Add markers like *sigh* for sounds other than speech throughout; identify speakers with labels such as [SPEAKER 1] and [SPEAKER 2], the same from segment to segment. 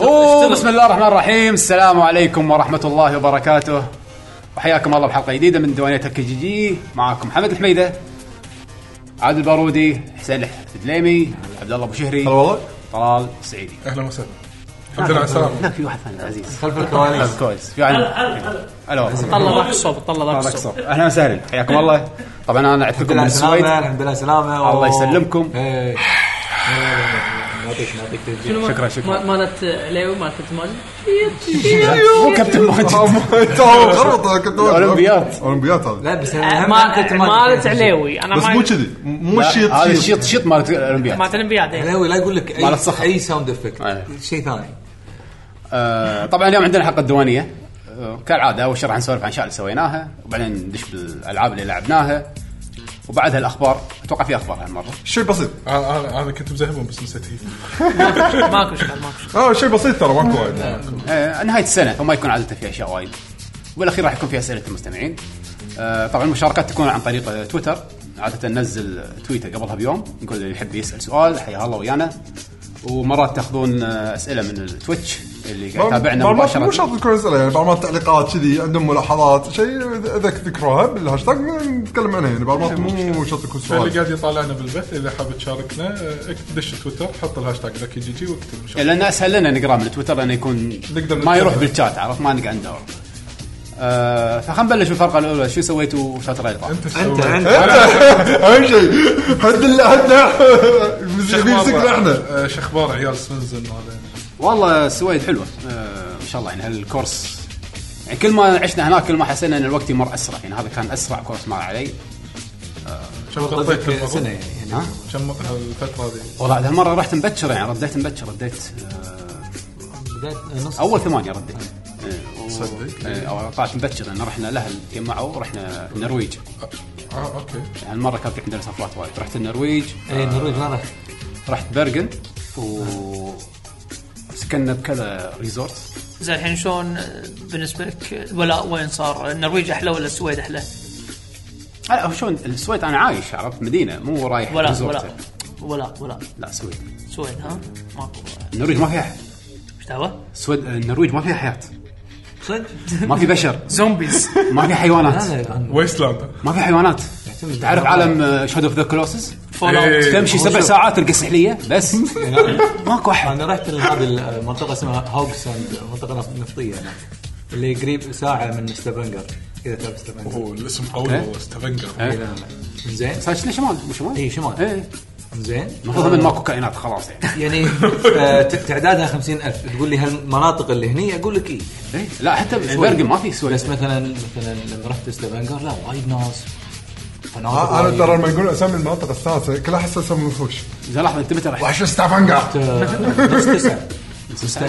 [SPEAKER 1] بسم الله الرحمن الرحيم السلام عليكم ورحمة الله وبركاته وحياكم الله بحلقة جديدة من دوانية تركي جي جي معاكم محمد الحميدة عادل البارودي حسين الدليمي عبد الله ابو شهري
[SPEAKER 2] هلا والله
[SPEAKER 1] طلال السعيدي
[SPEAKER 3] اهلا وسهلا الحمد لله على السلامه
[SPEAKER 1] هناك في واحد ثاني عزيز
[SPEAKER 2] خلف الكواليس
[SPEAKER 1] كويس في عندنا الو
[SPEAKER 4] طلع ذاك الصوب طلع ذاك الصوب
[SPEAKER 1] اهلا وسهلا حياكم الله طبعا انا عدتكم من
[SPEAKER 2] الحمد لله
[SPEAKER 1] السويد
[SPEAKER 2] سلامة الحمد لله سلامة
[SPEAKER 1] الله يسلمكم.
[SPEAKER 2] إيه. نعطيك نعطيك تسجيل.
[SPEAKER 1] شكراً- شكراً.
[SPEAKER 4] ما- مالت ليو مالت تمال
[SPEAKER 1] مو كابتن
[SPEAKER 2] *laughs*
[SPEAKER 1] ماجد
[SPEAKER 5] غلط كنت أقول.
[SPEAKER 1] أولمبيات.
[SPEAKER 5] اولمبيات هذا
[SPEAKER 2] لا بس
[SPEAKER 1] أه،
[SPEAKER 2] أهم
[SPEAKER 4] مالت
[SPEAKER 2] أنت
[SPEAKER 4] مالت
[SPEAKER 2] تمشي.
[SPEAKER 4] عليوي انا
[SPEAKER 5] بس
[SPEAKER 4] ما
[SPEAKER 5] مو كذي مو الشيط
[SPEAKER 1] هذا
[SPEAKER 5] شيط.
[SPEAKER 1] الشيط شيط مالت الاولمبياد
[SPEAKER 4] مالت الانبياد
[SPEAKER 5] *laughs*
[SPEAKER 4] إيه.
[SPEAKER 2] عليوي لا يقول لك
[SPEAKER 1] مالت
[SPEAKER 2] اي
[SPEAKER 1] صخر.
[SPEAKER 2] اي ساوند
[SPEAKER 1] إيه.
[SPEAKER 2] افكت شيء ثاني
[SPEAKER 1] آه، طبعا اليوم عندنا حلقه الديوانيه آه، كالعاده اول شيء راح نسولف عن الاشياء اللي سويناها وبعدين ندش بالالعاب اللي لعبناها وبعدها الاخبار اتوقع في اخبار هالمره
[SPEAKER 5] شيء بسيط
[SPEAKER 3] انا أنا- انا كنت مزهبهم بس نسيت
[SPEAKER 4] ماكو اشكال ماكو اشكال
[SPEAKER 5] اه شيء بسيط ترى ماكو وايد
[SPEAKER 1] آه، نهايه السنه فما يكون عاده في اشياء وايد وبالاخير راح يكون في اسئله المستمعين آه، طبعا المشاركات تكون عن طريق آه، تويتر عاده ننزل تويتر قبلها بيوم نقول اللي يحب يسال سؤال حيا الله ويانا ومرات تاخذون آه، اسئله من التويتش اللي قاعد يتابعنا
[SPEAKER 5] بعض مو
[SPEAKER 1] مباشره
[SPEAKER 5] شرط تكون اسئله يعني بعض المرات تعليقات كذي عندهم ملاحظات شيء اذا إذا ذكروها بالهاشتاج نتكلم عنها يعني بعض المرات مو شرط تكون
[SPEAKER 3] اللي
[SPEAKER 5] سؤال
[SPEAKER 3] قاعد يطالعنا بالبث اذا حاب تشاركنا آه، دش تويتر حط الهاشتاج ذاك جي جي واكتب
[SPEAKER 1] إيه، لان اسهل لنا نقراه من تويتر لانه يكون
[SPEAKER 3] نقدر
[SPEAKER 1] ما
[SPEAKER 3] نتابع.
[SPEAKER 1] يروح بالشات عرفت ما نقعد ندور آه فخلينا نبلش بالفرقه الاولى شو سويتوا الفتره اللي طافت؟
[SPEAKER 3] انت شو
[SPEAKER 2] انت
[SPEAKER 3] سويت؟
[SPEAKER 2] انت
[SPEAKER 5] اهم شيء حد اللي حدنا
[SPEAKER 3] شو أخبار-
[SPEAKER 5] بيمسكنا احنا
[SPEAKER 3] آه، شو اخبار عيال سمنزن هذا؟
[SPEAKER 1] والله سويد حلوه آه ما شاء الله يعني هالكورس يعني كل ما عشنا هناك كل ما حسينا ان الوقت يمر اسرع يعني هذا كان اسرع كورس مر علي
[SPEAKER 3] كم غطيت
[SPEAKER 2] قصدك سنة
[SPEAKER 3] الموضوع؟
[SPEAKER 2] يعني
[SPEAKER 1] ها؟
[SPEAKER 3] كم هالفتره هذه؟
[SPEAKER 1] والله عاد هالمره رحت مبكر يعني رديت مبكر رديت
[SPEAKER 2] بداية نص
[SPEAKER 1] آه اول ثمانيه رديت إيه، و-
[SPEAKER 3] صدق؟
[SPEAKER 1] إيه، أو طلعت مبكر لان رحنا الاهل تجمعوا ورحنا النرويج
[SPEAKER 3] اه اوكي
[SPEAKER 1] يعني هالمره كان في عندنا سفرات وايد رحت النرويج
[SPEAKER 2] اي النرويج ما راح
[SPEAKER 1] رحت برجن و سكننا بكذا ريزورت
[SPEAKER 4] زين الحين شلون بالنسبه لك ولاء وين صار النرويج احلى ولا السويد احلى؟
[SPEAKER 1] لا هو آه، شلون السويد انا عايش عرفت مدينه مو رايح
[SPEAKER 4] ولاء
[SPEAKER 1] ريزورت
[SPEAKER 4] ولاء ولاء ولاء
[SPEAKER 1] لا السويد
[SPEAKER 4] سويد ها؟ ماكو
[SPEAKER 1] النرويج ما فيها احد
[SPEAKER 4] ايش دعوه؟
[SPEAKER 1] السويد النرويج ما فيها حياه
[SPEAKER 2] صدق
[SPEAKER 1] ما في بشر
[SPEAKER 5] *laughs*
[SPEAKER 4] زومبيز
[SPEAKER 1] ما في حيوانات
[SPEAKER 2] هذا عن-
[SPEAKER 3] ويست لاند
[SPEAKER 1] ما في حيوانات تعرف عالم آه، شاد اوف ذا كلوسز
[SPEAKER 4] فول اوت
[SPEAKER 3] إيه.
[SPEAKER 1] تمشي سبع
[SPEAKER 2] شوف.
[SPEAKER 1] ساعات تلقى سحليه بس ماكو احد
[SPEAKER 2] انا رحت هذه المنطقه اسمها هوجساند منطقه نف- نفطيه هناك اللي قريب ساعه من ستافنجر اذا تعرف ستافنجر
[SPEAKER 3] اوه الاسم قوي
[SPEAKER 1] أوكي.
[SPEAKER 3] والله استفنجر
[SPEAKER 1] إيه.
[SPEAKER 2] زين
[SPEAKER 1] ساكنه شمال مو شمال؟
[SPEAKER 2] إيه، شمال.
[SPEAKER 1] ايه
[SPEAKER 2] زين
[SPEAKER 1] المفروض من ماكو كائنات خلاص
[SPEAKER 2] *laughs*
[SPEAKER 1] يعني
[SPEAKER 3] *laughs*
[SPEAKER 2] يعني آه، ت- تعدادها 50000 تقول لي هالمناطق اللي هني اقول لك اي
[SPEAKER 1] إيه. لا حتى برجن ما في سويد
[SPEAKER 2] بس مثلا مثلا لما رحت ستافنجر لا وايد ناس
[SPEAKER 3] آه،
[SPEAKER 2] فنادق
[SPEAKER 5] انا
[SPEAKER 2] وايد.
[SPEAKER 5] ترى لما يقولون اسامي المناطق السادسه كل احس اسامي وحوش
[SPEAKER 1] اذا لحظه انت متى رحت؟
[SPEAKER 5] وحش ستافنجر
[SPEAKER 2] آه، نص تسعه
[SPEAKER 1] زين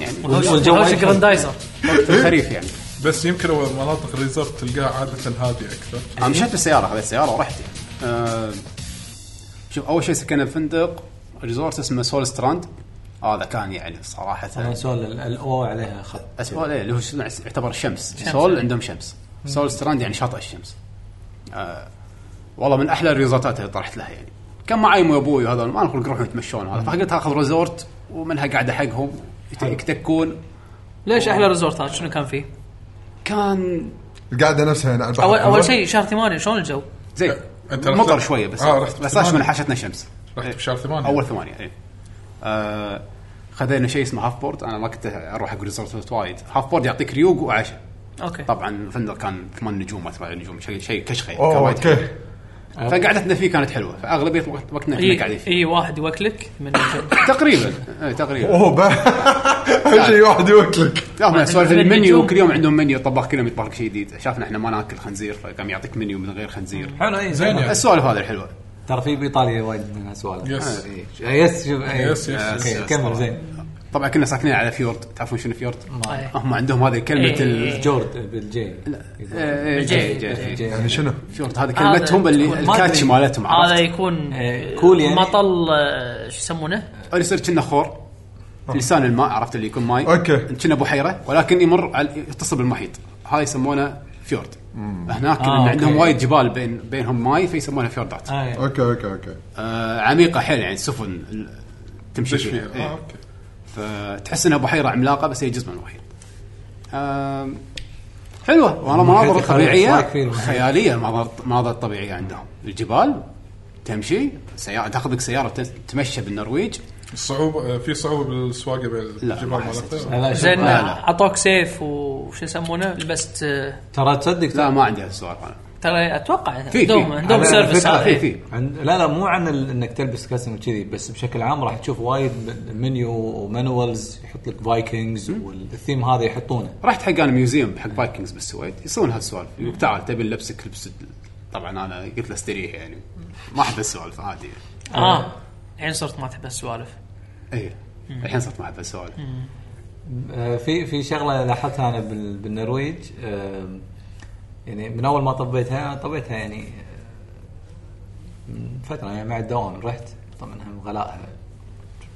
[SPEAKER 1] يعني
[SPEAKER 2] والجو
[SPEAKER 4] هوش
[SPEAKER 2] وايد حلو.
[SPEAKER 4] جراندايزر
[SPEAKER 1] وقت الخريف يعني
[SPEAKER 3] بس يمكن هو مناطق الريزورت تلقاها عاده هاديه اكثر
[SPEAKER 1] انا مشيت بالسياره خذيت السياره ورحت يعني. آه، شوف اول شيء سكننا بفندق ريزورت اسمه سول ستراند هذا كان يعني صراحه
[SPEAKER 2] انا سؤال ال- الاو عليها خط
[SPEAKER 1] اسبوع ايه اللي هو شنو يعتبر الشمس سول عندهم شمس سول ستراند يعني شاطئ الشمس آه والله من احلى الريزورتات اللي طرحت لها يعني كان معي امي وابوي وهذول ما نخلق نروح يتمشون هذا فقلت اخذ ريزورت ومنها قاعده حقهم يت- يتكون
[SPEAKER 4] ليش احلى ريزورت هذا شنو كان فيه؟
[SPEAKER 1] كان
[SPEAKER 5] القاعده نفسها يعني على البحر
[SPEAKER 4] اول اول شيء شهر ثمانية شلون الجو؟
[SPEAKER 1] زين
[SPEAKER 3] أنت رحت-
[SPEAKER 1] مطر شويه بس
[SPEAKER 3] آه، رحت
[SPEAKER 1] بس عشان
[SPEAKER 3] ثمانية.
[SPEAKER 1] حاشتنا شمس
[SPEAKER 3] رحت
[SPEAKER 1] إيه.
[SPEAKER 3] بشهر ثمانية
[SPEAKER 1] اول ثمانية اي آه خذينا شيء اسمه هاف بورد انا ما كنت اروح حق ريزورت وايد هاف بورد يعطيك ريوق وعشاء
[SPEAKER 3] إيه.
[SPEAKER 4] اوكي
[SPEAKER 1] طبعا الفندق كان ثمان نجوم ما ثمان نجوم شيء شيء كشخه كان
[SPEAKER 5] اوه
[SPEAKER 1] وايد حلو.
[SPEAKER 5] اوكي
[SPEAKER 1] فقعدتنا فيه كانت حلوه فاغلبيه وقت- وقتنا كنا قاعدين
[SPEAKER 4] اي
[SPEAKER 1] فيه
[SPEAKER 4] إي واحد يوكلك من الجو
[SPEAKER 5] *laughs*
[SPEAKER 1] تقريبا إيه، تقريبا
[SPEAKER 5] اوه *laughs* با- اهم شيء واحد يوكلك
[SPEAKER 1] لا هم سوالف
[SPEAKER 4] عندنا
[SPEAKER 1] المنيو
[SPEAKER 4] نجوم.
[SPEAKER 1] كل يوم عندهم منيو الطباخ كلهم يطبخ شيء جديد شافنا احنا ما ناكل خنزير فقام يعطيك منيو من غير خنزير
[SPEAKER 2] حلو اي
[SPEAKER 3] زين
[SPEAKER 2] زين
[SPEAKER 3] يعني.
[SPEAKER 1] السوالف هذه إيه. الحلوه
[SPEAKER 2] ترى في بايطاليا وايد من هالسوالف
[SPEAKER 1] آه،
[SPEAKER 3] يس
[SPEAKER 2] إي. يس شوف إي.
[SPEAKER 3] يس، يس،
[SPEAKER 2] أوكي،
[SPEAKER 1] يس، يس.
[SPEAKER 2] كمل زين
[SPEAKER 1] طبعا كنا ساكنين على فيورد تعرفون شنو فيورد؟
[SPEAKER 5] آه.
[SPEAKER 4] إيه.
[SPEAKER 1] هم عندهم هذه كلمه
[SPEAKER 4] إيه.
[SPEAKER 1] ال
[SPEAKER 2] جورد بالجي
[SPEAKER 1] إيه، إيه،
[SPEAKER 4] جاي،
[SPEAKER 1] جاي، جاي.
[SPEAKER 2] بالجي.
[SPEAKER 5] يعني شنو؟
[SPEAKER 1] فيورد هذه كلمتهم اللي
[SPEAKER 2] تكون- ما
[SPEAKER 1] الكاتش
[SPEAKER 2] أدري.
[SPEAKER 1] مالتهم
[SPEAKER 4] هذا
[SPEAKER 1] عرفت؟
[SPEAKER 4] يكون
[SPEAKER 2] آه، كول يعني.
[SPEAKER 4] مطل آه، شو يسمونه؟
[SPEAKER 1] اللي يصير كنا خور
[SPEAKER 2] آه.
[SPEAKER 1] لسان الماء عرفت اللي يكون ماي
[SPEAKER 5] أوكي.
[SPEAKER 1] كنا بحيره ولكن يمر على يتصل بالمحيط هاي يسمونه فيورد هناك
[SPEAKER 2] آه،
[SPEAKER 1] لان عندهم
[SPEAKER 2] أوكي.
[SPEAKER 1] وايد جبال بين بينهم ماي فيسمونها فيوردات
[SPEAKER 2] آه،
[SPEAKER 3] يعني
[SPEAKER 2] إيه.
[SPEAKER 5] اوكي اوكي اوكي
[SPEAKER 1] آه عميقه حيل يعني السفن ال- تمشي
[SPEAKER 3] دش
[SPEAKER 1] فيها
[SPEAKER 3] فيها
[SPEAKER 1] إيه.
[SPEAKER 3] آه، اوكي
[SPEAKER 1] فتحس انها بحيره عملاقه بس هي جزء من المحيط. آم، حلوه والله مناظر
[SPEAKER 2] المحيط
[SPEAKER 1] طبيعيه
[SPEAKER 2] يخليك فيه.
[SPEAKER 1] خياليه المناظر المناظر الطبيعيه عندهم الجبال تمشي سيارة تاخذك سيارة تت- تمشى بالنرويج
[SPEAKER 3] الصعوبه آه، في صعوبه بالسواقه
[SPEAKER 1] لا،
[SPEAKER 3] بالجبال
[SPEAKER 1] ما حسيت.
[SPEAKER 3] مالته
[SPEAKER 2] لا، شوف، آه،
[SPEAKER 4] زين
[SPEAKER 1] لا، لا.
[SPEAKER 4] اعطوك سيف وش يسمونه لبست آه،
[SPEAKER 2] ترى تصدق
[SPEAKER 1] لا ما عندي هذا السؤال انا
[SPEAKER 4] ترى اتوقع
[SPEAKER 1] في-
[SPEAKER 4] عندهم
[SPEAKER 1] في.
[SPEAKER 4] عندهم
[SPEAKER 2] على
[SPEAKER 4] سيرفس
[SPEAKER 2] فكرة
[SPEAKER 4] هذا.
[SPEAKER 1] في في
[SPEAKER 2] عن... لا لا مو عن ال... انك تلبس كاستم كذي بس بشكل عام راح تشوف وايد من- منيو ومانوالز يحط لك فايكنجز والثيم هذا يحطونه
[SPEAKER 1] رحت حق انا ميوزيوم حق فايكنجز بالسويد يسوون هالسوالف يقول تعال تبي نلبسك لبس طبعا انا قلت له استريح يعني ما احب السوالف عادي يعني.
[SPEAKER 4] اه الحين صرت ما تحب السوالف
[SPEAKER 1] اي إيه. الحين صرت ما احب السوالف
[SPEAKER 2] آه، في في شغله لاحظتها انا بال... بالنرويج آم، يعني من اول ما طبيتها طبيتها يعني آه، من فتره يعني مع الدوام رحت طبعا هم غلاءها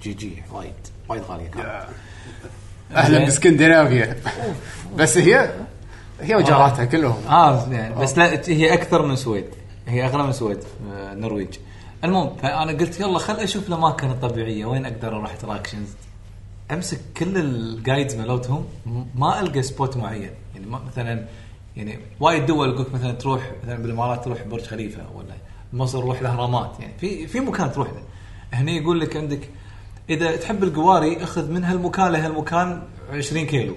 [SPEAKER 2] جي جي وايد وايد غاليه كانت
[SPEAKER 1] اهلا
[SPEAKER 2] زين.
[SPEAKER 1] باسكندنافيا بس هي هي وجاراتها كلهم
[SPEAKER 2] اه يعني بس لا هي اكثر من سويد هي اغلى من سويد آه، النرويج المهم فانا قلت يلا خل اشوف الاماكن الطبيعيه وين اقدر اروح اتراكشنز امسك كل الجايدز مالتهم ما القى سبوت معين يعني ما مثلا يعني وايد دول يقولك مثلا تروح مثلا بالامارات تروح برج خليفه ولا مصر روح الاهرامات يعني في في مكان تروح له هنا يقول لك عندك اذا تحب القواري اخذ من هالمكان لهالمكان 20 كيلو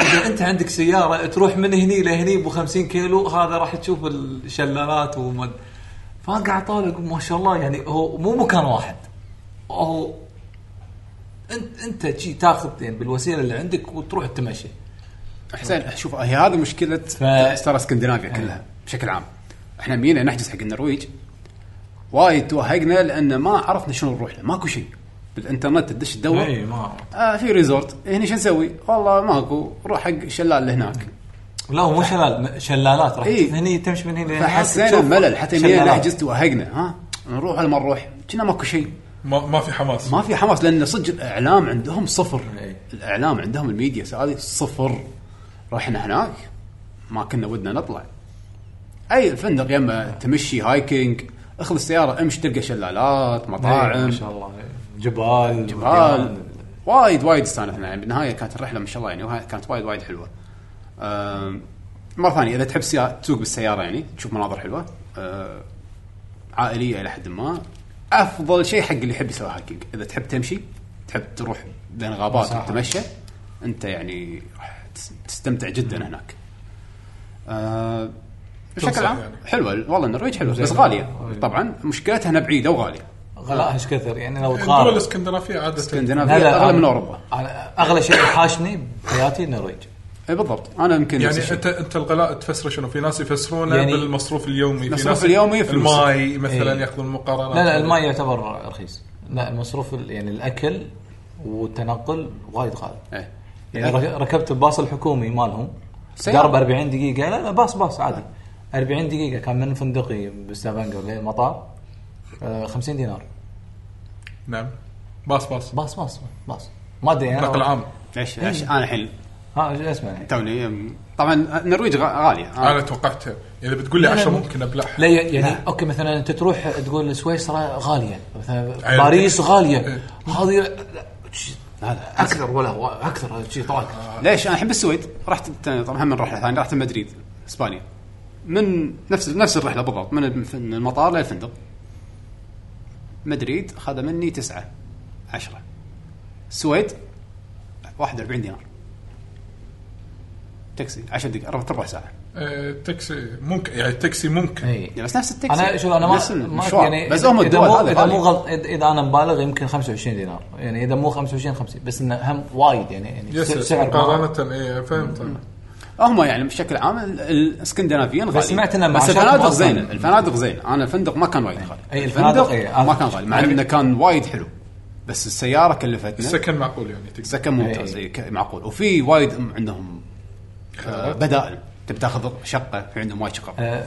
[SPEAKER 2] اذا انت عندك سياره تروح من هني لهني ب 50 كيلو هذا راح تشوف الشلالات وما فقاعد طالع ما شاء الله يعني هو مو مكان واحد هو انت انت شي تاخذ يعني بالوسيله اللي عندك وتروح تمشي
[SPEAKER 1] حسين شوف هي هذه مشكله ترى اسكندنافيا كلها بشكل عام احنا مينا نحجز حق النرويج وايد توهقنا لان ما عرفنا شنو نروح له ماكو شيء بالانترنت تدش تدور
[SPEAKER 2] ما
[SPEAKER 1] آه في ريزورت هنا شو نسوي؟ والله ماكو روح حق الشلال اللي هناك
[SPEAKER 2] لا هو مو شلال شلالات راح
[SPEAKER 1] إيه.
[SPEAKER 2] هني تمشي من هنا لهني
[SPEAKER 1] فحسينا
[SPEAKER 2] تشوف
[SPEAKER 1] بملل حتى
[SPEAKER 2] شلالات.
[SPEAKER 1] مين حجزت وهقنا ها نروح ولا ما نروح؟ كنا ماكو شيء
[SPEAKER 3] ما, ما في حماس
[SPEAKER 1] ما في حماس لان صدق الاعلام عندهم صفر
[SPEAKER 2] إي.
[SPEAKER 1] الاعلام عندهم الميديا هذه صفر رحنا هناك ما كنا ودنا نطلع اي فندق يما تمشي هايكينج اخذ السياره امشي تلقى شلالات
[SPEAKER 2] إيه، ما
[SPEAKER 1] مطاعم
[SPEAKER 2] شاء الله جبال
[SPEAKER 1] جبال آه،
[SPEAKER 2] مكان.
[SPEAKER 1] وايد وايد استانسنا يعني بالنهايه كانت الرحله ما شاء الله يعني وها- كانت وايد وايد حلوه. أم، مره ثانيه اذا تحب سيا- تسوق بالسياره يعني تشوف مناظر حلوه أه، عائليه الى حد ما افضل شيء حق اللي يحب يسوي هايكنج اذا تحب تمشي تحب تروح بين غابات
[SPEAKER 2] مساحة.
[SPEAKER 1] وتتمشى انت يعني راح تس- تستمتع جدا هناك. أه، بشكل
[SPEAKER 3] تنصح
[SPEAKER 1] عام
[SPEAKER 3] يعني.
[SPEAKER 1] حلوه والله النرويج حلوه بس
[SPEAKER 2] زين.
[SPEAKER 1] غاليه
[SPEAKER 2] أي.
[SPEAKER 1] طبعا مشكلتها انها بعيده وغاليه.
[SPEAKER 2] غلاء ايش كثر يعني لو
[SPEAKER 3] الدول
[SPEAKER 2] تقارن
[SPEAKER 3] الاسكندنافيه عاده
[SPEAKER 1] اسكندنافيا اغلى من اوروبا.
[SPEAKER 2] أنا اغلى شيء حاشني بحياتي النرويج
[SPEAKER 1] اي إيه، بالضبط انا يمكن نفس
[SPEAKER 3] يعني
[SPEAKER 1] الشيء.
[SPEAKER 3] انت انت الغلاء تفسره شنو؟ في ناس يفسرونه
[SPEAKER 2] يعني-
[SPEAKER 3] يعني بالمصروف اليومي في
[SPEAKER 1] مصروف
[SPEAKER 3] ناس
[SPEAKER 1] اليومي فلوسك.
[SPEAKER 3] الماي مثلا
[SPEAKER 2] إيه.
[SPEAKER 3] ياخذون مقارنه
[SPEAKER 2] لا لا الماي يعتبر رخيص لا المصروف ال- يعني الاكل والتنقل وايد غالي
[SPEAKER 1] إيه.
[SPEAKER 2] يعني رك- ركبت الباص الحكومي مالهم
[SPEAKER 1] سيارة.
[SPEAKER 2] قرب 40 دقيقة لا لا باص باص عادي 40 دقيقة كان من فندقي بستافانجر للمطار آه 50 دينار
[SPEAKER 3] نعم باص باص
[SPEAKER 2] باص باص باص ما ادري يعني
[SPEAKER 3] نقل عام
[SPEAKER 1] ليش ليش انا الحين
[SPEAKER 2] ها شو اسمه يعني
[SPEAKER 1] توني أم، طبعا النرويج غ- غاليه أنا-
[SPEAKER 3] انا توقعتها يعني بتقول لي
[SPEAKER 2] آه. لا، لا،
[SPEAKER 3] 10
[SPEAKER 2] مو-
[SPEAKER 3] ممكن ابلعها
[SPEAKER 2] لا يعني لا. اوكي مثلا انت تروح تقول سويسرا غاليه مثلا
[SPEAKER 3] عيال.
[SPEAKER 2] باريس غاليه
[SPEAKER 3] إيه.
[SPEAKER 2] هذه لا- لا، شي-
[SPEAKER 1] لا، لا.
[SPEAKER 2] اكثر ولا اكثر شيء طاق
[SPEAKER 1] ليش انا الحين بالسويد رحت ت- طبعا من رحله ثانيه رحت مدريد اسبانيا من نفس نفس الرحله بالضبط من الف- من المطار للفندق مدريد اخذ مني تسعة عشرة السويد 41 دينار تاكسي 10 دقائق ربع ساعه
[SPEAKER 3] آه، تاكسي ممكن يعني التاكسي ممكن
[SPEAKER 2] اي
[SPEAKER 1] يعني بس نفس التاكسي
[SPEAKER 2] انا شوف انا ما
[SPEAKER 1] نفس
[SPEAKER 2] ما
[SPEAKER 1] المشوار.
[SPEAKER 2] يعني
[SPEAKER 1] بس هم
[SPEAKER 2] اذا
[SPEAKER 1] الدول
[SPEAKER 2] مو
[SPEAKER 1] هذه
[SPEAKER 2] اذا
[SPEAKER 1] غالية.
[SPEAKER 2] مو غلط إذا- اذا انا مبالغ يمكن 25 دينار يعني اذا مو 25 50 بس انه هم وايد يعني يعني
[SPEAKER 3] يس
[SPEAKER 2] س-
[SPEAKER 3] يس
[SPEAKER 2] سعر مرة.
[SPEAKER 3] مقارنه اي فهمت أنا.
[SPEAKER 1] هم يعني بشكل عام ال- الاسكندنافيين غالي
[SPEAKER 2] سمعت إن
[SPEAKER 1] بس
[SPEAKER 2] معاشاتهم
[SPEAKER 1] الفنادق
[SPEAKER 2] أصلاً-
[SPEAKER 1] زينه الفنادق زينه انا الفندق ما كان وايد غالي
[SPEAKER 2] أي الفنادق إيه، أنا-
[SPEAKER 1] ما كان غالي مع انه كان وايد حلو بس السياره كلفتنا
[SPEAKER 3] السكن معقول يعني تقدر
[SPEAKER 1] السكن ممتاز
[SPEAKER 2] أي.
[SPEAKER 1] إيه، ك- معقول وفي وايد عندهم آه، بدائل تبي تاخذ شقه في عندهم وايد شقق
[SPEAKER 2] آه،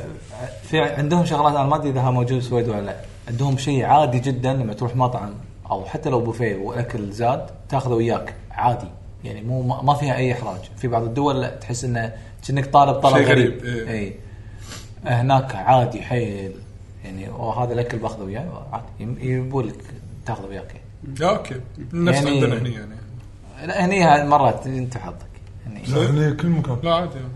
[SPEAKER 2] في عندهم شغلات انا ما ادري اذا موجود السويد ولا لا عندهم شيء عادي جدا لما تروح مطعم او حتى لو بوفيه والاكل زاد تاخذه وياك عادي يعني مو ما ما فيها اي احراج في بعض الدول لا تحس انه كأنك طالب طلب
[SPEAKER 3] شيء
[SPEAKER 2] غريب
[SPEAKER 3] غريب، إيه.
[SPEAKER 2] اي هناك عادي حيل يعني أوه، هذا الاكل باخذه وياي عادي يم- يبون لك تاخذه وياك يعني.
[SPEAKER 3] آه، اوكي نفس
[SPEAKER 2] يعني-
[SPEAKER 3] عندنا هنا يعني
[SPEAKER 2] لا هني هاي مرات انت حظك هني
[SPEAKER 5] هني كل مكان
[SPEAKER 3] لا عادي يعني.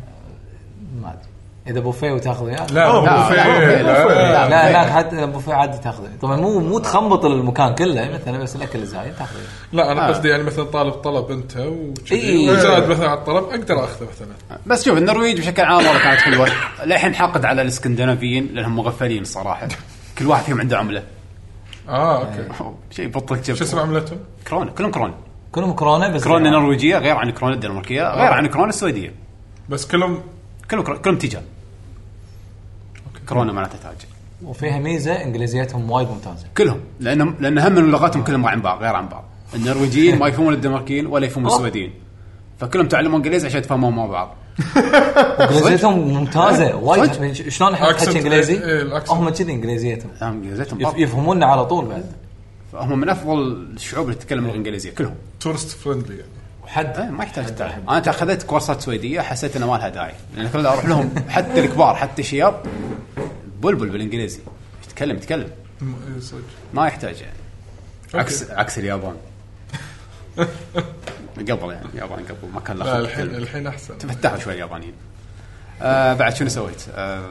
[SPEAKER 2] ما ادري اذا بوفيه وتاخذ وياه
[SPEAKER 3] لا
[SPEAKER 1] لا،
[SPEAKER 3] مو
[SPEAKER 1] لا،
[SPEAKER 3] فيه.
[SPEAKER 1] مو فيه.
[SPEAKER 3] لا
[SPEAKER 2] لا لا حتى بوفيه عادي تاخذه طبعا مو مو تخمط المكان كله مثلا بس الاكل زايد تاخذه
[SPEAKER 3] لا انا
[SPEAKER 1] آه.
[SPEAKER 3] قصدي يعني مثلا طالب طلب انت وكذي
[SPEAKER 2] إي.
[SPEAKER 3] وزاد مثلا على الطلب اقدر اخذه مثلا
[SPEAKER 1] بس شوف النرويج بشكل عام والله كانت حلوه للحين حاقد على الاسكندنافيين لانهم مغفلين الصراحه كل واحد فيهم عنده عمله
[SPEAKER 3] اه
[SPEAKER 2] إيه.
[SPEAKER 3] اوكي
[SPEAKER 1] شيء بطل
[SPEAKER 3] شو اسم
[SPEAKER 1] شب
[SPEAKER 3] عملتهم؟
[SPEAKER 1] كرون كلهم كرون
[SPEAKER 2] كلهم كورونا بس يعني
[SPEAKER 1] كرون النرويجيه غير عن كرون الدنماركيه
[SPEAKER 2] آه.
[SPEAKER 1] غير عن كرون السويديه
[SPEAKER 3] بس كلهم
[SPEAKER 1] كلهم كرون- كلهم تيجان كورونا معناته تاج
[SPEAKER 2] وفيها ميزه انجليزيتهم وايد ممتازه
[SPEAKER 1] كلهم لانهم لان هم من لغاتهم كلهم عن بعض غير عن بعض النرويجيين ما يفهمون الدنماركيين ولا يفهمون
[SPEAKER 2] أوه.
[SPEAKER 1] السويديين فكلهم تعلموا انجليزي عشان يتفاهمون مع بعض
[SPEAKER 2] انجليزيتهم ممتازه وايد يعني
[SPEAKER 1] صدق؟
[SPEAKER 2] ش- شلون احنا
[SPEAKER 3] Accent.
[SPEAKER 2] نحكي انجليزي؟
[SPEAKER 3] إيه، إيه، الأكسنت.
[SPEAKER 2] هم كذي انجليزيتهم
[SPEAKER 1] فهم انجليزيتهم
[SPEAKER 2] يف-
[SPEAKER 1] بعض.
[SPEAKER 2] يفهموننا على طول بعد
[SPEAKER 1] فهم من افضل الشعوب اللي تتكلم اللغه الانجليزيه كلهم
[SPEAKER 3] تورست فريندلي يعني
[SPEAKER 1] إيه،
[SPEAKER 2] وحد
[SPEAKER 1] ما يحتاج تعلم انا اخذت كورسات سويديه حسيت انه ما لها داعي لان كل اروح لهم حتى الكبار حتى الشياب بلبل بالانجليزي يتكلم يتكلم
[SPEAKER 3] م- إي صدق
[SPEAKER 1] ما يحتاج يعني عكس عكس
[SPEAKER 3] *laughs*
[SPEAKER 1] اليابان قبل يعني اليابان قبل ما كان
[SPEAKER 3] لا
[SPEAKER 1] لا
[SPEAKER 3] الحين الحين احسن
[SPEAKER 1] تفتحوا شوي اليابانيين آه بعد شنو سويت؟ آه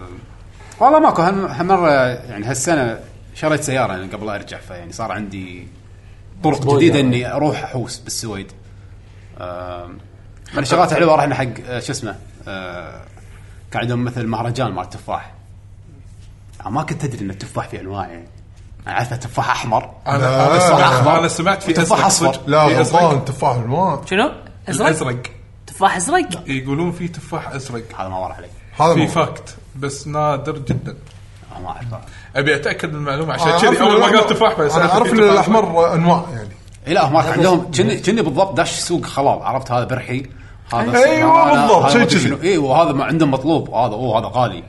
[SPEAKER 1] والله ماكو هم- هالمره يعني هالسنه شريت سياره يعني قبل لا ارجع فيعني صار عندي طرق
[SPEAKER 2] Exposure.
[SPEAKER 1] جديده اني اروح احوس بالسويد. آه من الشغلات الحلوه رحنا حق آه، شو اسمه آه كان عندهم مثل مهرجان مال تفاح. ما كنت ادري ان التفاح في انواع يعني. انا عارف تفاح احمر
[SPEAKER 3] انا
[SPEAKER 5] لا.
[SPEAKER 3] انا صراحه
[SPEAKER 1] أخضر.
[SPEAKER 3] انا سمعت في
[SPEAKER 1] وتفاح
[SPEAKER 3] ازرق
[SPEAKER 1] أصفر.
[SPEAKER 3] صدق.
[SPEAKER 5] لا
[SPEAKER 3] في أزرق.
[SPEAKER 5] غلطان تفاح الوان
[SPEAKER 4] شنو؟ ازرق؟
[SPEAKER 3] الازرق
[SPEAKER 4] تفاح ازرق؟
[SPEAKER 3] يقولون في تفاح ازرق
[SPEAKER 1] هذا ما ورا علي
[SPEAKER 5] هذا
[SPEAKER 3] في
[SPEAKER 5] مو-
[SPEAKER 3] فاكت بس نادر جدا
[SPEAKER 1] أنا آه، ما اعرفه.
[SPEAKER 3] ابي اتاكد من المعلومه
[SPEAKER 5] أنا
[SPEAKER 3] عشان كذي
[SPEAKER 5] أعرف
[SPEAKER 3] اول ما
[SPEAKER 5] إن
[SPEAKER 3] قال تفاح بس
[SPEAKER 5] انا اعرف ان الاحمر انواع يعني
[SPEAKER 1] اي إيه، لا هم عندهم كني كني بالضبط داش سوق خلاط عرفت هذا برحي هذا
[SPEAKER 5] أيوة بالضبط، شي كذي.
[SPEAKER 1] اي وهذا ما عندهم مطلوب هذا اوه هذا غالي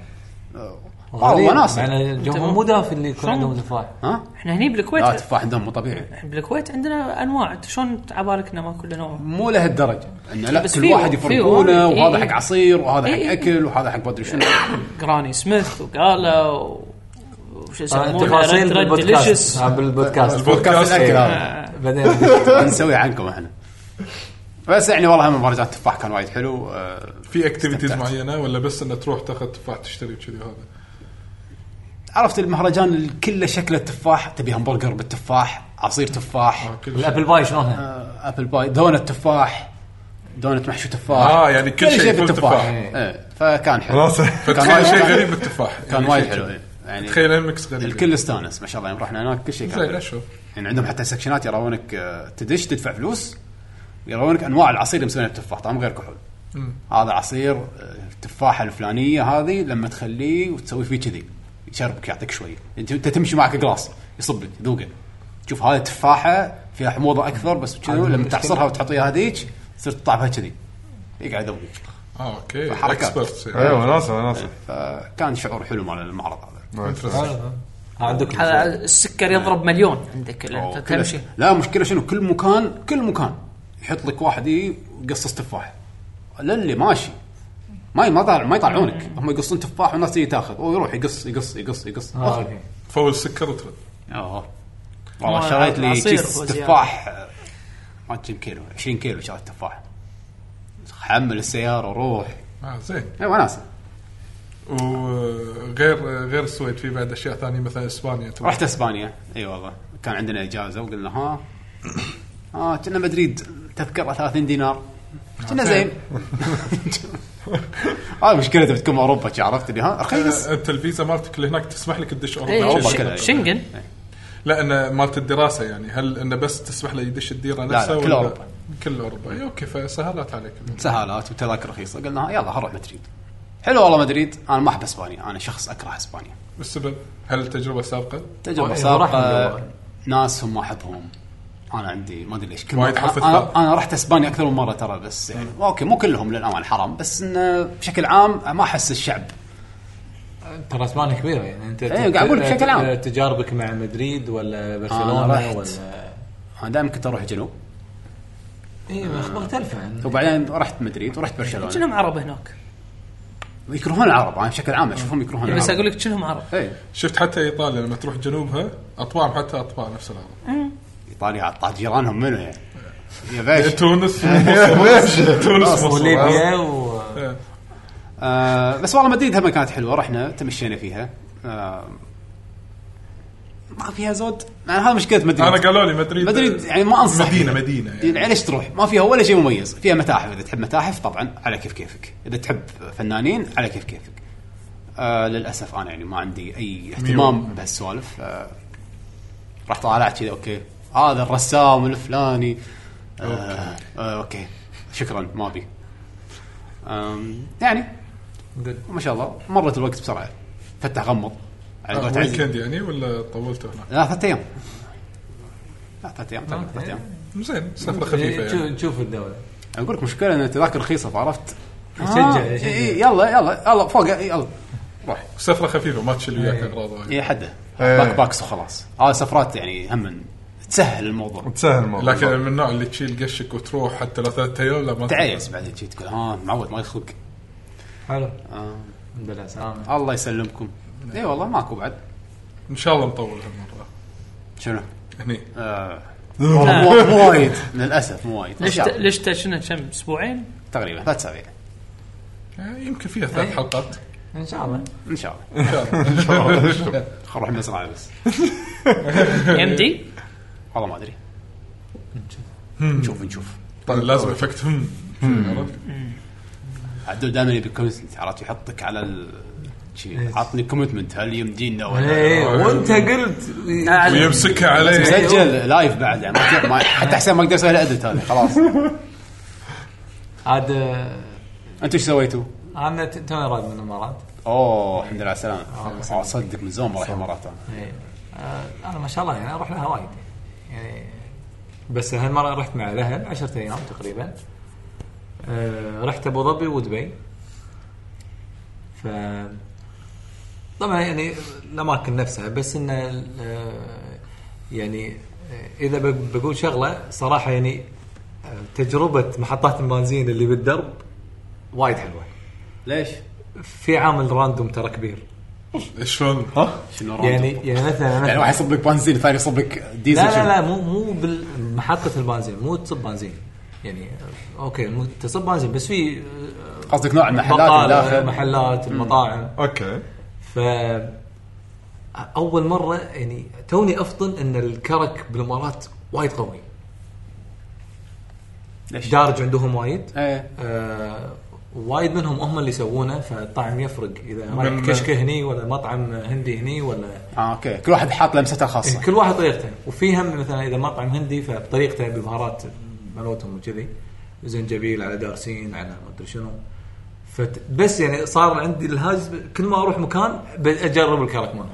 [SPEAKER 1] آه، والله
[SPEAKER 2] غريب.
[SPEAKER 1] وناسه
[SPEAKER 2] يعني الجمهور مو دافي اللي يكون عندهم تفاح
[SPEAKER 1] ها
[SPEAKER 4] احنا هني
[SPEAKER 1] لا
[SPEAKER 4] بالكويت
[SPEAKER 1] تفاح عندهم مو طبيعي
[SPEAKER 4] بالكويت عندنا انواع أنت شلون عبالك انه ما كله نوع؟
[SPEAKER 1] مو لهالدرجه انه لا
[SPEAKER 4] بس
[SPEAKER 1] كل
[SPEAKER 4] فيه-
[SPEAKER 1] واحد
[SPEAKER 4] فيه
[SPEAKER 1] يفرقونه
[SPEAKER 4] وايد. إيه.
[SPEAKER 1] وهذا
[SPEAKER 4] إي.
[SPEAKER 1] حق عصير وهذا
[SPEAKER 4] إي.
[SPEAKER 1] حق اكل وهذا حق مدري شنو
[SPEAKER 4] جراني سميث وقالا و-
[SPEAKER 1] آه،
[SPEAKER 4] وش يسمونه
[SPEAKER 2] آه، تفاصيل
[SPEAKER 4] ريد ريد
[SPEAKER 2] بالبودكاست
[SPEAKER 4] ديليشس
[SPEAKER 2] آه، بالبودكاست
[SPEAKER 1] بودكاست الاكل
[SPEAKER 2] إيه.
[SPEAKER 1] هذا
[SPEAKER 2] بعدين
[SPEAKER 1] *laughs* نسوي عنكم احنا بس يعني والله هم مهرجان التفاح كان وايد حلو آه،
[SPEAKER 3] في اكتيفيتيز
[SPEAKER 1] استمتعت.
[SPEAKER 3] معينه ولا بس انه تروح تاخذ تفاح تشتري وكذي هذا
[SPEAKER 1] عرفت المهرجان اللي كله شكله تفاح تبي همبرجر بالتفاح عصير تفاح
[SPEAKER 3] آه، كل شيء.
[SPEAKER 2] الابل باي شلونها؟
[SPEAKER 1] آه، ابل باي دونت تفاح دونت محشو تفاح
[SPEAKER 3] اه يعني كل شيء يكون تفاح.
[SPEAKER 1] إيه، فكان حلو
[SPEAKER 5] خلاص
[SPEAKER 1] كان وايد
[SPEAKER 3] فتخيل شيء
[SPEAKER 1] كان-
[SPEAKER 3] غريب بالتفاح
[SPEAKER 1] كان
[SPEAKER 3] يعني
[SPEAKER 1] وايد
[SPEAKER 3] شيء
[SPEAKER 1] حلو
[SPEAKER 3] كذي.
[SPEAKER 1] إيه. يعني
[SPEAKER 3] تخيل المكس غريب
[SPEAKER 1] الكل استانس ما شاء الله يوم رحنا هناك كل شيء كان
[SPEAKER 3] زين
[SPEAKER 1] حلو.
[SPEAKER 3] اشوف
[SPEAKER 1] يعني عندهم حتى سكشنات يراونك آه، تدش تدفع فلوس يراونك انواع العصير اللي مسوينها بتفاح طعم غير كحول هذا عصير آه، التفاحه الفلانيه هذه لما تخليه وتسوي فيه كذي يشربك يعطيك شويه انت انت تمشي معك جلاس يصب لك ذوقه شوف هذه تفاحه فيها حموضه اكثر بس كذي لما تعصرها وتحط وياها هذيك يصير طعمها كذي يقعد يذوقك
[SPEAKER 3] اه اوكي
[SPEAKER 1] فحركات.
[SPEAKER 3] اكسبرتس
[SPEAKER 5] ايوه ناسا ناسا
[SPEAKER 1] فكان شعور حلو مال المعرض هذا
[SPEAKER 2] ها، عندكم
[SPEAKER 4] هذا السكر يضرب مليون عندك لأن
[SPEAKER 1] أوه،
[SPEAKER 4] انت
[SPEAKER 1] كل-
[SPEAKER 4] تمشي
[SPEAKER 1] لا مشكله شنو كل مكان كل مكان يحط لك واحد إيه يقصص تفاح للي ماشي ما ما طالع ما يطلعونك هم يقصون تفاح والناس تيجي تاخذ ويروح يقص يقص يقص يقص
[SPEAKER 2] آه،
[SPEAKER 1] آخر.
[SPEAKER 2] أوكي.
[SPEAKER 3] فول سكر وترد
[SPEAKER 1] أوه. والله
[SPEAKER 4] آه،
[SPEAKER 1] شريت لي
[SPEAKER 4] عصير
[SPEAKER 1] كيس
[SPEAKER 4] وزيادة.
[SPEAKER 1] تفاح آه، ما كم كيلو 20 كيلو شريت تفاح حمل السياره وروح إيه،
[SPEAKER 3] اه زين
[SPEAKER 1] اي وناسه
[SPEAKER 3] وغير غير السويد في بعد اشياء ثانيه مثلا اسبانيا تروح.
[SPEAKER 1] رحت اسبانيا اي والله كان عندنا اجازه وقلنا ها اه كنا مدريد تذكره 30 دينار كنا زين هاي مشكلتها بتكون مع اوروبا شي عرفت اللي ها رخيص
[SPEAKER 3] آه، انت الفيزا مالتك اللي هناك تسمح لك تدش
[SPEAKER 4] إيه،
[SPEAKER 3] اوروبا
[SPEAKER 1] أوروبا
[SPEAKER 4] ش-
[SPEAKER 1] كلها.
[SPEAKER 4] شنغن
[SPEAKER 3] لا انا مالت الدراسه يعني هل انه بس تسمح له يدش الديره
[SPEAKER 1] لا،
[SPEAKER 3] نفسها
[SPEAKER 1] كل
[SPEAKER 3] ولا-
[SPEAKER 1] أوروبا.
[SPEAKER 3] كل اوروبا إيه، اوكي فسهلت عليك
[SPEAKER 1] سهالات وتذاكر رخيصه قلنا ها يلا هنروح مدريد حلو والله مدريد انا ما احب اسبانيا انا شخص اكره اسبانيا
[SPEAKER 3] السبب هل تجربه سابقه؟
[SPEAKER 1] تجربه
[SPEAKER 2] وإذا
[SPEAKER 1] سابقه
[SPEAKER 2] رحنا-
[SPEAKER 1] ناس هم ما احبهم انا عندي ما ادري ليش كل
[SPEAKER 3] وايد
[SPEAKER 1] مرة-
[SPEAKER 3] حرف
[SPEAKER 1] انا,
[SPEAKER 3] الثاء.
[SPEAKER 1] أنا رحت اسبانيا اكثر من مره ترى بس يعني اوكي مو كلهم للامانه حرام بس انه بشكل عام ما احس الشعب
[SPEAKER 2] ترى اسبانيا كبيره يعني انت
[SPEAKER 1] إيه، قاعد أقول بشكل عام. آه،
[SPEAKER 2] تجاربك مع مدريد ولا
[SPEAKER 1] رحت.
[SPEAKER 2] برشلونه ولا إيه،
[SPEAKER 1] انا دائما كنت اروح الجنوب
[SPEAKER 2] اي
[SPEAKER 1] آه.
[SPEAKER 2] مختلفه يعني
[SPEAKER 1] وبعدين رحت مدريد ورحت برشلونه
[SPEAKER 4] كلهم عرب هناك
[SPEAKER 1] يكرهون العرب انا بشكل عام اشوفهم يكرهون
[SPEAKER 3] نعم.
[SPEAKER 4] يعني
[SPEAKER 1] العرب إيه.
[SPEAKER 4] بس اقول لك كلهم عرب
[SPEAKER 1] اي
[SPEAKER 3] شفت حتى ايطاليا لما تروح جنوبها اطباعهم حتى اطباع نفس العرب
[SPEAKER 1] ايطاليا عطت جيرانهم منو يعني يا باشا
[SPEAKER 3] *laughs* تونس
[SPEAKER 1] خلاص.
[SPEAKER 3] تونس إيه، مصر
[SPEAKER 2] إيه، وليبيا و
[SPEAKER 1] آه بس والله مدريد هم كانت حلوه رحنا تمشينا فيها آه ما فيها زود يعني هذا مشكله مدريد
[SPEAKER 3] انا قالوا لي مدريد
[SPEAKER 1] مدريد يعني ما انصح
[SPEAKER 3] مدينه
[SPEAKER 1] فيها.
[SPEAKER 3] مدينه يعني.
[SPEAKER 1] يعني ليش تروح؟ ما فيها ولا شيء مميز، فيها متاحف اذا تحب متاحف طبعا على كيف كيفك، اذا تحب فنانين على كيف كيفك. آه للاسف انا يعني ما عندي اي اهتمام بهالسوالف آه راح طالعت كذا اوكي هذا الرسام الفلاني آه آه اوكي شكرا ما ابي. آم، يعني ما شاء الله مرت الوقت بسرعه فتح غمض على قولة عزيز.
[SPEAKER 3] ويكند يعني ولا طولته هناك؟
[SPEAKER 1] لا ثلاث ايام لا ثلاث ايام تقريبا ثلاث ايام
[SPEAKER 3] زين
[SPEAKER 1] إيه،
[SPEAKER 3] سفره خفيفه يعني
[SPEAKER 2] شوف شوف الدوله
[SPEAKER 1] اقول لك مشكله ان التذاكر رخيصه فعرفت
[SPEAKER 2] يشجع-
[SPEAKER 1] آه،
[SPEAKER 2] يشجع.
[SPEAKER 1] إي- يلا يلا يلا فوق يلا روح آه.
[SPEAKER 3] سفره خفيفه ما تشيل وياك اغراض وايد
[SPEAKER 1] هي حده
[SPEAKER 5] إيه.
[SPEAKER 1] باك باكس وخلاص هذه سفرات يعني هم تسهل الموضوع
[SPEAKER 5] تسهل الموضوع
[SPEAKER 3] لكن من النوع اللي تشيل قشك وتروح حتى لو ثلاث ايام لا ما
[SPEAKER 1] تعيس بعدين تجي تقول ها معود ما يخلق
[SPEAKER 2] حلو
[SPEAKER 1] آه.
[SPEAKER 2] الحمد لله سلامة
[SPEAKER 1] الله يسلمكم اي إيه، والله ماكو بعد
[SPEAKER 3] ان شاء الله نطول هالمره
[SPEAKER 1] شنو؟
[SPEAKER 3] هني
[SPEAKER 1] آه، والله مو مو *laughs* وايد للاسف مو وايد إن
[SPEAKER 4] ليش
[SPEAKER 1] شاء الله.
[SPEAKER 4] ليش تشنا كم
[SPEAKER 3] *laughs*
[SPEAKER 4] اسبوعين؟
[SPEAKER 1] تقريبا ثلاث اسابيع
[SPEAKER 3] آه، يمكن فيها ثلاث
[SPEAKER 2] أي.
[SPEAKER 3] حلقات
[SPEAKER 2] ان شاء الله
[SPEAKER 1] ان شاء الله
[SPEAKER 3] ان شاء الله
[SPEAKER 1] خل نروح المزرعه بس
[SPEAKER 3] إيه.
[SPEAKER 4] يمدي؟
[SPEAKER 1] والله ما ادري نشوف نشوف
[SPEAKER 3] طيب لازم افكت هم عرفت؟
[SPEAKER 1] عدول دائما يبي commitment، عرفت يحطك على ال شي، عطني كومتمنت هل يمدينا ولا
[SPEAKER 2] ايه وانت قلت
[SPEAKER 1] آه،
[SPEAKER 3] ويمسكها علي
[SPEAKER 1] مسجل لايف بعد يعني ما- ما- حتى حسين ما اقدر اسوي له ادت هذا يعني خلاص
[SPEAKER 2] عاد
[SPEAKER 1] انتم ايش سويتوا؟
[SPEAKER 2] انا ت- توني راد من الامارات
[SPEAKER 1] اوه الحمد لله على السلامه آه، صدق من زمان ما راح مرات انا
[SPEAKER 2] إيه. آه، انا ما شاء الله يعني اروح لها وايد يعني بس هالمره رحت مع الاهل 10 ايام تقريبا آه، رحت ابو ظبي ودبي ف طبعا يعني الاماكن نفسها بس ان ال- آه، يعني آه، اذا بق- بقول شغله صراحه يعني آه، تجربه محطات البنزين اللي بالدرب وايد حلوه
[SPEAKER 1] ليش؟
[SPEAKER 2] في عامل راندوم ترى كبير
[SPEAKER 3] شلون؟
[SPEAKER 1] شنو رمضان؟
[SPEAKER 2] يعني يعني مثلا
[SPEAKER 1] يعني
[SPEAKER 2] مثلاً-
[SPEAKER 1] واحد يصب لك بنزين ثاني يصب لك ديزل
[SPEAKER 2] لا لا
[SPEAKER 1] شنو؟
[SPEAKER 2] لا مو مو بمحطة البنزين مو تصب بنزين يعني آه، اوكي مو تصب بنزين بس في آه،
[SPEAKER 1] قصدك نوع المحلات
[SPEAKER 2] بقالة،
[SPEAKER 1] اللي داخل
[SPEAKER 2] محلات المطاعم
[SPEAKER 5] اوكي
[SPEAKER 2] ف اول مرة يعني توني افطن ان الكرك بالامارات وايد قوي
[SPEAKER 1] ليش؟
[SPEAKER 2] دارج عندهم وايد
[SPEAKER 1] ايه
[SPEAKER 2] آه وايد منهم هم اللي يسوونه فالطعم يفرق اذا رايح
[SPEAKER 3] من-
[SPEAKER 2] كشكه هني ولا مطعم هندي هني ولا
[SPEAKER 1] اه اوكي كل واحد حاط لمسته
[SPEAKER 2] إيه،
[SPEAKER 1] الخاصه
[SPEAKER 2] كل واحد طريقته وفي هم مثلا اذا مطعم هندي فبطريقته ببهارات مالتهم وكذي زنجبيل على دارسين على ما ادري شنو فت بس يعني صار عندي الهاجس ب- كل ما اروح مكان ب- اجرب الكرك مالهم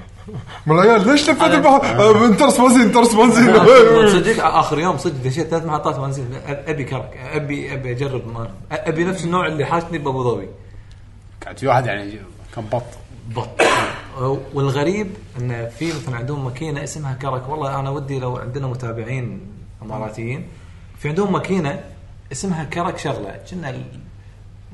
[SPEAKER 5] ما العيال ليش لفت البحر؟ آه، انترس بنزين انترس بنزين
[SPEAKER 2] أنا صدق اخر يوم صدق دشيت ثلاث محطات بنزين أ- ابي كرك ابي ابي اجرب مالهم أ- ابي نفس النوع اللي حاشني بابو ظبي
[SPEAKER 1] كان في واحد يعني كان بط
[SPEAKER 2] بط والغريب ان في مثلا عندهم ماكينه اسمها كرك والله انا ودي لو عندنا متابعين اماراتيين في عندهم ماكينه اسمها كرك شغله كنا ال-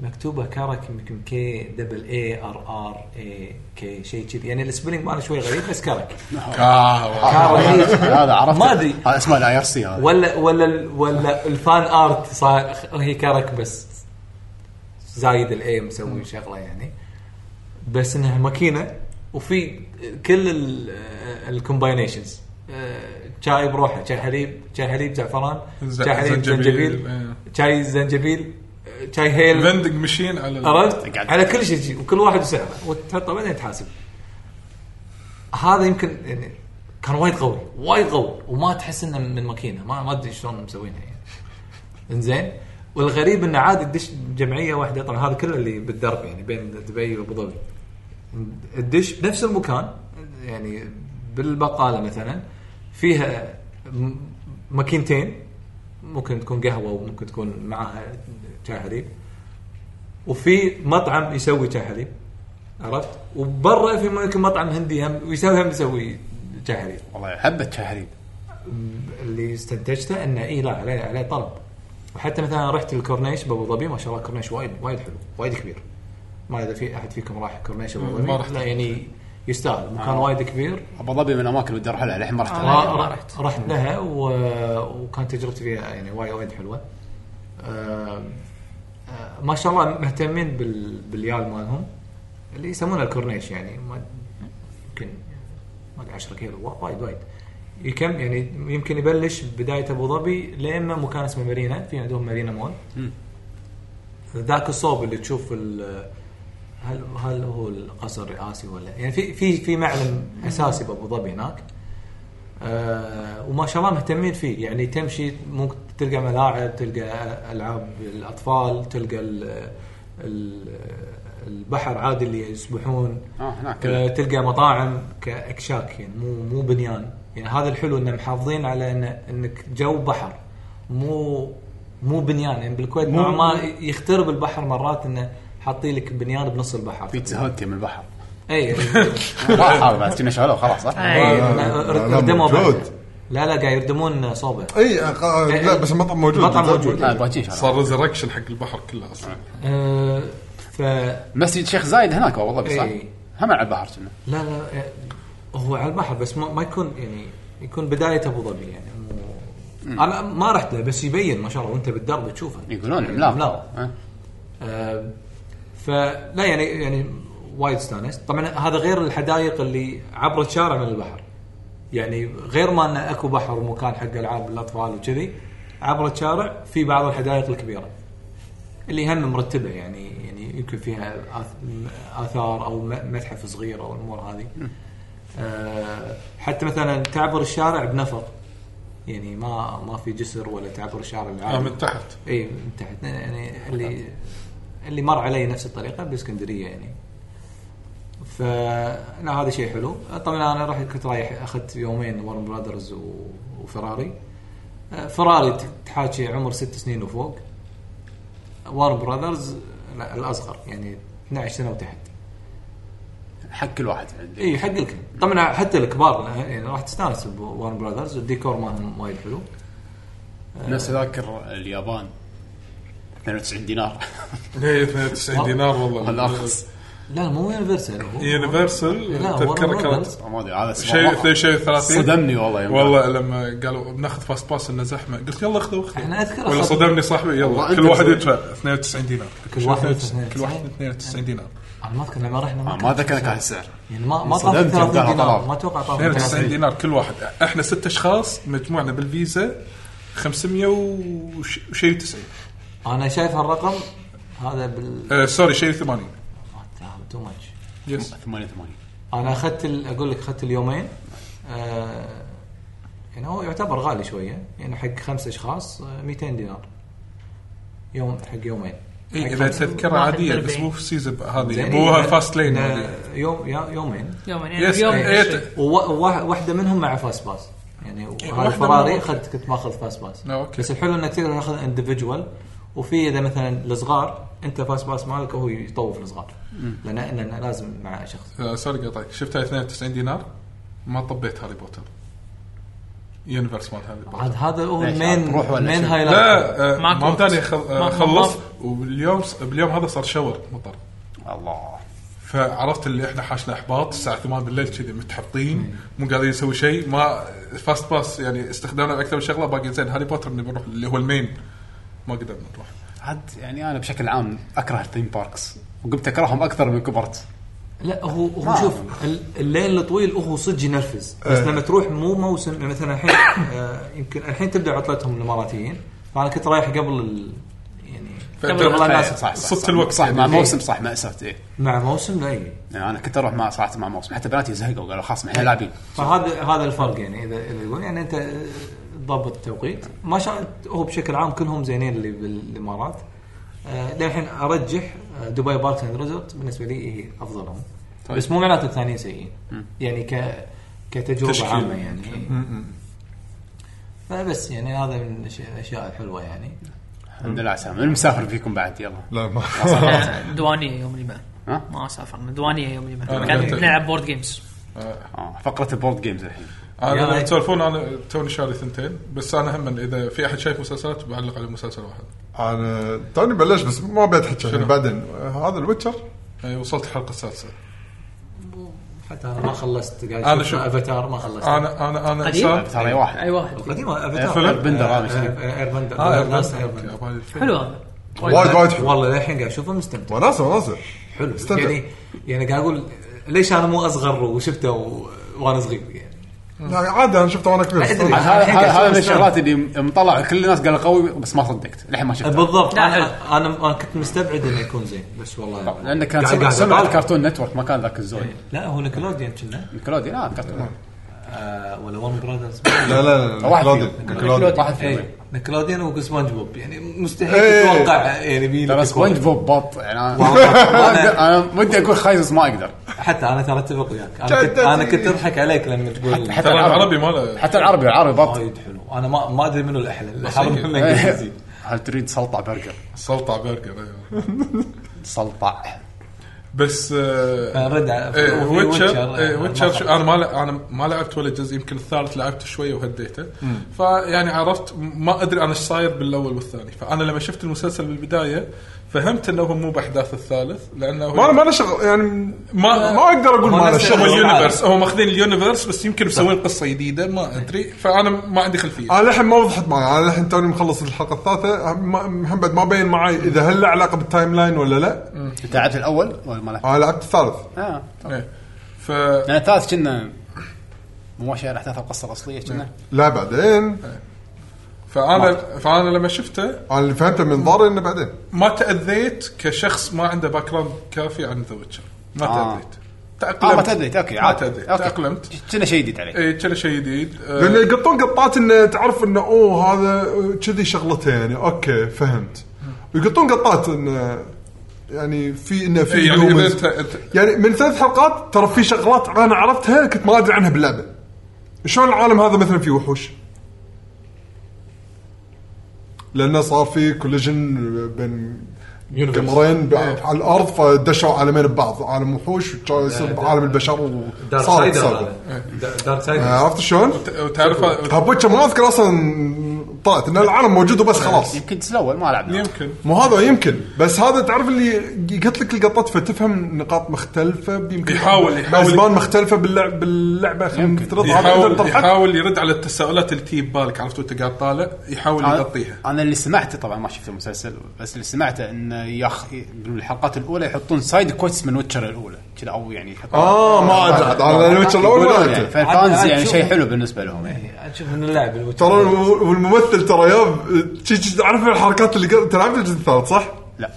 [SPEAKER 2] مكتوبه كرك يمكن كي دبل اي ار ار اي كي شيء كذي يعني السبلنج ماله شوي غريب بس كرك
[SPEAKER 3] اه
[SPEAKER 1] إيه.
[SPEAKER 2] كرك
[SPEAKER 1] هذا عرفت
[SPEAKER 2] ما أدري.
[SPEAKER 1] هذا اسمه الاي ار سي هذا
[SPEAKER 2] ولا ولا ال- ولا الفان ارت صار هي كرك بس زايد الاي مسوي شغله يعني بس انها ماكينه وفي كل الكومباينيشنز آه، شاي بروحه شاي حليب شاي حليب زعفران
[SPEAKER 3] ز-
[SPEAKER 2] شاي حليب
[SPEAKER 3] زنجبيل،
[SPEAKER 2] زنجبيل
[SPEAKER 3] إيه.
[SPEAKER 2] شاي زنجبيل آه، شاي هيل
[SPEAKER 3] فندق مشين على ال-
[SPEAKER 2] عرفت
[SPEAKER 1] قاعد-
[SPEAKER 2] على كل شيء شيء وكل واحد وسعره وتحطه بعدين تحاسب هذا يمكن يعني كان وايد قوي وايد قوي وما تحس انه من ماكينه ما ما ادري شلون مسوينها يعني انزين والغريب انه عادي تدش جمعيه واحده طبعا هذا كله اللي بالدرب يعني بين دبي وابو ظبي تدش بنفس المكان يعني بالبقاله مثلا فيها م- ماكينتين ممكن تكون قهوه وممكن تكون معاها شاي حليب وفي مطعم يسوي شاي حليب عرفت وبرا في ممكن مطعم هندي هم ويسوي هم يسوي شاي حليب
[SPEAKER 1] والله حبه شهرين
[SPEAKER 2] اللي استنتجته انه اي لا عليه عليه طلب وحتى مثلا رحت الكورنيش بابو ظبي ما شاء الله كورنيش وايد وايد حلو وايد كبير ما اذا في احد فيكم راح كورنيش ابو
[SPEAKER 3] ما
[SPEAKER 2] ظبي
[SPEAKER 3] رحت. آه.
[SPEAKER 2] لا يعني يستاهل مكان وايد كبير
[SPEAKER 1] ابو ظبي من الاماكن اللي بدي اروح لها للحين ما رحت
[SPEAKER 4] آه.
[SPEAKER 1] لها.
[SPEAKER 4] ما
[SPEAKER 2] را-
[SPEAKER 4] رحت.
[SPEAKER 2] رحت لها و... وكانت تجربتي فيها يعني وايد وايد حلوه آه، آه، ما شاء الله مهتمين بال... باليال مالهم اللي يسمونه الكورنيش يعني ما يمكن ما ادري 10 كيلو وا- وايد وايد يكم يعني يمكن يبلش بدايه ابو ظبي لما مكان اسمه مارينا في عندهم مارينا مول ذاك الصوب اللي تشوف ال- هل هل هو القصر الرئاسي ولا يعني في في في معلم اساسي بابو ظبي هناك آه وما شاء الله مهتمين فيه يعني تمشي ممكن تلقى ملاعب تلقى العاب الاطفال تلقى ال- ال- البحر عادي اللي يسبحون
[SPEAKER 1] اه هناك
[SPEAKER 2] آه، تلقى مطاعم كاكشاك يعني مو مو بنيان يعني هذا الحلو انه محافظين على إن انك جو بحر مو مو بنيان يعني بالكويت نوعا ما يخترب البحر مرات انه حاطين لك بنيان بنص البحر إيه.
[SPEAKER 1] بيتزا هوت من البحر *laughs*
[SPEAKER 2] اي
[SPEAKER 1] ما هذا بعد كنا شالوه خلاص صح؟
[SPEAKER 4] أي.
[SPEAKER 2] إي،
[SPEAKER 5] إيه. لا، لا، لا،
[SPEAKER 2] ردموا
[SPEAKER 5] موجود.
[SPEAKER 2] بعد. لا لا قاعد يردمون صوبه
[SPEAKER 5] اي آه، لا بس المطعم موجود
[SPEAKER 2] المطعم موجود.
[SPEAKER 1] لا باجين شالوه
[SPEAKER 3] صار ريزركشن حق البحر كله اصلا
[SPEAKER 2] آه، ف
[SPEAKER 1] مسجد شيخ زايد هناك ابو
[SPEAKER 3] إيه.
[SPEAKER 1] ظبي صح؟
[SPEAKER 2] إي.
[SPEAKER 1] هم على البحر كنا
[SPEAKER 2] لا لا آه، هو على البحر بس ما, ما يكون يعني يكون بدايه ابو ظبي يعني مو انا ما رحت له بس يبين ما شاء الله وانت بالدرب تشوفه
[SPEAKER 1] يقولون عملاق
[SPEAKER 2] عملاق.
[SPEAKER 1] آه.
[SPEAKER 2] آه، فلا يعني يعني وايد استانست طبعا هذا غير الحدائق اللي عبرت شارع من البحر يعني غير ما انه اكو بحر ومكان حق العاب الاطفال وكذي عبرت شارع في بعض الحدائق الكبيره اللي هم مرتبه يعني يعني يمكن فيها آث- م- اثار او م- متحف صغير او الامور هذه آه، حتى مثلا تعبر الشارع بنفق يعني ما ما في جسر ولا تعبر الشارع
[SPEAKER 3] آه،
[SPEAKER 2] العادي
[SPEAKER 3] من تحت
[SPEAKER 2] اي من تحت يعني اللي اللي مر علي نفس الطريقه باسكندريه يعني فلا هذا شيء حلو طبعا انا رحت كنت رايح اخذت يومين ورن برادرز و- وفراري آه، فراري ت- تحاكي عمر ست سنين وفوق وارن براذرز لا الاصغر يعني 12 سنه وتحت
[SPEAKER 1] حق كل واحد عندي
[SPEAKER 3] إيه.
[SPEAKER 2] اي حق الكل طبعا حتى الكبار يعني راح تستانس بورن براذرز الديكور مالهم وايد حلو
[SPEAKER 1] نفس اذاكر اليابان 92
[SPEAKER 3] *laughs*
[SPEAKER 1] دينار
[SPEAKER 3] هي 92 إيه، دينار
[SPEAKER 1] هذا
[SPEAKER 3] والله
[SPEAKER 1] ارخص
[SPEAKER 2] لا مو يونيفرسال هو
[SPEAKER 1] إيه،
[SPEAKER 3] يونيفرسال
[SPEAKER 2] لا،
[SPEAKER 3] تذكره
[SPEAKER 2] Warner
[SPEAKER 3] كانت
[SPEAKER 2] Brothers.
[SPEAKER 1] ما ادري هذا
[SPEAKER 3] شيء شيء 30
[SPEAKER 1] صدمني والله يوم
[SPEAKER 3] والله لما قالوا بناخذ فاست باس انه زحمه قلت يلا اخذوا اخذوا
[SPEAKER 2] انا اذكر
[SPEAKER 3] ولا
[SPEAKER 2] أخذت-
[SPEAKER 3] صدمني صاحبي
[SPEAKER 1] والله
[SPEAKER 3] يلا
[SPEAKER 1] أنت
[SPEAKER 3] كل واحد
[SPEAKER 1] تسوي.
[SPEAKER 3] يدفع 92 دينار
[SPEAKER 2] كل واحد يدفع
[SPEAKER 3] 92 كل واحد
[SPEAKER 2] 92.
[SPEAKER 3] 92 دينار
[SPEAKER 2] انا ما اذكر لما رحنا
[SPEAKER 1] آه،
[SPEAKER 2] ما
[SPEAKER 1] ما
[SPEAKER 2] كان-
[SPEAKER 1] ذكر كان السعر
[SPEAKER 2] يعني ما ما طاف
[SPEAKER 1] انصدمت
[SPEAKER 2] 30
[SPEAKER 1] يوم قالها
[SPEAKER 2] دينار
[SPEAKER 1] طلال.
[SPEAKER 2] ما اتوقع طاف
[SPEAKER 3] 92
[SPEAKER 2] 30
[SPEAKER 3] دينار كل واحد احنا ست اشخاص مجموعنا بالفيزا 500 وشيء 90
[SPEAKER 2] انا شايف هالرقم هذا بال
[SPEAKER 3] آه سوري شيء 80
[SPEAKER 2] تو ماتش
[SPEAKER 3] يس
[SPEAKER 1] 88
[SPEAKER 2] انا اخذت ال- اقول لك اخذت اليومين آه يعني هو يعتبر غالي شويه يعني حق خمس اشخاص آه، 200 دينار يوم حق يومين
[SPEAKER 3] إيه،
[SPEAKER 2] حق
[SPEAKER 3] اذا
[SPEAKER 2] خمسة.
[SPEAKER 3] تذكره
[SPEAKER 4] واحد
[SPEAKER 3] عاديه بس
[SPEAKER 4] بالأربعين.
[SPEAKER 3] مو في سيزن هذه
[SPEAKER 2] زين، إيه،
[SPEAKER 3] مو
[SPEAKER 2] إذا-
[SPEAKER 3] فاست لين
[SPEAKER 2] إذا
[SPEAKER 3] هذه.
[SPEAKER 2] يوم يا- يومين
[SPEAKER 4] يومين
[SPEAKER 3] يس
[SPEAKER 4] يعني يوم
[SPEAKER 3] إيه،
[SPEAKER 4] شيء.
[SPEAKER 2] وواحده منهم مع فاست باس يعني هذا
[SPEAKER 3] واحدة
[SPEAKER 2] فراري
[SPEAKER 3] منهم.
[SPEAKER 2] اخذت كنت ماخذ فاست باس
[SPEAKER 3] لا، آه، أوكي.
[SPEAKER 2] بس الحلو انك تقدر تاخذ اندفجوال وفي اذا مثلا الصغار انت فاست باس مالك وهو يطوف الصغار لان لان لازم مع شخص
[SPEAKER 3] آه، سوري قطعك شفتها 92 دينار ما طبيت هاري بوتر يونيفرس مال هاري بوتر
[SPEAKER 2] عاد هذا هو
[SPEAKER 1] ليش؟
[SPEAKER 2] المين
[SPEAKER 1] تروح ولا
[SPEAKER 2] المين
[SPEAKER 1] شو؟
[SPEAKER 2] هايلايت
[SPEAKER 3] لا آه،
[SPEAKER 4] ماكو
[SPEAKER 3] ما
[SPEAKER 4] وقت.
[SPEAKER 3] بداني أخل- آه،
[SPEAKER 4] ماكو
[SPEAKER 3] خلص
[SPEAKER 4] ماف.
[SPEAKER 3] وباليوم باليوم هذا صار شاور مطر
[SPEAKER 1] الله
[SPEAKER 3] فعرفت اللي احنا حاشنا احباط الساعه 8 بالليل كذي متحبطين مو قادرين نسوي شيء ما فاست باس يعني استخدامنا اكثر من شغله باقي زين هاري بوتر نبي نروح اللي هو المين ما قدرنا نروح
[SPEAKER 1] عاد يعني انا بشكل عام اكره الثيم باركس وقمت اكرههم اكثر من كبرت
[SPEAKER 2] لا هو هو
[SPEAKER 1] ما
[SPEAKER 2] شوف ال- الليل الطويل هو صدق ينرفز
[SPEAKER 3] إيه.
[SPEAKER 2] بس لما تروح مو موسم يعني مثلا الحين آه، يمكن الحين تبدا عطلتهم الاماراتيين فانا كنت رايح قبل ال يعني
[SPEAKER 3] فأنت-
[SPEAKER 2] قبل والله ناس
[SPEAKER 1] صح صح صح
[SPEAKER 3] صدت الوقت
[SPEAKER 1] صح
[SPEAKER 3] يعني.
[SPEAKER 1] مع
[SPEAKER 3] إيه.
[SPEAKER 1] موسم صح مأساة ايه
[SPEAKER 2] مع موسم لا إيه.
[SPEAKER 1] يعني انا كنت اروح مع صراحه مع موسم حتى بناتي زهقوا قالوا خلاص احنا لاعبين
[SPEAKER 2] فهذا هذا الفرق يعني اذا اذا يقول يعني انت آه، ضبط التوقيت ما شاء الله هو بشكل عام كلهم زينين اللي بالامارات آه، للحين ارجح آه، دبي بارك اند ريزورت بالنسبه لي هي افضلهم
[SPEAKER 1] طيب.
[SPEAKER 2] بس مو معناته الثانيين سيئين يعني ك كتجربه
[SPEAKER 3] تشكيل.
[SPEAKER 2] عامه يعني فبس يعني هذا من الأشياء- الاشياء الحلوه يعني
[SPEAKER 1] الحمد لله على السلامه المسافر فيكم بعد يلا
[SPEAKER 5] لا ما
[SPEAKER 4] أنا آه، دوانية يوم الجمعة
[SPEAKER 1] ها؟
[SPEAKER 4] ما سافرنا دوانية يوم الجمعة
[SPEAKER 3] أنا
[SPEAKER 4] قاعد
[SPEAKER 3] قلت-
[SPEAKER 4] نلعب بورد جيمز
[SPEAKER 1] آه فقره البورد جيمز الحين
[SPEAKER 3] انا
[SPEAKER 2] يلا.
[SPEAKER 3] لما آه، تسولفون انا توني شاري ثنتين بس انا هم اذا في احد شايف مسلسلات بعلق على مسلسل واحد
[SPEAKER 5] انا توني بلش بس ما بيتحكي
[SPEAKER 3] شنو؟ يعني
[SPEAKER 5] بعدين آه، هذا أه، الويتشر
[SPEAKER 3] آه، وصلت الحلقه السادسه
[SPEAKER 2] حتى انا ما خلصت قاعد
[SPEAKER 3] أنا
[SPEAKER 2] أشوف
[SPEAKER 3] شوف.
[SPEAKER 2] افاتار ما خلصت
[SPEAKER 3] انا انا انا
[SPEAKER 4] قديم؟
[SPEAKER 3] انسان
[SPEAKER 1] ترى أي واحد
[SPEAKER 4] اي واحد
[SPEAKER 2] القديمه
[SPEAKER 3] آه. فيلم؟
[SPEAKER 2] افاتار
[SPEAKER 1] بندر هذا شنو؟
[SPEAKER 2] ايربندر
[SPEAKER 3] آه،
[SPEAKER 2] آه Airbender.
[SPEAKER 3] أوكي،
[SPEAKER 2] Airbender.
[SPEAKER 3] أبالي الفيلم.
[SPEAKER 4] حلو هذا
[SPEAKER 5] وايد وايد حلو
[SPEAKER 2] والله للحين قاعد اشوفه مستمتع
[SPEAKER 5] وناسه وناسه
[SPEAKER 2] حلو
[SPEAKER 5] استمتع.
[SPEAKER 2] يعني يعني قاعد اقول ليش انا مو اصغر وشفته و- وانا صغير يعني
[SPEAKER 5] لا عادي انا شفته وانا كبير
[SPEAKER 2] أدري.
[SPEAKER 5] استمتع.
[SPEAKER 1] هذا
[SPEAKER 2] الحين قاعد
[SPEAKER 1] هذا هذا من
[SPEAKER 2] أشوف
[SPEAKER 1] الشغلات اللي مطلع كل الناس قالوا قوي بس ما صدقت للحين ما شفته
[SPEAKER 2] بالضبط
[SPEAKER 4] لا، حلو.
[SPEAKER 2] انا انا أنا كنت مستبعد انه يكون زين بس والله
[SPEAKER 1] لانه كان
[SPEAKER 2] قاعد- إيه.
[SPEAKER 1] سمع,
[SPEAKER 2] قاعد
[SPEAKER 1] سمع
[SPEAKER 2] أطالع.
[SPEAKER 1] الكرتون نتورك ما كان ذاك الزود
[SPEAKER 2] لا هو نيكلوديان كنا
[SPEAKER 1] نيكلوديان اه كرتون
[SPEAKER 2] آه، ولا ون برادرز
[SPEAKER 5] لا لا لا
[SPEAKER 1] واحد
[SPEAKER 5] نيكلوديون،
[SPEAKER 1] فيهم.
[SPEAKER 5] نيكلوديون.
[SPEAKER 1] واحد فيهم
[SPEAKER 2] إيه، نيكلوديان وسبونج بوب يعني مستحيل
[SPEAKER 5] إيه.
[SPEAKER 2] تتوقع يعني مين
[SPEAKER 1] ترى
[SPEAKER 2] بيكون.
[SPEAKER 1] سبونج بوب بط يعني *laughs* أنا-
[SPEAKER 2] *laughs* والله.
[SPEAKER 1] انا ودي اقول خايس ما اقدر
[SPEAKER 2] حتى انا ترى اتفق وياك انا كنت انا كنت اضحك عليك لما تقول
[SPEAKER 1] حتى
[SPEAKER 3] ترى
[SPEAKER 1] العربي
[SPEAKER 3] العربي ماله
[SPEAKER 1] حتى العربي العربي بط إيه.
[SPEAKER 2] وايد حلو انا ما ما ادري منو الاحلى العربي ولا الانجليزي
[SPEAKER 1] هل تريد سلطع برجر
[SPEAKER 3] سلطع برجر أيوة.
[SPEAKER 1] سلطع
[SPEAKER 3] بس آه،
[SPEAKER 2] رد على
[SPEAKER 3] إيه،
[SPEAKER 2] وفي
[SPEAKER 3] ويتشر إيه،
[SPEAKER 2] آه،
[SPEAKER 3] ويتشر
[SPEAKER 2] ما
[SPEAKER 3] شو- انا ما ل- انا ما لعبت ولا جزء يمكن الثالث لعبته شويه وهديته فيعني عرفت ما ادري انا ايش صاير بالاول والثاني فانا لما شفت المسلسل بالبدايه فهمت انه هو مو باحداث الثالث لانه هو-
[SPEAKER 5] ما ما له شغل يعني
[SPEAKER 3] ما
[SPEAKER 5] ما اقدر اقول
[SPEAKER 2] ما
[SPEAKER 5] ما له
[SPEAKER 2] نفس-
[SPEAKER 5] شغل
[SPEAKER 3] هو
[SPEAKER 2] شغل
[SPEAKER 3] اليونيفرس هم ماخذين اليونيفرس بس يمكن مسوين قصه جديده ما ادري فانا ما عندي خلفيه
[SPEAKER 5] انا للحين ما وضحت معي انا للحين توني مخلص الحلقه الثالثه ما- محمد ما بين معي اذا هل له علاقه بالتايم لاين ولا لا
[SPEAKER 1] انت لعبت الاول ولا ما لعبت؟
[SPEAKER 5] انا لعبت الثالث
[SPEAKER 1] اه
[SPEAKER 3] إيه. ف
[SPEAKER 1] لان الثالث كنا مو ماشي على احداث القصه الاصليه كنا
[SPEAKER 5] لا بعدين
[SPEAKER 3] فانا فانا لما شفته
[SPEAKER 5] انا اللي فهمته من ضاري انه بعدين
[SPEAKER 3] ما تاذيت كشخص ما عنده باك جراوند كافي عن ذا ويتشر ما
[SPEAKER 1] آه.
[SPEAKER 3] تاذيت
[SPEAKER 1] اه
[SPEAKER 3] تاقلمت
[SPEAKER 2] إيه.
[SPEAKER 1] ما تدري اوكي
[SPEAKER 3] ما
[SPEAKER 1] عادي.
[SPEAKER 3] تاذيت
[SPEAKER 1] أوكي.
[SPEAKER 3] تاقلمت
[SPEAKER 1] كنا شيء جديد عليك
[SPEAKER 3] اي كان شيء جديد آه،
[SPEAKER 5] لانه يقطون قطات انه تعرف انه اوه هذا كذي شغلته يعني اوكي فهمت ويقطون قطات انه يعني في انه في
[SPEAKER 3] إيه، يعني
[SPEAKER 5] humans.
[SPEAKER 3] إذا أنت- أنت-
[SPEAKER 5] يعني من ثلاث حلقات ترى في شغلات انا عرفتها كنت ما ادري عنها باللعبه شلون العالم هذا مثلا فيه وحوش لانه صار في كوليجن بين
[SPEAKER 2] Universe.
[SPEAKER 5] قمرين ب- على الارض فدشوا عالمين ببعض عالم وحوش يصير عالم البشر
[SPEAKER 2] دارك
[SPEAKER 5] وصار
[SPEAKER 2] سايدر
[SPEAKER 5] تصادم.
[SPEAKER 2] هذا. دا- دارك سايدر
[SPEAKER 5] آه، عرفت شلون؟
[SPEAKER 3] وتعرف
[SPEAKER 5] هبوتش ما اذكر اصلا طلعت ان العالم موجود وبس خلاص
[SPEAKER 1] يمكن الجزء الاول ما لعبنا
[SPEAKER 3] يمكن
[SPEAKER 5] مو هذا يمكن بس هذا تعرف اللي يقط لك القطات فتفهم نقاط مختلفه يمكن
[SPEAKER 3] يحاول- يحاول-
[SPEAKER 5] ازمان مختلفه باللعب باللعبه خلينا نفترض هذا يقدر
[SPEAKER 3] يحاول
[SPEAKER 5] يطلع حد.
[SPEAKER 3] يحاول يرد على التساؤلات اللي تجي ببالك عرفت وانت قاعد طالع يحاول
[SPEAKER 1] آه.
[SPEAKER 3] يغطيها
[SPEAKER 1] انا اللي سمعته طبعا ما شفت المسلسل بس اللي سمعته انه يخ بالحلقات الاولى يحطون سايد كويتس من ويتشر الاولى كذا او يعني يحطون
[SPEAKER 5] اه ما ادري عاد. انا الويتش الاول ما
[SPEAKER 1] يقولون يعني
[SPEAKER 5] لعبته.
[SPEAKER 1] فالفانز
[SPEAKER 2] عاد-
[SPEAKER 1] يعني
[SPEAKER 2] عاد
[SPEAKER 1] شيء
[SPEAKER 2] شوف.
[SPEAKER 1] حلو بالنسبه لهم يعني
[SPEAKER 2] شوف من اللاعب الويتشر.
[SPEAKER 5] ترى الم- والممثل ترى ياب شي- شي- تعرف الحركات اللي قبل تلعب الجزء الثالث صح؟
[SPEAKER 1] لا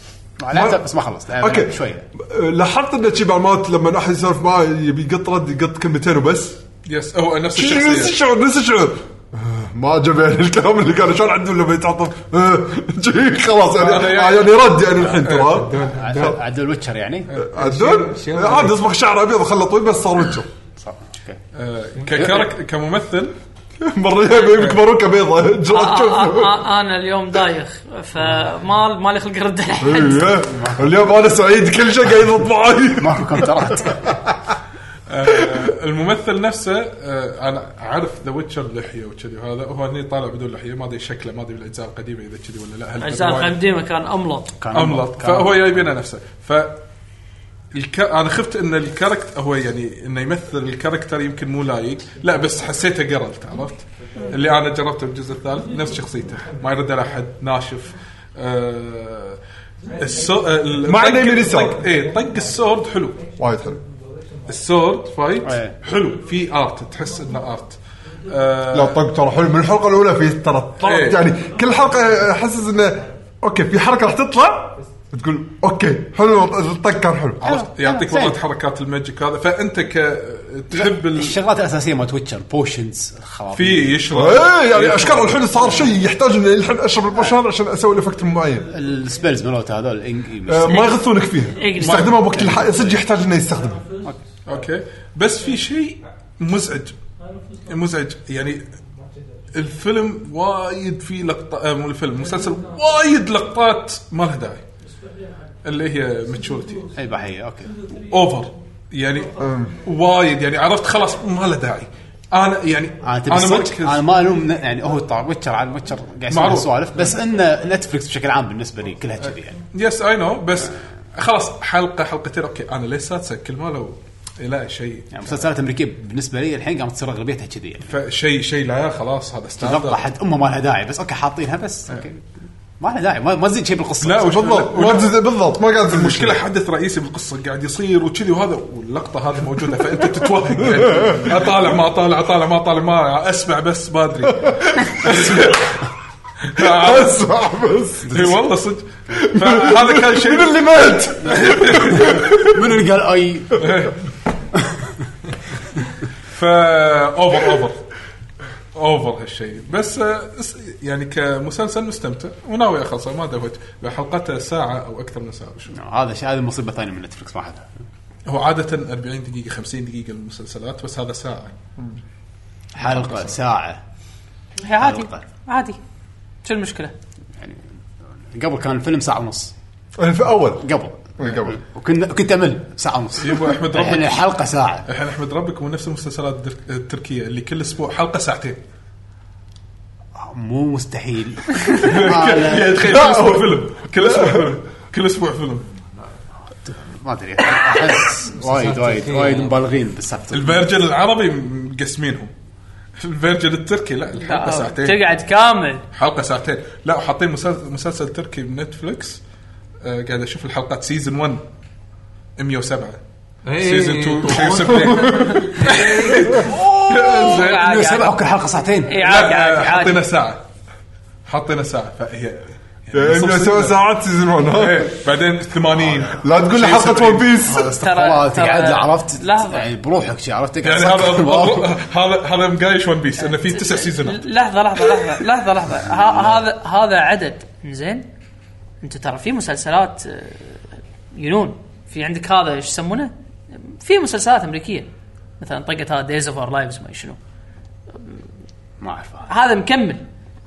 [SPEAKER 1] ما لعبته بس ما خلصت
[SPEAKER 5] اوكي
[SPEAKER 1] شويه
[SPEAKER 5] لاحظت انه شي بالمات لما احد يسولف معاه يبي يقط رد يقط كلمتين وبس
[SPEAKER 3] يس هو نفس
[SPEAKER 5] شي- نفس
[SPEAKER 3] الشخصيه
[SPEAKER 5] الشعور نفس الشعور آه، ما عجبني الكلام اللي قاله شلون عندهم لما يتعاطف *laughs* آه، شي خلاص يعني
[SPEAKER 3] أنا
[SPEAKER 5] آه،
[SPEAKER 3] يعني-
[SPEAKER 5] يعني رد يعني الحين
[SPEAKER 3] *laughs*
[SPEAKER 5] ترى
[SPEAKER 1] عاد- عاد الويتشر يعني
[SPEAKER 5] عدل
[SPEAKER 2] شي-
[SPEAKER 5] عاد اصبح شعر ابيض خله طويل بس صار وجهه *laughs*
[SPEAKER 1] صح اوكي
[SPEAKER 3] آه، ككارك- كممثل
[SPEAKER 5] مره يبيك باروكه *laughs* بيضه جرات
[SPEAKER 4] آه، آه،
[SPEAKER 5] شوف
[SPEAKER 4] آه، انا اليوم دايخ فما مالي خلق ارد على احد
[SPEAKER 5] إيه. اليوم انا سعيد كل شيء قاعد يضبط معي
[SPEAKER 1] ماكو كمبيوترات
[SPEAKER 3] آه، الممثل نفسه آه، انا عارف ذا ويتشر لحيه وكذي وهذا هو هني طالع بدون لحيه ما ادري شكله ما ادري بالاجزاء القديمه اذا كذي ولا لا هل
[SPEAKER 4] اجزاء
[SPEAKER 3] وايد
[SPEAKER 4] القديمه كان املط
[SPEAKER 1] كان
[SPEAKER 3] املط فهو يبينا نفسه ف الك... انا خفت ان الكاركتر هو يعني انه يمثل الكاركتر يمكن مو لايق لا بس حسيته جرلت عرفت اللي انا جربته بالجزء الثالث نفس شخصيته ما يرد على احد ناشف آه... السو... آه، ال-
[SPEAKER 5] ما عنده
[SPEAKER 3] طق-
[SPEAKER 5] يمين يسار.
[SPEAKER 3] طق- ايه طق السورد حلو
[SPEAKER 5] *laughs* وايد حلو
[SPEAKER 3] السورد فايت
[SPEAKER 1] إيه.
[SPEAKER 3] حلو في ارت تحس انه ارت
[SPEAKER 5] لا
[SPEAKER 3] آه...
[SPEAKER 5] طق ترى حلو من الحلقه الاولى في ترى طلعت
[SPEAKER 3] إيه.
[SPEAKER 5] يعني كل حلقه احسس انه اوكي في حركه راح تطلع تقول اوكي حلو الطق كان حلو
[SPEAKER 3] عرفت يعطيك
[SPEAKER 1] زين.
[SPEAKER 3] والله حركات الماجيك هذا فانت ك تحب ال...
[SPEAKER 1] الشغلات الاساسيه مالت ويتشر بوشنز
[SPEAKER 3] في يشرب
[SPEAKER 5] ايه يعني اشكال الحين صار شيء يحتاج اني الحين اشرب البشر عشان اسوي الافكت معين
[SPEAKER 1] السبيلز مالت هذول
[SPEAKER 5] آه،
[SPEAKER 1] الإنج-
[SPEAKER 5] ما يغثونك فيها
[SPEAKER 4] إيه.
[SPEAKER 5] يستخدمها بوقت الح... صدق يحتاج انه يستخدمها
[SPEAKER 3] اوكي بس في شيء مزعج مزعج يعني الفيلم وايد فيه لقطه آه، مو الفيلم المسلسل وايد لقطات ما لها داعي اللي هي ماتشورتي
[SPEAKER 1] اي بحيه اوكي
[SPEAKER 3] اوفر يعني وايد يعني عرفت خلاص ما لها داعي انا يعني
[SPEAKER 1] انا آه، تبي صدق انا
[SPEAKER 3] مركز
[SPEAKER 1] ما الوم ن- يعني هو طبعا ويتشر على ويتشر قاعد يسوي
[SPEAKER 3] معروف. إيه.
[SPEAKER 1] سوالف بس ان نتفلكس بشكل عام بالنسبه لي كلها كذي يعني
[SPEAKER 3] يس اي نو بس خلاص حلقه حلقتين اوكي انا ليش سادسه كل ما لو إيه لا شيء
[SPEAKER 1] يعني مسلسلات امريكيه بالنسبه لي الحين قامت تصير اغلبيتها كذي يعني
[SPEAKER 3] فشيء شيء لا خلاص هذا
[SPEAKER 1] تتوقع
[SPEAKER 3] ستاندرد
[SPEAKER 1] حد امه ما لها داعي بس اوكي حاطينها بس اوكي ما لها داعي ما, ما تزيد شيء بالقصه
[SPEAKER 3] لا، وش-
[SPEAKER 5] بالضبط ما تز- بالضبط ما قاعد
[SPEAKER 3] المشكله حدث رئيسي بالقصه قاعد يصير وكذي وهذا واللقطه هذه موجوده فانت *laughs* تتوهق يعني. اطالع ما اطالع اطالع ما اطالع ما اسمع بس ما *laughs* ادري أسمع.
[SPEAKER 5] اسمع بس
[SPEAKER 3] اي إيه، والله صدق فهذا كان شيء
[SPEAKER 5] من
[SPEAKER 3] *laughs*
[SPEAKER 5] اللي مات
[SPEAKER 1] منو اللي قال اي
[SPEAKER 3] فا اوفر اوفر اوفر هالشيء بس آه، اس- يعني كمسلسل مستمتع وناوي اخلصه ما ادري وجه. حلقته ساعه او اكثر من ساعه شو
[SPEAKER 1] هذا شيء هذه مصيبه ثانيه من نتفلكس ما حدها
[SPEAKER 3] هو عاده 40 دقيقه 50 دقيقه المسلسلات بس هذا ساعه
[SPEAKER 1] حلقه ساعه
[SPEAKER 4] هي عادي
[SPEAKER 1] حلقة.
[SPEAKER 4] عادي شو المشكله؟
[SPEAKER 1] يعني قبل كان الفيلم ساعه ونص
[SPEAKER 5] في اول
[SPEAKER 1] قبل
[SPEAKER 5] قبل
[SPEAKER 1] وكنا كنت امل ساعه ونص يعني
[SPEAKER 3] يبا أحمد ربك.
[SPEAKER 1] الحين الحلقه ساعه
[SPEAKER 3] الحين احمد ربك هو نفس المسلسلات الدر- التركيه اللي كل اسبوع حلقه ساعتين
[SPEAKER 1] مو
[SPEAKER 3] *laughs*
[SPEAKER 1] مستحيل آه،
[SPEAKER 3] يعني
[SPEAKER 1] ما-
[SPEAKER 3] تخيل كل اسبوع فيلم كل اسبوع فيلم كل اسبوع فيلم
[SPEAKER 1] ما ادري احس وايد وايد وايد مبالغين بالسالفه
[SPEAKER 3] الفيرجن العربي مقسمينهم الفيرجن التركي لا الحلقه ساعتين
[SPEAKER 4] آه، تقعد كامل
[SPEAKER 3] حلقه ساعتين لا وحاطين مسلسل, مسلسل تركي بنتفلكس آه قاعد اشوف الحلقات سيزون 1 107
[SPEAKER 2] إيه.
[SPEAKER 3] سيزون
[SPEAKER 2] *laughs*
[SPEAKER 3] 2 170
[SPEAKER 4] عادي،
[SPEAKER 3] *laughs* زين.
[SPEAKER 1] سبعة وكل حلقه ساعتين
[SPEAKER 4] اي إيه، عادي
[SPEAKER 3] لا، آه،
[SPEAKER 4] عادي
[SPEAKER 3] حاطينها
[SPEAKER 4] عادي
[SPEAKER 3] ساعه حاطينها ساعه فهي يعني
[SPEAKER 5] سبع ساعات سيزون 1
[SPEAKER 3] إيه، بعدين 80
[SPEAKER 5] لا تقول لي
[SPEAKER 3] شيء
[SPEAKER 5] حلقه
[SPEAKER 3] سبعين.
[SPEAKER 5] ون بيس
[SPEAKER 1] ترى
[SPEAKER 4] ترى-
[SPEAKER 1] تقعد له، عرفت
[SPEAKER 4] لحظة.
[SPEAKER 1] يعني بروحك شي عرفت
[SPEAKER 3] يعني هذا هذا هذا مقايش ون بيس انه في تسع سيزونات
[SPEAKER 4] لحظه لحظه لحظه لحظه لحظه ها- هذا هذا عدد زين انت ترى في مسلسلات آه، ينون في عندك هذا ايش يسمونه؟ في مسلسلات امريكيه مثلا طقت هذا دايز اوف اور لايفز ما شنو
[SPEAKER 1] *laughs* ما اعرف
[SPEAKER 4] هذا مكمل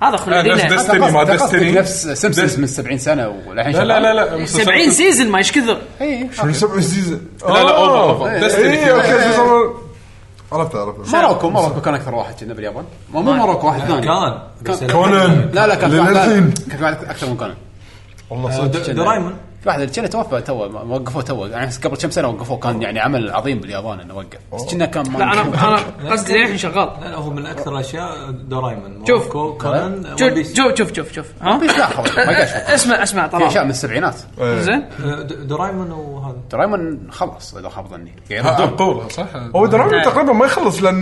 [SPEAKER 4] هذا
[SPEAKER 3] آه، نفس
[SPEAKER 4] خلودينا
[SPEAKER 3] دستني يعني ما
[SPEAKER 1] أنت قصدك
[SPEAKER 3] دستني
[SPEAKER 1] نفس سيمبسونز من 70 سنه والحين إيه،
[SPEAKER 3] لا لا لا لا مسلسل-
[SPEAKER 4] 70 سيزون ما ايش كثر
[SPEAKER 1] اي
[SPEAKER 5] شنو سبع سيزون
[SPEAKER 3] لا لا اوفر
[SPEAKER 5] إيه،
[SPEAKER 3] اوفر
[SPEAKER 5] اي
[SPEAKER 3] دستني
[SPEAKER 5] اوكي سيزون 1 عرفت عرفت
[SPEAKER 1] موروكو موروكو كان اكثر واحد كنا باليابان ما مو موروكو واحد ثاني
[SPEAKER 2] كان بس
[SPEAKER 1] كان-
[SPEAKER 5] كونان
[SPEAKER 1] لا لا كان في واحد
[SPEAKER 5] للحين.
[SPEAKER 1] كان في واحد اكثر من كونان
[SPEAKER 5] والله
[SPEAKER 2] آه،
[SPEAKER 5] صدق
[SPEAKER 2] د- درايمون
[SPEAKER 1] في واحد اللي كنا توفى تو وقفوه تو يعني قبل كم سنه وقفوه كان يعني عمل عظيم باليابان انه وقف بس كنا كان
[SPEAKER 4] لا انا
[SPEAKER 1] ما
[SPEAKER 4] انا قصدي للحين شغال
[SPEAKER 2] لا لا، هو من اكثر الاشياء درايمون
[SPEAKER 4] شوف. آه.
[SPEAKER 2] ماركو، كونان ون
[SPEAKER 4] شوف
[SPEAKER 2] بيس.
[SPEAKER 4] شوف شوف شوف شوف ها
[SPEAKER 1] بيس لا، خلاص، ما قاعد أشوف.
[SPEAKER 4] اسمع اسمع
[SPEAKER 1] في اشياء
[SPEAKER 4] طلال
[SPEAKER 1] من السبعينات
[SPEAKER 5] إيه.
[SPEAKER 4] زين
[SPEAKER 2] آه، د- درايمون وهذا
[SPEAKER 1] درايمون خلص اذا خاب
[SPEAKER 5] *laughs*
[SPEAKER 1] ظني يعني
[SPEAKER 3] ها،
[SPEAKER 1] ردوه.
[SPEAKER 3] قولها صح
[SPEAKER 5] هو دراما
[SPEAKER 4] نعم.
[SPEAKER 5] تقريبا ما يخلص لان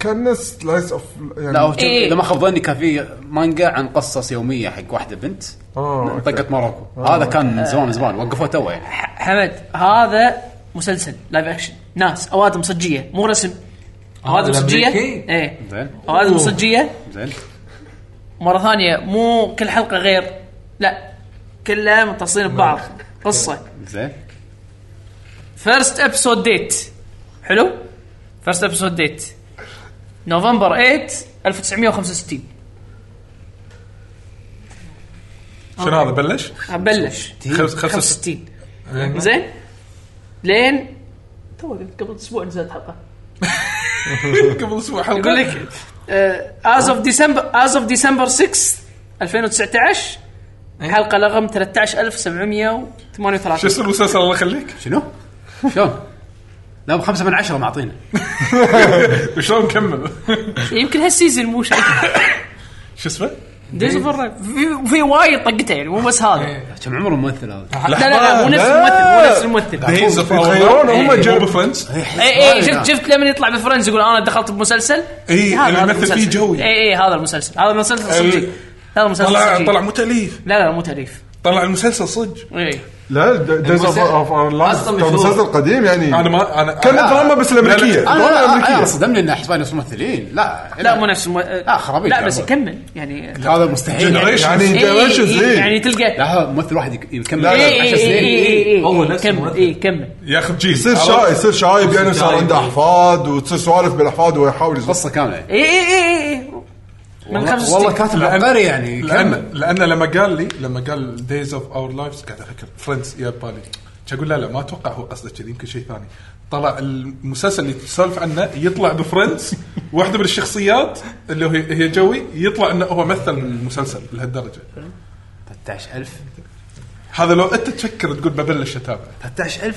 [SPEAKER 5] كان سلايس اوف
[SPEAKER 1] لا هو
[SPEAKER 5] يعني
[SPEAKER 1] إيه.
[SPEAKER 4] إيه.
[SPEAKER 1] لما خاب ظني كان في مانجا عن قصص يوميه حق واحده بنت
[SPEAKER 5] آه، أوكي. آه.
[SPEAKER 1] منطقه موروكو هذا كان من زمان من زمان وقفوه تو يعني
[SPEAKER 4] ح- حمد هذا مسلسل لايف اكشن ناس اوادم صجيه مو رسم اوادم
[SPEAKER 2] هذا
[SPEAKER 4] صجيه
[SPEAKER 2] الأمريكي؟
[SPEAKER 4] ايه
[SPEAKER 1] زين
[SPEAKER 4] اوادم صجيه
[SPEAKER 1] زين
[SPEAKER 4] مره ثانيه مو كل حلقه غير لا كلها متصلين ببعض قصه
[SPEAKER 1] زين
[SPEAKER 4] فيرست ابسود ديت حلو فيرست ابسود ديت نوفمبر 8 1965
[SPEAKER 3] شنو هذا بلش؟
[SPEAKER 4] بلش
[SPEAKER 3] خمس- خمسة
[SPEAKER 5] *laughs*
[SPEAKER 4] 65 زين لين تو قبل اسبوع نزلت حلقه
[SPEAKER 3] قبل اسبوع حلقه
[SPEAKER 4] يقول لك آه، از اوف ديسمبر از اوف ديسمبر 6 2019 حلقه رقم
[SPEAKER 3] شو
[SPEAKER 4] 13738
[SPEAKER 3] اسم المسلسل الله
[SPEAKER 5] *laughs*
[SPEAKER 3] يخليك؟
[SPEAKER 1] شنو؟ شلون؟ لا بخمسة من عشرة معطينا
[SPEAKER 3] شلون نكمل؟
[SPEAKER 4] يمكن هالسيزون مو *laughs* شيء
[SPEAKER 3] شو اسمه؟
[SPEAKER 4] ديز اوف الريف. في- في وايد طقته يعني مو بس هذا
[SPEAKER 1] كم عمر الممثل
[SPEAKER 5] آه،
[SPEAKER 1] هذا؟
[SPEAKER 4] لا لا لا مو نفس الممثل مو نفس الممثل
[SPEAKER 3] دايز اوف
[SPEAKER 5] يتخيلون هم جاب-
[SPEAKER 3] جاب فريندز
[SPEAKER 4] اي اي شفت شفت لما يطلع بفرنز يقول انا دخلت بمسلسل إيه،
[SPEAKER 3] إي،
[SPEAKER 4] هذا-
[SPEAKER 3] اللي
[SPEAKER 4] هذا
[SPEAKER 3] يمثل إيه، فيه
[SPEAKER 4] المسلسل.
[SPEAKER 3] جوي.
[SPEAKER 4] اي اي هذا المسلسل هذا المسلسل
[SPEAKER 3] ال-
[SPEAKER 4] صدق هذا المسلسل
[SPEAKER 3] طلع
[SPEAKER 5] إيه.
[SPEAKER 4] صدق.
[SPEAKER 3] طلع مو تاليف
[SPEAKER 4] لا لا مو إيه. تاليف
[SPEAKER 3] طلع المسلسل صدق
[SPEAKER 4] اي
[SPEAKER 5] لا دايز اوف
[SPEAKER 2] المسلسل-
[SPEAKER 5] اور لايف
[SPEAKER 2] أصلاً مشهور.
[SPEAKER 5] مسلسل قديم يعني
[SPEAKER 3] انا ما انا
[SPEAKER 5] كان
[SPEAKER 3] أنا-
[SPEAKER 5] دراما بس الامريكيه
[SPEAKER 1] انا
[SPEAKER 5] دراما
[SPEAKER 1] انا أنا
[SPEAKER 5] امريكيه
[SPEAKER 1] صدمني انه حسباني نفس الممثلين لا
[SPEAKER 4] لا مو نفس الم... لا
[SPEAKER 1] خرابيط
[SPEAKER 4] لا
[SPEAKER 1] يا
[SPEAKER 4] بس
[SPEAKER 1] عمر.
[SPEAKER 4] يكمل يعني
[SPEAKER 1] هذا مستحيل
[SPEAKER 3] Generation.
[SPEAKER 5] يعني
[SPEAKER 4] إي، إي،
[SPEAKER 5] Generations،
[SPEAKER 4] إي،
[SPEAKER 5] إيه.
[SPEAKER 4] يعني تلقى
[SPEAKER 1] لا هذا ممثل واحد يك- يكمل
[SPEAKER 5] لا، لا،
[SPEAKER 4] اي
[SPEAKER 1] 10
[SPEAKER 4] اي اي
[SPEAKER 1] سنين
[SPEAKER 4] اي اي
[SPEAKER 2] هو نفس
[SPEAKER 4] إيه، كمل
[SPEAKER 2] الممثل.
[SPEAKER 4] اي كمل
[SPEAKER 3] ياخذ جيل
[SPEAKER 5] يصير شايب يصير شايب يعني صار عنده احفاد وتصير سوالف بالاحفاد ويحاول يزور
[SPEAKER 1] قصة كاملة
[SPEAKER 4] اي اي اي اي اي إيه، من
[SPEAKER 1] والله-
[SPEAKER 4] 65
[SPEAKER 1] والله كاتب عبقري يعني كمل
[SPEAKER 3] لان لان لما قال لي لما قال دايز اوف اور لايفز قاعد افكر فريندز يا بالي اقول لا لا ما اتوقع هو قصده كذي يمكن شيء ثاني طلع المسلسل اللي تسولف عنه يطلع بفريندز واحده من الشخصيات اللي هي هي جوي يطلع انه هو مثل المسلسل لهالدرجه
[SPEAKER 1] 13000
[SPEAKER 3] هذا لو انت تفكر تقول ببلش اتابع
[SPEAKER 1] 13000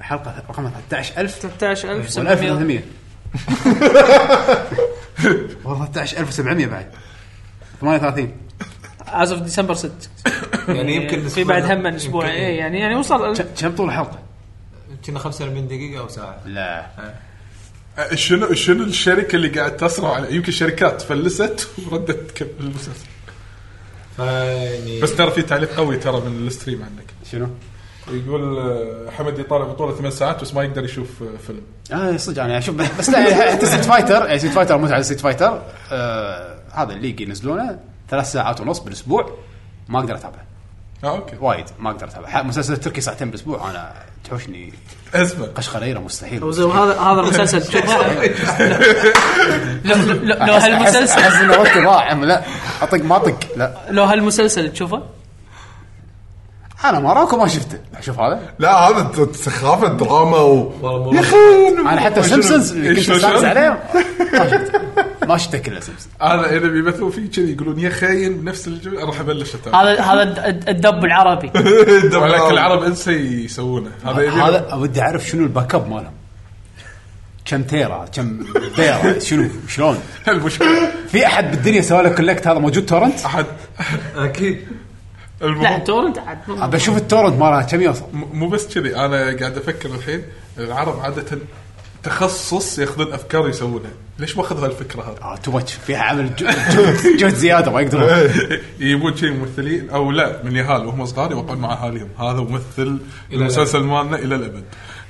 [SPEAKER 1] حلقه رقمها 13000 ولا
[SPEAKER 4] 13700
[SPEAKER 1] 1800 *laughs* والله 13700 بعد 38
[SPEAKER 4] از اوف ديسمبر 6
[SPEAKER 2] يعني يمكن
[SPEAKER 4] إيه، في بعد هم اسبوع إيه، يعني يعني وصل
[SPEAKER 1] ك- كم طول الحلقه؟
[SPEAKER 2] كنا 45 دقيقه او ساعه
[SPEAKER 1] لا
[SPEAKER 3] أه، شنو شنو الشركه اللي قاعد تسرع على يمكن شركات فلست وردت تكمل المسلسل
[SPEAKER 2] فيعني
[SPEAKER 3] بس ترى في تعليق قوي ترى من الستريم عنك
[SPEAKER 1] شنو؟
[SPEAKER 3] يقول آه، حمد يطالع بطوله ثمان ساعات بس ما يقدر يشوف آه، فيلم
[SPEAKER 1] اه صدق انا اشوف بس لا يعني حتى ست فايتر يعني ست فايتر متعه ست فايتر آه هذا الليج ينزلونه ثلاث ساعات ونص بالاسبوع ما اقدر اتابعه
[SPEAKER 3] اه اوكي
[SPEAKER 1] وايد ما اقدر اتابعه ح- مسلسل التركي ساعتين بالاسبوع انا تحوشني
[SPEAKER 3] ازمه
[SPEAKER 1] قشقريره مستحيل
[SPEAKER 4] هذا هذا المسلسل *laughs* لو- لو لو
[SPEAKER 1] أحس- أحس-
[SPEAKER 4] هالمسلسل
[SPEAKER 1] احس انه وقتي ضاع أم لا اطق ما اطق لا
[SPEAKER 4] لو هالمسلسل تشوفه
[SPEAKER 1] انا ما راكو ما شفته اشوف هذا
[SPEAKER 5] لا هذا ت- سخافه دراما و
[SPEAKER 2] والله
[SPEAKER 5] يا
[SPEAKER 2] مو-
[SPEAKER 5] اخي
[SPEAKER 1] انا حتى
[SPEAKER 5] شنو-
[SPEAKER 1] سيمسونز اللي كنت
[SPEAKER 3] شنو-
[SPEAKER 1] استانس
[SPEAKER 3] شنو؟
[SPEAKER 1] عليه
[SPEAKER 3] *laughs*
[SPEAKER 1] ما شفته ما شفته كله سيمسونز
[SPEAKER 3] انا اذا بيمثلوا فيه كذي يقولون يا خاين بنفس الجمله راح ابلش اتابع
[SPEAKER 4] هذا هذا الد- الد- الدب العربي
[SPEAKER 3] ولكن العرب انسى يسوونه هذا يبي
[SPEAKER 1] هذا ودي اعرف شنو الباك اب مالهم كم تيرا كم تيرا شنو شلون
[SPEAKER 3] المشكله
[SPEAKER 1] في احد بالدنيا سوى له كولكت هذا موجود تورنت؟
[SPEAKER 3] احد
[SPEAKER 2] اكيد
[SPEAKER 4] لا
[SPEAKER 3] المهم
[SPEAKER 4] تورنت عاد
[SPEAKER 1] ابى اشوف التورنت مالها كم يوصل
[SPEAKER 3] م- مو بس كذي انا قاعد افكر الحين العرب عاده تخصص ياخذون افكار يسوونها ليش ما اخذ هالفكره هذه
[SPEAKER 1] اه تو ماتش فيها عمل جو- جو- جهد زياده ما
[SPEAKER 3] *laughs*
[SPEAKER 1] يقدرون
[SPEAKER 3] يجيبون شيء ممثلين او لا من يهال وهم صغار يوقعون مع اهاليهم هذا ممثل المسلسل مالنا الى الابد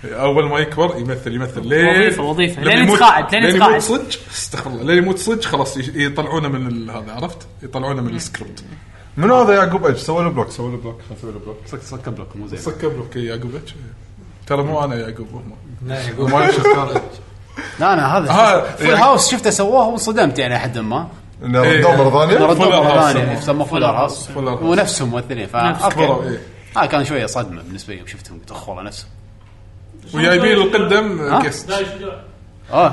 [SPEAKER 3] اول ما يكبر يمثل يمثل لين
[SPEAKER 4] وظيفة- وظيفة.
[SPEAKER 3] لما
[SPEAKER 4] لين
[SPEAKER 3] يموت-
[SPEAKER 4] يتقاعد، لين
[SPEAKER 3] لين
[SPEAKER 4] يتقاعد.
[SPEAKER 3] يموت صدق استغفر الله لين يموت صدق خلاص يش- يطلعونه من ال- هذا عرفت يطلعونه من السكريبت
[SPEAKER 5] من هذا يعقوب ايش سوى له بلوك سوى له بلوك خلنا نسوي له بلوك
[SPEAKER 1] صك صك بلوك مو زين
[SPEAKER 3] سكر لك يعقوب إيش؟ ترى مو انا يعقوب هم
[SPEAKER 2] لا يقول ما يشوف
[SPEAKER 1] لا انا هذا
[SPEAKER 3] آه،
[SPEAKER 1] فول
[SPEAKER 3] يعني-
[SPEAKER 1] هاوس شفته سواه وانصدمت يعني لحد ما
[SPEAKER 5] انه
[SPEAKER 3] إيه.
[SPEAKER 5] ردوه مره ثانيه
[SPEAKER 1] ردوا
[SPEAKER 3] فول
[SPEAKER 1] مره
[SPEAKER 3] هاوس
[SPEAKER 1] ثانيه
[SPEAKER 3] سموه.
[SPEAKER 1] سموه فول هاوس
[SPEAKER 3] فول هاوس.
[SPEAKER 1] ونفسهم ممثلين فا
[SPEAKER 4] نفس
[SPEAKER 3] كبروا،
[SPEAKER 1] اوكي
[SPEAKER 3] إيه.
[SPEAKER 1] ها كان شويه صدمه بالنسبه لي يوم شفتهم قلت اخ والله نفسهم
[SPEAKER 3] وجايبين القدم يعني
[SPEAKER 1] ها؟
[SPEAKER 3] جست
[SPEAKER 1] اه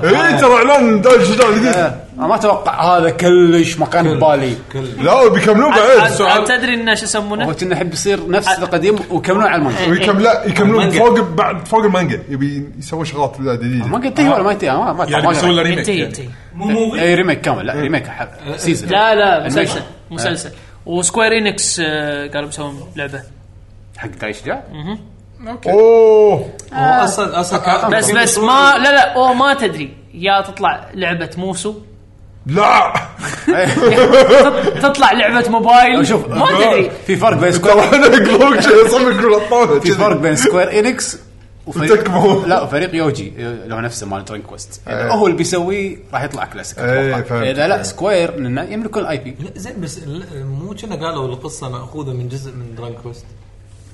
[SPEAKER 3] إيه،
[SPEAKER 5] اي
[SPEAKER 1] آه.
[SPEAKER 5] إيه، ترى اعلان دال شجاع جديد
[SPEAKER 1] آه، ما اتوقع هذا كلش ما كان ببالي
[SPEAKER 5] لا بيكملون بعد
[SPEAKER 4] عاد-
[SPEAKER 3] سؤال.
[SPEAKER 4] عاد تدري انه شو
[SPEAKER 1] هو
[SPEAKER 4] يسمونه؟
[SPEAKER 1] كنا نحب يصير نفس
[SPEAKER 4] آه،
[SPEAKER 1] القديم وكملوا على المانجا
[SPEAKER 5] ويكملا يكملون
[SPEAKER 2] المانجا.
[SPEAKER 5] فوق بعد فوق المانجا يبي يسوي شغلات
[SPEAKER 4] آه.
[SPEAKER 5] جديده
[SPEAKER 1] ما قلت ولا ما ينتهي ما ما
[SPEAKER 3] يعني
[SPEAKER 1] ما-
[SPEAKER 3] بيسوون له ريميك
[SPEAKER 4] ينتهي
[SPEAKER 3] يعني.
[SPEAKER 4] ينتهي
[SPEAKER 1] اي ريميك كامل لا ريميك سيزون
[SPEAKER 4] آه، لا لا
[SPEAKER 1] الميك.
[SPEAKER 4] مسلسل مسلسل وسكوير انكس آه، قالوا بيسوون لعبه
[SPEAKER 1] حق دايش جاء
[SPEAKER 5] اوه
[SPEAKER 2] هو
[SPEAKER 4] آه.
[SPEAKER 2] اصلا اصلا
[SPEAKER 4] بس بس ما لا لا او ما تدري يا تطلع لعبه موسو
[SPEAKER 5] لا
[SPEAKER 4] تطلع لعبه موبايل
[SPEAKER 1] شوف
[SPEAKER 4] ما تدري
[SPEAKER 1] في فرق
[SPEAKER 3] *laughs*
[SPEAKER 1] بين سكوير
[SPEAKER 5] طلعنا قلوب شي، صمك من الطاوله
[SPEAKER 1] في فرق
[SPEAKER 5] كذي.
[SPEAKER 1] بين سكوير انكس
[SPEAKER 5] وتكبر.
[SPEAKER 1] لا فريق يوجي اللي هو نفسه مال درينك كويست اذا هو اللي بيسويه راح يطلع كلاسيك
[SPEAKER 5] إيه،
[SPEAKER 1] أتوقع.
[SPEAKER 5] فهمت.
[SPEAKER 1] اذا لا سكوير لأن يملكون الاي بي
[SPEAKER 2] لا، زين بس ال- مو كنا قالوا القصه ماخوذه من جزء من درانك كويست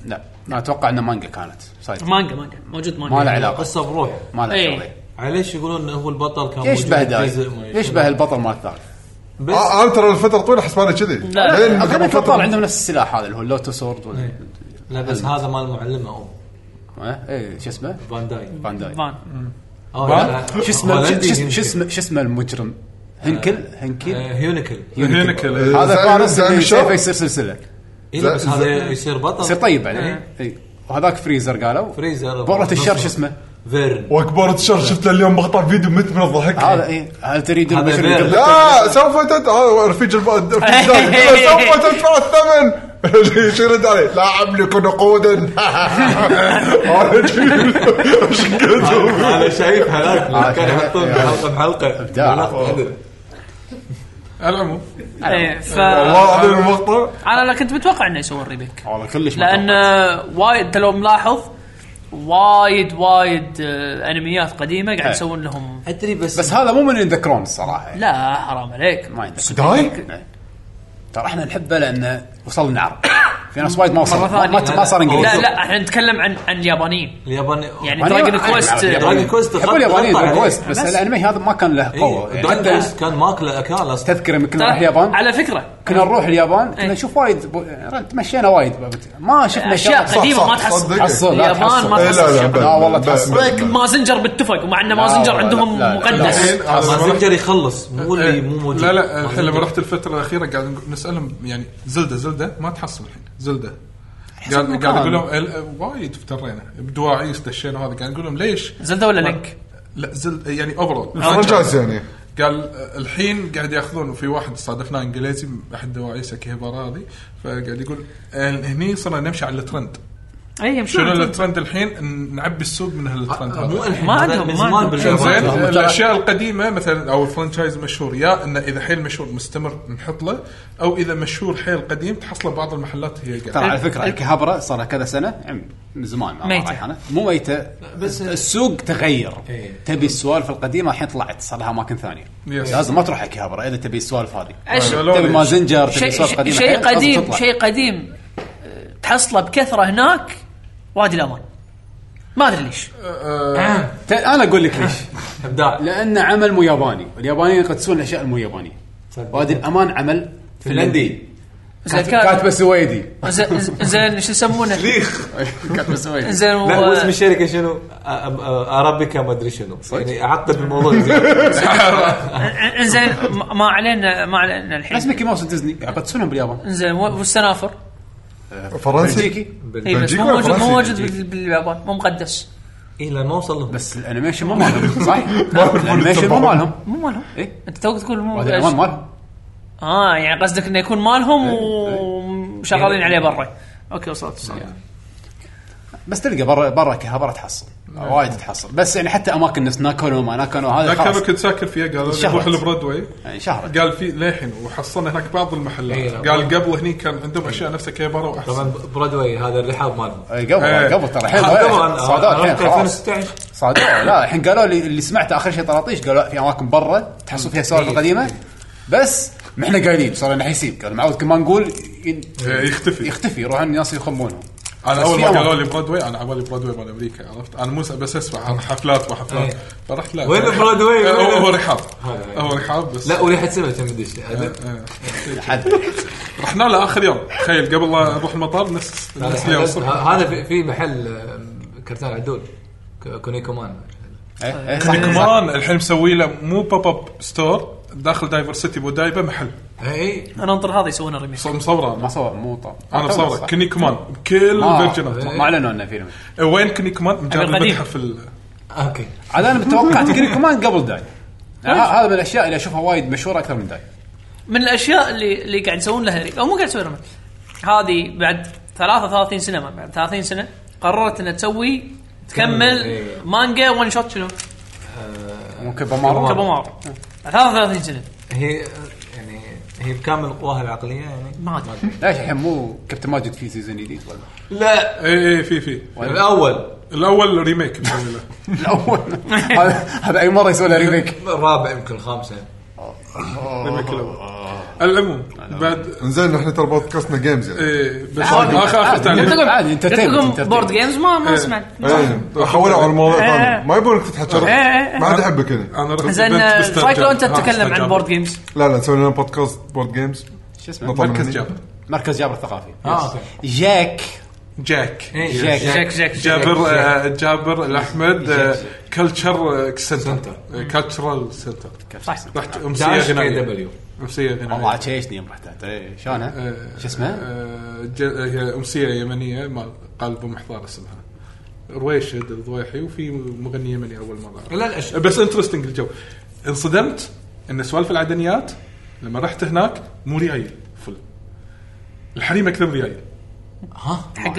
[SPEAKER 1] لا ما اتوقع انه مانجا كانت سايد
[SPEAKER 4] مانجا مانجا موجود مانجا
[SPEAKER 1] ما له علاقه
[SPEAKER 2] قصه بروح
[SPEAKER 1] ما له
[SPEAKER 4] إيه.
[SPEAKER 1] شغله
[SPEAKER 2] عليش يقولون انه هو البطل كان موجود
[SPEAKER 1] يشبه
[SPEAKER 2] في
[SPEAKER 1] داي
[SPEAKER 2] جزء ما يشبه.
[SPEAKER 1] يشبه البطل مال الثالث
[SPEAKER 2] بس
[SPEAKER 5] آه، انا ترى لفتره طويله حسبانه كذي إيه،
[SPEAKER 4] لا،
[SPEAKER 5] لين
[SPEAKER 1] اظن
[SPEAKER 5] قبل فترة-
[SPEAKER 1] البطل عندهم نفس السلاح هذا اللي هو اللوتو سورد ولا
[SPEAKER 2] إيه. لا بس هذا مال معلمه او
[SPEAKER 1] ها؟ ايه شو اسمه؟
[SPEAKER 2] فان داي
[SPEAKER 1] فان داي
[SPEAKER 4] فان
[SPEAKER 2] أو
[SPEAKER 3] فان؟
[SPEAKER 2] لا،
[SPEAKER 1] شو اسمه شو-
[SPEAKER 2] هولندي
[SPEAKER 1] شو- شو
[SPEAKER 2] يمكن.
[SPEAKER 1] اسمه شو اسمه المجرم؟ هنكل هنكل
[SPEAKER 2] آه، هيونيكل
[SPEAKER 3] هناك ال-
[SPEAKER 1] هذا
[SPEAKER 5] إيه، زعيم-
[SPEAKER 1] فارس
[SPEAKER 5] زعيم
[SPEAKER 1] اللي
[SPEAKER 5] الشر.
[SPEAKER 1] سيفه يصير سلسله
[SPEAKER 2] إيه، لا، بس
[SPEAKER 5] ز-
[SPEAKER 2] هذا يصير بطل إيه.
[SPEAKER 1] يصير طيب
[SPEAKER 4] نعم.
[SPEAKER 1] بعدين اي وهذاك فريزر قالوا
[SPEAKER 2] فريزر
[SPEAKER 1] بورة الشر شو
[SPEAKER 2] نصر.
[SPEAKER 1] اسمه؟
[SPEAKER 2] فيرن
[SPEAKER 5] وكبرت الشر شفت له اليوم مقطع فيديو مت من الضحك
[SPEAKER 1] هذا اي هل تريد
[SPEAKER 2] هذا
[SPEAKER 1] البشر
[SPEAKER 2] غير.
[SPEAKER 1] يقبل؟
[SPEAKER 5] لا سوف تت آه، رفيج الب- رفيج الدار.
[SPEAKER 4] *laughs*
[SPEAKER 5] سوف تدفع الثمن *laughs* شو يرد علي لا املك *laughs* نقودا
[SPEAKER 2] انا شايف هذاك
[SPEAKER 1] آه،
[SPEAKER 2] لما كانوا
[SPEAKER 1] شايف.
[SPEAKER 2] يحطون حلقه بحلقه
[SPEAKER 1] إبداع.
[SPEAKER 2] مناطق عدل.
[SPEAKER 3] على العموم
[SPEAKER 4] ايه ف
[SPEAKER 5] والله هذا المقطع
[SPEAKER 4] انا لا كنت متوقع انه يسوون ريميك
[SPEAKER 1] والله كلش ما
[SPEAKER 4] لان
[SPEAKER 1] أتوقع.
[SPEAKER 4] آه، وايد انت لو ملاحظ وايد وايد آه، انميات قديمه قاعد يسوون لهم
[SPEAKER 2] ادري بس
[SPEAKER 1] بس هذا مو من يذكرون الصراحه يعني.
[SPEAKER 4] لا حرام عليك
[SPEAKER 1] ما يذكرون
[SPEAKER 5] داي
[SPEAKER 1] ترى احنا نحبه لانه وصل النار في ناس وايد ما وصل
[SPEAKER 4] مرة
[SPEAKER 1] ما,
[SPEAKER 4] ثانية.
[SPEAKER 1] ما, ما صار انجليزي
[SPEAKER 4] لا لا احنا نتكلم عن عن اليابانيين
[SPEAKER 2] الياباني
[SPEAKER 4] يعني
[SPEAKER 1] ما أنا-
[SPEAKER 4] دراجون كويست
[SPEAKER 1] أنا-
[SPEAKER 2] دراجون كويست
[SPEAKER 1] يقول يابانيين
[SPEAKER 2] غطى
[SPEAKER 1] دراجون
[SPEAKER 2] عليه.
[SPEAKER 1] كويست بس
[SPEAKER 4] بس.
[SPEAKER 1] الانمي هذا ما كان له قوه
[SPEAKER 2] إيه،
[SPEAKER 1] يعني
[SPEAKER 2] دراجون
[SPEAKER 1] حتى
[SPEAKER 2] كويست كان ماكله اكال اصلا
[SPEAKER 1] تذكر يمكن كنا نروح اليابان
[SPEAKER 4] طيب. على فكره
[SPEAKER 1] كنا نروح اليابان كنا
[SPEAKER 4] إيه.
[SPEAKER 1] نشوف وايد بو- يعني تمشينا وايد بابت- ما شفنا
[SPEAKER 4] اشياء
[SPEAKER 1] شغلة.
[SPEAKER 4] قديمه
[SPEAKER 5] صح،
[SPEAKER 4] ما
[SPEAKER 5] صح،
[SPEAKER 4] تحصل
[SPEAKER 5] صدق.
[SPEAKER 1] تحصل لا
[SPEAKER 4] اليابان
[SPEAKER 1] تحصل.
[SPEAKER 4] ما
[SPEAKER 5] إيه، لا
[SPEAKER 4] تحصل
[SPEAKER 5] لا
[SPEAKER 4] شيء.
[SPEAKER 5] بل-
[SPEAKER 1] لا والله
[SPEAKER 5] بل-
[SPEAKER 1] تحصل.
[SPEAKER 5] بل- بل-
[SPEAKER 4] مازنجر بالتفق ومع ان مازنجر
[SPEAKER 1] لا، لا، لا،
[SPEAKER 4] عندهم
[SPEAKER 1] لا.
[SPEAKER 4] مقدس
[SPEAKER 3] الحين هذا ما رحت-
[SPEAKER 2] مازنجر يخلص مو
[SPEAKER 1] إيه.
[SPEAKER 2] اللي مو موجود
[SPEAKER 3] إيه، لا لا الحين لما
[SPEAKER 2] مازنجر.
[SPEAKER 3] رحت الفتره الاخيره قاعد نقول- نسالهم يعني زلده زلده ما تحصل الحين زلده قاعد
[SPEAKER 4] مكان.
[SPEAKER 3] قاعد اقول لهم ال- وايد افترينا بدواعيس دشينا هذا قاعد نقول لهم ليش؟
[SPEAKER 4] زلده ولا لينك؟
[SPEAKER 3] لا زل يعني اوفرول
[SPEAKER 5] الفرنشايز يعني
[SPEAKER 3] قال آه، الحين قاعد ياخذون في واحد صادفناه انجليزي احد دواعيسه كهبر هذه فقاعد يقول آه، هني صرنا نمشي على الترند
[SPEAKER 4] اي يمشون
[SPEAKER 3] شنو الترند الحين ن- نعبي السوق من هالترند
[SPEAKER 2] آه، مو
[SPEAKER 3] هذا
[SPEAKER 2] الحين
[SPEAKER 4] ما
[SPEAKER 2] هذا
[SPEAKER 4] عندهم-
[SPEAKER 2] من
[SPEAKER 4] ما
[SPEAKER 2] زمان
[SPEAKER 4] عندهم.
[SPEAKER 3] زين
[SPEAKER 2] باليابان
[SPEAKER 3] الاشياء القديمه مثلا او الفرنشايز مشهور يا انه اذا حيل مشهور مستمر نحط له او اذا مشهور حيل قديم تحصله بعض المحلات هي
[SPEAKER 1] ترى
[SPEAKER 3] قاعده
[SPEAKER 1] على فكره الكهبره صار لها كذا سنه عم- من زمان ما
[SPEAKER 4] ميتة.
[SPEAKER 1] رايح انا مو ميته
[SPEAKER 2] بس-
[SPEAKER 1] بس السوق تغير
[SPEAKER 2] إيه.
[SPEAKER 1] تبي السوالف القديمه الحين طلعت صار لها اماكن ثانيه
[SPEAKER 3] يس.
[SPEAKER 1] لازم ما تروح على الكهبره اذا تبي السوالف هذه
[SPEAKER 4] عش-
[SPEAKER 3] قالوا
[SPEAKER 1] تبي
[SPEAKER 3] لي-
[SPEAKER 1] مازنجر تبي
[SPEAKER 4] شيء
[SPEAKER 1] سوالف
[SPEAKER 4] شيء-
[SPEAKER 1] قديمه
[SPEAKER 4] شيء
[SPEAKER 1] الحين، لازم
[SPEAKER 4] قديم
[SPEAKER 1] تطلع.
[SPEAKER 4] شيء قديم أه، تحصله بكثره هناك وادي الامان ما ادري ليش
[SPEAKER 2] آه.
[SPEAKER 1] ت- انا اقول لك ليش
[SPEAKER 4] *laughs*
[SPEAKER 2] ابداع
[SPEAKER 1] لان عمل مو ياباني واليابانيين يقدسون الاشياء المو يابانيه
[SPEAKER 2] صدق.
[SPEAKER 1] وادي الامان عمل فنلندي
[SPEAKER 4] زين
[SPEAKER 1] كات-
[SPEAKER 4] كان-
[SPEAKER 1] كاتبه سويدي
[SPEAKER 4] زين زين شو يسمونه؟
[SPEAKER 1] *laughs* كاتبه سويدي
[SPEAKER 4] زين
[SPEAKER 2] لا
[SPEAKER 4] و-
[SPEAKER 2] واسم الشركه شنو؟ أ- أ- ارابيكا ما ادري شنو يعني اعقد الموضوع زين
[SPEAKER 1] *laughs*
[SPEAKER 4] انزين ما ما علينا ما علينا
[SPEAKER 1] نفس
[SPEAKER 4] الحين
[SPEAKER 1] ميكي ماوس ديزني يقدسونهم باليابان
[SPEAKER 4] انزين و- والسنافر
[SPEAKER 5] فرنسي
[SPEAKER 1] بلجيكي
[SPEAKER 4] اي بس مو
[SPEAKER 5] بلجيكا ولا
[SPEAKER 4] موجود مو
[SPEAKER 5] فرنسا؟
[SPEAKER 4] موجود بال- باليابان مو مقدس
[SPEAKER 2] اي لا ما وصل لهم
[SPEAKER 1] بس الانيميشن *laughs* مو مالهم صح؟
[SPEAKER 5] يعرفون
[SPEAKER 1] الانيميشن مو
[SPEAKER 5] يتبعون.
[SPEAKER 1] مالهم
[SPEAKER 4] مو مالهم
[SPEAKER 1] اي
[SPEAKER 4] انت توك تقول مو
[SPEAKER 1] إيه. وادي الامان
[SPEAKER 4] مقدس
[SPEAKER 1] مالهم
[SPEAKER 4] اه يعني قصدك انه يكون مالهم وشغالين عليه برا اوكي وصلت وصلت
[SPEAKER 1] بس تلقى برا برا كهبره تحصل وايد تحصل بس يعني حتى اماكن نفس ناكونو ما ناكونو هذا
[SPEAKER 3] لكن
[SPEAKER 1] خلاص
[SPEAKER 3] كنت ساكن فيها قالوا
[SPEAKER 1] انشهرت.
[SPEAKER 3] نروح البرودواي
[SPEAKER 1] يعني شهرت
[SPEAKER 3] قال في للحين وحصلنا هناك بعض المحلات
[SPEAKER 2] إيه.
[SPEAKER 3] قال قبل هني كان عندهم اشياء نفسها كبره واحسن
[SPEAKER 2] طبعا برودواي هذا اللحاب مالهم
[SPEAKER 1] إي قبل
[SPEAKER 3] إيه.
[SPEAKER 1] قبل ترى الحين
[SPEAKER 2] آه، طبعاً،
[SPEAKER 1] صعدوا الحين
[SPEAKER 2] أنا رحت
[SPEAKER 1] يعني، خلاص
[SPEAKER 2] 2016
[SPEAKER 1] صعدوا لا الحين قالوا لي اللي سمعته اخر شيء طراطيش قالوا لا، في اماكن برا تحصل فيها سوالف
[SPEAKER 2] إيه.
[SPEAKER 1] قديمه بس ما احنا قايلين صار لنا حيسيب قالوا معود كل ما نقول ين-
[SPEAKER 3] إيه، يختفي
[SPEAKER 1] يختفي يروح الناس يخمونه
[SPEAKER 3] انا
[SPEAKER 1] بس
[SPEAKER 3] اول
[SPEAKER 1] في
[SPEAKER 3] ما
[SPEAKER 1] أماكن.
[SPEAKER 3] قالوا لي برودواي انا عبالي برودواي مال امريكا عرفت انا مو بس اسمع حفلات وحفلات
[SPEAKER 2] إيه.
[SPEAKER 3] فرحت لا
[SPEAKER 2] وين
[SPEAKER 3] هو-
[SPEAKER 2] برودواي؟
[SPEAKER 3] هو
[SPEAKER 2] وين؟
[SPEAKER 3] هو رحاب
[SPEAKER 2] هذا.
[SPEAKER 3] هو رحاب بس
[SPEAKER 2] لا وريحه سمك كان بدش
[SPEAKER 1] آه،
[SPEAKER 3] إيه.
[SPEAKER 1] حد
[SPEAKER 3] رحنا له اخر يوم تخيل قبل لا نروح المطار نفس نفس اليوم
[SPEAKER 2] هذا-
[SPEAKER 3] الصبح
[SPEAKER 2] هذا في- في محل آم، كرتون عدول ك- كونيكومان
[SPEAKER 1] إيه، إيه، صح، صح.
[SPEAKER 3] كمان يعني الحين مسوي له مو بوب اب ستور داخل دايفرسيتي بودايبه محل
[SPEAKER 1] إيه،
[SPEAKER 2] اي
[SPEAKER 4] انا انطر هذا يسوون ريميك
[SPEAKER 3] ص- مصوره
[SPEAKER 1] ما
[SPEAKER 3] انا
[SPEAKER 1] صور مو طاب
[SPEAKER 3] انا مصوره كني كمان بكل
[SPEAKER 1] آه. ما
[SPEAKER 3] الفيرجنات
[SPEAKER 1] ما اعلنوا انه فيلم
[SPEAKER 3] إيه، وين كني كمان مجرد
[SPEAKER 4] القديم.
[SPEAKER 3] متحف ال-
[SPEAKER 2] اوكي
[SPEAKER 1] عاد انا توقعت كيري كمان قبل داي يعني ه- هذا من الاشياء اللي اشوفها وايد مشهوره اكثر من داي
[SPEAKER 4] من الاشياء اللي اللي قاعد يسوون لها ريميك او مو قاعد يسوون ريميك هذه بعد 33 سنه ما بعد 30 سنه قررت انها تسوي تكمل
[SPEAKER 2] إيه.
[SPEAKER 4] مانجا ون شوت شنو؟
[SPEAKER 1] ممكن بمارو
[SPEAKER 4] كابو مارو 33 سنه
[SPEAKER 2] هي يعني هي بكامل قواها العقليه يعني
[SPEAKER 4] ما ادري
[SPEAKER 1] ليش الحين مو كابتن ماجد في سيزون جديد ولا
[SPEAKER 2] لا
[SPEAKER 3] اي اي إيه، في في
[SPEAKER 1] أيوة.
[SPEAKER 2] الاول
[SPEAKER 3] الاول ريميك مسوي له
[SPEAKER 1] الاول هذا هذا اي مره يسوي له ريميك
[SPEAKER 2] الرابع يمكن الخامسه
[SPEAKER 3] ريميك الاول على العموم بعد
[SPEAKER 5] انزين احنا ترى بودكاستنا جيمز
[SPEAKER 4] إيه.
[SPEAKER 5] يعني
[SPEAKER 3] ايه بس
[SPEAKER 1] عادي.
[SPEAKER 3] اخر اخر
[SPEAKER 1] عادي.
[SPEAKER 3] تعليق
[SPEAKER 1] عادي، entertainment، entertainment.
[SPEAKER 4] بورد جيمز ما ما
[SPEAKER 3] إيه.
[SPEAKER 4] سمعت
[SPEAKER 5] ايه حولوا على مواضيع ثانيه ما يبونك تفتح شرح
[SPEAKER 4] إيه.
[SPEAKER 5] ما حد يحبك هنا
[SPEAKER 3] انا رحت
[SPEAKER 4] زين
[SPEAKER 3] البنت بس
[SPEAKER 4] سايكلو انت
[SPEAKER 3] تجاب.
[SPEAKER 4] تتكلم
[SPEAKER 3] آه،
[SPEAKER 4] عن بورد جيمز
[SPEAKER 5] لا لا نسوي لنا بودكاست بورد جيمز
[SPEAKER 1] شو اسمه
[SPEAKER 5] نطلع من
[SPEAKER 3] مركز
[SPEAKER 5] هني.
[SPEAKER 3] جابر
[SPEAKER 1] مركز جابر الثقافي
[SPEAKER 2] اه اوكي
[SPEAKER 1] جاك
[SPEAKER 3] جاك
[SPEAKER 2] إيه،
[SPEAKER 1] جاك.
[SPEAKER 4] جاك جاك
[SPEAKER 3] جابر آه، جابر الاحمد آه،
[SPEAKER 1] جاك.
[SPEAKER 3] كلتشر آه، سنتر
[SPEAKER 2] سنتر.
[SPEAKER 3] آه، كلتشرال سنتر
[SPEAKER 4] صح
[SPEAKER 3] رحت امسيه
[SPEAKER 2] داش كي
[SPEAKER 3] غنائيه
[SPEAKER 2] دبليو
[SPEAKER 3] امسيه
[SPEAKER 1] والله
[SPEAKER 3] غنائيه
[SPEAKER 1] عاد شيشني يوم رحت أنت. إيه، شلونها؟
[SPEAKER 3] آه،
[SPEAKER 1] شو اسمها؟
[SPEAKER 3] آه، ج- آه، هي امسيه يمنيه مال قلب محضار اسمها رويشد الضويحي وفي مغني يمني اول مره أعرف.
[SPEAKER 2] لا الأش...
[SPEAKER 3] بس انترستنج الجو انصدمت ان سوالف العدنيات لما رحت هناك مو ريايل فل الحريم اكثر من ريايل
[SPEAKER 2] ها
[SPEAKER 4] حق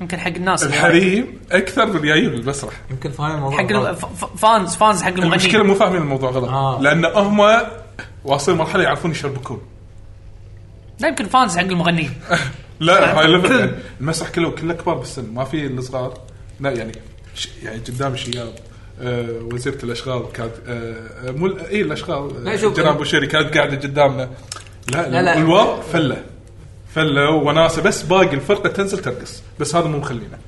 [SPEAKER 4] يمكن حق الناس
[SPEAKER 3] الحريم اكثر من ريايل بالمسرح
[SPEAKER 2] يمكن فاهم الموضوع
[SPEAKER 4] حق ال- ف- ف- فانز فانز حق
[SPEAKER 3] المشكله
[SPEAKER 4] المغنيين
[SPEAKER 3] مو فاهمين الموضوع غلط
[SPEAKER 2] آه.
[SPEAKER 3] لان هم واصلين مرحله يعرفون يشربكون
[SPEAKER 4] لا يمكن فانز حق المغنيين
[SPEAKER 3] لا هاي ليفل يعني المسرح كله كله كبار بالسن ما في الا صغار لا يعني ش- يعني قدام شياب آه وزيره الاشغال كانت آه آه، مو ال- اي الاشغال
[SPEAKER 2] لا، شوف. إيه.
[SPEAKER 3] جناب بوشيري كانت قاعده قدامنا لا لا,
[SPEAKER 2] لا، لا.
[SPEAKER 3] الوضع فله فله وناسه بس باقي الفرقه تنزل ترقص بس هذا مو مخلينا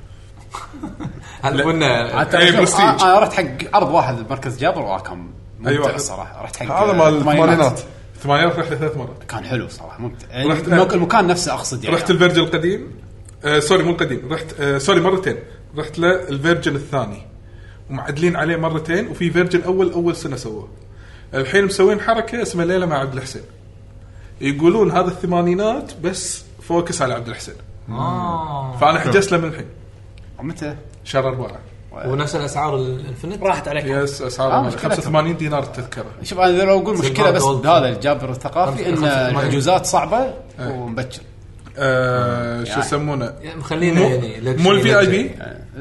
[SPEAKER 2] هل قلنا
[SPEAKER 1] عاد
[SPEAKER 3] إيه،
[SPEAKER 1] ترى شوف،
[SPEAKER 3] برستيج.
[SPEAKER 1] انا أنا رحت حق ارض واحد بمركز جابر وكان
[SPEAKER 3] أي واحد؟
[SPEAKER 1] ممتع الصراحه رحت حق
[SPEAKER 5] هذا
[SPEAKER 1] آه،
[SPEAKER 5] مال الثمانينات
[SPEAKER 3] ثمانينات رحت ثلاث مرات
[SPEAKER 1] كان حلو صراحه ممتع يعني
[SPEAKER 3] رحت-
[SPEAKER 1] المك- المكان نفسه اقصد يعني
[SPEAKER 3] رحت الفيرجن القديم آه سوري مو القديم رحت آه سوري مرتين رحت للفيرجن الثاني ومعدلين عليه مرتين وفي فيرجن اول اول سنه سووه الحين مسوين حركه اسمها ليله مع عبد الحسين يقولون هذا الثمانينات بس فوكس على عبد الحسين
[SPEAKER 1] آه.
[SPEAKER 2] اه
[SPEAKER 3] فانا حجزت له من الحين
[SPEAKER 1] متى؟
[SPEAKER 3] شهر اربعه
[SPEAKER 2] ونفس الاسعار الانفنت
[SPEAKER 4] راحت عليك
[SPEAKER 3] يس
[SPEAKER 1] آه،
[SPEAKER 3] اسعار
[SPEAKER 1] مشكلة.
[SPEAKER 3] 85 دينار التذكره
[SPEAKER 1] شوف انا لو اقول مشكله بس
[SPEAKER 2] جولد.
[SPEAKER 1] هذا الجابر الثقافي ان
[SPEAKER 2] خمسة- خمسة إيه. وثمانين.
[SPEAKER 1] الحجوزات صعبه ومبكر
[SPEAKER 3] آه، شو
[SPEAKER 1] يعني.
[SPEAKER 3] يسمونه
[SPEAKER 2] يعني مخلينا
[SPEAKER 3] مو-
[SPEAKER 2] يعني
[SPEAKER 3] مو الفي اي بي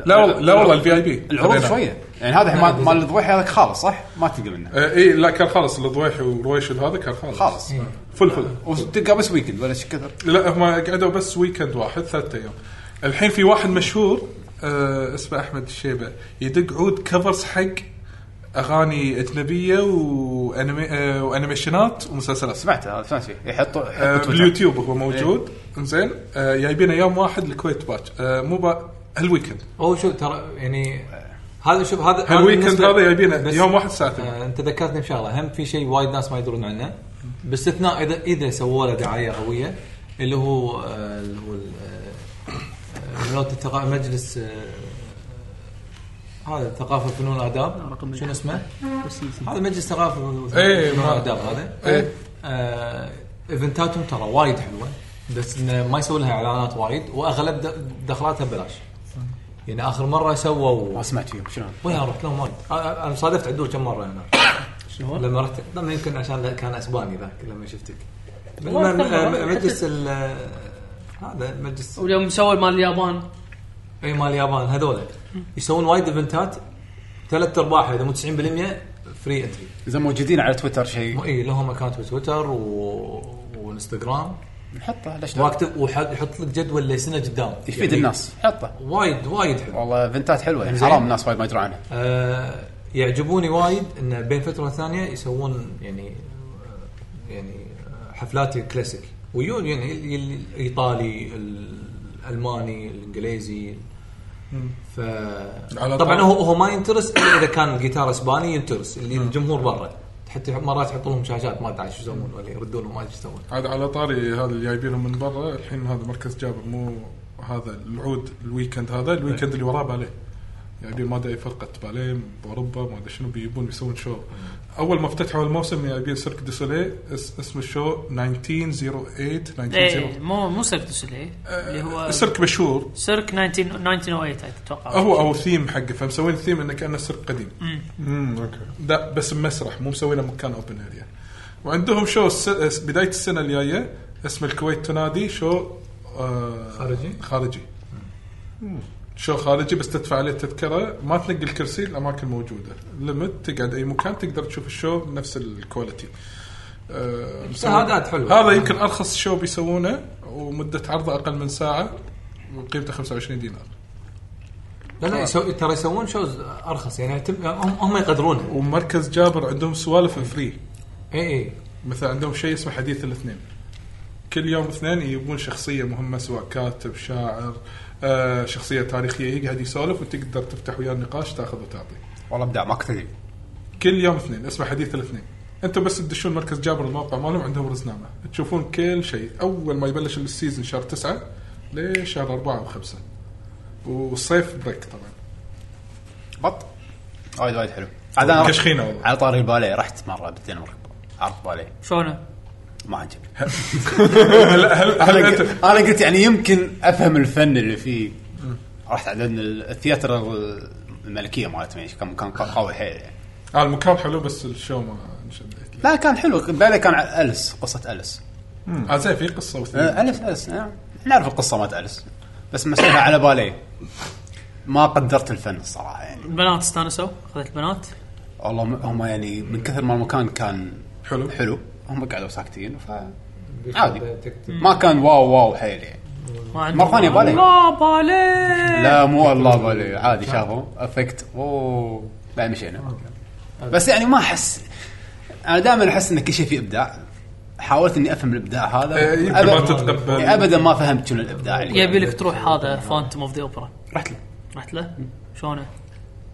[SPEAKER 3] لا والله لا والله الفي اي بي
[SPEAKER 1] العروض شويه يعني
[SPEAKER 2] إيه.
[SPEAKER 1] هذا مال مال الضويحي هذاك خالص صح؟ ما تلقى منه
[SPEAKER 3] اي آه، إيه، لا كان خالص الضويحي ورويشد هذا كان خالص
[SPEAKER 1] خالص
[SPEAKER 2] إيه.
[SPEAKER 3] فل فل
[SPEAKER 1] وتلقى بس ويكند ولا شي كثر
[SPEAKER 3] لا هم قعدوا بس ويكند واحد ثلاثة ايام الحين في واحد مشهور آه اسمه احمد الشيبه يدق عود كفرز حق اغاني اجنبيه وأنمي آه وانيميشنات ومسلسلات
[SPEAKER 1] سمعته هذا سمعت فيه يحطوا
[SPEAKER 3] آه،
[SPEAKER 1] يحطوا تويتر.
[SPEAKER 3] باليوتيوب هو موجود انزين آه جايبينه يوم واحد الكويت باتش آه مو با... هالويكند
[SPEAKER 2] هو شوف ترى يعني هذا شوف هذا هذا
[SPEAKER 3] هالويكند
[SPEAKER 2] بالنسبة-
[SPEAKER 3] هذا جايبينه
[SPEAKER 2] بس-
[SPEAKER 3] يوم واحد الساعة ثمانية.
[SPEAKER 2] آه، انت ذكرتني بشغله هم في شيء وايد ناس ما يدرون عنه باستثناء اذا اذا سووا له دعايه قويه اللي هو آه، اللي هو ال- آه، آه، لو تتقا- مجلس آه، هذا الثقافه والفنون والاداب
[SPEAKER 4] رقم
[SPEAKER 2] شنو اسمه؟ هذا مجلس ثقافه
[SPEAKER 3] إيه،
[SPEAKER 2] والفنون
[SPEAKER 3] ما-
[SPEAKER 2] والاداب هذا
[SPEAKER 3] إيه.
[SPEAKER 2] آه، ايفنتاتهم ترى وايد حلوه بس انه ما يسوون لها اعلانات وايد واغلب د- دخلاتها ببلاش يعني اخر مره سووا
[SPEAKER 1] ما سمعت فيهم شنو
[SPEAKER 2] وين رحت لهم وايد انا أنا صادفت عدول كم مره هنا
[SPEAKER 4] *clears throat* شنو؟
[SPEAKER 2] لما رحت لما يمكن عشان لا- كان اسباني ذاك لما شفتك
[SPEAKER 4] والله
[SPEAKER 2] المهم،
[SPEAKER 4] أكثر
[SPEAKER 2] آه،
[SPEAKER 4] مرة.
[SPEAKER 2] مجلس ال- آه، هذا مجلس
[SPEAKER 4] واليوم مسوي مال اليابان
[SPEAKER 2] اي مال اليابان هذول يسوون وايد ايفنتات ثلاث ارباعها اذا مو 90% فري انتري
[SPEAKER 1] اذا موجودين على تويتر شيء
[SPEAKER 2] اي لهم اكونت بتويتر و... وانستغرام
[SPEAKER 1] نحطه ليش لا؟
[SPEAKER 2] واكتب وح- يحط لك جدول لسنه قدام
[SPEAKER 1] يفيد
[SPEAKER 2] يعني
[SPEAKER 1] الناس حطه
[SPEAKER 2] وايد وايد حلو
[SPEAKER 1] والله فنتات حلوه يعني
[SPEAKER 2] زين.
[SPEAKER 1] حرام الناس وايد ما يدرون عنها
[SPEAKER 2] آه، يعجبوني وايد انه بين فتره ثانيه يسوون يعني يعني حفلات كلاسيك ويون يعني ال- ال- الايطالي الالماني الانجليزي ف
[SPEAKER 3] على
[SPEAKER 2] طبعا
[SPEAKER 3] طول.
[SPEAKER 2] هو هو ما ينترس الا اذا كان الجيتار اسباني ينترس اللي الجمهور برا حتى مرات يحطوا لهم شاشات ما ادري شو يسوون ولا يردون لهم ما ادري شو يسوون
[SPEAKER 3] عاد على طاري هذا اللي جايبينه من برا الحين هذا مركز جابر مو هذا العود الويكند هذا الويكند اللي وراه باليه جايبين ما ادري فرقه باليه باوروبا ما ادري شنو بيجيبون بيسوون شو اول ما افتتحوا الموسم جايبين سيرك دي سوليه اس اسم الشو 1908
[SPEAKER 4] ايه
[SPEAKER 3] 1908
[SPEAKER 4] مو مو سيرك دو سوليه اللي هو
[SPEAKER 3] oh- آه،
[SPEAKER 4] آه.
[SPEAKER 3] سيرك مشهور
[SPEAKER 4] سيرك 19 1908 اتوقع
[SPEAKER 3] هو او ثيم حقه فمسوين ثيم انه كانه سيرك قديم
[SPEAKER 5] امم اوكي
[SPEAKER 3] لا بس بمسرح مو مسوينه مكان اوبن اريا وعندهم شو الس- اس- بدايه السنه الجايه اسم الكويت تنادي شو آه
[SPEAKER 2] خارجي؟
[SPEAKER 3] خارجي شو خارجي بس تدفع عليه تذكره ما تنقل الكرسي الاماكن موجوده ليمت تقعد اي مكان تقدر تشوف الشو بنفس الكواليتي آه، مسوي-
[SPEAKER 2] شهادات حلوة.
[SPEAKER 3] هذا يمكن ارخص شو بيسوونه ومده عرضه اقل من ساعه وقيمته 25 دينار
[SPEAKER 2] لا لا يسو... ترى يسوون شوز ارخص يعني يعتم- هم, هم يقدرونها
[SPEAKER 3] ومركز جابر عندهم سوالف فري
[SPEAKER 2] اي اي
[SPEAKER 3] مثلا عندهم شيء اسمه حديث الاثنين كل يوم اثنين يبون شخصيه مهمه سواء كاتب شاعر آه شخصيه تاريخيه يقعد يسولف وتقدر تفتح وياه النقاش تاخذ وتعطي
[SPEAKER 1] والله ابداع ما كنت ادري
[SPEAKER 3] كل يوم اثنين اسمه حديث الاثنين انتم بس تدشون مركز جابر الموقع مالهم عندهم رزنامه تشوفون كل شيء اول ما يبلش السيزون شهر تسعة لشهر أربعة وخمسة والصيف بريك طبعا
[SPEAKER 1] بط وايد وايد حلو عاد أنا رحت-
[SPEAKER 3] كشخينة والله.
[SPEAKER 1] على طاري الباليه رحت مره بالدنمارك عرض باليه
[SPEAKER 4] شلونه؟
[SPEAKER 1] ما عجبني
[SPEAKER 3] هل هل, هل
[SPEAKER 1] انا
[SPEAKER 3] انت
[SPEAKER 1] قلت- أنا قلت يعني يمكن افهم الفن اللي فيه رحت على لان الثياتر الملكيه مالتهم يعني كان كان قوي حيل يعني
[SPEAKER 3] آه المكان حلو بس الشو ما انشدت
[SPEAKER 1] لا كان حلو بالي كان على اليس قصه اليس
[SPEAKER 3] آه زين في قصه وثيم.
[SPEAKER 1] آه، اليس اليس نعم. نعرف القصه مالت اليس بس مسويها على باليه ما قدرت الفن الصراحه يعني
[SPEAKER 4] البنات استانسوا اخذت البنات
[SPEAKER 1] والله م- هم يعني من كثر ما المكان كان
[SPEAKER 3] حلو.
[SPEAKER 1] حلو هم قعدوا ساكتين ف عادي ما كان واو واو حيل يعني
[SPEAKER 4] ما عندهم
[SPEAKER 1] مرة ثانية بالي.
[SPEAKER 4] لا بالي
[SPEAKER 1] لا مو والله بالي عادي شافوا افكت اوه بعد مشينا بس يعني ما احس انا دائما احس ان كل شيء فيه ابداع حاولت اني افهم الابداع هذا
[SPEAKER 3] إيه، يمكن
[SPEAKER 1] أبد-
[SPEAKER 3] ما تتقبل.
[SPEAKER 1] ابدا ما فهمت شنو الابداع اللي
[SPEAKER 4] يبي لك تروح هذا فانتوم اوف ذا اوبرا
[SPEAKER 1] رحت له
[SPEAKER 4] رحت له آه، شلونه؟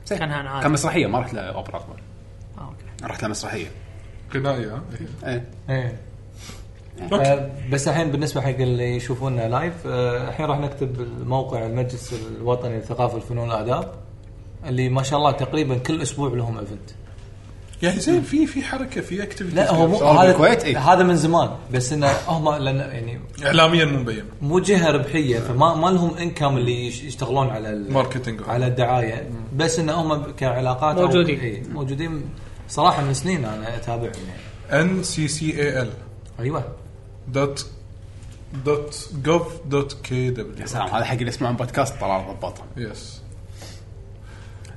[SPEAKER 1] زين.
[SPEAKER 4] كان عن عادي.
[SPEAKER 1] كان مسرحيه ما رحت لاوبرا أكبر.
[SPEAKER 4] آه، أوكي.
[SPEAKER 1] رحت لمسرحيه
[SPEAKER 3] غنائي ها إيه.
[SPEAKER 1] ايه
[SPEAKER 2] ايه
[SPEAKER 3] أوكي.
[SPEAKER 2] آه، بس الحين بالنسبه حق اللي يشوفونا لايف آه، الحين راح نكتب الموقع المجلس الوطني للثقافه والفنون والاداب اللي ما شاء الله تقريبا كل اسبوع لهم ايفنت
[SPEAKER 3] يعني زين في في حركه في اكتيفيتي
[SPEAKER 2] لا هو مو
[SPEAKER 1] سؤال بالكويت،
[SPEAKER 2] هذا
[SPEAKER 1] إيه.
[SPEAKER 2] هذا من زمان بس انه هم لان يعني
[SPEAKER 3] اعلاميا مو مبين
[SPEAKER 2] مو جهه ربحيه فما ما لهم انكم اللي يش- يشتغلون على ال-
[SPEAKER 3] ماركتينج.
[SPEAKER 2] على الدعايه بس ان هم كعلاقات أو-
[SPEAKER 4] موجودين.
[SPEAKER 2] إيه، موجودين صراحه من سنين انا اتابعهم يعني
[SPEAKER 3] ان سي سي اي ال
[SPEAKER 1] *laughs*
[SPEAKER 2] ايوه
[SPEAKER 3] دوت دوت جوف دوت كي دبليو
[SPEAKER 1] يا سلام هذا حق اللي يسمعون بودكاست طلال ضبطها
[SPEAKER 3] يس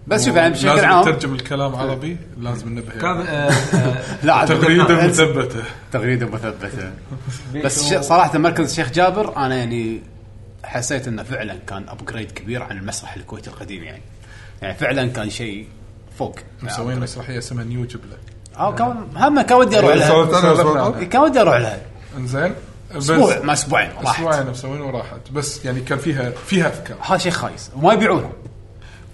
[SPEAKER 1] بس شوف يعني بشكل
[SPEAKER 3] لازم
[SPEAKER 1] عام
[SPEAKER 3] ترجم الكلام عربي لازم ننبه
[SPEAKER 2] كان
[SPEAKER 3] يعني.
[SPEAKER 2] آه، آه،
[SPEAKER 1] لا عاد
[SPEAKER 3] تغريده
[SPEAKER 1] بالنسبة-
[SPEAKER 3] مثبته
[SPEAKER 1] تغريده مثبته بس ش- صراحه مركز الشيخ جابر انا يعني حسيت انه فعلا كان ابجريد كبير عن المسرح الكويتي القديم يعني يعني فعلا كان شيء فوق
[SPEAKER 3] مسوين مسرحيه اسمها نيو جبله
[SPEAKER 1] اه كان هم كان ودي اروح لها إيه،
[SPEAKER 5] سولفت انا سولفت
[SPEAKER 1] كان ودي اروح لها
[SPEAKER 3] انزين بس
[SPEAKER 1] اسبوع ما اسبوعين راحت
[SPEAKER 3] اسبوعين مسوين وراحت بس يعني كان فيها فيها افكار
[SPEAKER 1] هذا شيء خايس وما يبيعونه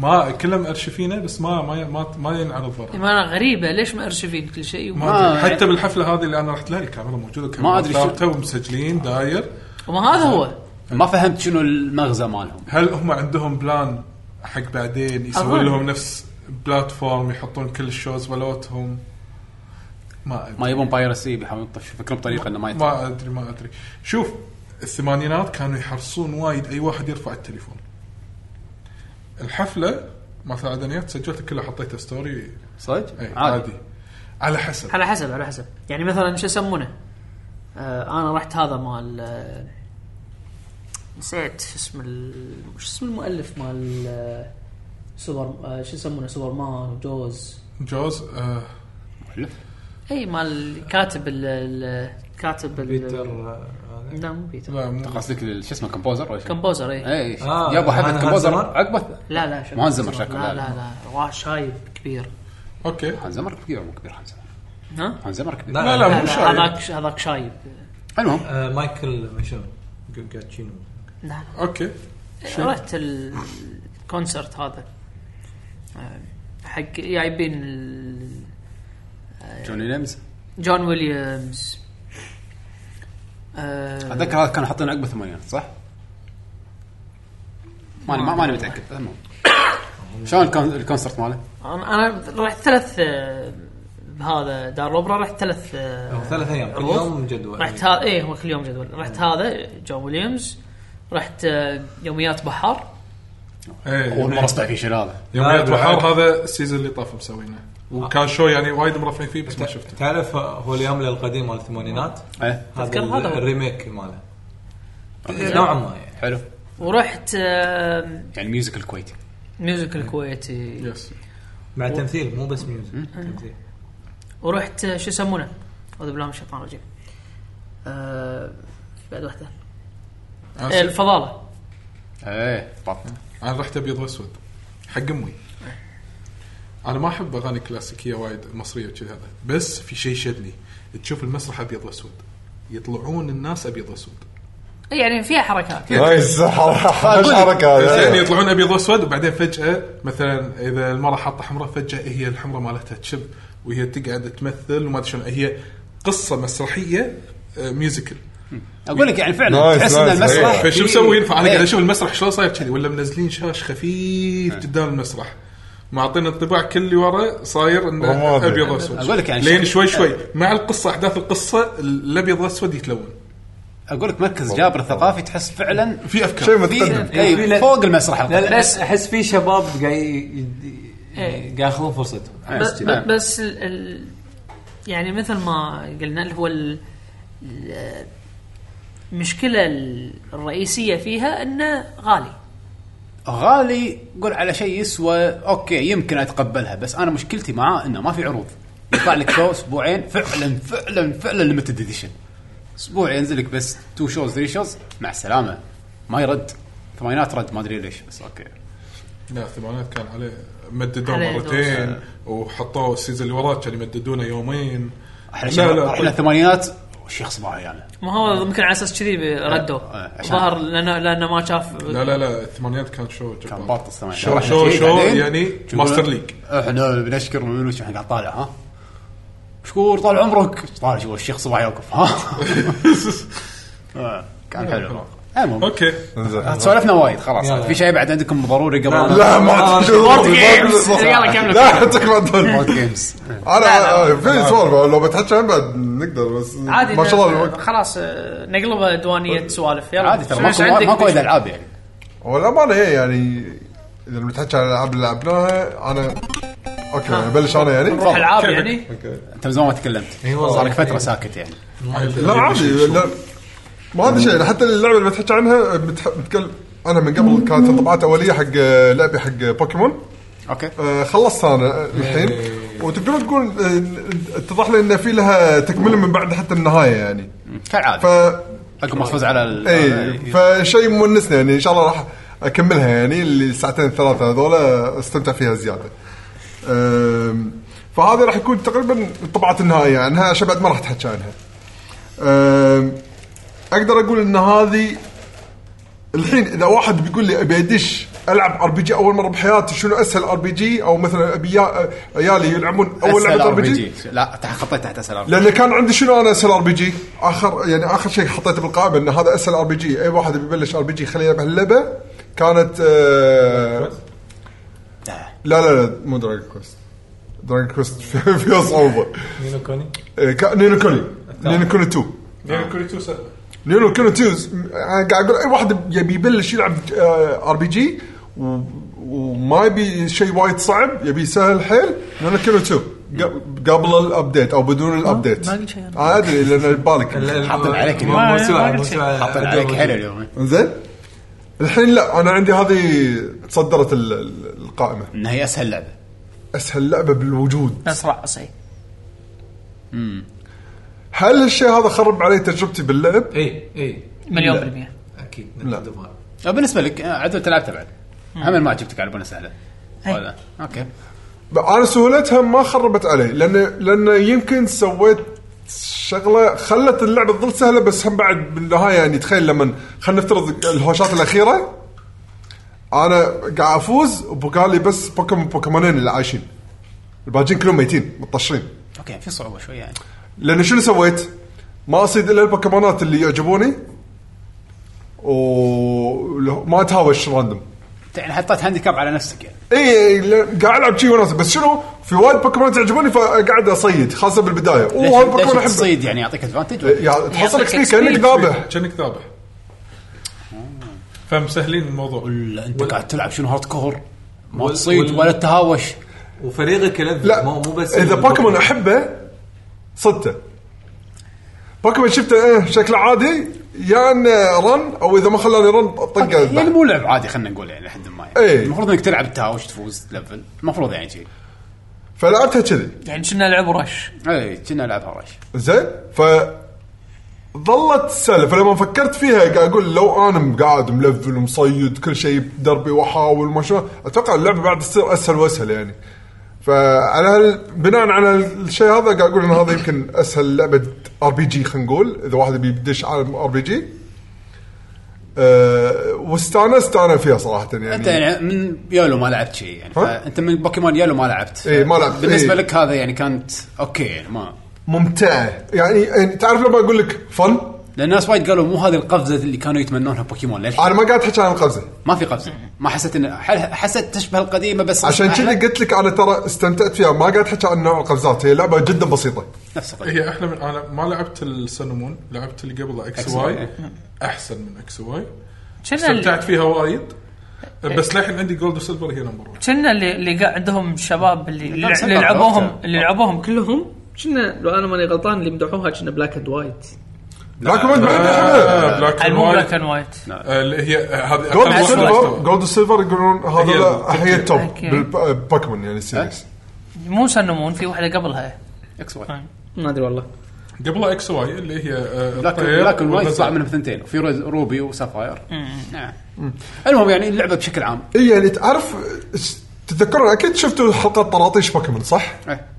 [SPEAKER 3] ما كلهم مأرشفينه بس ما ما ما, ما ينعرض برا
[SPEAKER 4] إيه، ما غريبه ليش ما ارشفين كل شيء وما,
[SPEAKER 3] ما
[SPEAKER 1] ما-
[SPEAKER 3] حتى بالحفله هذه اللي انا رحت لها الكاميرا موجوده الكاميرا
[SPEAKER 1] ما أدري شو-
[SPEAKER 3] ثابته ومسجلين داير
[SPEAKER 4] وما هذا هو
[SPEAKER 1] ما فهمت شنو المغزى مالهم
[SPEAKER 3] هل هم عندهم بلان حق بعدين يسوون
[SPEAKER 4] أظن.
[SPEAKER 3] لهم نفس بلاتفورم يحطون كل الشوز ولوتهم ما ادري
[SPEAKER 1] ما يبون بايرسي بيحاولون يطفشوا فكرهم بطريقه انه ما يطلع
[SPEAKER 3] ما ادري ما ادري شوف الثمانينات كانوا يحرصون وايد اي واحد يرفع التليفون الحفله مثلا عدنيات سجلت كلها حطيتها ستوري
[SPEAKER 1] صدق؟
[SPEAKER 3] اي إيه، عادي على حسب
[SPEAKER 4] على حسب على حسب يعني مثلا شو يسمونه آه انا رحت هذا مال آه، نسيت شو اسم ال- شو اسم المؤلف مال آه، سوبر آه، شو يسمونه سوبرمان وجوز
[SPEAKER 3] جوز آه
[SPEAKER 4] اي مال كاتب ال- ال كاتب ال-
[SPEAKER 2] بيتر آه، هذا.
[SPEAKER 4] لا مو بيتر
[SPEAKER 3] لا مو
[SPEAKER 1] قصدك ال- شو اسمه كومبوزر ولا إيه، شو؟
[SPEAKER 4] كمبوزر اي
[SPEAKER 1] اي
[SPEAKER 2] آه،
[SPEAKER 1] جابوا حفله
[SPEAKER 2] هانز
[SPEAKER 1] كومبوزر
[SPEAKER 2] زمر؟
[SPEAKER 1] عقبه
[SPEAKER 4] لا لا شو-
[SPEAKER 1] مو هانز زمر شكله، لا،
[SPEAKER 4] لا لا لا واه شايب كبير
[SPEAKER 3] اوكي
[SPEAKER 1] هانز زمر كبير مو كبير هانز زمر
[SPEAKER 4] ها
[SPEAKER 1] هانز زمر كبير
[SPEAKER 2] لا،
[SPEAKER 4] لا،
[SPEAKER 3] لا لا مو
[SPEAKER 4] لا،
[SPEAKER 3] شايب
[SPEAKER 4] هذاك هذاك شايب
[SPEAKER 1] المهم
[SPEAKER 2] آه، مايكل مشون جاتشينو
[SPEAKER 4] لا
[SPEAKER 3] اوكي
[SPEAKER 4] رحت ال- الكونسرت هذا آه، حق جايبين ال-
[SPEAKER 1] جوني نيمز
[SPEAKER 4] جون ويليامز آه،
[SPEAKER 1] اتذكر هذا كانوا حاطين عقبه ثمانينات صح؟ ماني ما- ماني متاكد المهم شلون الكون- الكونسرت ماله؟
[SPEAKER 4] انا أنا رحت ثلاث آه، بهذا دار الاوبرا رحت ثلاث آه،
[SPEAKER 2] أو ثلاث ايام كل
[SPEAKER 4] عروض.
[SPEAKER 2] يوم جدول
[SPEAKER 4] رحت هذا ايه هو كل يوم جدول رحت هذا جون ويليامز رحت آه، يوميات بحر
[SPEAKER 1] اول
[SPEAKER 3] ايه
[SPEAKER 1] مره اسمع في شيء هذا
[SPEAKER 3] يوميات
[SPEAKER 2] لا،
[SPEAKER 3] بحر هذا السيزون اللي طاف مسوينه وكان شو يعني وايد مرفعين فيه بس ما شفته
[SPEAKER 2] تعرف هو اليوم القديم مال الثمانينات
[SPEAKER 1] ايه
[SPEAKER 4] أذكر
[SPEAKER 2] ال-
[SPEAKER 4] هذا هو.
[SPEAKER 2] الريميك ماله نوعا ما يعني
[SPEAKER 1] حلو
[SPEAKER 4] ورحت آه،
[SPEAKER 1] يعني ميوزيكال كويتي
[SPEAKER 4] ميوزيكال كويتي
[SPEAKER 3] يس
[SPEAKER 2] مع تمثيل مو بس ميوزك تمثيل
[SPEAKER 4] ورحت آه، شو يسمونه؟ اعوذ بالله من الشيطان الرجيم. آه، بعد واحده آه،
[SPEAKER 3] انا
[SPEAKER 4] الفضاله
[SPEAKER 1] ايه طب
[SPEAKER 3] رحت ابيض واسود حق امي انا ما احب اغاني كلاسيكيه وايد مصريه وكذا هذا بس في شيء شدني تشوف المسرح ابيض واسود يطلعون الناس ابيض واسود
[SPEAKER 4] إيه، يعني فيها حركات
[SPEAKER 5] نايس
[SPEAKER 4] *laughs*
[SPEAKER 5] حركه
[SPEAKER 3] يعني
[SPEAKER 5] هذه
[SPEAKER 3] يطلعون ابيض واسود وبعدين فجاه مثلا اذا المره حاطه حمراء فجاه هي الحمراء مالتها تشب وهي تقعد تمثل وما ادري شنو هي قصه مسرحيه آه، ميوزيكال
[SPEAKER 1] اقول لك يعني فعلا
[SPEAKER 5] نايس،
[SPEAKER 1] تحس ان
[SPEAKER 5] نايس،
[SPEAKER 1] المسرح
[SPEAKER 5] إيه.
[SPEAKER 3] فشو
[SPEAKER 1] فيه-
[SPEAKER 3] مسوين فانا
[SPEAKER 1] إيه.
[SPEAKER 3] قاعد اشوف المسرح شلون صاير كذي ولا منزلين شاش خفيف قدام المسرح معطينا انطباع كل اللي ورا صاير انه
[SPEAKER 5] رمادي.
[SPEAKER 3] ابيض واسود
[SPEAKER 1] أقول لك يعني
[SPEAKER 3] لين
[SPEAKER 1] شكل-
[SPEAKER 3] شوي شوي مع القصه احداث القصه الابيض واسود يتلون
[SPEAKER 1] اقول لك مركز جابر الثقافي تحس *laughs* فعلا
[SPEAKER 3] في
[SPEAKER 5] شيء
[SPEAKER 3] افكار
[SPEAKER 5] متقدم
[SPEAKER 1] في إيه، فوق المسرح
[SPEAKER 2] لا لا
[SPEAKER 4] بس-
[SPEAKER 2] بس احس في شباب قاعد ي- ي-
[SPEAKER 4] إيه.
[SPEAKER 2] قاعد ياخذون فرصتهم
[SPEAKER 1] إيه.
[SPEAKER 4] بس, بس ال ال يعني مثل ما قلنا اللي هو ال- ال- المشكله الرئيسيه فيها انه غالي
[SPEAKER 1] غالي قول على شيء يسوى اوكي يمكن اتقبلها بس انا مشكلتي معاه انه ما في عروض يطلع لك شو اسبوعين فعلا فعلا فعلا ليمتد اديشن اسبوع ينزل لك بس تو شوز ثري شوز مع السلامه ما يرد ثمانينات رد ما ادري ليش بس اوكي
[SPEAKER 3] لا الثمانينات كان عليه مددوه
[SPEAKER 4] عليه
[SPEAKER 3] مرتين وحطوه السيزون اللي وراه كان يمددونه يومين
[SPEAKER 1] احنا
[SPEAKER 3] لا لا
[SPEAKER 1] احنا
[SPEAKER 3] طيب.
[SPEAKER 1] الثمانينات شيخ صباعي يعني
[SPEAKER 4] ما هو يمكن على اساس كذي ردوا
[SPEAKER 1] آه، عشان-
[SPEAKER 4] ظهر لانه لانه ما شاف
[SPEAKER 3] لا لا لا الثمانينات كان شو جبار.
[SPEAKER 1] كان باط الثمانينات
[SPEAKER 3] شو
[SPEAKER 1] رحنا
[SPEAKER 3] شو
[SPEAKER 1] فيه
[SPEAKER 3] شو
[SPEAKER 1] بعدين
[SPEAKER 3] يعني
[SPEAKER 1] شو
[SPEAKER 3] ماستر
[SPEAKER 1] يقولون؟
[SPEAKER 3] ليج
[SPEAKER 1] احنا بنشكر من منوش احنا قاعد طالع ها مشكور طال
[SPEAKER 3] *laughs*
[SPEAKER 1] عمرك طالع شو الشيخ صباعي يوقف ها آه، كان حلو المهم
[SPEAKER 3] اوكي
[SPEAKER 1] سولفنا وايد خلاص
[SPEAKER 2] يلا.
[SPEAKER 1] في شيء بعد عندكم ضروري قبل
[SPEAKER 5] لا ما
[SPEAKER 2] آه،
[SPEAKER 5] تقدر
[SPEAKER 4] games. يلا كمل.
[SPEAKER 5] لا حتى ما تقدر.
[SPEAKER 1] بورد جيمز
[SPEAKER 5] انا أنا- أه، في سوالف لو بتحكي عن بعد نقدر بس
[SPEAKER 4] عادي
[SPEAKER 5] ما شاء الله الوقت
[SPEAKER 4] خلاص آه، نقلبها دوانيه سوالف يلا
[SPEAKER 1] عادي ترى
[SPEAKER 4] شو- شو
[SPEAKER 1] ماكو
[SPEAKER 4] عندك؟
[SPEAKER 1] ماكو وايد العاب يعني
[SPEAKER 5] والامانه هي يعني اذا بنتحكي عن الالعاب اللي لعبناها انا اوكي ابلش انا يعني
[SPEAKER 4] نروح العاب
[SPEAKER 3] كمل.
[SPEAKER 4] يعني
[SPEAKER 1] انت من زمان ما تكلمت
[SPEAKER 2] إي والله.
[SPEAKER 1] صار لك فتره
[SPEAKER 2] إي.
[SPEAKER 1] ساكت يعني
[SPEAKER 5] لا عادي لا ما هذا شيء حتى اللعبه اللي بتحكي عنها بتح... بتكلم انا من قبل كانت طبعات اوليه حق لعبه حق آه، بوكيمون
[SPEAKER 1] اوكي
[SPEAKER 5] آه، خلصت انا الحين وتقدر تقول آه، اتضح لي ان في لها تكمله من بعد حتى النهايه يعني ف
[SPEAKER 1] كالعاده اكو محفوظ على ال- آه،
[SPEAKER 5] اي إيه، فشيء مونسني يعني ان شاء الله راح اكملها يعني اللي الساعتين الثلاثه هذول استمتع فيها زياده. أم، فهذا راح يكون تقريبا الطبعات النهائيه عنها عشان بعد يعني ما راح تحكي عنها. أم، اقدر اقول ان هذه الحين اذا واحد بيقول لي ابي ادش العب ار بي جي اول مره بحياتي شنو اسهل ار بي جي او مثلا ابي يا- عيالي يلعبون اول لعبه ار بي جي
[SPEAKER 1] لا تحت- خطيت تحت اسال ار
[SPEAKER 5] لان كان عندي شنو انا اسهل ار بي جي اخر يعني اخر شيء حطيته بالقائمه ان هذا اسهل ار بي جي اي واحد بيبلش ار بي جي خليه يلعب هاللعبه كانت آه لا لا لا مو دراجون كويست دراجون *laughs* كويست فيها فيها صعوبه
[SPEAKER 2] مينو كوني
[SPEAKER 5] آه، كا- نينو كوني نينو كوني 2
[SPEAKER 3] يعني كوريتو سهله
[SPEAKER 5] نينو كوني 2 أنا آه، قاعد اقول اي واحد يبي يبلش يلعب آه، ار بي جي وما يبي شيء وايد صعب يبي سهل حيل نينو كوني 2 قبل- قبل الابديت او بدون الابديت
[SPEAKER 4] ما قلت شيء أنا.
[SPEAKER 5] انا ادري لان ببالك
[SPEAKER 1] حاطين عليك اليوم.
[SPEAKER 2] مو- مو
[SPEAKER 4] ما-
[SPEAKER 2] سؤال،
[SPEAKER 4] ما
[SPEAKER 2] مو
[SPEAKER 4] قلت شيء.
[SPEAKER 2] سؤال.
[SPEAKER 1] حاطين عليك حلو اليوم
[SPEAKER 5] زين الحين لا انا عندي هذه تصدرت ال- ال- القائمه
[SPEAKER 1] انها هي اسهل لعبه
[SPEAKER 5] اسهل لعبه بالوجود
[SPEAKER 4] اسرع صحيح
[SPEAKER 5] هل هالشيء هذا خرب علي تجربتي باللعب؟
[SPEAKER 2] اي اي
[SPEAKER 4] مليون
[SPEAKER 5] لا.
[SPEAKER 4] بالمية
[SPEAKER 2] اكيد
[SPEAKER 5] لا.
[SPEAKER 2] Nintendo ما-
[SPEAKER 1] أه، بالنسبه لك آه، عدل تلعبتها بعد هم ما جبتك على بنا سهله ولا اوكي
[SPEAKER 5] انا سهولتها ما خربت علي لان لان يمكن سويت شغله خلت اللعبه تظل سهله بس هم بعد بالنهايه يعني تخيل لما خلينا نفترض الهوشات الاخيره انا قاعد افوز وبقالي بس بوكيمون بوكيمونين اللي عايشين الباجين كلهم ميتين مطشرين
[SPEAKER 1] اوكي في صعوبه شويه يعني
[SPEAKER 5] لان شنو سويت؟ ما اصيد الا البوكيمونات اللي يعجبوني وما اتهاوش راندوم
[SPEAKER 1] يعني حطيت هانديكاب على نفسك يعني
[SPEAKER 5] اي إيه، لا- قاعد العب شي وناس بس شنو في وايد بوكيمونات يعجبوني فقاعد اصيد خاصه بالبدايه
[SPEAKER 1] ليش
[SPEAKER 5] اوه هالبوكيمون
[SPEAKER 1] ليش
[SPEAKER 5] احبه
[SPEAKER 1] تصيد يعني يعطيك ادفانتج
[SPEAKER 5] يعني تحصل
[SPEAKER 4] يعطيك
[SPEAKER 5] اكس بي كانك
[SPEAKER 4] XP.
[SPEAKER 5] ذابح
[SPEAKER 3] كانك ذابح فمسهلين الموضوع
[SPEAKER 1] ولا انت قاعد تلعب شنو هارد كور ما
[SPEAKER 2] وال-
[SPEAKER 1] تصيد
[SPEAKER 2] وال-
[SPEAKER 1] ولا تهاوش
[SPEAKER 2] وفريقك يلذذ
[SPEAKER 5] لا
[SPEAKER 2] مو مو بس
[SPEAKER 5] اذا بوكيمون احبه صدته بوكيمون شفته ايه شكله عادي يا انه رن او اذا ما خلاني رن طقه
[SPEAKER 1] يعني
[SPEAKER 5] ذبح.
[SPEAKER 1] مو لعب عادي خلينا نقول يعني لحد ما يعني
[SPEAKER 5] إيه.
[SPEAKER 1] المفروض انك تلعب تهاوش تفوز تلفل المفروض يعني شيء
[SPEAKER 5] فلعبتها كذي
[SPEAKER 4] يعني كنا لعب رش
[SPEAKER 1] اي إيه، كنا العبها رش
[SPEAKER 5] زين ف ظلت سهله فلما فكرت فيها قاعد اقول لو انا قاعد ملفل ومصيد كل شيء بدربي واحاول ما شو اتوقع اللعبه بعد تصير اسهل واسهل يعني فعلى هال- بناء على الشيء هذا قاعد اقول ان هذا يمكن اسهل لعبه ار بي جي خلينا نقول اذا واحد بيدش عالم ار بي جي أه واستانست انا فيها صراحه يعني
[SPEAKER 1] انت يعني من يولو ما لعبت شيء يعني
[SPEAKER 5] ها؟
[SPEAKER 1] انت من بوكيمون يولو ما لعبت
[SPEAKER 5] إيه، ما لعبت.
[SPEAKER 1] بالنسبه
[SPEAKER 5] إيه.
[SPEAKER 1] لك هذا يعني كانت اوكي يعني ما
[SPEAKER 5] ممتعه يعني يعني تعرف لما اقول لك فن
[SPEAKER 1] لان الناس وايد قالوا مو هذه القفزه اللي كانوا يتمنونها بوكيمون للحين
[SPEAKER 5] انا ما قاعد احكي عن القفزه
[SPEAKER 1] ما في قفزه ما حسيت ان حل- حسيت تشبه القديمه بس
[SPEAKER 5] عشان
[SPEAKER 1] أحلى.
[SPEAKER 5] كذي قلت لك انا ترى استمتعت فيها ما قاعد احكي عن نوع القفزات هي لعبه جدا بسيطه
[SPEAKER 1] نفس القديمه
[SPEAKER 3] هي احلى إيه، من انا ما لعبت السنمون لعبت اللي قبلها اكس
[SPEAKER 1] X
[SPEAKER 3] واي
[SPEAKER 1] Y.
[SPEAKER 3] احسن من اكس واي
[SPEAKER 4] كنا ال-
[SPEAKER 3] استمتعت فيها وايد بس للحين عندي جولد وسيلفر هي نمبر 1
[SPEAKER 4] كنا اللي اللي قاعد عندهم شباب اللي
[SPEAKER 1] لا، بس
[SPEAKER 4] اللي
[SPEAKER 1] أنا
[SPEAKER 4] لعبوهم
[SPEAKER 1] عرفته.
[SPEAKER 4] اللي لعبوهم كلهم كنا لو انا ماني غلطان اللي مدحوها كنا بلاك اند وايت
[SPEAKER 5] لكن ما بعد
[SPEAKER 3] بلاك
[SPEAKER 4] هاي
[SPEAKER 3] and
[SPEAKER 4] مو
[SPEAKER 3] white.
[SPEAKER 4] بلاك اند وايت
[SPEAKER 3] آه، اللي هي آه، هذه اقل
[SPEAKER 5] جولد
[SPEAKER 3] واحدة
[SPEAKER 5] سيلفر
[SPEAKER 3] مستوى.
[SPEAKER 5] جولد سيلفر يقولون هذا
[SPEAKER 3] هي
[SPEAKER 5] لا، هي التوب
[SPEAKER 4] أوكي.
[SPEAKER 5] بالبوكيمون يعني سيريس
[SPEAKER 4] مو سنمون في واحده قبلها
[SPEAKER 1] اكس
[SPEAKER 5] طيب.
[SPEAKER 1] واي
[SPEAKER 4] ما ادري والله
[SPEAKER 3] قبلها اكس واي اللي هي آه،
[SPEAKER 1] لكن
[SPEAKER 5] طيب.
[SPEAKER 3] الطير
[SPEAKER 1] لكن وايد
[SPEAKER 3] والنزال.
[SPEAKER 1] طلع منهم ثنتين في روز- روبي وسافاير نعم المهم يعني اللعبه بشكل عام
[SPEAKER 5] اي يعني تعرف س- تتذكرون اكيد شفتوا حلقه طراطيش بوكيمون صح؟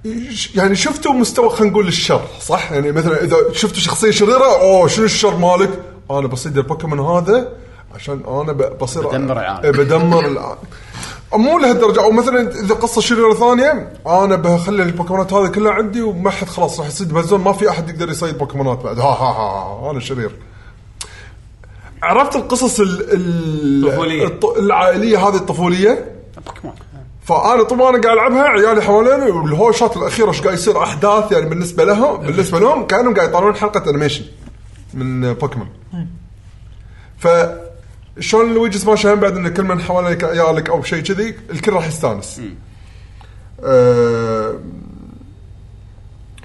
[SPEAKER 1] إيه.
[SPEAKER 5] ش- يعني شفتوا مستوى خلينا نقول الشر صح؟ يعني مثلا اذا شفتوا شخصيه شريره اوه شنو الشر مالك؟ انا بصيد البوكيمون هذا عشان انا ب- بصير
[SPEAKER 1] بدمر العالم.
[SPEAKER 5] إيه، بدمر العالم مو لهالدرجه او مثلا اذا قصه شريره ثانيه انا بخلي البوكيمونات هذه كلها عندي وما حد خلاص راح يصيد بهالزون ما في احد يقدر يصيد بوكيمونات بعد ها ها ها, ها انا شرير عرفت القصص ال- ال-
[SPEAKER 2] الطفولية.
[SPEAKER 5] الط- العائليه هذه الطفوليه
[SPEAKER 1] بوكيمون
[SPEAKER 5] فانا طبعا قاعد العبها عيالي حواليني والهوشات الاخيره ايش قاعد يصير احداث يعني بالنسبه لهم بالنسبه لهم كانهم قاعد يطالعون حلقه انيميشن من بوكيمون ف شلون لويجي سماش هم بعد ان كل من حواليك عيالك او شيء كذي الكل راح يستانس. آه،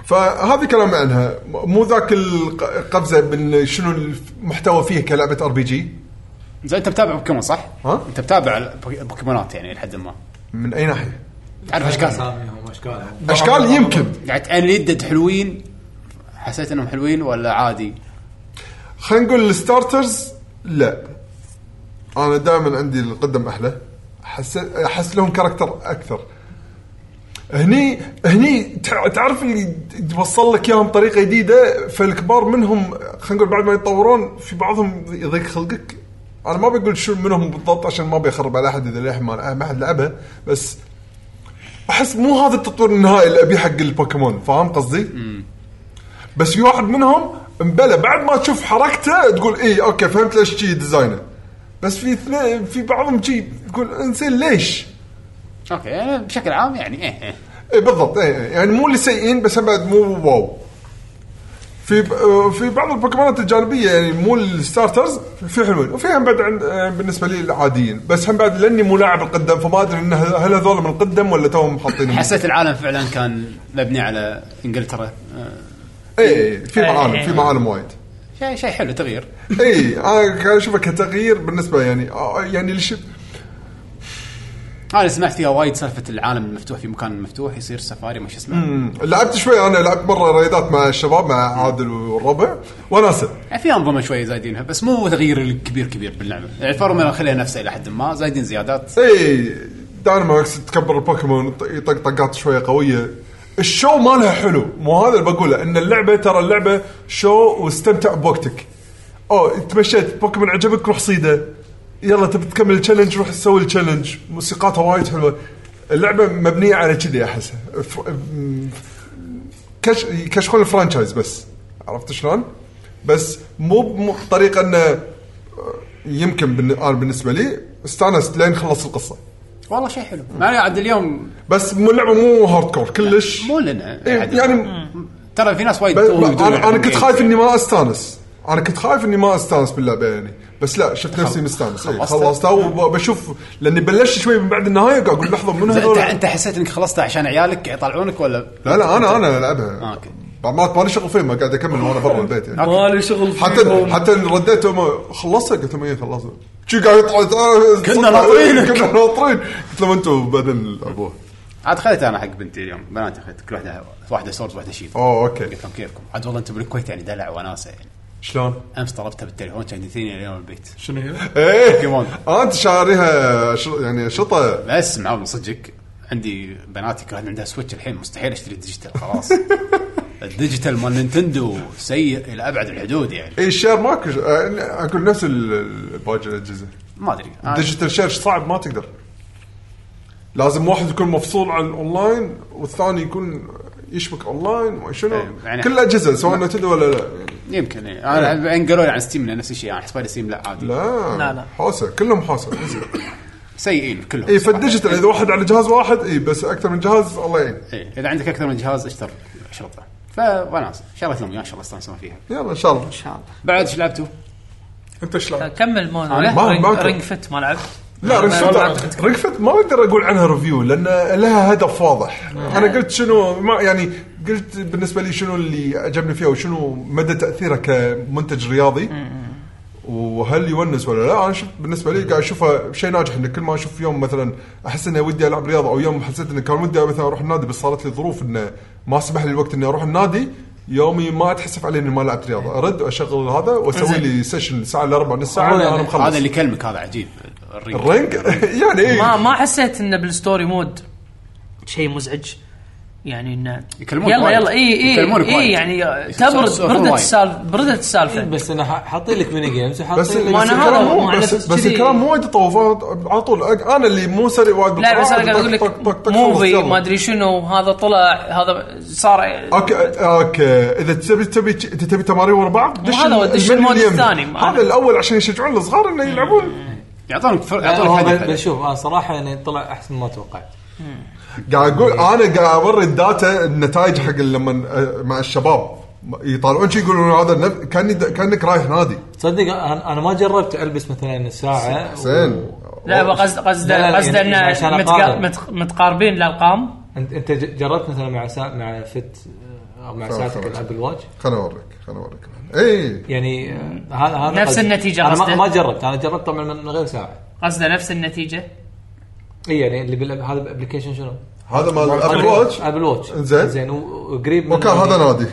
[SPEAKER 5] فهذا كلام عنها مو ذاك الق- القفزه من شنو المحتوى فيه كلعبه ار بي جي
[SPEAKER 1] زين انت متابع بوكيمون صح؟
[SPEAKER 5] ها؟
[SPEAKER 1] انت متابع البوك- البوكيمونات يعني لحد ما
[SPEAKER 5] من اي ناحيه؟
[SPEAKER 1] تعرف اشكال
[SPEAKER 2] اساميهم اشكالهم
[SPEAKER 5] اشكال يمكن
[SPEAKER 1] قعدت انا يدد حلوين حسيت انهم حلوين ولا عادي؟
[SPEAKER 5] خلينا نقول الستارترز لا انا دائما عندي القدم احلى احس احس لهم كاركتر اكثر هني هني تع- تعرف اللي يوصل لك اياهم بطريقه جديده فالكبار منهم خلينا نقول بعد ما يتطورون في بعضهم يضيق خلقك انا ما بقول شو منهم بالضبط عشان ما بيخرب على احد اذا للحين ما ما حد لعبها بس احس مو هذا التطوير النهائي اللي ابيه حق البوكيمون فاهم قصدي؟ بس في واحد منهم مبلى بعد ما تشوف حركته تقول اي اوكي فهمت ليش شي ديزاينه بس في اثنين في بعضهم شي تقول انزين ليش؟
[SPEAKER 1] اوكي يعني بشكل عام يعني ايه ايه
[SPEAKER 5] اي بالضبط اي إي. يعني مو اللي سيئين بس هم بعد مو واو في ب- آه، في بعض البوكيمونات الجانبيه يعني مو الستارترز في حلوين وفي هم بعد عند آه، بالنسبه لي العاديين بس هم بعد لاني مو لاعب القدم فما ادري إن هل هل هذول من القدم ولا توهم حاطين
[SPEAKER 1] حسيت العالم فعلا كان مبني على انجلترا آه،
[SPEAKER 5] اي إيه، في
[SPEAKER 4] إي،
[SPEAKER 5] معالم
[SPEAKER 4] إي.
[SPEAKER 5] في معالم وايد إيه،
[SPEAKER 1] شيء شيء حلو تغيير
[SPEAKER 5] اي انا قاعد اشوفه كتغيير بالنسبه يعني آه، يعني اللي شف-
[SPEAKER 1] انا سمعت فيها وايد سالفه العالم المفتوح في مكان مفتوح يصير سفاري ما شو اسمه
[SPEAKER 5] مم. لعبت شوي انا لعبت مره ريدات مع الشباب مع عادل والربع وناسه
[SPEAKER 1] يعني فيها انظمه شويه زايدينها بس مو تغيير كبير كبير باللعبه يعني الفورمولا خليها نفسها الى حد ما زايدين زيادات
[SPEAKER 5] اي دايناماكس تكبر البوكيمون يط- يطق طقات شويه قويه الشو مالها حلو مو هذا اللي بقوله ان اللعبه ترى اللعبه شو واستمتع بوقتك او تمشيت بوكيمون عجبك روح صيده يلا تبي تكمل التشالنج روح تسوي التشالنج موسيقاتها وايد حلوه اللعبه مبنيه على كذي احسها فر- م- كش يكشفون الفرانشايز بس عرفت شلون؟ بس مو مو بطريقه انه يمكن بالن- انا بالنسبه لي استانست لين خلصت القصه
[SPEAKER 1] والله شيء حلو مع إني عاد اليوم
[SPEAKER 5] بس مو اللعبه مو هارد كور كلش
[SPEAKER 1] مو لنا
[SPEAKER 5] إيه،
[SPEAKER 1] أحد.
[SPEAKER 5] يعني
[SPEAKER 1] ترى في ناس وايد
[SPEAKER 5] ب-
[SPEAKER 1] تو
[SPEAKER 5] ب-
[SPEAKER 1] يبدون
[SPEAKER 5] انا انا
[SPEAKER 1] يلعبون
[SPEAKER 5] كنت
[SPEAKER 1] games.
[SPEAKER 5] خايف اني ما استانس انا كنت خايف اني ما استانس باللعبه يعني بس لا شفت نفسي مستانس إيه،
[SPEAKER 1] خلصتها؟
[SPEAKER 5] خلصتها وبشوف لاني بلشت شوي من بعد النهايه قاعد اقول لحظه
[SPEAKER 1] زين،
[SPEAKER 5] من
[SPEAKER 1] انت
[SPEAKER 5] هذول
[SPEAKER 1] انت حسيت انك خلصتها عشان عيالك يطلعونك ولا
[SPEAKER 5] لا لا انا انا
[SPEAKER 1] آه،
[SPEAKER 5] العبها
[SPEAKER 1] أوكي.
[SPEAKER 5] بعد ما ما لي شغل فيه ما قاعد اكمل وانا برا البيت يعني
[SPEAKER 6] مالي شغل
[SPEAKER 5] حتى حتى إن رديت وما- خلصت قلت لهم ايه خلصت شي قاعد يطلع يطلع-
[SPEAKER 1] كنا ناطرينك.
[SPEAKER 5] *laughs* كنا ناطرين قلت لهم انتم بعدين ابوه
[SPEAKER 1] عاد خذيت انا حق بنتي اليوم بناتي اخذت كل واحده واحده سورد واحده شيت
[SPEAKER 5] اوه اوكي
[SPEAKER 1] قلت لهم كيفكم عاد والله انتم بالكويت يعني دلع وناسه يعني
[SPEAKER 5] شلون؟
[SPEAKER 1] امس طلبتها بالتليفون كان يجيني اليوم البيت
[SPEAKER 3] شنو *laughs* هي؟
[SPEAKER 5] ايه *laughs*
[SPEAKER 1] بوكيمون
[SPEAKER 5] آه، انت شاريها ش- يعني شطه
[SPEAKER 1] بس معاون صدقك عندي بناتي كل واحد عندها سويتش الحين مستحيل اشتري ديجيتال *laughs* خلاص الديجيتال مال نينتندو سيء الى ابعد الحدود يعني
[SPEAKER 5] اي إيه، الشير ماكو ش- آه، اقول نفس ال- ال- باقي الاجهزه
[SPEAKER 1] ما آه، ادري أنا-
[SPEAKER 5] الديجيتال شير صعب ما تقدر لازم واحد يكون مفصول عن الاونلاين والثاني يكون يشبك اونلاين ما شنو
[SPEAKER 1] إيه، يعني-
[SPEAKER 5] كل الاجهزه سواء نتندو ولا لا يعني
[SPEAKER 1] يمكن إيه. انا الحين قالوا لي عن ستيم إنه نفس الشيء يعني انا حسبالي ستيم لا عادي
[SPEAKER 5] لا
[SPEAKER 4] لا، لا.
[SPEAKER 5] حوسه كلهم حوسه
[SPEAKER 1] سيئين كلهم
[SPEAKER 5] اي
[SPEAKER 1] صراحة.
[SPEAKER 5] فالديجيتال اذا واحد على جهاز واحد اي بس اكثر من جهاز الله يعين
[SPEAKER 1] إيه. اذا عندك اكثر من جهاز اشتر شرطه فوناس شريت لهم اياه ان شاء الله استانسون فيها
[SPEAKER 5] يلا ان شاء الله
[SPEAKER 4] ان شاء الله
[SPEAKER 1] بعد ايش لعبتوا؟
[SPEAKER 3] انت ايش لعبت؟
[SPEAKER 4] كمل
[SPEAKER 5] ما-
[SPEAKER 4] مون
[SPEAKER 5] ما-
[SPEAKER 4] رينج فت ما لعبت
[SPEAKER 5] لا رينج
[SPEAKER 4] ما لعبت
[SPEAKER 5] فت رينج فت ما اقدر اقول عنها ريفيو لان لها هدف واضح
[SPEAKER 4] نعم.
[SPEAKER 5] انا قلت شنو ما يعني قلت بالنسبه لي شنو اللي عجبني فيها وشنو مدى تاثيرها كمنتج رياضي وهل يونس ولا لا انا شفت بالنسبه لي قاعد اشوفها شيء ناجح ان كل ما اشوف يوم مثلا احس اني ودي العب رياضه او يوم حسيت اني كان ودي مثلا اروح النادي بس صارت لي ظروف انه ما سمح لي الوقت اني اروح النادي يومي ما اتحسف علي اني ما لعبت رياضه ارد واشغل هذا واسوي
[SPEAKER 4] زين.
[SPEAKER 5] لي سيشن ساعه الا ربع نص ساعه
[SPEAKER 2] هو
[SPEAKER 5] انا مخلص
[SPEAKER 1] هذا اللي كلمك هذا عجيب الرينج.
[SPEAKER 5] الرنج *laughs* يعني
[SPEAKER 4] ما
[SPEAKER 5] ايه
[SPEAKER 4] ما حسيت انه بالستوري مود شيء مزعج يعني انه
[SPEAKER 1] يكلمون
[SPEAKER 4] يلا
[SPEAKER 1] وايد.
[SPEAKER 4] يلا اي
[SPEAKER 1] يكلمونك
[SPEAKER 4] اي
[SPEAKER 1] وايد.
[SPEAKER 4] اي يعني
[SPEAKER 1] يسولفون
[SPEAKER 4] تبرد بردت
[SPEAKER 1] وايد.
[SPEAKER 4] السالفه بردت السالفه
[SPEAKER 2] إيه، بس انا ح- حاطين لك ميني جيمز
[SPEAKER 5] بس
[SPEAKER 2] وحاطين
[SPEAKER 4] ما
[SPEAKER 5] بس
[SPEAKER 4] أنا
[SPEAKER 2] لك
[SPEAKER 5] الكلام
[SPEAKER 4] هذا
[SPEAKER 5] مو
[SPEAKER 4] مع
[SPEAKER 5] بس,
[SPEAKER 4] نفس
[SPEAKER 5] بس
[SPEAKER 4] كذي.
[SPEAKER 5] الكلام مو وايد يطوف أنا على طول أق- انا اللي مو سريع وايد
[SPEAKER 4] لا بس
[SPEAKER 2] آه،
[SPEAKER 5] بالقراءة،
[SPEAKER 4] انا قاعد اقول
[SPEAKER 5] طق- طق- طق-
[SPEAKER 4] لك
[SPEAKER 5] طق-
[SPEAKER 4] موفي
[SPEAKER 5] خلص، يلا.
[SPEAKER 4] ما ادري شنو هذا طلع هذا صار
[SPEAKER 5] اوكي اوكي اذا تبي تبي تبي تمارين ورا بعض دش
[SPEAKER 4] هذا هو، دش
[SPEAKER 5] المنيو
[SPEAKER 4] المود
[SPEAKER 5] اليمني.
[SPEAKER 4] الثاني.
[SPEAKER 5] هذا الاول عشان يشجعون الصغار انه يلعبون
[SPEAKER 1] *laughs* يعطونك فر-
[SPEAKER 2] آه، هو
[SPEAKER 1] يعطونك
[SPEAKER 2] بل-
[SPEAKER 1] هدف
[SPEAKER 2] بشوف انا صراحه يعني طلع احسن ما توقعت
[SPEAKER 5] قاعد اقول انا قاعد اوري الداتا النتائج حق لما مع الشباب يطالعون شي يقولون هذا النف- كاني كانك رايح نادي
[SPEAKER 2] تصدق انا أنا ما جربت البس مثلا الساعه
[SPEAKER 5] زين
[SPEAKER 4] لا قصد قصد
[SPEAKER 2] لا، لا،
[SPEAKER 4] قصد
[SPEAKER 2] يعني
[SPEAKER 4] انه
[SPEAKER 2] عشان
[SPEAKER 4] متق-
[SPEAKER 2] أقارن.
[SPEAKER 4] متق- متقاربين الارقام
[SPEAKER 2] انت انت ج- جربت مثلا مع سا... مع فت او مع
[SPEAKER 5] خلاص،
[SPEAKER 2] ساعتك
[SPEAKER 5] خلاص.
[SPEAKER 2] الابل واتش
[SPEAKER 5] خليني اوريك خليني اوريك اي
[SPEAKER 2] يعني آه، هذا هذا
[SPEAKER 4] نفس
[SPEAKER 2] قصدي.
[SPEAKER 4] النتيجة
[SPEAKER 2] انا ما-
[SPEAKER 4] قصدك؟
[SPEAKER 2] ما جربت انا جربت طبعا من من غير ساعه
[SPEAKER 4] قصده نفس النتيجه
[SPEAKER 2] اي يعني اللي بال... هذا الابلكيشن شنو؟
[SPEAKER 5] هذا مال ابل واتش
[SPEAKER 2] ابل واتش
[SPEAKER 5] زين.
[SPEAKER 2] زين و- وقريب من-
[SPEAKER 5] وكان هذا نادي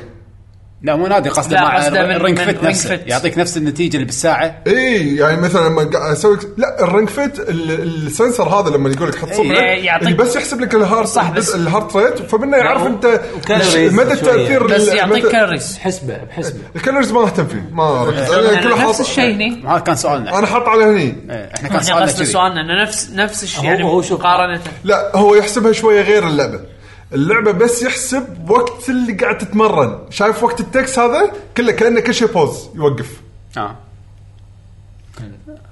[SPEAKER 1] لا مو نادي قصده
[SPEAKER 4] لا،
[SPEAKER 1] مع
[SPEAKER 4] قصده من-
[SPEAKER 1] الرينج
[SPEAKER 4] من
[SPEAKER 1] فيت
[SPEAKER 4] رينج
[SPEAKER 1] نفسه
[SPEAKER 4] فيت.
[SPEAKER 1] يعطيك نفس النتيجه اللي بالساعه
[SPEAKER 5] اي يعني مثلا لما قاعد اسوي لا الرنج فيت ال- السنسر هذا لما يقول لك حط
[SPEAKER 1] إيه،
[SPEAKER 5] صبعك
[SPEAKER 4] يعطيك-
[SPEAKER 5] اللي بس يحسب لك الهارت
[SPEAKER 4] صح، بس- نعم.
[SPEAKER 5] الهارت ريت فمنه يعرف
[SPEAKER 2] لا،
[SPEAKER 5] انت
[SPEAKER 2] وكالوريز
[SPEAKER 5] مدى
[SPEAKER 2] شوية.
[SPEAKER 5] التاثير
[SPEAKER 4] بس
[SPEAKER 5] ال-
[SPEAKER 4] يعطيك
[SPEAKER 5] مدى-
[SPEAKER 4] كالوريز
[SPEAKER 2] بحسبه بحسبه
[SPEAKER 5] الكالوريز ما اهتم فيه ما اركز أنا كله
[SPEAKER 4] يعني نفس
[SPEAKER 5] حاط-
[SPEAKER 4] الشيء هني
[SPEAKER 1] ما هذا كان سؤالنا
[SPEAKER 5] انا حاط على هني
[SPEAKER 1] إيه، احنا كان
[SPEAKER 4] احنا
[SPEAKER 1] سؤالنا
[SPEAKER 4] قصد
[SPEAKER 1] كذي
[SPEAKER 4] سؤالنا انه نفس نفس الشيء
[SPEAKER 2] هو-
[SPEAKER 4] يعني
[SPEAKER 2] هو شوف.
[SPEAKER 4] مقارنه
[SPEAKER 5] لا هو يحسبها شويه غير اللعبه اللعبه بس يحسب وقت اللي قاعد تتمرن شايف وقت التكس هذا كله كانه كل شيء بوز يوقف
[SPEAKER 1] آه.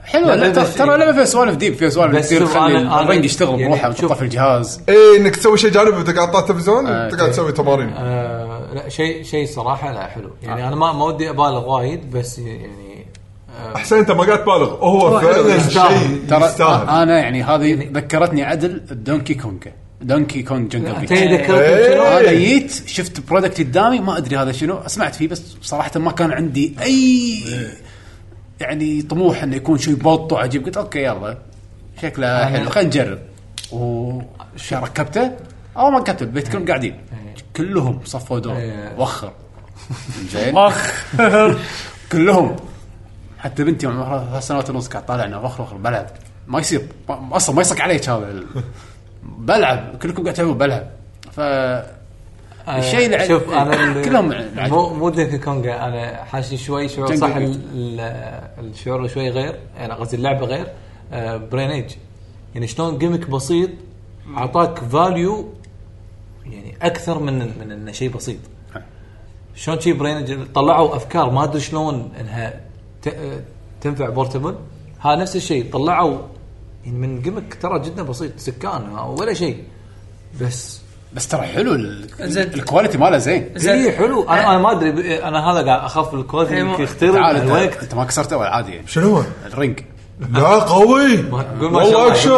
[SPEAKER 1] حلو
[SPEAKER 2] لا،
[SPEAKER 1] لا،
[SPEAKER 2] لا، بس-
[SPEAKER 1] ترى ترى اللعبه فيها سوالف ديب فيها سوالف
[SPEAKER 2] بس
[SPEAKER 1] كثير
[SPEAKER 2] شوف،
[SPEAKER 1] تخلي
[SPEAKER 2] أنا- أنا-
[SPEAKER 1] الرنج يشتغل
[SPEAKER 2] يعني
[SPEAKER 1] بروحه
[SPEAKER 2] شوف.
[SPEAKER 1] وتطفي في الجهاز
[SPEAKER 5] اي انك إيه، تسوي شيء جانبي تقعد على التلفزيون
[SPEAKER 1] آه،
[SPEAKER 5] تقعد تسوي تمارين
[SPEAKER 2] آه لا شيء شيء صراحه لا حلو يعني انا ما ما ودي ابالغ وايد بس يعني
[SPEAKER 5] احسن انت ما قاعد تبالغ هو فعلا
[SPEAKER 2] يستاهل.
[SPEAKER 5] شيء
[SPEAKER 1] ترى
[SPEAKER 5] يستاهل
[SPEAKER 1] آه، انا يعني هذه ذكرتني عدل دونكي كونج دونكي كونج جنجل بيت
[SPEAKER 2] انت ذكرت
[SPEAKER 5] إيه.
[SPEAKER 2] شنو؟
[SPEAKER 1] انا جيت شفت برودكت قدامي ما ادري هذا شنو سمعت فيه بس صراحه ما كان عندي اي يعني طموح انه يكون شيء بط وعجيب قلت اوكي يلا شكله حلو خلينا نجرب وركبته اول ما ركبته البيت كلهم قاعدين كلهم صفوا دور
[SPEAKER 2] إيه.
[SPEAKER 1] وخر زين
[SPEAKER 4] اخ
[SPEAKER 1] *laughs* كلهم حتى بنتي عمرها ثلاث سنوات ونص قاعد طالعنا وخر وخر بلعب ما يصير ما- اصلا ما يصك عليك هذا ال- بلعب كلكم قاعد تلعبون بلعب ف آه، الشيء اللي
[SPEAKER 2] آه، شوف انا ال-
[SPEAKER 1] كلهم عجب.
[SPEAKER 2] مو مو دينكي كونغا انا حاشي شوي شعور
[SPEAKER 1] جنجل
[SPEAKER 2] صح
[SPEAKER 1] بيت.
[SPEAKER 2] ال- ال- الشعور شوي غير انا قصدي اللعبه غير آه برين ايج يعني شلون جيمك بسيط اعطاك فاليو يعني اكثر من من انه شيء بسيط شلون شي برين ايج طلعوا افكار ما ادري شلون انها ت- آه، تنفع بورتبل ها نفس الشيء طلعوا يعني من جيمك ترى جدا بسيط سكان ولا شيء بس
[SPEAKER 1] بس ترى حلو ال-
[SPEAKER 4] زين.
[SPEAKER 1] الكواليتي ماله زين
[SPEAKER 4] زين.
[SPEAKER 2] اي إيه، حلو انا انا ما ادري ب- انا هذا قاعد اخاف الكواليتي
[SPEAKER 4] إيه،
[SPEAKER 2] يمكن
[SPEAKER 4] مو-
[SPEAKER 2] يخترب مع
[SPEAKER 1] تعال انت,
[SPEAKER 2] الوقت
[SPEAKER 1] انت ما كسرته ولا عادي يعني.
[SPEAKER 5] شنو هو؟
[SPEAKER 1] الرنج
[SPEAKER 5] لا قوي
[SPEAKER 2] قول ما شاء الله.
[SPEAKER 5] والله اكشن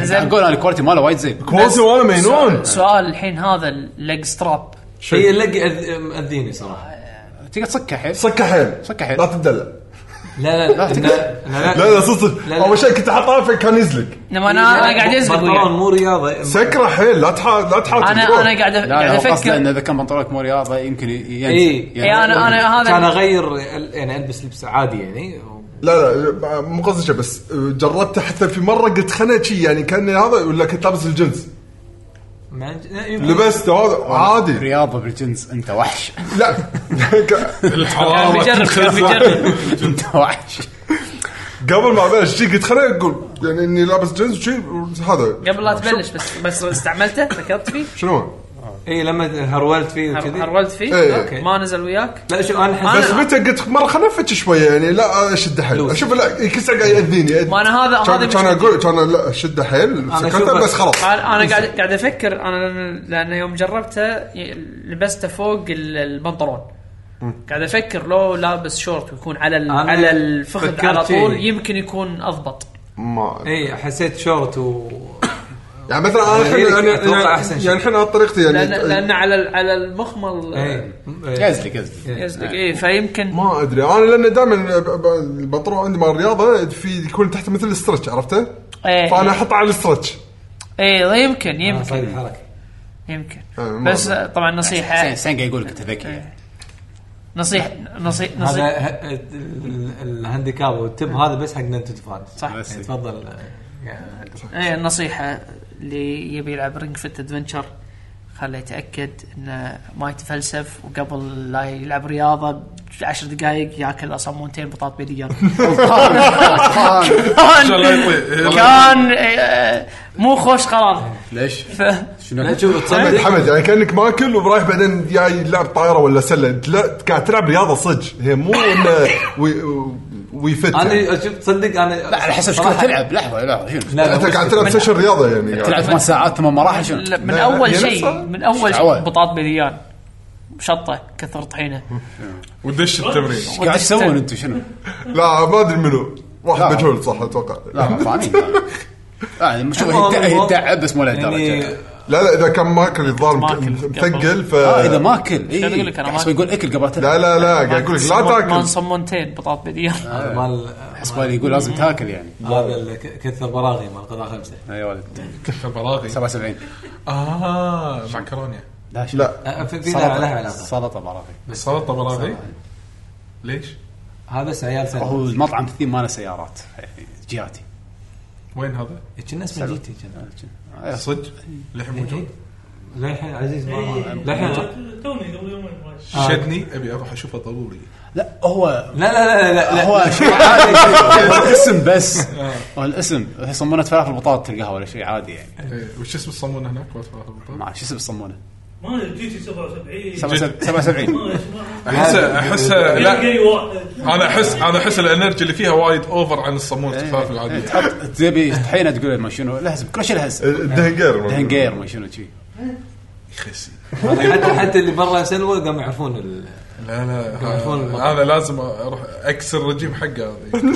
[SPEAKER 2] آه،
[SPEAKER 1] زين اقول انا الكواليتي ماله وايد زين
[SPEAKER 5] كوزي وانا مجنون
[SPEAKER 4] سؤال الحين هذا الليج ستراب
[SPEAKER 2] هي اللقي إيه، أذ- مأذيني صراحه
[SPEAKER 1] تقدر تصكه حيل
[SPEAKER 5] صك حيل
[SPEAKER 1] صك حيل.
[SPEAKER 5] لا تدلع
[SPEAKER 2] لا لا إن- لا
[SPEAKER 5] لا لا صدق
[SPEAKER 2] لا، لا.
[SPEAKER 5] اول شيء كنت حاطها فكان يزلق
[SPEAKER 4] انما انا انا
[SPEAKER 2] لا،
[SPEAKER 4] قاعد ازلق
[SPEAKER 2] بنطلون
[SPEAKER 4] وياه
[SPEAKER 2] مو رياضه
[SPEAKER 5] سكره حيل لا تح لا تحاول
[SPEAKER 4] انا
[SPEAKER 5] تدرون.
[SPEAKER 4] انا قاعد
[SPEAKER 1] لا لا
[SPEAKER 4] قاعد
[SPEAKER 1] هو قصده انه
[SPEAKER 4] افكر
[SPEAKER 1] اذا كان بنطلونك مو رياضه يمكن ي- ينزل
[SPEAKER 2] إيه.
[SPEAKER 1] يعني
[SPEAKER 4] إيه، انا انا
[SPEAKER 2] كان
[SPEAKER 4] هذا
[SPEAKER 2] اغير ال- يعني البس لبس عادي يعني
[SPEAKER 5] لا لا مو قصدي شيء بس جربته حتى في مره قلت خلنا شي يعني كان هذا ولا كنت لابس الجنس
[SPEAKER 2] مع- يمكن-
[SPEAKER 5] لبسته هذا عادي
[SPEAKER 1] رياضه بالجنس انت وحش *laughs*
[SPEAKER 5] لا *laughs*
[SPEAKER 4] كان بيجرب كان بيجرب
[SPEAKER 1] انت وحش
[SPEAKER 2] إيه.
[SPEAKER 5] قبل ما ابلش شي قلت خلنا اقول يعني اني لابس جنس شي هذا
[SPEAKER 4] قبل لا تبلش بس بس استعملته فكرت فيه
[SPEAKER 5] شنو هو؟
[SPEAKER 2] اي إيه، لما هرولت فيه
[SPEAKER 4] هر-
[SPEAKER 2] وكذي
[SPEAKER 4] هرولت فيه
[SPEAKER 5] إيه.
[SPEAKER 4] أوكي. ما نزل وياك
[SPEAKER 2] لا شوف انا
[SPEAKER 4] أنا-
[SPEAKER 2] الحين
[SPEAKER 5] بس متى قلت مره خلنا نفتش شويه يعني لا اشد حيل
[SPEAKER 2] لوس.
[SPEAKER 5] اشوف لا يكسر قاعد ياذيني
[SPEAKER 4] ما أنا هذا- هذا
[SPEAKER 5] كان كان
[SPEAKER 4] مشكلتي.
[SPEAKER 5] اقول كان لا اشد حيل سكرته
[SPEAKER 2] أشوفك.
[SPEAKER 5] بس خلاص
[SPEAKER 4] انا أنا قاعد قاعد افكر انا لأن- لان يوم جربته ي- لبسته فوق ال- البنطلون قاعد افكر لو لابس شورت ويكون على ال-
[SPEAKER 2] أنا
[SPEAKER 4] على الفخذ
[SPEAKER 2] فكرت
[SPEAKER 4] على طول
[SPEAKER 2] فيه.
[SPEAKER 4] يمكن يكون اضبط
[SPEAKER 5] ما
[SPEAKER 2] اي إيه، حسيت شورت و
[SPEAKER 5] يعني مثلا انا الحين
[SPEAKER 2] يعني
[SPEAKER 4] إيه،
[SPEAKER 5] يعني-
[SPEAKER 2] أتوقع
[SPEAKER 5] يعني-
[SPEAKER 2] أحسن شيء.
[SPEAKER 5] يعني الحين انا طريقتي يعني
[SPEAKER 4] لان لان على ال- على المخمل
[SPEAKER 2] إي. آه،
[SPEAKER 1] قزلي قزلي
[SPEAKER 4] يزلق
[SPEAKER 2] إيه.
[SPEAKER 4] اي فيمكن
[SPEAKER 5] ما ادري انا لان دائما البنطلون عندي مال الرياضه في يكون تحت مثل الاسترتش عرفته؟
[SPEAKER 4] إيه.
[SPEAKER 5] فانا احطه على الاسترتش
[SPEAKER 4] اي إيه، يمكن يمكن
[SPEAKER 2] صايد الحركه آه.
[SPEAKER 4] يمكن
[SPEAKER 5] إيه، ما
[SPEAKER 4] بس
[SPEAKER 5] أدري.
[SPEAKER 4] آه، طبعا نصيحه
[SPEAKER 1] حسين حسين قاعد يقول لك انت ذكي يعني.
[SPEAKER 4] نصيحه نصيحه
[SPEAKER 2] هذا
[SPEAKER 4] نصيحه
[SPEAKER 2] ه- ال- الهانديكاب والتب هذا بس حق نينتندو فانز
[SPEAKER 4] صح.
[SPEAKER 1] بس.
[SPEAKER 2] يعني تفضل يعني
[SPEAKER 4] إيه، اي نصيحه اللي يبي يلعب رينج فيت ادفنتشر خله يتاكد انه ما يتفلسف وقبل لا يلعب رياضه عشر دقائق ياكل صمونتين بطاط بيديان
[SPEAKER 3] شاء الله يطيق.
[SPEAKER 4] كان كان آه، مو خوش قرار
[SPEAKER 1] ليش؟
[SPEAKER 4] ف-
[SPEAKER 2] لا
[SPEAKER 1] شنو؟
[SPEAKER 2] شوف
[SPEAKER 5] حمد
[SPEAKER 2] تصدق
[SPEAKER 5] حمد يعني كانك ماكل ورايح بعدين جاي لعب طايره ولا سله أنت لا قاعد تلعب رياضه صدق هي مو انه وي- ويفت يعني.
[SPEAKER 2] انا اشوف تصدق انا
[SPEAKER 1] لا على حسب شكون تلعب لحظه لحظه شنو؟
[SPEAKER 2] لا
[SPEAKER 5] انت
[SPEAKER 2] مو
[SPEAKER 5] قاعد
[SPEAKER 2] شكل.
[SPEAKER 5] تلعب سيشن رياضه يعني
[SPEAKER 1] تلعب ثمان ساعات ثمان مراحل شنو؟
[SPEAKER 4] لا، من
[SPEAKER 5] لا،
[SPEAKER 4] اول
[SPEAKER 5] هي
[SPEAKER 4] شيء
[SPEAKER 5] نفسها.
[SPEAKER 4] من اول شيء
[SPEAKER 1] شعوال.
[SPEAKER 4] بطاط بليان شطه كثر طحينه
[SPEAKER 3] *laughs* ودش التمرين
[SPEAKER 1] ايش قاعد تسوون انتم شنو؟
[SPEAKER 5] لا ما ادري منو
[SPEAKER 1] لا.
[SPEAKER 5] واحد مجهول صح اتوقع
[SPEAKER 1] لا
[SPEAKER 5] لا
[SPEAKER 1] فاهمين يعني شوف هي تع- هي تعب بس مو لهالدرجه
[SPEAKER 2] يعني
[SPEAKER 5] لا اذا كان ماكل الظاهر
[SPEAKER 4] ماكل.
[SPEAKER 5] مثقل ف
[SPEAKER 1] اه اذا ما اكل
[SPEAKER 4] شو أقول لك
[SPEAKER 1] اي
[SPEAKER 4] أنا ما-
[SPEAKER 1] احسب يقول اكل قبل
[SPEAKER 5] لا لا لا قاعد اقول لك لا
[SPEAKER 4] مان
[SPEAKER 5] تاكل
[SPEAKER 4] صمونتين بطاط بليان
[SPEAKER 2] هذا مال
[SPEAKER 1] احسب يقول لازم تاكل يعني
[SPEAKER 2] هذا اللي ك- كثر براغي مال قضاء خمسه
[SPEAKER 1] اي ولد
[SPEAKER 3] فبراغي
[SPEAKER 1] 77
[SPEAKER 3] اه معكرونه
[SPEAKER 1] لا شنو؟
[SPEAKER 5] لا
[SPEAKER 2] لا، في في لها لها
[SPEAKER 1] سلطه
[SPEAKER 2] علاقه
[SPEAKER 1] سلطه براغي
[SPEAKER 3] سلطه براغي ليش؟
[SPEAKER 2] هذا بس
[SPEAKER 1] هو
[SPEAKER 2] عيال سنه
[SPEAKER 1] المطعم الثيم ماله سيارات يعني جياتي
[SPEAKER 3] وين هذا؟
[SPEAKER 2] كنا اسمه جيتي كنا
[SPEAKER 3] صدق
[SPEAKER 5] إيه.
[SPEAKER 3] للحين موجود؟
[SPEAKER 2] إيه. للحين عزيز
[SPEAKER 6] إيه.
[SPEAKER 2] ما للحين
[SPEAKER 6] توني قبل يومين ما أدري.
[SPEAKER 5] إيه. آه.
[SPEAKER 3] شدني ابي اروح اشوفه ضروري
[SPEAKER 1] لا هو
[SPEAKER 2] لا لا لا لا لا
[SPEAKER 1] هو شيء عادي هو الاسم بس هو الاسم هي صمونه فلافل بطاطا تلقاها ولا شيء عادي يعني
[SPEAKER 3] إيه، وش اسم الصمون هناك؟ ما أتفرج على البطاطا.
[SPEAKER 1] ما أعرف شو اسم الصمونه
[SPEAKER 6] ما ادري جيتي 77
[SPEAKER 1] 77
[SPEAKER 6] ما أدري، ما
[SPEAKER 3] احسه احسه
[SPEAKER 6] أدري.
[SPEAKER 3] لا
[SPEAKER 6] جاي واحد
[SPEAKER 3] انا احس انا احس الانرجي اللي فيها وايد اوفر عن الصمون الفلافل
[SPEAKER 1] إيه،
[SPEAKER 3] العاديه
[SPEAKER 1] تحط تبي طحينه تقول ما شنو لهزم كل شيء لهزم
[SPEAKER 5] الدهنقير
[SPEAKER 1] دهنقير ما شنو شي
[SPEAKER 3] يخسي
[SPEAKER 2] حتى حتى اللي برا سلوى قام يعرفون ال-
[SPEAKER 3] لا
[SPEAKER 5] *laughs*
[SPEAKER 3] لا
[SPEAKER 2] يعرفون
[SPEAKER 3] ها-
[SPEAKER 2] المطعم.
[SPEAKER 3] انا لازم اروح اكسر الرجيم حقه هذا.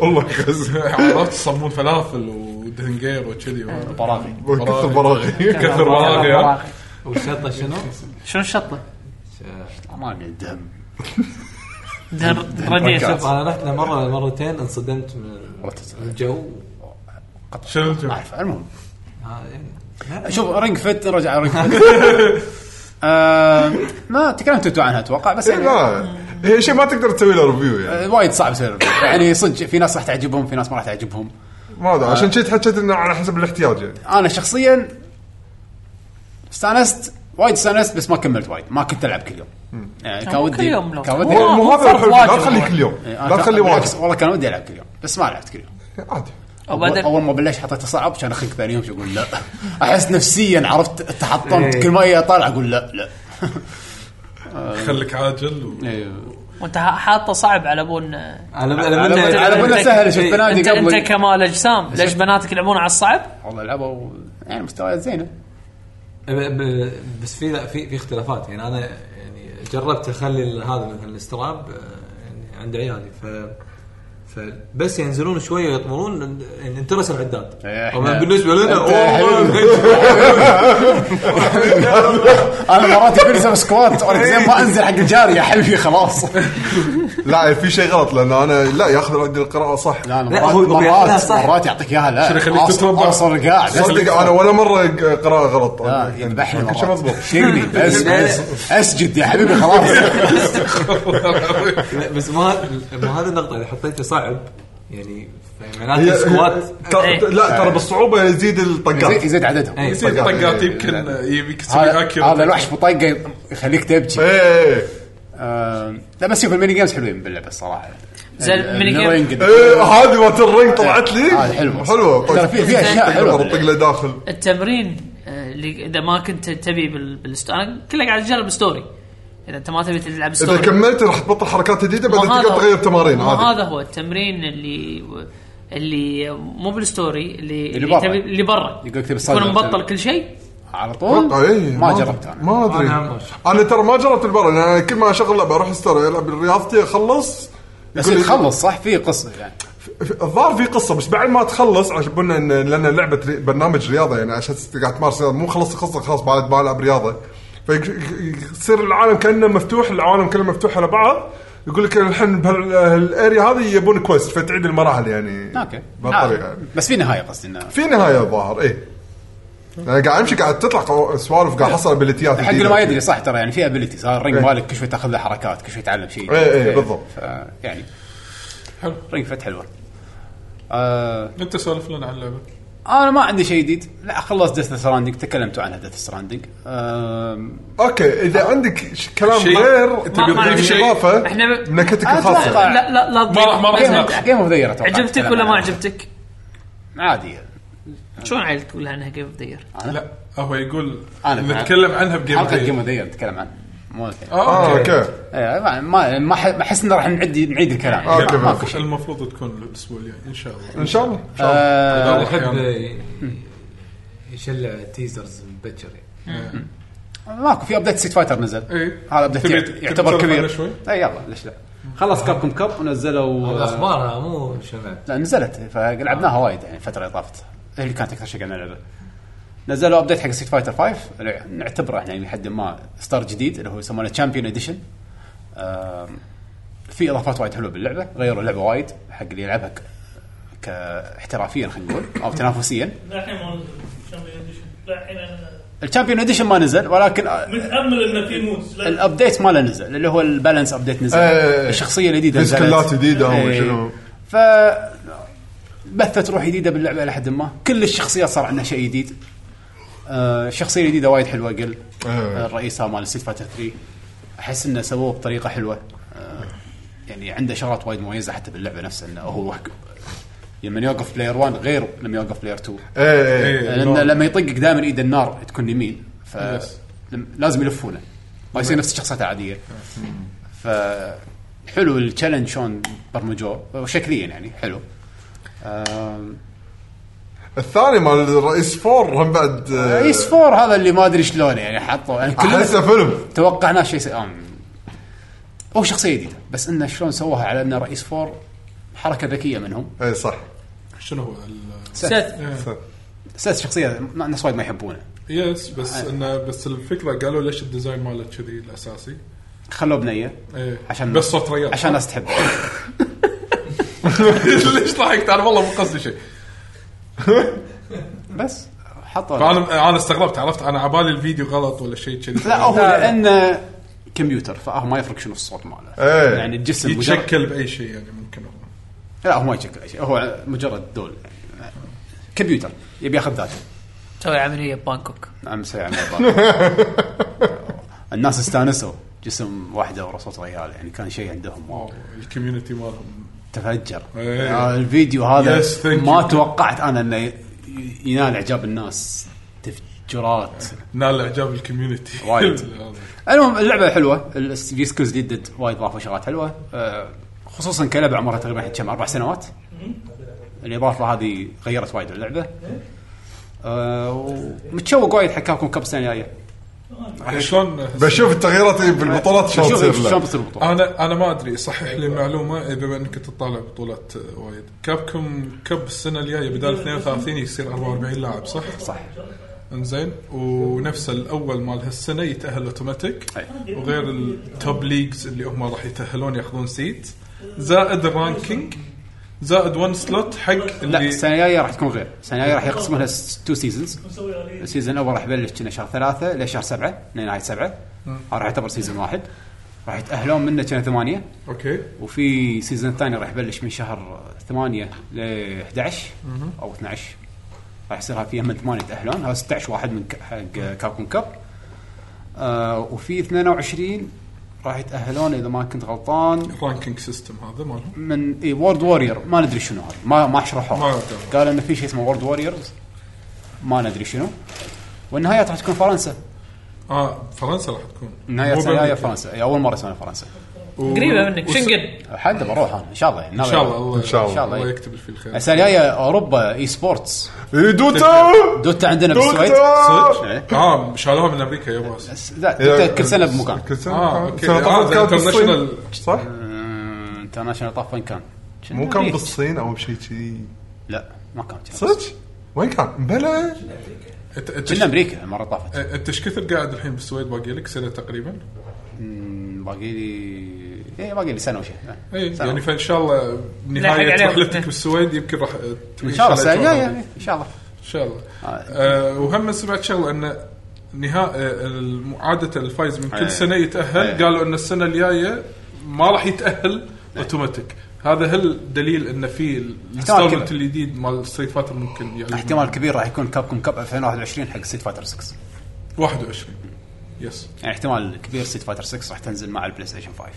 [SPEAKER 5] والله خز
[SPEAKER 3] عرفت الصمون فلافل ودهنجير وكذي
[SPEAKER 1] إيه.
[SPEAKER 3] وهذا.
[SPEAKER 1] براغي
[SPEAKER 5] كثر براغي
[SPEAKER 3] كثر براغي ها.
[SPEAKER 2] والشطه شنو؟
[SPEAKER 4] *laughs* شنو الشطه؟
[SPEAKER 1] ما ادري الدهم
[SPEAKER 4] دهن
[SPEAKER 2] شوف *laughs*
[SPEAKER 4] رديت
[SPEAKER 2] انا رحت له مره مرتين انصدمت من
[SPEAKER 1] رتت.
[SPEAKER 2] الجو
[SPEAKER 3] شنو
[SPEAKER 1] ما
[SPEAKER 3] الجو؟
[SPEAKER 1] اعرف المهم
[SPEAKER 2] آه، يعني.
[SPEAKER 1] شوف رينج فت رجع رينج فت آه، ما تكلمت انتوا عنها اتوقع بس يعني
[SPEAKER 5] لا هي شيء إيه، ما تقدر تسوي له ريفيو يعني
[SPEAKER 1] آه، وايد صعب يصير يعني صدق في ناس راح تعجبهم في ناس ما راح تعجبهم
[SPEAKER 5] ما ادري عشان كذي حكيت انه على حسب الاحتياج يعني
[SPEAKER 1] انا شخصيا استانست وايد استانست بس ما كملت وايد ما كنت العب كل يوم يعني كان
[SPEAKER 4] طيب، مو
[SPEAKER 1] ودي
[SPEAKER 4] كل يوم لو-
[SPEAKER 1] كان
[SPEAKER 4] مو-
[SPEAKER 1] ودي
[SPEAKER 5] مو
[SPEAKER 1] ألعب.
[SPEAKER 5] مو هذا
[SPEAKER 4] فرق
[SPEAKER 5] الحلو
[SPEAKER 4] واجب
[SPEAKER 5] لا تخليه
[SPEAKER 4] والله.
[SPEAKER 5] كل يوم
[SPEAKER 1] إيه، أنا
[SPEAKER 5] لا
[SPEAKER 1] كان-
[SPEAKER 5] تخليه
[SPEAKER 1] بالعكس،
[SPEAKER 5] واجب
[SPEAKER 1] والله كان ودي العب كل يوم بس ما لعبت كل يوم
[SPEAKER 5] *laughs* عادي
[SPEAKER 4] وبعدين
[SPEAKER 1] اول ما بلشت حطيته صعب كان اخك ثاني يوم شو اقول لا *laughs* احس نفسيا عرفت تحطمت
[SPEAKER 2] إيه.
[SPEAKER 1] كل ما أجي اطالع اقول لا لا
[SPEAKER 3] خليك عاجل و-
[SPEAKER 1] إيه.
[SPEAKER 4] وانت ح- حاطه صعب على بون
[SPEAKER 2] على
[SPEAKER 1] على بال- على
[SPEAKER 2] على
[SPEAKER 1] بال-
[SPEAKER 2] منه
[SPEAKER 1] بنا سهل، شوف بنات-
[SPEAKER 4] انت
[SPEAKER 1] قبل-
[SPEAKER 4] انت كمال اجسام ليش بناتك يلعبون على الصعب؟
[SPEAKER 1] والله لعبوا يعني مستويات زينه
[SPEAKER 2] بس في لا، في في اختلافات يعني انا يعني جربت اخلي ال- هذا مثلا الاستراب آه، يعني عند عيالي ف فبس ينزلون شويه ويطمرون يعني انترس العداد
[SPEAKER 1] إيه،
[SPEAKER 2] طبعا
[SPEAKER 1] إحنا-
[SPEAKER 2] بالنسبه لنا
[SPEAKER 1] أنت
[SPEAKER 2] أوه،
[SPEAKER 1] انا مرات يقول لي سوي سكوات اقول لك زين ما انزل حق الجاري يا حبيبي خلاص
[SPEAKER 5] لا إيه، في شيء غلط لان انا لا ياخذ عندي القراءه صح
[SPEAKER 1] لا
[SPEAKER 2] لا،
[SPEAKER 1] انا
[SPEAKER 2] هو-
[SPEAKER 1] مرات
[SPEAKER 2] هو يعطيها
[SPEAKER 1] مرات,
[SPEAKER 2] صح.
[SPEAKER 1] مرات يعطيك اياها لا
[SPEAKER 3] شنو يخليك
[SPEAKER 1] أص-
[SPEAKER 3] تتربع؟
[SPEAKER 1] اصل قاعد
[SPEAKER 5] صدق انا ولا مره قراءه غلط
[SPEAKER 1] لا يذبحني
[SPEAKER 5] كل شيء مضبوط
[SPEAKER 1] مرات
[SPEAKER 5] *laughs*
[SPEAKER 1] شيلني بس بس اسجد يا حبيبي خلاص
[SPEAKER 2] *laughs* لا، بس ما ما هذه النقطه اذا حطيته صعب يعني
[SPEAKER 1] *laughs*
[SPEAKER 2] معناته
[SPEAKER 5] هي-
[SPEAKER 2] سكوات
[SPEAKER 5] ترى- لا
[SPEAKER 3] إيه.
[SPEAKER 5] ترى بالصعوبه يزيد
[SPEAKER 1] يزيد-
[SPEAKER 5] الطقات
[SPEAKER 1] يزيد عددهم
[SPEAKER 2] إيه.
[SPEAKER 3] يصير
[SPEAKER 5] طقات.
[SPEAKER 3] طقات
[SPEAKER 5] إيه،
[SPEAKER 3] يمكن يبيك تسوي
[SPEAKER 1] هذا
[SPEAKER 3] اكيو
[SPEAKER 1] هذا الوحش بطاقه يخليك تبكي
[SPEAKER 5] ايه
[SPEAKER 1] آم، لا بس شوف الميني جيمز حلوين باللعبه الصراحه
[SPEAKER 4] زين الميني جيم-
[SPEAKER 1] جيم
[SPEAKER 5] ايه هذه مالت الرنج طلعت لي طيب.
[SPEAKER 1] هذه حلوة.
[SPEAKER 5] حلوه
[SPEAKER 1] ترى في- في أشياء حلوة.
[SPEAKER 5] طق له داخل
[SPEAKER 4] التمرين آه، اللي اذا ما كنت تبي بالستوري انا كله قاعد اجرب ستوري اذا انت ما تبي تلعب
[SPEAKER 5] اذا
[SPEAKER 4] ستوري
[SPEAKER 5] كملت راح تبطل حركات جديده بعدين
[SPEAKER 4] ما
[SPEAKER 5] تقدر
[SPEAKER 4] هو-
[SPEAKER 5] تغير تمارين
[SPEAKER 4] ما
[SPEAKER 5] عادي
[SPEAKER 4] هذا هو التمرين اللي اللي مو بالستوري اللي
[SPEAKER 1] اللي برا.
[SPEAKER 4] تبي- اللي برا
[SPEAKER 1] يقولك تبي تصلي
[SPEAKER 4] تكون مبطل
[SPEAKER 1] مثلاً.
[SPEAKER 4] كل شيء
[SPEAKER 1] على طول
[SPEAKER 5] إيه،
[SPEAKER 1] ما جربت انا
[SPEAKER 5] ما ادري
[SPEAKER 2] أنا-
[SPEAKER 5] انا ترى ما جربت البر انا كل ما اشغل لعبه اروح استر العب رياضتي اخلص
[SPEAKER 1] بس
[SPEAKER 5] يقول لي-
[SPEAKER 1] تخلص صح في قصه يعني
[SPEAKER 5] في- الظاهر في قصه بس بعد ما تخلص عشان قلنا ان لان لعبه ري- برنامج رياضه يعني عشان ست- قاعد تمارس رياضه مو خلصت قصه خلاص بعد بلعب رياضه فيصير العالم كانه مفتوح العالم كله مفتوح على بعض يقول لك الحين بهالاريا هذه يبون كويست فتعيد المراحل يعني
[SPEAKER 1] اوكي
[SPEAKER 5] بهالطريقه
[SPEAKER 1] عادي.
[SPEAKER 5] يعني.
[SPEAKER 1] بس في نهايه قصدي انه
[SPEAKER 5] في نهايه الظاهر ايه انا قاعد امشي قاعد تطلع قو- سوالف قاعد احصل ابيليتيات
[SPEAKER 1] حق اللي ما يدري صح ترى يعني في ابيلتيز هذا الرنج
[SPEAKER 5] إيه.
[SPEAKER 1] مالك كل شوي تاخذ له حركات كل شوي تعلم شيء
[SPEAKER 5] إيه، إيه، بالضبط.
[SPEAKER 1] فا يعني
[SPEAKER 3] حلو
[SPEAKER 1] رنج فت حلوه آه
[SPEAKER 3] انت سولف لنا عن اللعبه
[SPEAKER 1] انا آه، ما عندي شيء جديد لا خلصت ديث ستراندنج تكلمتوا عنها آه، ديث ستراندنج
[SPEAKER 5] اوكي اذا عندك ش- كلام
[SPEAKER 3] شيء-
[SPEAKER 5] غير تبي
[SPEAKER 4] ما
[SPEAKER 5] تضيف
[SPEAKER 4] عندي
[SPEAKER 5] شيء
[SPEAKER 3] شيء.
[SPEAKER 5] اضافه
[SPEAKER 4] إحنا ب-
[SPEAKER 5] نكتك الخاصه
[SPEAKER 1] أتوقع.
[SPEAKER 4] لا لا لا تضيف.
[SPEAKER 3] ما- ما راح
[SPEAKER 4] بس
[SPEAKER 3] نناقش.
[SPEAKER 1] جيم اوف ذا يير
[SPEAKER 4] عجبتك ولا ما عجبتك؟
[SPEAKER 1] عادي آه.
[SPEAKER 4] شلون عيل تقول عنها جيم اوف ذا
[SPEAKER 3] لا هو يقول
[SPEAKER 1] أنا فعلا.
[SPEAKER 3] نتكلم عنها بجيم آه،
[SPEAKER 1] حلقه جيم
[SPEAKER 3] اوف
[SPEAKER 1] اوف ذا يير نتكلم عنها مو الحين.
[SPEAKER 5] اه اوكي
[SPEAKER 1] إيه، ما ما ما ح- ما احس انه راح نعد نعيد الكلام
[SPEAKER 5] آه، أوكي،
[SPEAKER 1] ماكو شيء
[SPEAKER 3] المفروض تكون الاسبوع الجاي ان شاء الله
[SPEAKER 5] ان شاء الله
[SPEAKER 1] آه،
[SPEAKER 3] آه، *laughs*
[SPEAKER 2] يحب
[SPEAKER 3] أحياناً.
[SPEAKER 2] ي- يعني يشلع تيزرز مبكر يعني.
[SPEAKER 1] ماكو في ابديت سيت فايتر نزل
[SPEAKER 3] إيه.
[SPEAKER 1] هذا ابديت
[SPEAKER 3] تبي-
[SPEAKER 1] يعت-
[SPEAKER 3] تبي
[SPEAKER 1] يعتبر
[SPEAKER 3] تسولف
[SPEAKER 1] كبير
[SPEAKER 3] عنه شوي؟
[SPEAKER 1] اي يلا ليش لا خلص كابكم كاب ونزلوا آه،
[SPEAKER 2] هذا اخبارها مو شمعت
[SPEAKER 1] لا نزلت فلعبناها وايد يعني الفتره اللي طافت هي اللي كانت اكثر شيء قاعد نلعبه نزلوا ابديت حق ستيت فايتر 5 اللي نعتبره احنا يعني لحد ما اصدار جديد اللي هو يسمونه تشامبيون اديشن في اضافات وايد حلوه باللعبه غيروا اللعبه وايد حق اللي يلعبها ك- كاحترافيا خلينا نقول او تنافسيا
[SPEAKER 6] لا الحين ما نزل. عشان ما يدش. لا الحين أنا
[SPEAKER 1] التشامبيون اديشن ما نزل ولكن آه،
[SPEAKER 6] متامل انه في موز لا
[SPEAKER 1] الابديت ماله نزل اللي هو البالانس ابديت نزل
[SPEAKER 5] إيه.
[SPEAKER 1] الشخصيه الجديده
[SPEAKER 5] في
[SPEAKER 1] نزلت.
[SPEAKER 5] سكلات جديدة أو
[SPEAKER 1] إيه.
[SPEAKER 5] شنو.
[SPEAKER 1] ف بثت روح جديده باللعبه لحد ما كل الشخصيات صار عندها شيء جديد آه، الشخصيه الجديده وايد حلوه قل
[SPEAKER 5] إيه.
[SPEAKER 1] الرئيسه مال ستيت فاتر 3 احس انه سووه بطريقه حلوه آه، يعني عنده شغلات وايد مميزه حتى باللعبه نفسها انه هو وحده لما يوقف بلاير 1 غير لما يوقف بلاير 2
[SPEAKER 5] ايه ايه
[SPEAKER 3] إيه،
[SPEAKER 1] لان
[SPEAKER 3] نور.
[SPEAKER 1] لما يطقك دائما ايد النار تكون يمين ف
[SPEAKER 3] Yes.
[SPEAKER 1] لم- لازم يلفونه ما يصير نفس الشخصيات العاديه ف حلو التشالنج شلون برمجوه شكليا يعني حلو آم،
[SPEAKER 5] الثاني مال الرئيس فور هم بعد آه،
[SPEAKER 1] رئيس فور هذا اللي ما ادري شلون يعني حطوا يعني
[SPEAKER 5] احسه
[SPEAKER 1] كلنا
[SPEAKER 5] فيلم
[SPEAKER 1] توقعناه شيء سي... آم. هو شخصيه جديده بس انه شلون سووها على انه رئيس فور حركه ذكيه منهم
[SPEAKER 5] اي إيه، صح
[SPEAKER 3] شنو هو ال-
[SPEAKER 4] سيث
[SPEAKER 3] إيه.
[SPEAKER 5] صح.
[SPEAKER 1] اساس شخصيه الناس وايد ما يحبونه
[SPEAKER 3] يس إيه، بس
[SPEAKER 1] آه.
[SPEAKER 3] انه بس الفكره قالوا ليش الديزاين ماله كذي الاساسي
[SPEAKER 1] خلوه بنيه
[SPEAKER 3] إيه.
[SPEAKER 1] عشان
[SPEAKER 3] بس صوت ريال
[SPEAKER 1] عشان الناس تحبه
[SPEAKER 3] *laughs* ليش ضحكت انا والله مو قصدي شيء
[SPEAKER 1] بس حطوا
[SPEAKER 3] فانا انا استغربت عرفت انا عبالي الفيديو غلط ولا شيء كذي
[SPEAKER 1] لا هو لانه كمبيوتر فهو ما يفرق شنو الصوت ماله
[SPEAKER 5] إيه.
[SPEAKER 1] يعني الجسم مجرد
[SPEAKER 3] يتشكل باي شيء يعني ممكن هو
[SPEAKER 1] لا هو ما يشكل أي شيء هو مجرد دول يعني كمبيوتر يبي ياخذ ذاته نعم،
[SPEAKER 4] سوي عمليه ببانكوك
[SPEAKER 1] امس هي عم
[SPEAKER 3] *laughs*
[SPEAKER 1] يطلع. الناس استانسوا جسم واحده ورا صوت ريال يعني كان شيء عندهم واو
[SPEAKER 3] واو الكوميونتي مالهم
[SPEAKER 1] تفجر
[SPEAKER 3] إيه.
[SPEAKER 1] آه، الفيديو هذا
[SPEAKER 3] Yes, thank
[SPEAKER 1] ما
[SPEAKER 3] you.
[SPEAKER 1] توقعت انا انه ي- ينال اعجاب الناس تفجيرات
[SPEAKER 3] نال اعجاب الكوميونتي *laughs*
[SPEAKER 1] وايد. المهم اللعبه حلوه الفي سكيلز جدد وايد ضافوا شغلات حلوه آه، خصوصا كلعبه عمرها تقريبا الحين كم اربع سنوات الاضافه هذه غيرت وايد اللعبه آه، ومتشوق وايد حق كابكم كاب السنه الجايه
[SPEAKER 3] يعني شلون
[SPEAKER 5] بشوف التغييرات اللي بالبطولات شلون تصير
[SPEAKER 1] بشوف
[SPEAKER 5] له.
[SPEAKER 1] شلون بتصير البطوله
[SPEAKER 3] انا انا ما ادري صحح لي المعلومه بما انك تطالع بطولات آه، وايد كابكم كب السنه الجايه بدال 32 يصير 44 لاعب صح؟ صح انزين ونفس الاول مال هالسنه يتاهل اوتوماتيك
[SPEAKER 1] أي.
[SPEAKER 3] وغير التوب ليجز اللي هم راح يتاهلون ياخذون سيت زائد الرانكينج زائد ون سلوت حق
[SPEAKER 1] لا
[SPEAKER 3] اللي
[SPEAKER 1] السنه الجايه راح تكون غير السنه الجايه راح يقسموا لها تو سيزونز
[SPEAKER 6] نسوي آلية.
[SPEAKER 1] السيزون الاول راح يبلش كنا شهر ثلاثه لشهر سبعه لنهايه سبعه راح يعتبر سيزون واحد راح يتاهلون منه كنا ثمانيه
[SPEAKER 3] اوكي
[SPEAKER 1] وفي سيزون ثاني راح يبلش من شهر 8 ل 11 او 12 راح يصيرها فيها من 8 تاهلون هذا 16 واحد من ك- حق كابكون كاب آه وفي 22 راح يتاهلون اذا ما كنت غلطان
[SPEAKER 3] الرانكينج سيستم هذا مالهم
[SPEAKER 1] من اي وورد وورير ما ندري شنو هذا ما ما
[SPEAKER 3] ما
[SPEAKER 1] شرحوه
[SPEAKER 3] أدري.
[SPEAKER 1] قال انه في شيء اسمه وورد ووريرز ما ندري شنو والنهايات راح تكون فرنسا
[SPEAKER 3] اه فرنسا راح تكون
[SPEAKER 1] النهايات
[SPEAKER 3] مو
[SPEAKER 1] السنه الجاية
[SPEAKER 3] بأمريكا.
[SPEAKER 1] فرنسا إيه، إي، اول مره اسمع فرنسا
[SPEAKER 3] و-
[SPEAKER 4] قريبه منك
[SPEAKER 3] وس-
[SPEAKER 4] شنقن
[SPEAKER 1] حتى بروح انا ان شاء الله
[SPEAKER 3] ان شاء الله
[SPEAKER 5] إن شاء الله.
[SPEAKER 1] إن شاء الله.
[SPEAKER 3] الله يكتب الفيل خير
[SPEAKER 1] السنه الجايه اوروبا اي سبورتس
[SPEAKER 5] إيه، دوتا
[SPEAKER 1] دوتا عندنا بالسويد
[SPEAKER 5] دوتا
[SPEAKER 1] إيه.
[SPEAKER 3] صدق؟ اه شالوها من امريكا يا باس
[SPEAKER 1] بس لا دوتا إيه. كل سنه بمكان
[SPEAKER 5] كل سنه
[SPEAKER 3] آه، أوكي.
[SPEAKER 5] سنة طافت
[SPEAKER 3] آه، هذا
[SPEAKER 5] كانت بالصين.
[SPEAKER 3] international.
[SPEAKER 5] صح؟
[SPEAKER 1] أمم، انترناشونال طاف وين كان؟
[SPEAKER 5] مو كان بالصين او شيء كذي
[SPEAKER 1] لا ما كان كنا.
[SPEAKER 5] صدق؟ وين كان؟ بلا
[SPEAKER 3] انت انت
[SPEAKER 1] كنا امريكا المره طافت
[SPEAKER 3] انت ايش كثر إيه، قاعد الحين بالسويد باقي لك سنه تقريبا؟
[SPEAKER 1] أمم، باقي لي ايه باقي لي سنه وشيء
[SPEAKER 3] اي
[SPEAKER 1] سنة.
[SPEAKER 3] يعني فان شاء الله
[SPEAKER 4] نلحق
[SPEAKER 3] نهايه
[SPEAKER 4] عليهم.
[SPEAKER 3] رحلتك بالسويد يمكن راح
[SPEAKER 1] ان شاء الله السنه الجايه ان شاء الله
[SPEAKER 3] ان شاء الله آه، وهم سمعت شغله ان نهاء الم- عاده الفايز من
[SPEAKER 1] أي. إيه.
[SPEAKER 3] كل سنه يتاهل
[SPEAKER 1] أي. إيه.
[SPEAKER 3] قالوا ان السنه الجايه ما راح يتاهل اوتوماتيك هذا هل دليل ان في
[SPEAKER 1] احتمال
[SPEAKER 3] الانستالمنت
[SPEAKER 1] كبير.
[SPEAKER 3] الجديد مال ستريت فاتر ممكن يعني
[SPEAKER 1] احتمال كبير راح يكون كاب كوم كاب 2021 حق ستيت فايتر 6
[SPEAKER 3] 21 يس
[SPEAKER 1] يعني احتمال كبير ستيت فايتر 6 راح تنزل مع البلاي ستيشن 5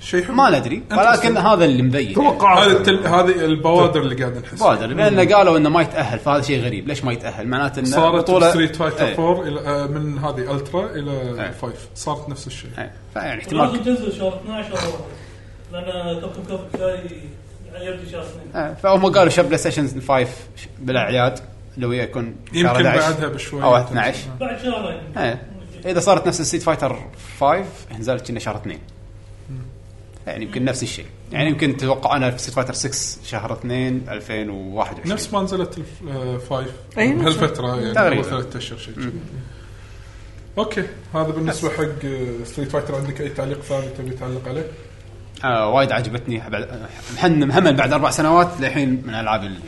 [SPEAKER 3] شيء حلو
[SPEAKER 1] ما ندري ولكن هذا اللي مبين يعني.
[SPEAKER 5] توقعات
[SPEAKER 3] هذه التل... هذه البوادر اللي قاعد نحس
[SPEAKER 1] بادر لان قالوا انه ما يتاهل فهذا شيء غريب ليش ما يتاهل معناته انه
[SPEAKER 3] صارت ستريت فايتر
[SPEAKER 1] إيه.
[SPEAKER 3] 4 الى آه، من هذه الترا الى
[SPEAKER 1] إيه.
[SPEAKER 3] 5 صارت نفس الشيء
[SPEAKER 1] إيه. فيعني
[SPEAKER 6] لازم
[SPEAKER 1] احتمال
[SPEAKER 6] تنزل شهر 12 او 1 لان كابتن كاب الجاي يعني يبدي شهر 2
[SPEAKER 1] إيه. فهم قالوا شب بلاي ستيشن 5 ش- بالاعياد لو هي يكون شهر
[SPEAKER 3] يمكن
[SPEAKER 1] 11
[SPEAKER 3] بعدها بشوي
[SPEAKER 1] او
[SPEAKER 3] تنزل.
[SPEAKER 1] 12
[SPEAKER 6] بعد شهرين
[SPEAKER 1] إيه. اذا صارت نفس السيت فايتر 5 نزلت كنا شهر 2 يعني يمكن نفس الشيء يعني يمكن توقع انا في سيت فايتر 6 شهر 2 2021
[SPEAKER 3] نفس ما نزلت الف- آه، 5
[SPEAKER 4] أي نفس-
[SPEAKER 3] بهالفتره يعني
[SPEAKER 1] تقريباً.
[SPEAKER 3] قبل ثلاث اشهر شيء كذي. اوكي هذا بالنسبه حق ستريت فايتر عندك اي تعليق ثاني تبي تعلق عليه؟
[SPEAKER 1] آه وايد عجبتني بعد- محن محمد بعد اربع سنوات للحين من الالعاب اللي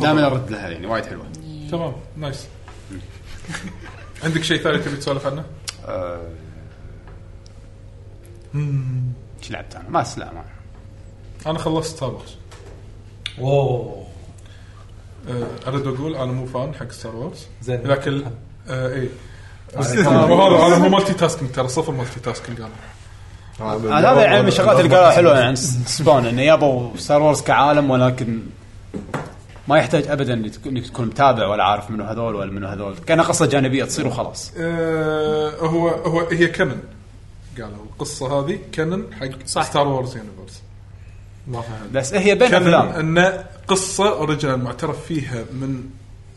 [SPEAKER 1] دائما ارد لها يعني وايد حلوه
[SPEAKER 3] تمام نايس عندك شيء ثاني تبي تسولف عنه؟
[SPEAKER 1] آه، ايش لعبت انا؟ ما أس- لا ما
[SPEAKER 3] انا خلصت ستار وورز
[SPEAKER 2] واو
[SPEAKER 3] آه، اريد اقول انا مو فان حق ستار وورز
[SPEAKER 2] زين.
[SPEAKER 3] لكن آه اي وهذا انا مو مالتي تاسكينج ترى صفر مالتي تاسكينج انا
[SPEAKER 1] أنا هذا يعني من الشغلات اللي قالها حلوه عن س- يعني. سبون انه يابوا ستار وورز كعالم ولكن ما يحتاج ابدا إنك تكون- انك تكون متابع ولا عارف منو هذول ولا منو هذول كانها قصه جانبيه تصير وخلاص
[SPEAKER 3] آه، هو هو هي كنن قالوا القصه هذه كنن حق
[SPEAKER 4] صح.
[SPEAKER 3] ستار وورز يونيفرس ما فهمت
[SPEAKER 1] بس هي بين
[SPEAKER 3] كان
[SPEAKER 1] افلام
[SPEAKER 3] ان قصه اوريجنال معترف فيها من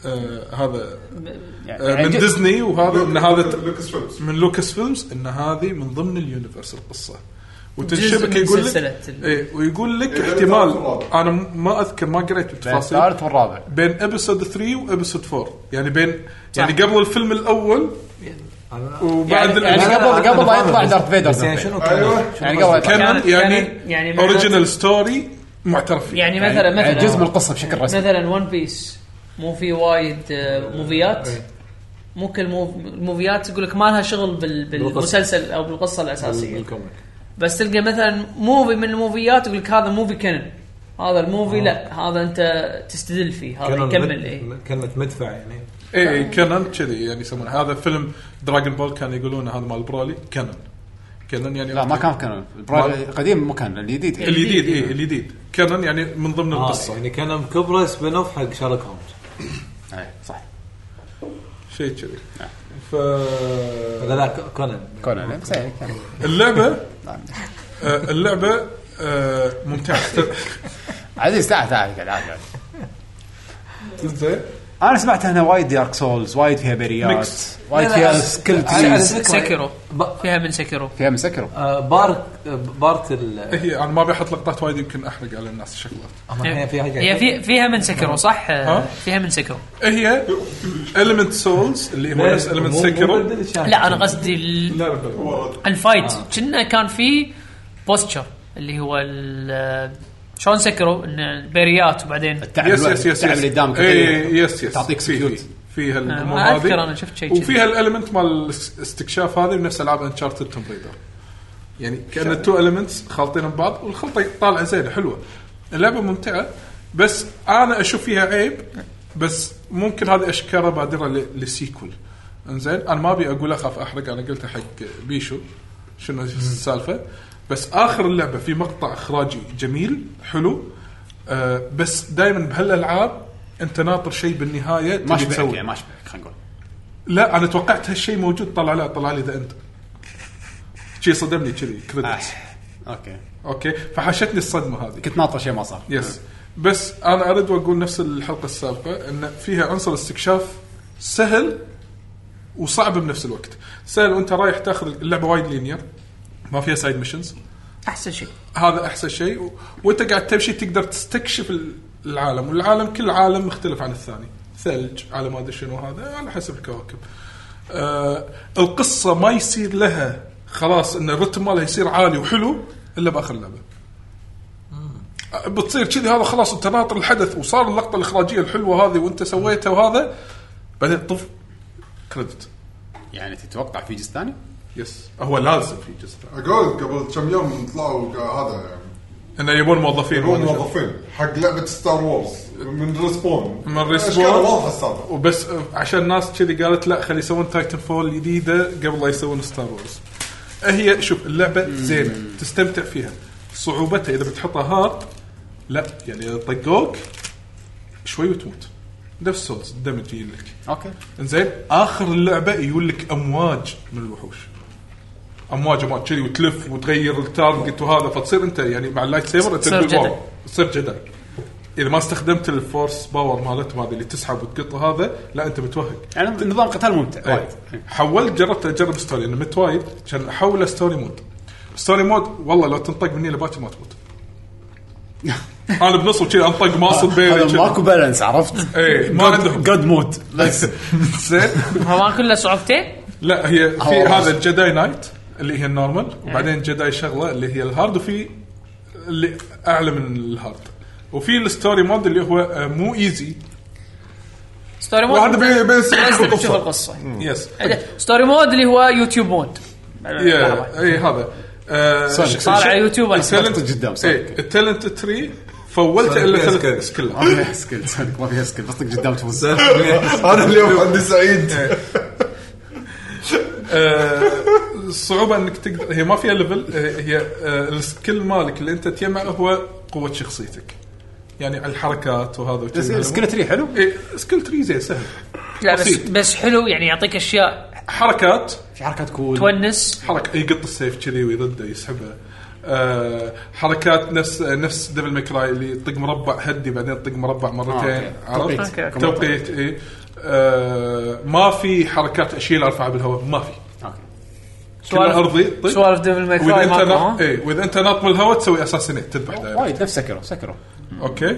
[SPEAKER 3] آه هذا آه
[SPEAKER 1] يعني
[SPEAKER 3] من
[SPEAKER 1] جد-
[SPEAKER 3] ديزني وهذا ان هذا ت-
[SPEAKER 5] لوكس فيلمز
[SPEAKER 3] من لوكس فيلمز ان هذه من ضمن اليونيفرس القصه
[SPEAKER 4] جزء
[SPEAKER 3] وتنشبك
[SPEAKER 4] من
[SPEAKER 3] يقول لك
[SPEAKER 4] سلسلة ال-
[SPEAKER 3] ايه ويقول لك
[SPEAKER 5] إيه،
[SPEAKER 3] احتمال
[SPEAKER 5] الرابع.
[SPEAKER 3] انا م- ما اذكر ما قريت
[SPEAKER 1] بين
[SPEAKER 3] التفاصيل
[SPEAKER 1] الثالث والرابع
[SPEAKER 3] بين ابيسود 3 وابيسود 4 يعني بين يعني قبل الفيلم الاول وبعد
[SPEAKER 1] يعني-
[SPEAKER 3] ال-
[SPEAKER 1] يعني قبل- قبل لا يطلع دارث فيدر
[SPEAKER 2] بس يعني
[SPEAKER 1] صدق.
[SPEAKER 2] شنو
[SPEAKER 5] أيوة.
[SPEAKER 2] كان؟
[SPEAKER 1] يعني قبل
[SPEAKER 4] كانت-
[SPEAKER 3] كانن
[SPEAKER 4] كانن- يعني
[SPEAKER 3] يعني
[SPEAKER 4] معناته-
[SPEAKER 3] اوريجنال ستوري معترف فيه
[SPEAKER 4] يعني مثلا
[SPEAKER 1] يعني
[SPEAKER 4] مثلا
[SPEAKER 1] جزء من القصه بشكل رسمي
[SPEAKER 4] مثلا ون بيس مو في وايد آه، موفيات مو كل موف- موفيات يقول لك ما لها شغل بال- بالمسلسل او بالقصه الاساسيه
[SPEAKER 2] بالكوميك.
[SPEAKER 4] بس تلقى مثلا موفي من الموفيات يقول لك هذا موفي كنن هذا الموفي لا هذا انت تستدل فيه هذا
[SPEAKER 2] كلمة-
[SPEAKER 4] يكمل إيه. اي
[SPEAKER 2] كلمه مدفع يعني
[SPEAKER 3] اي اي إيه، كانن كذي يعني يسمونه هذا فيلم دراجون بول كانوا يقولون هذا مال برولي كانن كانن يعني
[SPEAKER 1] لا ما كان كان
[SPEAKER 3] ما-
[SPEAKER 1] القديم مو كان الجديد يعني.
[SPEAKER 3] الجديد اي الجديد كانن يعني من ضمن
[SPEAKER 2] E إيه. آه
[SPEAKER 3] القصه
[SPEAKER 2] يعني كان مكبره سبين اوف حق شارلوك هومز
[SPEAKER 1] إيه، صح
[SPEAKER 2] إيه.
[SPEAKER 3] شيء كذي
[SPEAKER 2] نعم.
[SPEAKER 3] ف
[SPEAKER 2] لا لا كونان
[SPEAKER 1] كونان بس إيه، كان.
[SPEAKER 3] اللعبه آه، اللعبه آه، ممتعه
[SPEAKER 2] *laughs*
[SPEAKER 3] ت-
[SPEAKER 1] عزيز تعال تعال قاعد عادي
[SPEAKER 3] زين
[SPEAKER 1] انا سمعت هنا وايد دارك سولز وايد فيها بيريات
[SPEAKER 3] ميكس.
[SPEAKER 1] وايد
[SPEAKER 2] لا، لا،
[SPEAKER 1] فيها
[SPEAKER 2] على-
[SPEAKER 1] سكيل
[SPEAKER 2] على- على
[SPEAKER 1] تريز
[SPEAKER 2] فكرة-
[SPEAKER 4] سكرو
[SPEAKER 2] ب-
[SPEAKER 4] فيها من سكرو
[SPEAKER 1] فيها مسكروا
[SPEAKER 2] آه، بارت بارت ال
[SPEAKER 3] هي انا ما بحط لقطات وايد يمكن احرق على الناس الشغلات
[SPEAKER 2] هي في حاجة-
[SPEAKER 4] هي في فيها من سكرو صح؟
[SPEAKER 3] ها؟
[SPEAKER 4] فيها من سكرو
[SPEAKER 3] هي المنت سولز اللي هو
[SPEAKER 2] لا،
[SPEAKER 3] نفس المنت
[SPEAKER 2] إيه، مو- مو
[SPEAKER 3] سكرو
[SPEAKER 2] بدل الشاشة.
[SPEAKER 4] لا انا قصدي ال- الفايت كنا كان في بوستشر اللي هو ال- شلون سكروا إن بيريات وبعدين
[SPEAKER 1] التعب
[SPEAKER 3] يس
[SPEAKER 1] الوقت-
[SPEAKER 3] يس يس
[SPEAKER 1] التعب
[SPEAKER 3] يس
[SPEAKER 1] اللي قدامك
[SPEAKER 3] اي يس يس
[SPEAKER 1] تعطيك
[SPEAKER 3] إيه، فيه-
[SPEAKER 1] سكيوت
[SPEAKER 3] فيها الامور
[SPEAKER 4] ما اذكر
[SPEAKER 3] هذه.
[SPEAKER 4] انا شفت شيء كذي
[SPEAKER 3] وفيها الالمنت مال الاستكشاف هذه ونفس العاب انشارتد توم ريدر يعني كان التو المنتس خالطين ببعض والخلطه طالعه زينه حلوه اللعبه ممتعه بس انا اشوف فيها عيب بس ممكن هذه اشكاله بادره ل- للسيكول انزين انا ما ابي اقول اخاف احرق انا قلتها حق بيشو شنو السالفه بس اخر اللعبه في مقطع اخراجي جميل حلو آه بس دائما بهالالعاب انت ناطر شيء بالنهايه
[SPEAKER 1] ما
[SPEAKER 3] تبي
[SPEAKER 1] شبعك
[SPEAKER 3] تسوي.
[SPEAKER 1] يعني ما شبعك خلينا نقول
[SPEAKER 3] لا انا توقعت هالشيء موجود طلع لا طلع لي ذا انت شي صدمني كذي
[SPEAKER 1] آه،
[SPEAKER 3] كريدتس
[SPEAKER 1] اوكي
[SPEAKER 3] اوكي فحشتني الصدمه هذه
[SPEAKER 1] كنت ناطر شيء ما صار
[SPEAKER 3] يس بس انا ارد واقول نفس الحلقه السابقه ان فيها عنصر استكشاف سهل وصعب بنفس الوقت سهل وانت رايح تاخذ اللعبه وايد لينير ما فيها سايد ميشنز
[SPEAKER 4] احسن شيء
[SPEAKER 3] هذا احسن شيء و... وانت قاعد تمشي تقدر تستكشف ال- العالم والعالم كل عالم مختلف عن الثاني ثلج على ما ادري شنو هذا على حسب الكواكب آه القصه ما يصير لها خلاص ان الرتم مالها يصير عالي وحلو الا باخر اللعبه آه، بتصير كذي هذا خلاص انت ناطر الحدث وصار اللقطه الاخراجيه الحلوه هذه وانت سويتها وهذا بعدين طف كريدت
[SPEAKER 1] يعني تتوقع في جزء ثاني؟
[SPEAKER 3] يس هو لازم في جزء ثاني.
[SPEAKER 5] اقول قبل كم يوم طلعوا هذا
[SPEAKER 3] انه يبون موظفين
[SPEAKER 5] يبون موظفين حق لعبه ستار وورز من ريسبون
[SPEAKER 3] من ريسبون.
[SPEAKER 5] أشكال واضحه السالفه
[SPEAKER 3] وبس عشان الناس كذي قالت لا خلي يسوون تايتن فول جديده قبل لا يسوون ستار وورز هي شوف اللعبه زينه تستمتع فيها صعوبتها اذا بتحطها هارد لا يعني اذا طقوك شوي وتموت نفس سولز الدمج يجي لك
[SPEAKER 1] اوكي
[SPEAKER 3] انزين اخر اللعبه يولك امواج من الوحوش امواج امواج كذي وتلف وتغير التارجت وهذا فتصير انت يعني مع اللايت سيفر انت
[SPEAKER 4] تصير
[SPEAKER 3] تبي
[SPEAKER 4] جداي.
[SPEAKER 3] واو. تصير جداي اذا ما استخدمت الفورس باور مالتهم هذه اللي تسحب وتقط هذا لا انت متوهق
[SPEAKER 1] يعني نظام قتال ممتع
[SPEAKER 3] وايد
[SPEAKER 1] وايد
[SPEAKER 3] حولت جربت اجرب ستوري انا مت وايد كان احوله ستوري مود ستوري مود والله لو تنطق مني لباكر
[SPEAKER 1] *laughs*
[SPEAKER 3] ما تموت انا بنص وكذي انطق ما اصل بيني
[SPEAKER 1] آه، هذا
[SPEAKER 3] كذي.
[SPEAKER 1] ماكو بالانس عرفت؟
[SPEAKER 3] ايه ما عندهم
[SPEAKER 1] جود مود بس
[SPEAKER 3] زين
[SPEAKER 4] ما كله صعوبتين
[SPEAKER 3] لا هي في
[SPEAKER 1] هو
[SPEAKER 3] هذا
[SPEAKER 1] راس.
[SPEAKER 3] الجداي نايت اللي هي النورمال وبعدين جداي شغله اللي هي الهارد وفي اللي اعلى من الهارد وفي الستوري مود اللي هو آه، مو ايزي
[SPEAKER 4] ستوري
[SPEAKER 5] واحد
[SPEAKER 4] مود
[SPEAKER 5] بي- بيس
[SPEAKER 4] لازم تشوف القصه
[SPEAKER 3] يس
[SPEAKER 4] ستوري مود اللي هو يوتيوب مود إيه،
[SPEAKER 3] يا- اي إيه، هذا آه،
[SPEAKER 1] صار-
[SPEAKER 3] ش-
[SPEAKER 1] صار
[SPEAKER 4] على
[SPEAKER 3] ش-
[SPEAKER 4] يوتيوب أنا.
[SPEAKER 3] التالنت
[SPEAKER 1] صار قدام، صار.
[SPEAKER 3] اي التالنت تري فولت
[SPEAKER 7] صار
[SPEAKER 3] الا
[SPEAKER 7] فيها
[SPEAKER 3] ثلاث
[SPEAKER 7] سكيل.
[SPEAKER 3] سكيل
[SPEAKER 1] *laughs* ما فيها سكيل صدق ما فيها سكيل بس طق قدام تفوز
[SPEAKER 5] *laughs* انا اليوم عندي سعيد
[SPEAKER 3] الصعوبه انك تقدر هي ما فيها ليفل آه، هي آه، السكيل مالك اللي انت تجمعه هو قوه شخصيتك يعني على الحركات وهذا وكذي.
[SPEAKER 1] سكيل تري حلو
[SPEAKER 3] إيه، سكيل تري زين سهل
[SPEAKER 4] لا بس
[SPEAKER 3] بسيط.
[SPEAKER 4] بس حلو يعني يعطيك اشياء
[SPEAKER 3] حركات
[SPEAKER 1] في حركات
[SPEAKER 4] طيب.
[SPEAKER 1] كول
[SPEAKER 4] تونس
[SPEAKER 3] حركه يقط السيف كذي ويرده يسحبه آه حركات نفس نفس ديفل ماكراي اللي طق مربع هدي بعدين طق مربع مرتين
[SPEAKER 1] آه، أوكي.
[SPEAKER 3] عرفت؟
[SPEAKER 4] توقيت.
[SPEAKER 3] توقيت اي آه ما في حركات اشيل ارفعها بالهواء ما في
[SPEAKER 1] أوكي.
[SPEAKER 3] كلها ارضي
[SPEAKER 5] طيب.
[SPEAKER 3] طق.
[SPEAKER 4] سوالف ديفل ماي
[SPEAKER 3] واذا
[SPEAKER 4] كراي
[SPEAKER 3] انت
[SPEAKER 4] ماكو،
[SPEAKER 3] نط
[SPEAKER 4] ها؟
[SPEAKER 5] إيه.
[SPEAKER 3] اي واذا انت ناط بالهواء تسوي اساسينيت تذبح دايركت.
[SPEAKER 1] وايد نفس سكرو سكرو
[SPEAKER 3] اوكي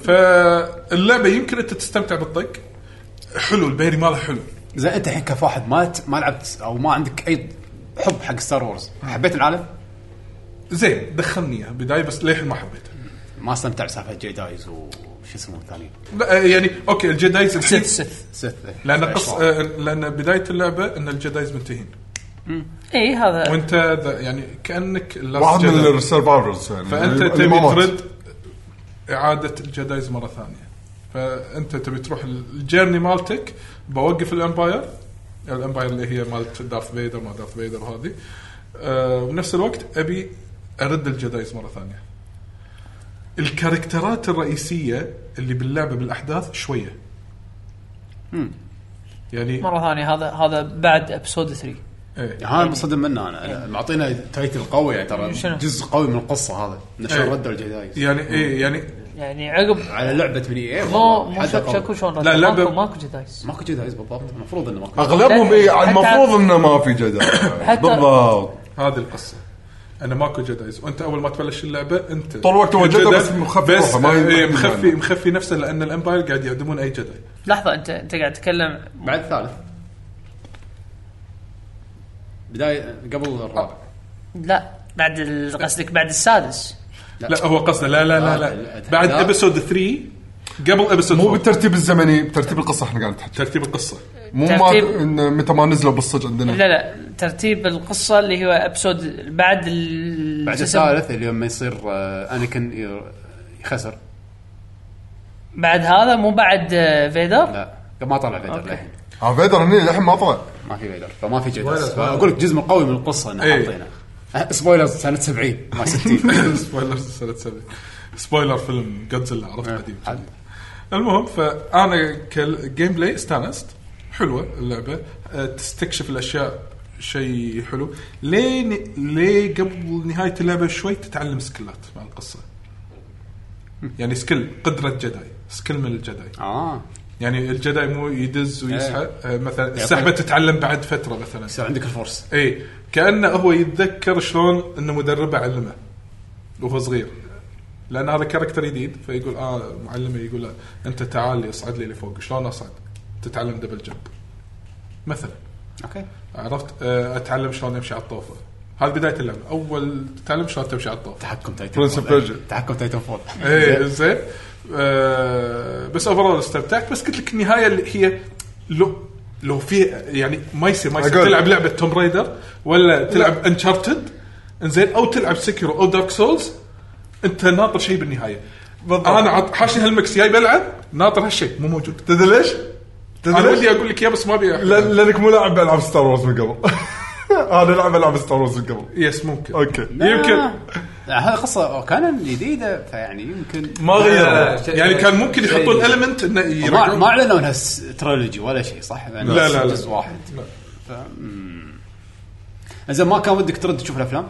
[SPEAKER 3] فاللعبه يمكن انت تستمتع بالطق حلو البيري ماله حلو
[SPEAKER 1] زين انت الحين كيف واحد مات ما لعبت او ما عندك اي حب حق ستار وورز حبيت العالم؟
[SPEAKER 3] زين دخلني إياها بدايه بس للحين ما حبيته
[SPEAKER 1] ما استمتع بسالفه جيدايز وش اسمه الثاني؟
[SPEAKER 3] لا يعني اوكي الجدايز الحين
[SPEAKER 4] سيث سيث
[SPEAKER 1] سيث
[SPEAKER 3] لان قص آه، لان بدايه اللعبه ان الجدايز منتهين
[SPEAKER 4] اي إيه، هذا
[SPEAKER 3] وانت ذا- يعني كانك اللاست
[SPEAKER 5] واحد من
[SPEAKER 3] جداي.
[SPEAKER 5] السرفايفرز يعني
[SPEAKER 3] فانت
[SPEAKER 5] اللي-
[SPEAKER 3] تبي
[SPEAKER 5] اللي ما مات.
[SPEAKER 3] ترد اعاده الجدايز مره ثانيه فانت تبي تروح الجيرني مالتك بوقف الامباير الامباير اللي هي مالت دارث فيدر ما دارث فيدر وهذه أه وبنفس الوقت ابي ارد الجدايز مره ثانيه الكاركترات الرئيسيه اللي باللعبه بالاحداث شويه يعني
[SPEAKER 4] مره ثانيه هذا هذا بعد ابسود 3
[SPEAKER 3] ايه.
[SPEAKER 1] يعني هذا مصدم منه انا معطينا تايتل قوي يعني ترى
[SPEAKER 4] إيه. شنو؟
[SPEAKER 1] جزء قوي من القصه هذا انه
[SPEAKER 3] إيه.
[SPEAKER 1] شلون ردوا الجدايز
[SPEAKER 3] يعني ايه يعني
[SPEAKER 4] يعني عقب
[SPEAKER 1] على لعبه من إيه. اي اي
[SPEAKER 4] مو مو شك- شكو شلون
[SPEAKER 3] لا،
[SPEAKER 4] لا
[SPEAKER 3] لا،
[SPEAKER 4] ماكو
[SPEAKER 3] ب-
[SPEAKER 4] ماكو جدايز
[SPEAKER 1] ماكو جدايز بالضبط المفروض انه ماكو
[SPEAKER 5] اغلبهم
[SPEAKER 4] حتى-
[SPEAKER 5] اي على
[SPEAKER 4] حتى-
[SPEAKER 5] إيه، يعني المفروض انه ما في جدل
[SPEAKER 4] حتى-
[SPEAKER 5] بالضبط
[SPEAKER 3] هذه القصه انا ماكو جدايز وانت اول ما تبلش اللعبه انت
[SPEAKER 5] طول الوقت هو
[SPEAKER 3] الجداي
[SPEAKER 5] جداي بس مخفي
[SPEAKER 3] بس
[SPEAKER 5] روحه، ما يعني.
[SPEAKER 3] آه، إيه،
[SPEAKER 5] يبين
[SPEAKER 3] مخفي
[SPEAKER 5] عنه.
[SPEAKER 3] مخفي نفسه لان الامباير قاعد يعدمون اي جداي
[SPEAKER 4] لحظه انت انت قاعد تتكلم
[SPEAKER 1] بعد الثالث بدايه قبل الرابع
[SPEAKER 4] لا بعد ال- قصدك بعد السادس
[SPEAKER 3] لا هو قصده لا لا لا لا
[SPEAKER 1] آه،
[SPEAKER 3] بعد
[SPEAKER 1] لا.
[SPEAKER 3] ابيسود 3 قبل ابيسود
[SPEAKER 5] مو
[SPEAKER 3] 4
[SPEAKER 5] بالترتيب الزمني بترتيب القصه احنا قاعد نتحكي
[SPEAKER 3] ترتيب القصه
[SPEAKER 5] مو ما
[SPEAKER 4] ترتيب-
[SPEAKER 5] إن متى ما نزلوا بالصج عندنا
[SPEAKER 4] لا لا ترتيب القصه اللي هو ابسود بعد ال
[SPEAKER 1] بعد
[SPEAKER 4] شو اسمه؟
[SPEAKER 1] الثالث اللي لما يصير آه، انيكن ير- يخسر
[SPEAKER 4] بعد هذا مو بعد آه، فيدر
[SPEAKER 1] لا ما طلع فيدر
[SPEAKER 4] أوكي.
[SPEAKER 1] للحين
[SPEAKER 5] ها آه، فيدر هني للحين ما طلع
[SPEAKER 1] ما في فيدر فما في جدايز فاقول لك جزء من قوي من القصه انه
[SPEAKER 3] إيه.
[SPEAKER 1] حاطينه أه، سبويلرز سنه 70 ما
[SPEAKER 3] *coughs*
[SPEAKER 1] 60
[SPEAKER 4] *laughs*
[SPEAKER 3] سبويلر سنه سبعة. سبويلر فيلم جودزيلا عرفت قديم
[SPEAKER 1] عاد.
[SPEAKER 3] المهم فانا كجيم بلاي استانست حلوه اللعبه أه، تستكشف الاشياء شيء حلو لين ليه قبل نهايه اللعبه شوي تتعلم سكلات مع القصه يعني سكيل قدره جداي سكيل من الجداي
[SPEAKER 1] اه
[SPEAKER 3] يعني الجداي مو يدز ويسحب
[SPEAKER 1] إيه.
[SPEAKER 3] أه، مثلا السحبه تتعلم بعد فتره مثلا
[SPEAKER 1] يصير عندك الفرص
[SPEAKER 3] اي كانه هو يتذكر شلون انه مدربه علمه وهو صغير لان هذا كاركتر جديد فيقول اه معلمه يقول له انت تعال لي اصعد لي لفوق شلون اصعد؟ تتعلم دبل جمب مثلا
[SPEAKER 1] اوكي
[SPEAKER 3] عرفت آه، اتعلم شلون امشي على الطوفه هذه بدايه اللعبه اول تتعلم شلون تمشي على الطوفه
[SPEAKER 1] تحكم تايتن
[SPEAKER 5] Prince
[SPEAKER 1] فول.
[SPEAKER 5] of Persia.
[SPEAKER 1] تحكم تايتن فول
[SPEAKER 3] ايه زين آه، بس اوفرول استمتعت بس قلت لك النهايه اللي هي لو لو في يعني ما يصير ما يصير
[SPEAKER 5] أقول.
[SPEAKER 3] تلعب لعبه توم رايدر ولا تلعب انشارتد انزين او تلعب سكيرو او دارك سولز انت ناطر شيء بالنهايه انا عط- حاشني هالمكس جاي بلعب ناطر هالشيء مو موجود
[SPEAKER 5] تدري ليش؟
[SPEAKER 3] انا
[SPEAKER 5] تدري
[SPEAKER 3] ودي
[SPEAKER 5] ليش؟
[SPEAKER 3] اقول لك اياه بس ما ابي
[SPEAKER 5] لأن- لانك مو لاعب العاب ستار وورز من قبل *laughs* انا لاعب العاب ستار وورز من قبل
[SPEAKER 3] يس ممكن
[SPEAKER 5] اوكي
[SPEAKER 3] يمكن
[SPEAKER 1] آه. لا هذا قصه كانون جديده فيعني يمكن
[SPEAKER 5] ما غير
[SPEAKER 2] لا، شيء-
[SPEAKER 3] يعني كان ممكن
[SPEAKER 2] شيء-
[SPEAKER 3] يحطون المنت انه
[SPEAKER 1] ما, ما
[SPEAKER 3] يرجعون
[SPEAKER 1] اعلنوا انها س- ترولوجي ولا شيء صح؟ لا
[SPEAKER 3] لا، لا.
[SPEAKER 1] جزء واحد ف- مم. زين ما كان ودك ترد تشوف الافلام؟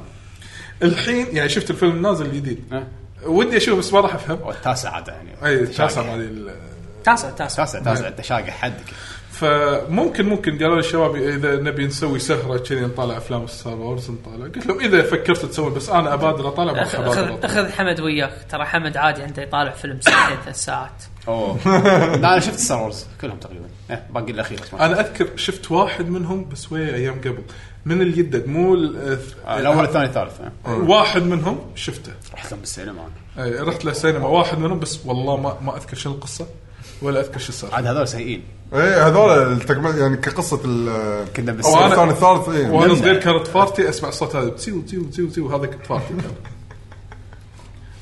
[SPEAKER 3] الحين يعني شفت الفيلم نازل
[SPEAKER 2] نعم.
[SPEAKER 3] جديد
[SPEAKER 1] ها؟
[SPEAKER 3] ودي اشوفه بس ما راح افهم
[SPEAKER 1] أو التاسع عاد يعني
[SPEAKER 3] اي
[SPEAKER 1] التشاقع.
[SPEAKER 3] تاسع هذه ال-
[SPEAKER 4] تاسع تاسع
[SPEAKER 1] تاسع
[SPEAKER 3] إيه.
[SPEAKER 1] تاسع التشاقع حدك
[SPEAKER 3] فممكن ممكن قالوا للشباب اذا نبي نسوي سهره كذي نطالع افلام ستار وورز نطالع قلت لهم اذا فكرت تسوي بس انا ابادر اطالع ما راح
[SPEAKER 4] أخ-
[SPEAKER 3] ابادر
[SPEAKER 4] اخذ
[SPEAKER 3] أطالع.
[SPEAKER 4] اخذ حمد وياك ترى حمد عادي عنده يطالع فيلم ساعتين ثلاث ساعات
[SPEAKER 3] *laughs*
[SPEAKER 1] اوه لا انا شفت ستار وورز كلهم تقريبا إيه، باقي الاخير اسمه.
[SPEAKER 3] انا اذكر شفت واحد منهم بس ويا ايام قبل من اليدد مو ال- آه،
[SPEAKER 1] آه، الاول الثاني الثالث إيه.
[SPEAKER 3] واحد منهم شفته
[SPEAKER 1] رحت لهم بالسينما أنا.
[SPEAKER 3] أي، رحت للسينما واحد منهم بس والله ما ما اذكر شنو القصه ولا اذكر شو صار
[SPEAKER 1] عاد هذول سيئين
[SPEAKER 5] ايه هذول التكمل يعني كقصه ال
[SPEAKER 1] كنا بس-
[SPEAKER 5] أو الثاني
[SPEAKER 3] وأنا-
[SPEAKER 5] الثالث ايه
[SPEAKER 3] وانا صغير كانت فارتي اسمع الصوت هذا تسيو تسيو تسيو تسيو هذا كنت فارتي كان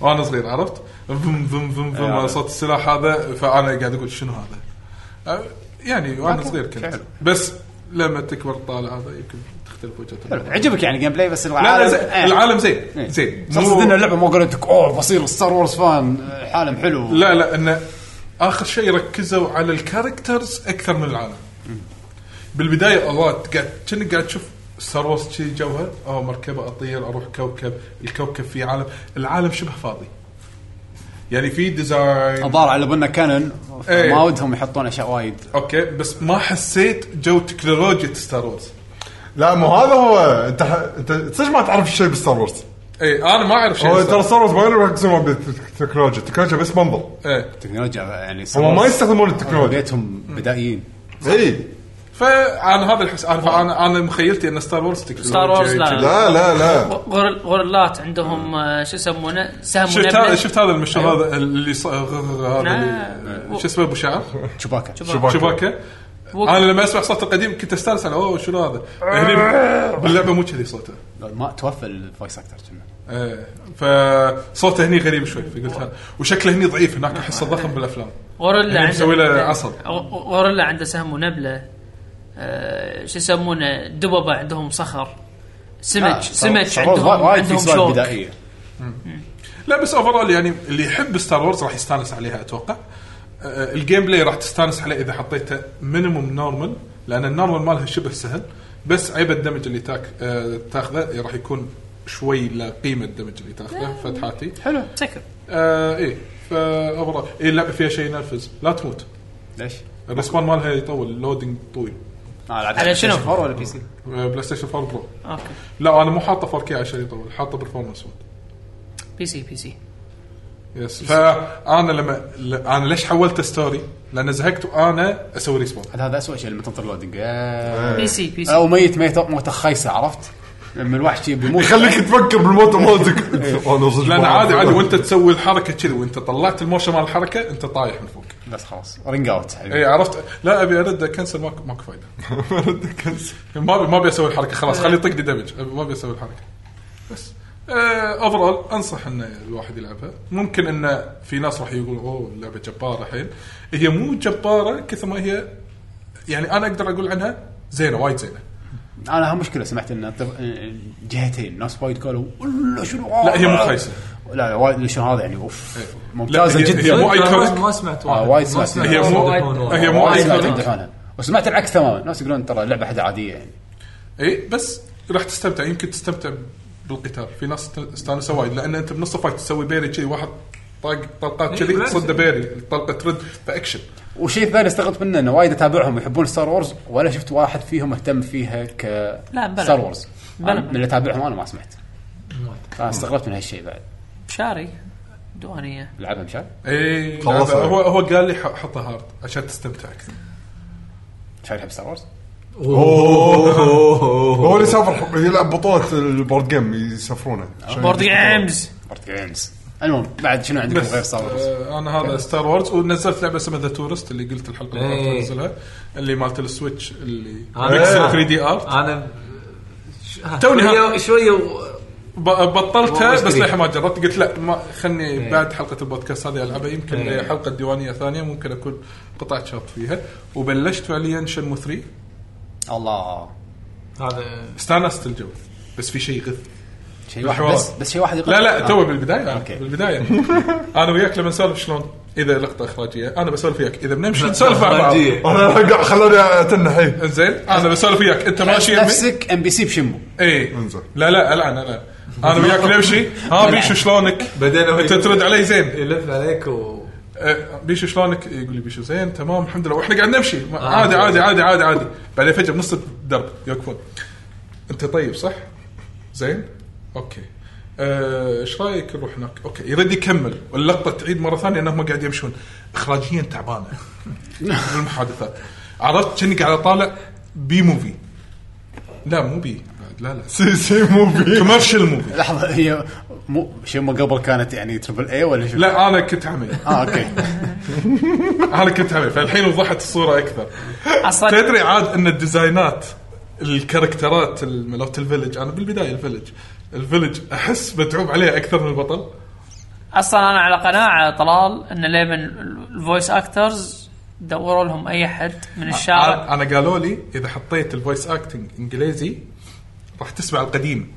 [SPEAKER 3] وانا صغير عرفت؟ ذم ذم ذم ذم
[SPEAKER 1] أيوة.
[SPEAKER 3] صوت السلاح هذا فانا قاعد اقول شنو هذا؟ أه، يعني وانا
[SPEAKER 1] أوكي.
[SPEAKER 3] صغير كنت
[SPEAKER 1] حلو.
[SPEAKER 3] بس لما تكبر طالع هذا يمكن تختلف وجهه
[SPEAKER 1] حلو،
[SPEAKER 3] النظر.
[SPEAKER 1] عجبك يعني جيم بلاي بس
[SPEAKER 3] لا لا
[SPEAKER 1] العالم
[SPEAKER 3] زين
[SPEAKER 1] إيه.
[SPEAKER 3] العالم زين
[SPEAKER 1] إيه.
[SPEAKER 3] زين
[SPEAKER 1] بس قصدي ان اللعبه مو قالت لك اوه بصير ستار وورز فان حالم حلو
[SPEAKER 3] لا لا انه اخر شيء ركزوا على الكاركترز اكثر من العالم بالبدايه الله قاعد كأنك قاعد تشوف ستار وورز شي جوها او مركبه اطير اروح كوكب الكوكب فيه عالم العالم شبه فاضي يعني في ديزاين
[SPEAKER 1] الظاهر على انه كانون
[SPEAKER 3] إيه.
[SPEAKER 1] ما ودهم يحطون اشياء وايد
[SPEAKER 3] اوكي بس ما حسيت جو تكنولوجيا ستار وورز
[SPEAKER 5] لا مو هذا هو انت ح- انت صدق ما تعرف شيء بالستار وورز
[SPEAKER 3] اي انا إيه، ما اعرف شيء
[SPEAKER 5] هو ترى
[SPEAKER 3] صار.
[SPEAKER 5] ستار وورز ما يقولوا يركزون بالتكنولوجيا التكنولوجيا بس منظر
[SPEAKER 3] إيه.
[SPEAKER 1] تكنولوجيا يعني
[SPEAKER 5] هم ما يستخدمون التكنولوجيا
[SPEAKER 1] بيتهم
[SPEAKER 3] *laughs*
[SPEAKER 1] بدائيين
[SPEAKER 5] اي
[SPEAKER 3] فانا هذا الحس انا فانا انا مخيلتي ان ستار وورز تكنولوجيا
[SPEAKER 4] ستار وورز لا.
[SPEAKER 5] لا لا لا
[SPEAKER 4] غور- غورلات عندهم آه، شو يسمونه سهم
[SPEAKER 3] شفت هذا شفت هذا المشهد هذا اللي ص- هذا
[SPEAKER 4] نعم.
[SPEAKER 3] اللي- شو اسمه ابو شعر
[SPEAKER 1] شباكه
[SPEAKER 5] شباكة.
[SPEAKER 3] شباكه انا لما اسمع صوت القديم كنت استانس على اوه شنو هذا؟ هني باللعبه مو كذي صوته
[SPEAKER 1] ما توفى الفويس اكتر كنا
[SPEAKER 3] ايه فصوته هني غريب شوي فقلت هذا. وشكله هني ضعيف هناك احسه ضخم بالافلام
[SPEAKER 4] غوريلا
[SPEAKER 3] يعني مسوي له عصب.
[SPEAKER 4] غ- غوريلا عنده سهم ونبله آه، شو يسمونه دببه عندهم صخر سمك سمك عندهم
[SPEAKER 1] آه، وايد في
[SPEAKER 4] عندهم
[SPEAKER 1] سوالف
[SPEAKER 4] شوك
[SPEAKER 1] بدائيه
[SPEAKER 3] لا بس اوفرول يعني اللي يحب ستار وورز راح يستانس عليها اتوقع آه، الجيم بلاي راح تستانس عليه اذا حطيته مينيموم نورمال لان النورمال مالها شبه سهل بس عيب الدمج اللي تاك آه، تاخذه راح يكون شوي لا قيمه الدمج اللي تاخذه فتحاتي
[SPEAKER 1] حلو
[SPEAKER 4] سكر
[SPEAKER 3] آه ايه فاوفرول اي اللعبه إيه، فيها شيء ينرفز لا تموت
[SPEAKER 1] ليش؟
[SPEAKER 3] الرسبان مالها يطول اللودينج طويل
[SPEAKER 4] على شنو؟
[SPEAKER 1] ولا بي سي
[SPEAKER 3] آه، بلاي ستيشن 4 برو
[SPEAKER 4] اوكي
[SPEAKER 3] لا انا مو حاطه 4K عشان يطول حاطه برفورمانس مود
[SPEAKER 4] بي سي بي سي
[SPEAKER 1] Eh.
[SPEAKER 3] يس فانا لما ل- انا ليش حولت ستوري؟ لان زهقت وانا اسوي ريسبون
[SPEAKER 1] هذا اسوء شيء لما تنطر لودنج
[SPEAKER 4] بي سي بي سي
[SPEAKER 1] او ميت ميت موته خيسه عرفت؟ لما الوحش بيموت
[SPEAKER 5] يخليك تفكر بالموت مالتك انا صدق
[SPEAKER 3] لان
[SPEAKER 5] ما أعرف.
[SPEAKER 3] عادي عادي
[SPEAKER 5] *laughs*
[SPEAKER 3] وانت تسوي الحركه كذي وانت طلعت الموشن مال الحركه انت طايح من فوق
[SPEAKER 1] بس خلاص رينج اوت
[SPEAKER 3] اي عرفت لا ابي ارد كنسل ماكو ماكو فايده ما ابي ما ابي اسوي الحركه خلاص
[SPEAKER 2] إيه.
[SPEAKER 3] خلي يطق لي دمج أبي- ما ابي اسوي الحركه بس آه، اوفرول انصح ان الواحد يلعبها ممكن ان في ناس راح يقولوا اوه اللعبه جباره الحين هي مو جباره كثر ما هي يعني انا اقدر اقول عنها زينه وايد زينه
[SPEAKER 1] انا هم مشكله سمعت ان الطب- جهتين ناس وايد قالوا "والله شنو
[SPEAKER 3] لا، هي مو
[SPEAKER 1] هذا؟"
[SPEAKER 3] خايسة.
[SPEAKER 1] لا لا وايد شنو هذا يعني اوف
[SPEAKER 3] إيه.
[SPEAKER 1] ممتازه
[SPEAKER 3] لا، هي-
[SPEAKER 1] جدا
[SPEAKER 3] هي مو
[SPEAKER 2] صدق، أنا
[SPEAKER 3] ايكونيك.
[SPEAKER 2] ما سمعت
[SPEAKER 1] آه،
[SPEAKER 2] واحد
[SPEAKER 1] واحد
[SPEAKER 2] ما
[SPEAKER 1] سمعت.
[SPEAKER 2] سمعت
[SPEAKER 3] هي
[SPEAKER 2] واحد
[SPEAKER 3] مو-
[SPEAKER 2] يقول واحد.
[SPEAKER 3] هي مو
[SPEAKER 1] وايد
[SPEAKER 3] أيكونيك.
[SPEAKER 1] سمعت يمدح عنها. وسمعت العكس تماما الناس يقولون ترى اللعبه حد عاديه يعني
[SPEAKER 3] اي إيه، بس راح تستمتع يمكن تستمتع بالقتال في ناس است- استانسوا وايد لان انت بنص الفايت تسوي بيري كذي واحد طاق طلقات
[SPEAKER 2] إيه،
[SPEAKER 3] كذي
[SPEAKER 2] بالعكس.
[SPEAKER 3] تصد بيري الطلقه ترد فاكشن
[SPEAKER 1] والشيء الثاني استغربت منه انه وايد اتابعهم يحبون ستار وورز ولا شفت واحد فيهم مهتم فيها ك
[SPEAKER 4] لا، بلى.
[SPEAKER 1] ستار وورز
[SPEAKER 4] بلى.
[SPEAKER 1] أنا من اللي اتابعهم انا ما سمعت فأنا استغربت من هالشيء بعد
[SPEAKER 4] شاري دوانيه
[SPEAKER 1] لعبها مشان
[SPEAKER 3] اي
[SPEAKER 5] خلاص.
[SPEAKER 3] لعبة. إيه، هو هو قال لي ح- حطها هارد عشان تستمتع اكثر
[SPEAKER 1] مشان يحب ستار وورز
[SPEAKER 5] Oh. هو اللي يسافر يلعب بطوله البورد جيم يسافرونه عشان
[SPEAKER 4] بورد جيمز
[SPEAKER 1] بورد جيمز المهم بعد شنو عندكم
[SPEAKER 3] بس
[SPEAKER 1] غير ستار وورز؟
[SPEAKER 3] آه، انا هذا ستار وورز ونزلت لعبه اسمها ذا تورست اللي قلت الحلقه اللي
[SPEAKER 2] إيه. آه.
[SPEAKER 3] فاتت انزلها اللي مالت السويتش اللي
[SPEAKER 2] أنا-
[SPEAKER 3] ميكس 3 دي ارت
[SPEAKER 2] انا
[SPEAKER 3] توني
[SPEAKER 2] شويه
[SPEAKER 3] ها-
[SPEAKER 2] شويه و-
[SPEAKER 3] ب- بطلتها بس
[SPEAKER 2] واشتريها.
[SPEAKER 3] للحين ما جربت قلت لا ما خلني بعد حلقه البودكاست هذه العبها يمكن
[SPEAKER 2] إيه.
[SPEAKER 3] حلقه ديوانيه ثانيه ممكن اكون قطعت شوط فيها وبلشت فعليا شنمو 3 آه.
[SPEAKER 1] الله
[SPEAKER 2] هذا
[SPEAKER 3] استانست الجو بس في شيء غث
[SPEAKER 1] شيء واحد
[SPEAKER 3] الحوار.
[SPEAKER 1] بس بس شيء واحد
[SPEAKER 3] لا لا
[SPEAKER 1] آه.
[SPEAKER 3] تو بالبدايه
[SPEAKER 1] أوكي.
[SPEAKER 2] *laughs*
[SPEAKER 3] بالبدايه انا وياك لما نسولف شلون اذا لقطه اخراجيه انا بسولف وياك اذا بنمشي نسولف مع بعض
[SPEAKER 2] إخراجية.
[SPEAKER 5] انا خلوني اتنح إيه.
[SPEAKER 3] زين انا بسولف وياك انت ماشي يمي
[SPEAKER 1] طيب، نفسك ام بي سي بشمو
[SPEAKER 3] اي
[SPEAKER 5] انزين.
[SPEAKER 3] إيه. لا لا العن انا انا وياك نمشي ها بيشو شلونك
[SPEAKER 2] بعدين هو
[SPEAKER 3] انت ترد علي زين
[SPEAKER 2] يلف عليك و
[SPEAKER 3] أه، بيشو شلونك؟ يقول لي بيشو زين تمام الحمد لله واحنا قاعد نمشي ما- عادي آه، عادي عادي عادي عادي بعدين فجاه بنص الدرب يوقفون انت طيب صح؟ زين؟ اوكي أه، ايش رايك نروح هناك؟ اوكي يرد يكمل واللقطه تعيد مره ثانيه انهم قاعد يمشون اخراجيا *laughs* تعبانه بالمحادثات عرفت كأني قاعد اطالع بي موفي لا مو بي بعد، لا *laughs* لا
[SPEAKER 5] سي سي
[SPEAKER 3] *laughs*
[SPEAKER 5] موفي
[SPEAKER 3] كوميرشال موفي
[SPEAKER 1] لحظه هي مو شمو قبل كانت يعني تربل اي ولا شو؟
[SPEAKER 3] لا انا كنت عمي
[SPEAKER 1] اه اوكي
[SPEAKER 3] انا كنت عمي فالحين وضحت الصوره اكثر
[SPEAKER 4] اصلا
[SPEAKER 3] تدري عاد ان الديزاينات الكاركترات مالت الفيلج انا بالبدايه الفيلج الفيلج احس متعوب عليها اكثر من البطل
[SPEAKER 4] اصلا انا على قناعه طلال ان ليه الفويس اكترز دوروا لهم اي حد من
[SPEAKER 1] آه،
[SPEAKER 4] الشارع
[SPEAKER 3] انا أنا قالوا لي اذا حطيت الفويس اكتنج انجليزي راح تسمع القديم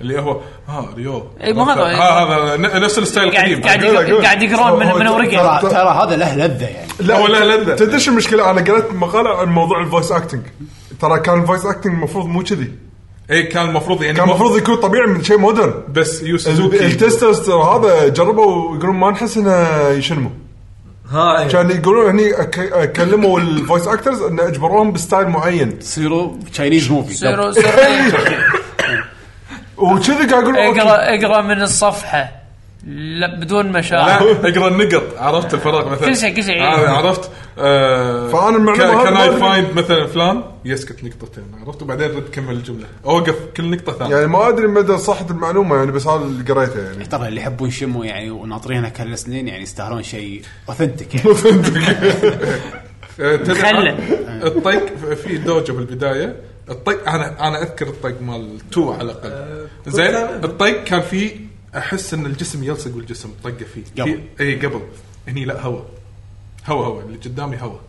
[SPEAKER 3] اللي هو ها ريو
[SPEAKER 4] إي، مو هذا.
[SPEAKER 3] ها هذا ن- نفس الستايل
[SPEAKER 1] آه،
[SPEAKER 4] قاعد
[SPEAKER 3] القديم
[SPEAKER 4] قاعد
[SPEAKER 5] أقول- أقول.
[SPEAKER 4] يق- قاعد يقرون من من ورقه
[SPEAKER 3] *laughs*
[SPEAKER 1] ترى ترى هذا له لذه يعني
[SPEAKER 3] لا ولا لا
[SPEAKER 5] تدري شو المشكله انا قريت مقاله عن موضوع الفويس اكتنج ترى كان الفويس اكتنج المفروض مو كذي
[SPEAKER 3] اي كان المفروض يعني
[SPEAKER 5] كان المفروض يكون طبيعي من شيء مودرن
[SPEAKER 3] بس يو سوزوكي
[SPEAKER 5] التسترز ترى هذا جربوا يقولون ما نحس انه يشنموا
[SPEAKER 2] ها إيه.
[SPEAKER 5] كان يقولون هني أك- كلموا الفويس اكترز انه اجبروهم بستايل معين
[SPEAKER 1] تصيروا تشاينيز موفي *laughs*
[SPEAKER 4] سيرو سيرو
[SPEAKER 5] وكذي قاعد يقولون
[SPEAKER 4] اقرا
[SPEAKER 5] أوكي.
[SPEAKER 4] اقرا من الصفحه لا بدون
[SPEAKER 3] لا
[SPEAKER 4] مشاعر
[SPEAKER 3] اقرا النقط عرفت الفراغ مثلا
[SPEAKER 4] كل شيء- إيه. كل شيء.
[SPEAKER 3] آه، عرفت آه
[SPEAKER 5] فأنا المعلومة هذه
[SPEAKER 3] كان
[SPEAKER 5] ما
[SPEAKER 3] اي
[SPEAKER 5] أدري.
[SPEAKER 3] فايند مثلا فلان يسكت نقطتين عرفت وبعدين رد كمل الجمله اوقف كل نقطه ثانيه
[SPEAKER 5] يعني ما ادري مدى صحه المعلومه يعني بس هذا اللي قريته يعني *laughs*
[SPEAKER 1] ترى اللي يحبون شمو يعني وناطرينها كالسنين يعني يستاهلون شيء اوثنتيك
[SPEAKER 3] *laughs*
[SPEAKER 1] يعني
[SPEAKER 3] آه، تدري
[SPEAKER 4] خله.
[SPEAKER 3] عن- الطق ف- في دوجه بالبدايه الطق انا انا اذكر الطق مال تو على الاقل زين الطق كان فيه احس ان الجسم يلصق والجسم طقه فيه
[SPEAKER 1] قبل.
[SPEAKER 3] في- اي قبل هني لا هواء هواء هواء اللي قدامي هواء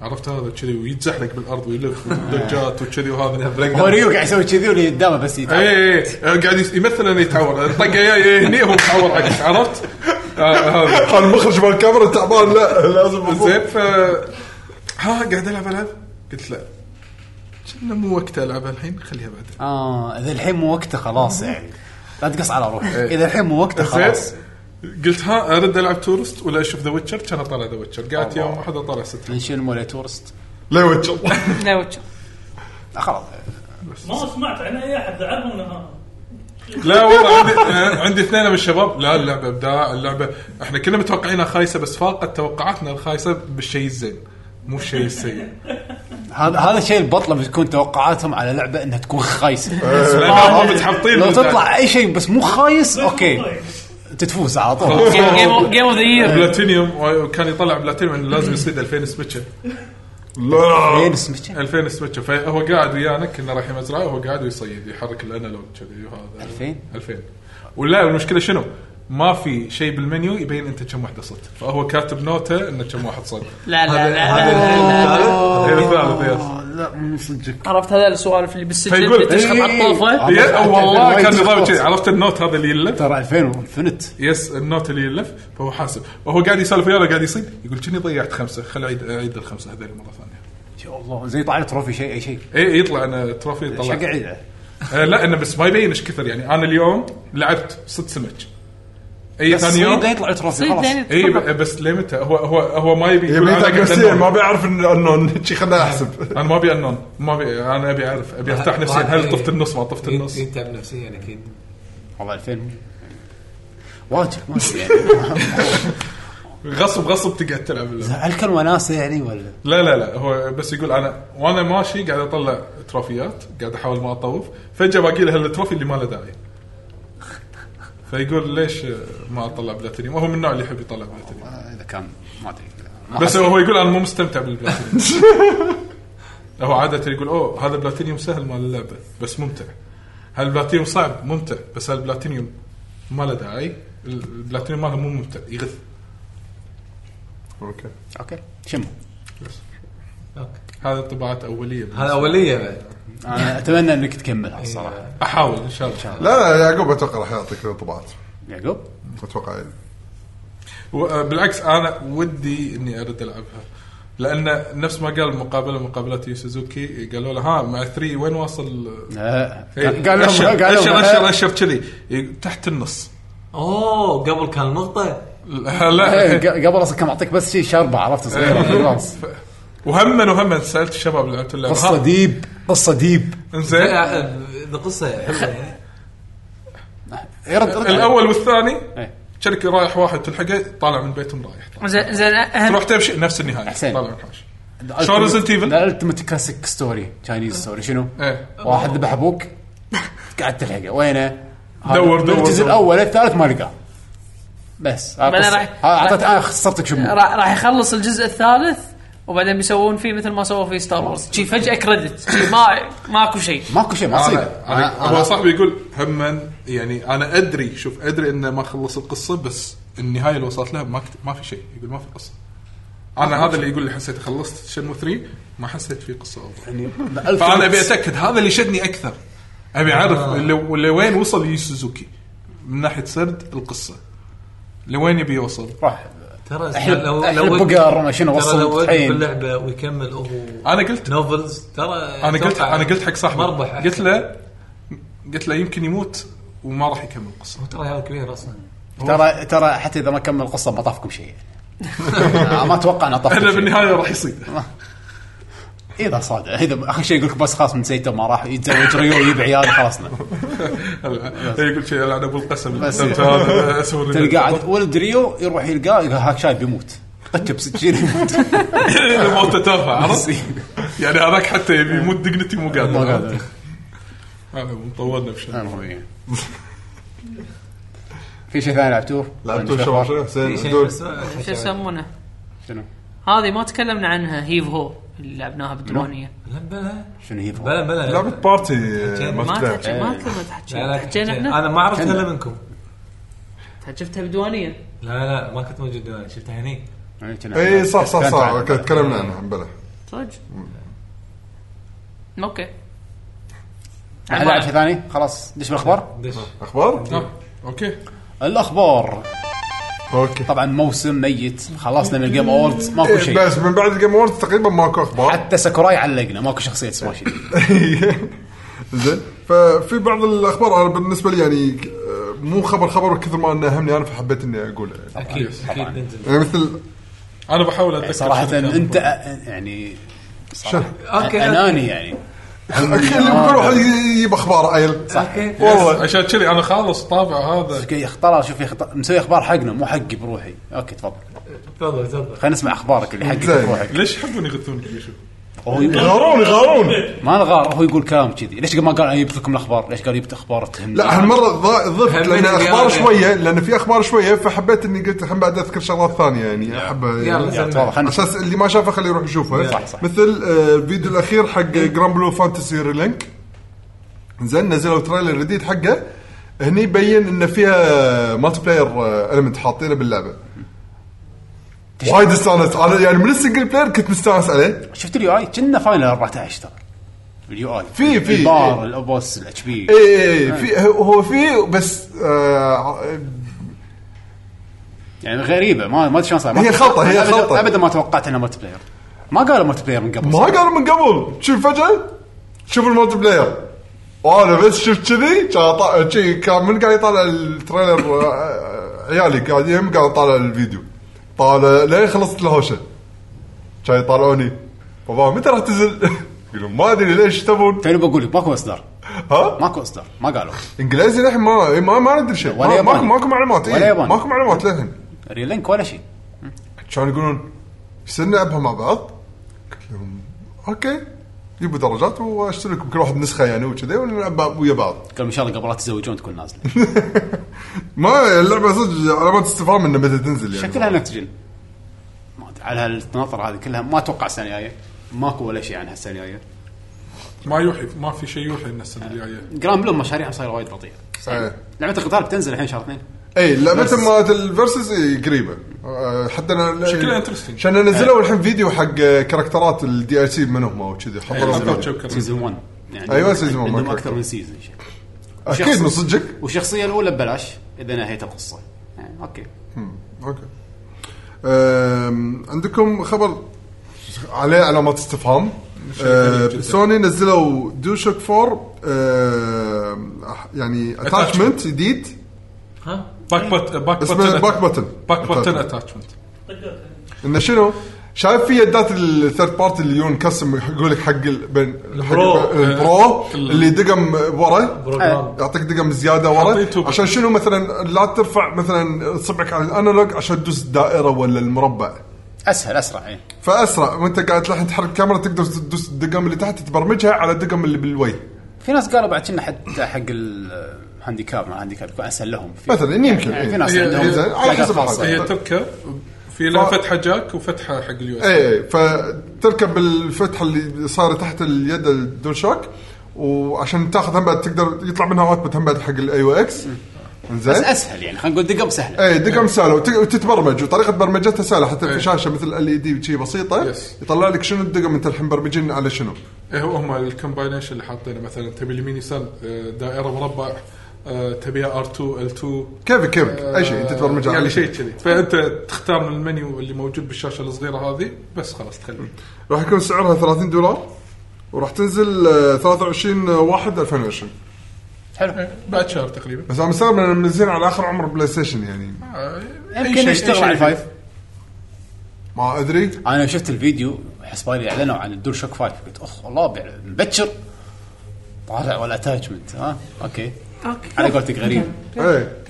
[SPEAKER 3] عرفت هذا كذي ويتزحلق بالارض ويلف ودجات وكذي وهذا
[SPEAKER 1] هو ريو قاعد يسوي كذي واللي قدامه بس
[SPEAKER 3] اي
[SPEAKER 1] يتعب.
[SPEAKER 3] اي إي، قاعد يس- يمثل انه يتعور الطقه جاي هني هو متعور عكس عرفت؟ آه، هذا
[SPEAKER 5] كان المخرج مال الكاميرا تعبان لا لازم
[SPEAKER 3] زين ف ها قاعد العب العب قلت لا كنا مو وقت العب الحين خليها بعدين
[SPEAKER 1] اه اذا الحين مو وقته خلاص يعني لا تقص على روحك
[SPEAKER 3] إيه.
[SPEAKER 1] اذا الحين مو وقته خلاص
[SPEAKER 3] زين قلت ها ارد العب تورست ولا اشوف ذا ويتشر كان اطالع ذا ويتشر قعدت يوم واحد اطالع ست
[SPEAKER 1] من شنو ولا تورست
[SPEAKER 5] لا يوجه
[SPEAKER 4] لا وجه.
[SPEAKER 1] آه، خلاص
[SPEAKER 6] ما سمعت عن اي احد لعبهم ولا
[SPEAKER 3] لا والله عندي آه، عندي اثنين من الشباب لا اللعبه ابداع اللعبه احنا كنا متوقعينها خايسه بس فاقت توقعاتنا الخايسه بالشيء الزين مو الشيء السيء
[SPEAKER 1] هذا هذا الشيء البطله بتكون توقعاتهم على لعبه انها تكون خايسه
[SPEAKER 3] لأن
[SPEAKER 1] آه،
[SPEAKER 3] هم متحبطين
[SPEAKER 1] لو
[SPEAKER 3] بالذات.
[SPEAKER 1] تطلع اي شيء بس مو خايس اوكي تتفوز على طول
[SPEAKER 4] جيم اوف ذا يير
[SPEAKER 3] بلاتينيوم وكان يطلع بلاتينيوم إنه لازم يصيد 2000 سبيتشر
[SPEAKER 5] لا
[SPEAKER 1] وين اسمك
[SPEAKER 3] 2000 سويتش فهو قاعد ويانا كنا رايحين مزرعه وهو قاعد ويصيد يحرك الانالوج كذي وهذا
[SPEAKER 1] 2000
[SPEAKER 3] 2000 ولا المشكله شنو؟ ما في شيء بالمنيو يبين انت كم واحده صدت فهو كاتب نوته انه كم واحد صد
[SPEAKER 4] لا لا لا, لا, لا.
[SPEAKER 3] هي الثالث يس
[SPEAKER 1] آه، لا مو صدق
[SPEAKER 4] عرفت هذا السؤال اللي بالسجل
[SPEAKER 3] فيقول
[SPEAKER 4] اللي تشخط على الطوفه
[SPEAKER 1] إيه.
[SPEAKER 3] يا- والله كان نظام
[SPEAKER 1] خلاص.
[SPEAKER 3] كذي عرفت النوت هذا اللي يلف
[SPEAKER 1] ترى 2000 وانفنت
[SPEAKER 3] يس النوت اللي يلف فهو حاسب وهو قاعد يسولف ويانا قاعد يصيد يقول كني ضيعت خمسه خل اعيد اعيد الخمسه هذول مره ثانيه
[SPEAKER 1] يا الله زي طالع تروفي شيء اي شيء
[SPEAKER 3] اي يطلع انا تروفي
[SPEAKER 1] ايش
[SPEAKER 3] يطلع
[SPEAKER 1] قاعد
[SPEAKER 3] آه، لا انه بس ما يبين ايش كثر يعني انا اليوم لعبت ست سمك اي ثاني يوم
[SPEAKER 1] لا يطلع تروفي
[SPEAKER 4] صيد
[SPEAKER 1] خلاص
[SPEAKER 4] لين
[SPEAKER 3] اي
[SPEAKER 4] تفضل.
[SPEAKER 3] ب- بس ليمتى هو هو هو ما يبي يقول
[SPEAKER 5] يبي
[SPEAKER 3] أنا
[SPEAKER 5] يتعب
[SPEAKER 3] قلت
[SPEAKER 5] نفسيا
[SPEAKER 3] unknown.
[SPEAKER 5] إيه، ما بيعرف إن- انه شي خلنا احسب
[SPEAKER 3] انا ما ابي انون ما ابي انا ابي اعرف ابي افتح نفسي هل
[SPEAKER 2] إيه؟
[SPEAKER 3] طفت النص ما طفت النص
[SPEAKER 2] يتعب نفسيا اكيد
[SPEAKER 1] والله 2000 واجب ما أدري يعني
[SPEAKER 3] غصب غصب تقعد تلعب اللعبة.
[SPEAKER 1] هل كان وناسه يعني ولا
[SPEAKER 3] لا لا لا هو بس يقول انا وانا ماشي قاعد اطلع تروفيات قاعد احاول ما اطوف فجاه باقي له التروفي اللي ما له داعي فيقول ليش ما اطلع بلاتينيوم وهو من النوع اللي يحب يطلع بلاتينيوم
[SPEAKER 1] آه، اذا كان ما ادري
[SPEAKER 3] بس هو يقول انا مو مستمتع بالبلاتينيوم
[SPEAKER 1] *laughs*
[SPEAKER 3] هو عادة يقول اوه هذا بلاتينيوم سهل مال اللعبة بس ممتع هالبلاتينيوم صعب ممتع بس هالبلاتينيوم ما له داعي البلاتينيوم ماله مو ممتع يغث
[SPEAKER 5] اوكي
[SPEAKER 1] اوكي شمو
[SPEAKER 3] هذا طباعات اوليه
[SPEAKER 2] هذا اوليه بعد
[SPEAKER 1] انا اتمنى انك تكملها الصراحه
[SPEAKER 3] احاول ان شاء الله
[SPEAKER 5] لا لا يعقوب اتوقع راح يعطيك انطباعات
[SPEAKER 1] يعقوب
[SPEAKER 5] اتوقع يعني.
[SPEAKER 3] و- آه، بالعكس انا ودي اني ارد العبها لان نفس ما قال مقابله مقابلات سوزوكي قالوا له ها مع 3 وين واصل
[SPEAKER 1] آه،
[SPEAKER 3] إيه،
[SPEAKER 1] قال قال لهم-
[SPEAKER 3] اشر
[SPEAKER 1] قال
[SPEAKER 3] اشر
[SPEAKER 1] لهم-
[SPEAKER 3] اشر اشر كذي إيه، تحت النص
[SPEAKER 2] اوه قبل كان نقطه
[SPEAKER 3] لا
[SPEAKER 1] إيه،
[SPEAKER 3] لا.
[SPEAKER 1] ق- قبل اصلا كان معطيك بس شيء شربه عرفت صغيره في
[SPEAKER 3] إيه.
[SPEAKER 1] الراس
[SPEAKER 3] وهما وهما سالت الشباب اللي لعبتوا اللعبه
[SPEAKER 1] قصه
[SPEAKER 3] ها،
[SPEAKER 1] ديب قصه ديب
[SPEAKER 2] إيه،
[SPEAKER 3] انزين
[SPEAKER 2] ذا قصه حلوه
[SPEAKER 3] *laughs*
[SPEAKER 2] يعني
[SPEAKER 1] إيه، رد رد
[SPEAKER 3] الاول والثاني
[SPEAKER 1] إيه.
[SPEAKER 3] شركة رايح واحد تلحقه طالع من بيتهم رايح طالع.
[SPEAKER 4] زين زين اهم
[SPEAKER 3] تروح تمشي نفس النهايه
[SPEAKER 1] حسين.
[SPEAKER 3] طالع من الحوش شلون ريزنت ايفل؟
[SPEAKER 1] الالتيمت كلاسيك ستوري تشاينيز ستوري شنو؟
[SPEAKER 3] ايه
[SPEAKER 1] واحد ذبح ابوك قاعد تلحقه وينه؟ هذا
[SPEAKER 3] دور-
[SPEAKER 1] من
[SPEAKER 3] دور-
[SPEAKER 1] الجزء
[SPEAKER 3] دور.
[SPEAKER 1] الاول الثالث ما لقاه بس هذا
[SPEAKER 4] بعدين
[SPEAKER 1] قصة. هذا
[SPEAKER 4] راح-
[SPEAKER 1] اعطيت انا خسرتك شمو
[SPEAKER 4] را- راح يخلص الجزء الثالث وبعدين بيسوون فيه مثل ما سووا في ستار وورز شي فجاه كريدت شي ما ماكو شيء
[SPEAKER 1] ماكو شيء ما
[SPEAKER 3] أنا-
[SPEAKER 1] تصير
[SPEAKER 3] أنا-
[SPEAKER 1] أنا-
[SPEAKER 3] هو
[SPEAKER 1] أنا-
[SPEAKER 3] صاحبي يقول هما يعني انا ادري شوف ادري انه ما خلص القصه بس النهايه اللي وصلت لها ما كت- ما في شيء يقول ما في قصه انا هذا اللي يقول لي حسيت خلصت شنمو 3 ما حسيت في قصه أوضح.
[SPEAKER 1] يعني
[SPEAKER 3] فانا ابي
[SPEAKER 1] الألتيمت-
[SPEAKER 3] اتاكد هذا اللي شدني اكثر ابي اعرف اللي- اللي وين وصل يو سوزوكي من ناحيه سرد القصه لوين يبي يوصل
[SPEAKER 1] راح
[SPEAKER 2] ترى
[SPEAKER 1] أحلب-
[SPEAKER 2] لو
[SPEAKER 1] أحلب
[SPEAKER 2] لو
[SPEAKER 1] بقر ما شنو
[SPEAKER 2] ترى
[SPEAKER 1] وصل
[SPEAKER 2] لو وقف
[SPEAKER 1] الحين.
[SPEAKER 2] اللعبه ويكمل هو
[SPEAKER 3] انا قلت
[SPEAKER 2] نوفلز ترى
[SPEAKER 3] انا قلت
[SPEAKER 2] أتوقع
[SPEAKER 3] انا قلت حق صاحبي
[SPEAKER 2] مربح
[SPEAKER 3] قلت له قلت له يمكن يموت وما راح يكمل القصه *laughs*
[SPEAKER 2] هو ترى عيال كبير اصلا
[SPEAKER 1] ترى ترى حتى اذا ما كمل القصه ما طافكم
[SPEAKER 3] *laughs*
[SPEAKER 1] شيء يعني. ما اتوقع انه
[SPEAKER 3] انا
[SPEAKER 1] طافكم شيء.
[SPEAKER 3] بالنهايه راح يصيد
[SPEAKER 1] اذا صادق اذا اخر شيء يقول لك بس خلاص من سيتو ما راح يتزوج ريو ويجيب عيال
[SPEAKER 5] *laughs*
[SPEAKER 1] خلصنا
[SPEAKER 3] هلا، يقول شيء لعن ابو القسم
[SPEAKER 1] بس.
[SPEAKER 3] سويت هذا، اسوي
[SPEAKER 1] *laughs*
[SPEAKER 3] اللي-
[SPEAKER 1] تلقى
[SPEAKER 3] *laughs*
[SPEAKER 1] عاد ولد ريو يروح يلقاه يلقى هاك شايب يموت قتشه بسكين يموت
[SPEAKER 3] موته تافهه عرفت؟ يعني هذاك حتى يبي يموت دقنتي
[SPEAKER 1] *laughs*
[SPEAKER 3] مو
[SPEAKER 1] ما
[SPEAKER 3] قادر
[SPEAKER 1] قادر.
[SPEAKER 3] هذا طولنا بشيء
[SPEAKER 1] المهم يعني. في شيء ثاني لعبتوه؟ يعني
[SPEAKER 5] لعبتوا
[SPEAKER 1] شنو
[SPEAKER 5] شباب شنو
[SPEAKER 2] في
[SPEAKER 5] حسين
[SPEAKER 2] شيء
[SPEAKER 5] دول
[SPEAKER 2] إيه، بس ما-
[SPEAKER 4] شو يسمونه
[SPEAKER 1] شنو
[SPEAKER 4] هذه ما تكلمنا عنها هيف هو اللي لعبناها بالديوانيه
[SPEAKER 2] لا بلا
[SPEAKER 1] شنو هي
[SPEAKER 2] بلا بلا
[SPEAKER 5] لعبه
[SPEAKER 2] لا
[SPEAKER 5] بارتي
[SPEAKER 4] ما
[SPEAKER 5] مالتي
[SPEAKER 4] تحكي
[SPEAKER 5] بلاير.
[SPEAKER 4] ما كنا تحكي
[SPEAKER 2] إيه. لا
[SPEAKER 4] حكينا
[SPEAKER 2] حكينا.
[SPEAKER 4] احنا
[SPEAKER 2] انا ما عرفت
[SPEAKER 1] كنا.
[SPEAKER 2] الا منكم
[SPEAKER 4] شفتها بالديوانيه
[SPEAKER 2] لا لا ما كنت موجود انا شفتها هني
[SPEAKER 1] يعني
[SPEAKER 5] اي إيه، صح صح صح تكلمنا عنها بلى
[SPEAKER 4] صدق اوكي
[SPEAKER 1] هل لعب شيء ثاني؟ خلاص دش بالاخبار؟
[SPEAKER 3] طيب.
[SPEAKER 2] دش
[SPEAKER 5] اخبار؟
[SPEAKER 1] نعم.
[SPEAKER 3] اوكي
[SPEAKER 1] الاخبار
[SPEAKER 5] اوكي
[SPEAKER 1] طبعا موسم ميت خلصنا من الجيم اووردز ماكو
[SPEAKER 5] إيه،
[SPEAKER 1] شيء
[SPEAKER 5] بس من بعد الجيم اووردز تقريبا ماكو اخبار
[SPEAKER 1] حتى ساكوراي علقنا ماكو شخصيه سماش
[SPEAKER 5] *laughs* زين ففي بعض الاخبار انا بالنسبه لي يعني آه، مو خبر خبر كثر ما انه اهمني انا فحبيت اني اقوله يعني.
[SPEAKER 2] اكيد اكيد ننزل
[SPEAKER 5] يعني مثل
[SPEAKER 3] انا بحاول اتذكر شنو
[SPEAKER 1] صراحه
[SPEAKER 3] كان.
[SPEAKER 1] انت أ- يعني
[SPEAKER 5] شنو؟
[SPEAKER 2] اوكي
[SPEAKER 1] اناني يعني
[SPEAKER 5] أكيد اللي بكل واحد يجيب اخبار عيل صح
[SPEAKER 2] اوكي
[SPEAKER 3] والله عشان كذي انا خالص طابع هذا
[SPEAKER 1] اختار شوف يخطر مسوي اخبار حقنا مو حقي بروحي اوكي تفضل
[SPEAKER 2] تفضل تفضل
[SPEAKER 1] خلينا نسمع اخبارك اللي حقك
[SPEAKER 5] زين.
[SPEAKER 1] بروحك
[SPEAKER 3] ليش يحبون يغثونك بيشو؟
[SPEAKER 1] هو يقول-
[SPEAKER 5] يغارون يغارون
[SPEAKER 1] ما نغار هو يقول كلام كذي ليش ما قال انا جبت لكم الاخبار ليش قال جبت اخبار تهمني
[SPEAKER 5] لا هالمره ض- ضفت لان
[SPEAKER 2] همني
[SPEAKER 5] اخبار
[SPEAKER 2] يا-
[SPEAKER 5] شويه لان في اخبار شويه فحبيت اني قلت الحين بعد اذكر شغلات ثانيه يعني احب
[SPEAKER 2] يلا
[SPEAKER 5] يعني
[SPEAKER 1] تفضل
[SPEAKER 2] سلمى.
[SPEAKER 1] خلينا
[SPEAKER 5] عشان اللي ما شافه خليه يروح يشوفه
[SPEAKER 1] صح، صح.
[SPEAKER 5] مثل آه، الفيديو الاخير حق جران بلو فانتسي ريلينك زين نزلوا تريلر جديد حقه هني يبين ان فيها مالتي بلاير المنت حاطينه باللعبه وايد استانست انا يعني من السنجل بلاير كنت مستانس عليه
[SPEAKER 1] شفت اليو اي كنا فاينل 14 ترى اليو اي
[SPEAKER 5] في- في-
[SPEAKER 1] البار
[SPEAKER 5] إيه.
[SPEAKER 1] الابوس الاتش بي
[SPEAKER 5] اي اي إي، في هو في بس آه،
[SPEAKER 1] يعني غريبه ما ما ادري شلون صار ما-
[SPEAKER 5] هي خلطة، هي
[SPEAKER 1] أبداً-
[SPEAKER 5] خلطة.
[SPEAKER 1] ابدا ما توقعت انها مالتي بلاير ما قالوا مالتي بلاير من قبل
[SPEAKER 5] ما قالوا من قبل شوف فجاه شوف المالتي بلاير وانا بس شفت كذي كان طا- شي كان من قاعد يطالع التريلر آه، آه، عيالي قاعد يم قاعد يطالع الفيديو طالع لين خلصت الهوشه كان يطالعوني بابا متى راح تنزل؟ *laughs* يقولون ما ادري ليش تبون
[SPEAKER 1] توني بقول لك ماكو اصدار
[SPEAKER 5] ها؟
[SPEAKER 1] ماكو اصدار ما قالوا
[SPEAKER 5] انجليزي للحين ما ما ما ندري شيء
[SPEAKER 1] ولا
[SPEAKER 5] ما-
[SPEAKER 1] ياباني.
[SPEAKER 5] ماكو ماكو معلومات
[SPEAKER 1] ولا
[SPEAKER 5] إيه.
[SPEAKER 1] ياباني.
[SPEAKER 5] ماكو معلومات للحين
[SPEAKER 1] ريلينك ولا شيء
[SPEAKER 5] كانوا يقولون يصير نلعبها مع بعض قلت لهم اوكي جيبوا درجات واشتري لكم كل واحد نسخه يعني وكذا ونلعب مع- ويا بعض
[SPEAKER 1] قالوا ان شاء الله قبل لا تتزوجون تكون نازله
[SPEAKER 5] ما اللعبه صدق علامات استفهام انه متى تنزل يعني
[SPEAKER 1] شكلها نكتجن ما ادري على هالتناطر هذه كلها ما اتوقع السنه الجايه ماكو ولا شيء عنها السنه الجايه
[SPEAKER 3] ما يوحي ما في شيء يوحي ان السنه الجايه
[SPEAKER 1] جرام بلوم مشاريعها صايره وايد بطيئه
[SPEAKER 5] إيه.
[SPEAKER 1] لعبه القتال بتنزل الحين شهر اثنين
[SPEAKER 5] اي لعبه إيه، مالت الفيرسز إي، قريبه آه، حتى انا
[SPEAKER 3] شكلها interesting.
[SPEAKER 5] عشان نزلوا الحين فيديو حق آه، كاركترات الدي ال سي منهم وكذي حضروا
[SPEAKER 3] حطوا
[SPEAKER 5] فيديو.
[SPEAKER 3] تشوكر.
[SPEAKER 1] سيزون 1 يعني
[SPEAKER 5] أيوة،
[SPEAKER 1] عندهم-
[SPEAKER 5] سيزون 1
[SPEAKER 1] عندهم
[SPEAKER 5] كويس.
[SPEAKER 1] اكثر من سيزون شيء.
[SPEAKER 5] اكيد من صدقك
[SPEAKER 1] والشخصيه الاولى ببلاش اذا نهيت القصه يعني اوكي
[SPEAKER 5] اوكي أم، عندكم خبر عليه علامات استفهام
[SPEAKER 3] شيء غريب
[SPEAKER 5] أه،
[SPEAKER 3] جداً.
[SPEAKER 5] سوني نزلوا دوشك 4 أم، أح- آه، يعني اتاتشمنت جديد
[SPEAKER 2] ها
[SPEAKER 3] باك بوت باك
[SPEAKER 5] اسمه
[SPEAKER 3] بوتن
[SPEAKER 5] باك بتن
[SPEAKER 3] باك بوتن اتاتشمنت
[SPEAKER 6] طقات
[SPEAKER 5] انه شنو؟ شايف في يدات الثيرد بارتي اللي يون كسم يقول لك حق ال- بين حق
[SPEAKER 3] البرو. آه،
[SPEAKER 5] البرو
[SPEAKER 3] ال-
[SPEAKER 5] اللي دقم ورا
[SPEAKER 2] بروجرام
[SPEAKER 5] يعطيك دقم زياده
[SPEAKER 3] حاطين
[SPEAKER 5] ورا
[SPEAKER 3] توبة.
[SPEAKER 5] عشان شنو مثلا لا ترفع مثلا اصبعك على الانالوج عشان تدوس الدائره ولا المربع
[SPEAKER 1] اسهل اسرع اي
[SPEAKER 5] فاسرع وانت قاعد تلحن تحرك الكاميرا تقدر تدوس الدقم اللي تحت تبرمجها على الدقم اللي بالوي
[SPEAKER 1] في ناس قالوا بعد كنا حتى حق الهانديكاب مع الهانديكاب يكون اسهل لهم في
[SPEAKER 5] مثلا إن يمكن
[SPEAKER 1] يعني في
[SPEAKER 5] إيه.
[SPEAKER 1] ناس
[SPEAKER 3] هي-
[SPEAKER 1] عندهم
[SPEAKER 5] زين، على
[SPEAKER 1] حاجات
[SPEAKER 5] حسب
[SPEAKER 1] خاصة.
[SPEAKER 5] الحاجة.
[SPEAKER 3] هي تركه في لها
[SPEAKER 5] ف-
[SPEAKER 3] فتحه جاك وفتحه حق اليو اس
[SPEAKER 5] ايه فتركب الفتحه اللي صايره تحت اليد الدول شوك وعشان تاخذ هم بعد تقدر يطلع منها اوتبوت هم بعد حق الاي او اكس
[SPEAKER 1] بس
[SPEAKER 5] زين
[SPEAKER 1] اسهل يعني خلينا نقول دقم سهله
[SPEAKER 5] اي دقم سهله إيه، وت- وتتبرمج وطريقه برمجتها سهله حتى
[SPEAKER 3] إيه.
[SPEAKER 5] في شاشه مثل E ال اي دي شي بسيطه
[SPEAKER 3] يس.
[SPEAKER 5] يطلع لك شنو الدقم انت الحين برمجين على شنو
[SPEAKER 3] إيه هو هم الكومباينيشن اللي حاطينه مثلا تبي اليمين يسار آه، دائره مربع آه، تبيها ار2 ال2
[SPEAKER 5] كيفك كيفك اي شيء انت تبرمجها
[SPEAKER 3] uh، يعني
[SPEAKER 5] على
[SPEAKER 3] شيء كذي فانت تختار من المنيو اللي موجود بالشاشه الصغيره هذه بس خلاص تخليه
[SPEAKER 5] راح يكون سعرها 30 دولار وراح تنزل آه، 23 1 2020
[SPEAKER 1] حلو
[SPEAKER 3] إيه، بعد شهر تقريبا
[SPEAKER 5] بس انا مستغرب إنهم منزلين على اخر عمر بلاي ستيشن يعني
[SPEAKER 3] آه، أي شيء-
[SPEAKER 1] يمكن
[SPEAKER 3] أي
[SPEAKER 1] يشتغل
[SPEAKER 3] شيء.
[SPEAKER 1] على الفايف
[SPEAKER 5] ما ادري
[SPEAKER 1] انا شفت الفيديو حسبالي اعلنوا عن الدول شوك 5 قلت اخ والله بيع- مبكر طالع ولا اتاتشمنت ها اوكي على قولتك غريب
[SPEAKER 5] ايه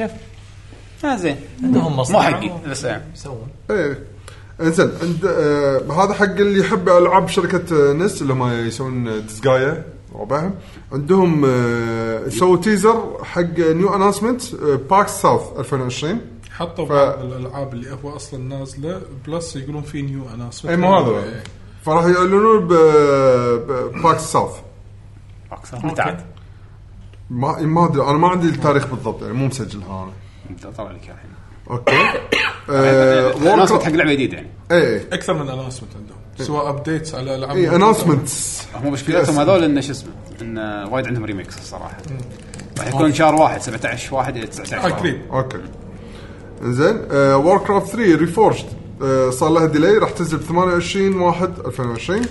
[SPEAKER 1] اه زين
[SPEAKER 2] عندهم
[SPEAKER 1] مو
[SPEAKER 2] مصنع
[SPEAKER 1] حقي بس يعني
[SPEAKER 2] يسوون
[SPEAKER 5] ايه انزين عند آه هذا حق اللي يحب العاب شركه آه، نس اللي هم يسوون دسقايا ربعهم عندهم آه سووا تيزر حق آه، نيو اناونسمنت باك ساوث 2020
[SPEAKER 3] حطوا
[SPEAKER 5] ف-
[SPEAKER 3] بعض الالعاب اللي هو اصلا نازله بلس يقولون في نيو اناس
[SPEAKER 5] اي إيه، مو هذا
[SPEAKER 3] إيه.
[SPEAKER 5] فراح يعلنون باك ساوث
[SPEAKER 1] أقصى. متعب
[SPEAKER 5] ما ما ادري انا ما عندي التاريخ بالضبط يعني مو مسجلها انا
[SPEAKER 1] طلع لك إياه الحين
[SPEAKER 5] اوكي
[SPEAKER 1] الناس حق
[SPEAKER 5] آه
[SPEAKER 1] لعبه جديده يعني
[SPEAKER 5] اي
[SPEAKER 3] اكثر من اناونسمنت عندهم
[SPEAKER 5] إيه.
[SPEAKER 3] سواء ابديتس على العاب
[SPEAKER 5] اي
[SPEAKER 3] موجودة.
[SPEAKER 5] اناونسمنتس
[SPEAKER 1] هم مشكلتهم هذول انه شو اسمه انه وايد عندهم ريميكس الصراحه راح يكون شهر واحد 17 واحد الى 19 واحد.
[SPEAKER 3] اكريم
[SPEAKER 5] اوكي زين وور كرافت 3 ريفورجد صار لها ديلي Uh, راح تنزل ب 28 1 2020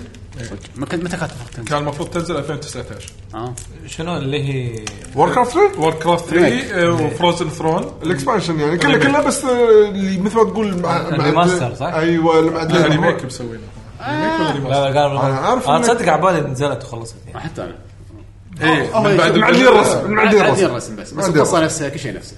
[SPEAKER 1] ما كنت متى كاتب وقت
[SPEAKER 3] كان المفروض تنزل 2019
[SPEAKER 1] اه
[SPEAKER 2] شنو اللي هي
[SPEAKER 5] وور كرافت 3
[SPEAKER 3] وور كرافت 3 وفروزن ثرون
[SPEAKER 5] الاكسبانشن يعني كله كله بس آه، اللي مثل ما تقول مع- مع-
[SPEAKER 2] الريماستر، صح؟
[SPEAKER 5] ايوه اللي معدلين.
[SPEAKER 3] ريميك مسوينه ريميك ولا ريماستر؟
[SPEAKER 2] لا لا قالوا
[SPEAKER 5] أنا عارف
[SPEAKER 2] انا
[SPEAKER 5] إنك-
[SPEAKER 2] تصدق على بالي نزلت وخلصت يعني
[SPEAKER 1] ما حتى انا
[SPEAKER 3] ايه
[SPEAKER 5] آه،
[SPEAKER 3] من بعد
[SPEAKER 5] معدلين الرسم
[SPEAKER 1] عادي
[SPEAKER 5] معدلين الرسم
[SPEAKER 1] الرسم بس بس
[SPEAKER 5] معدلين
[SPEAKER 1] القصه
[SPEAKER 5] الرسم.
[SPEAKER 1] نفسها كل شيء نفسه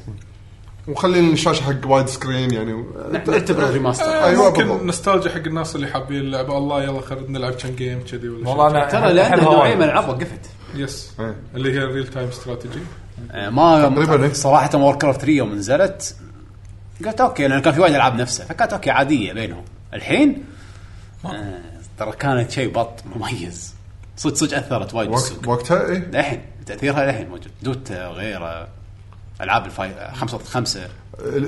[SPEAKER 5] ومخلين الشاشه حق وايد سكرين يعني
[SPEAKER 1] نعتبره ريماستر
[SPEAKER 5] أيوة،
[SPEAKER 3] ايوه
[SPEAKER 5] بالضبط.
[SPEAKER 3] ممكن نستالجي حق الناس اللي حابين اللعبه الله يلا خلينا نلعب كم جيم كذي ولا شيء.
[SPEAKER 2] والله انا
[SPEAKER 1] ترى لان
[SPEAKER 2] أحبها
[SPEAKER 1] نوعين
[SPEAKER 2] وايد.
[SPEAKER 1] من الالعاب وقفت
[SPEAKER 3] يس
[SPEAKER 5] إيه.
[SPEAKER 3] اللي هي الريل تايم استراتيجي
[SPEAKER 1] آه، ما
[SPEAKER 5] تقريباً، إيه.
[SPEAKER 1] صراحه وور كرافت 3 يوم نزلت قلت اوكي لان كان في وايد العاب نفسها فكانت اوكي عاديه بينهم الحين آه، ترى كانت شيء بط مميز صدق صدق اثرت وايد بالسوق
[SPEAKER 5] وقت- وقتها إيه. اي
[SPEAKER 1] للحين تاثيرها للحين موجود دوتا وغيره العاب الفاي آه، خمسة ضد خمسة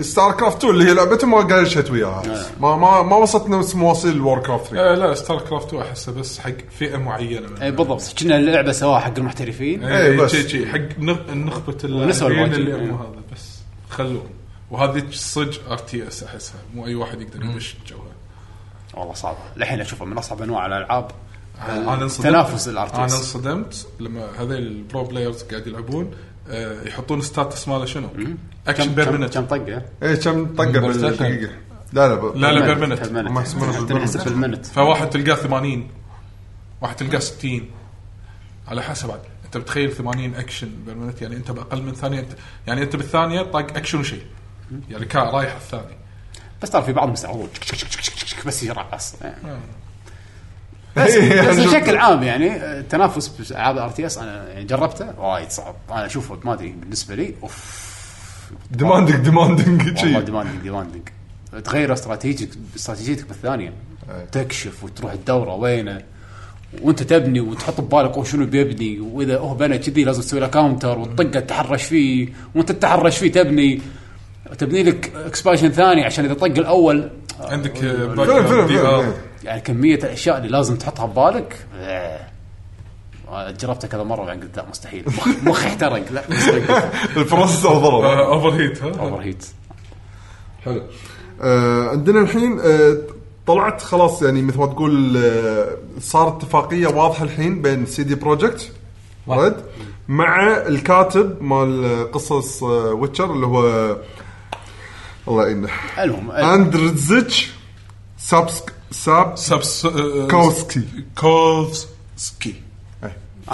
[SPEAKER 5] ستار كرافت 2 اللي هي لعبتهم ما قايشت وياها ما ما ما وصلت نفس مواصيل وور كرافت 3
[SPEAKER 3] آه لا ستار كرافت 2 احسه بس حق فئه معينه من
[SPEAKER 1] اي إيه، بالضبط كنا اللعبه سواها حق المحترفين
[SPEAKER 5] إيه،
[SPEAKER 3] اي
[SPEAKER 5] بس.
[SPEAKER 3] بس حق نخ- نخبه
[SPEAKER 1] ونسوى الواجب،
[SPEAKER 3] اللاعبين اللي
[SPEAKER 1] إيه.
[SPEAKER 3] مو هذا بس خلوه وهذه صدق ار تي اس احسها مو اي واحد يقدر يدش جوها
[SPEAKER 1] والله صعبه للحين اشوفها من اصعب انواع الالعاب
[SPEAKER 3] انا انصدمت
[SPEAKER 1] تنافس الار
[SPEAKER 3] انا انصدمت لما هذول البرو بلايرز قاعد يلعبون آه، يحطون ستاتس ماله شنو؟ اكشن بير
[SPEAKER 1] كم
[SPEAKER 3] مينت
[SPEAKER 1] كم طقه؟
[SPEAKER 5] اي إيه، كم طقه بالدقيقه لا لا ب-
[SPEAKER 3] لا لا بير
[SPEAKER 1] بالمنت.
[SPEAKER 3] مينت
[SPEAKER 1] بالمنت. *laughs*
[SPEAKER 5] هم يحسبونها
[SPEAKER 1] حتى
[SPEAKER 5] بالمنت.
[SPEAKER 1] نحسب بالمنت
[SPEAKER 3] فواحد تلقاه 80 واحد تلقاه 60 على حسب عاد انت بتخيل 80 اكشن بالمنت يعني انت باقل من ثانيه انت يعني انت بالثانيه طاق اكشن وشيء يعني كا رايح الثاني
[SPEAKER 1] بس ترى في بعض مستعرضون شك- شك- شك- شك- شك- شك- *laughs* بس يجرع بس
[SPEAKER 5] *laughs* إيه،
[SPEAKER 1] بس
[SPEAKER 5] شفت.
[SPEAKER 1] بشكل عام يعني التنافس بالعاب الار تي اس انا يعني جربته وايد صعب انا اشوفه ما ادري بالنسبه لي اوف
[SPEAKER 5] ديماندنج *laughs* ديماندنج
[SPEAKER 1] والله
[SPEAKER 5] شي.
[SPEAKER 1] ديماندنج ديماندنج تغير استراتيجيك استراتيجيتك بالثانيه تكشف وتروح الدوره وينه وانت تبني وتحط ببالك هو شنو بيبني واذا هو بنى كذي لازم تسوي له كاونتر وتطقه تتحرش فيه وانت تتحرش فيه تبني تبني لك اكسبانشن ثاني عشان اذا طق الاول
[SPEAKER 3] عندك
[SPEAKER 5] فيلم فيلم
[SPEAKER 3] باك
[SPEAKER 5] فيلم
[SPEAKER 1] يعني كميه الاشياء اللي لازم تحطها ببالك آه. آه، جربتها كذا مره بعدين قلت لا مستحيل مخ- مخي احترق لا مستحيل.
[SPEAKER 5] البروسيسور
[SPEAKER 1] آه.
[SPEAKER 5] ضرب
[SPEAKER 3] اوفر آه، هيت ها
[SPEAKER 1] اوفر هيت
[SPEAKER 5] حلو آه عندنا الحين آه طلعت خلاص يعني مثل ما تقول آه صار اتفاقيه واضحه الحين بين سي دي بروجكت
[SPEAKER 2] واحد.
[SPEAKER 5] رد مع الكاتب مال قصص آه ويتشر اللي هو الله يعينه
[SPEAKER 1] المهم آه،
[SPEAKER 5] اندرزيتش سابسك ساب
[SPEAKER 3] سبس آه،
[SPEAKER 5] كوسكي
[SPEAKER 3] كوفسكي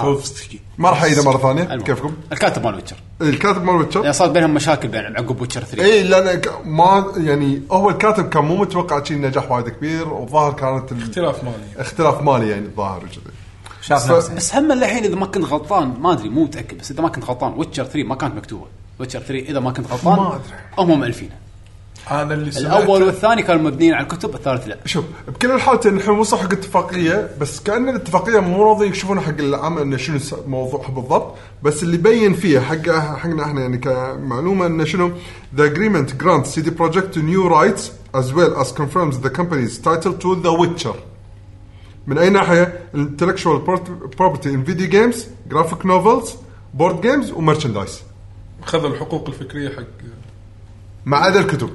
[SPEAKER 3] كوفسكي
[SPEAKER 5] ما راح اعيده مره ثانيه
[SPEAKER 1] المهم.
[SPEAKER 5] كيفكم
[SPEAKER 1] الكاتب مال ويتشر
[SPEAKER 5] الكاتب مال ويتشر
[SPEAKER 1] يعني صار بينهم مشاكل بين عقب ويتشر 3
[SPEAKER 5] اي لان إيه، ك- ما يعني هو الكاتب كان مو متوقع شيء نجاح وايد كبير والظاهر كانت ال-
[SPEAKER 3] اختلاف مالي
[SPEAKER 5] اختلاف مالي يعني الظاهر وكذا
[SPEAKER 2] شاف
[SPEAKER 5] ف-
[SPEAKER 2] نفسه
[SPEAKER 1] بس هم الحين اذا ما كنت غلطان ما ادري مو متاكد بس اذا ما كنت غلطان ويتشر 3 ما كانت مكتوبه ويتشر 3 اذا ما كنت غلطان
[SPEAKER 5] ما أدري.
[SPEAKER 1] هم مالفينه
[SPEAKER 3] انا اللي
[SPEAKER 1] الاول والثاني كانوا مبنيين على الكتب الثالث لا
[SPEAKER 5] شوف بكل الحالتين الحين وصل حق اتفاقيه بس كان الاتفاقيه مو راضيين يكشفون حق العام انه شنو س- موضوعها بالضبط بس اللي بين فيها حق حقنا احنا يعني كمعلومه انه شنو ذا اجريمنت جرانت سي دي بروجكت نيو رايتس از ويل از كونفيرمز ذا كمبانيز تايتل تو ذا ويتشر من اي ناحيه intellectual property in video games graphic novels board games ومرشندايز
[SPEAKER 3] خذوا الحقوق الفكريه حق
[SPEAKER 5] ما عدا الكتب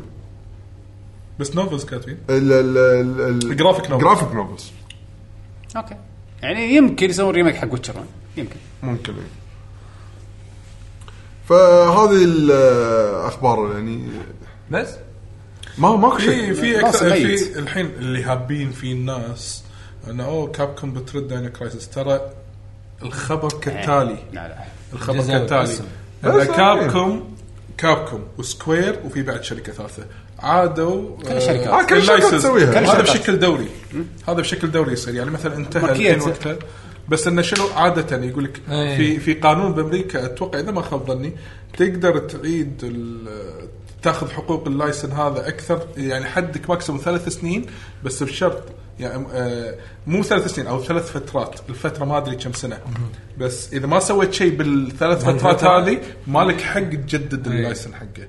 [SPEAKER 3] بس نوفلز كاتبين
[SPEAKER 5] ال ال ال
[SPEAKER 3] Graphic novels.
[SPEAKER 5] جرافيك نوفلز
[SPEAKER 1] اوكي يعني يمكن يسوون ريميك حق ويتشر يمكن
[SPEAKER 5] ممكن إيه. فهذه الاخبار يعني
[SPEAKER 2] بس
[SPEAKER 5] ما ماكو
[SPEAKER 3] في
[SPEAKER 1] إيه.
[SPEAKER 5] شيء
[SPEAKER 3] في
[SPEAKER 1] راسه
[SPEAKER 3] اكثر
[SPEAKER 1] ميت.
[SPEAKER 3] في الحين اللي هابين فيه الناس انه اوه كاب كوم بترد داينا كرايسس ترى الخبر كالتالي
[SPEAKER 1] لا لا
[SPEAKER 3] الخبر
[SPEAKER 2] جزاوي
[SPEAKER 3] كالتالي
[SPEAKER 2] قسم.
[SPEAKER 5] بس
[SPEAKER 3] ان
[SPEAKER 5] يعني.
[SPEAKER 3] كابكم كابكم وسكوير وفي بعد شركه ثالثه عادوا كل
[SPEAKER 1] الشركات.
[SPEAKER 5] آه، كل الشركات تسويها. كل
[SPEAKER 3] هذا
[SPEAKER 1] الشركات.
[SPEAKER 3] بشكل دوري هذا بشكل دوري يصير يعني مثلا انتهى
[SPEAKER 1] ماركية
[SPEAKER 3] الحين وقتها بس انه شنو عاده يقول لك
[SPEAKER 2] أي.
[SPEAKER 3] في في قانون بامريكا اتوقع اذا ما خاب ظني تقدر تعيد ال- تاخذ حقوق اللايسن هذا اكثر يعني حدك ماكسيموم ثلاث سنين بس بشرط يعني آه، مو ثلاث سنين او ثلاث فترات الفتره ما ادري كم سنه بس اذا ما سويت شيء بالثلاث فترات
[SPEAKER 2] الفترة.
[SPEAKER 3] هذه مالك حق تجدد اللايسن حقه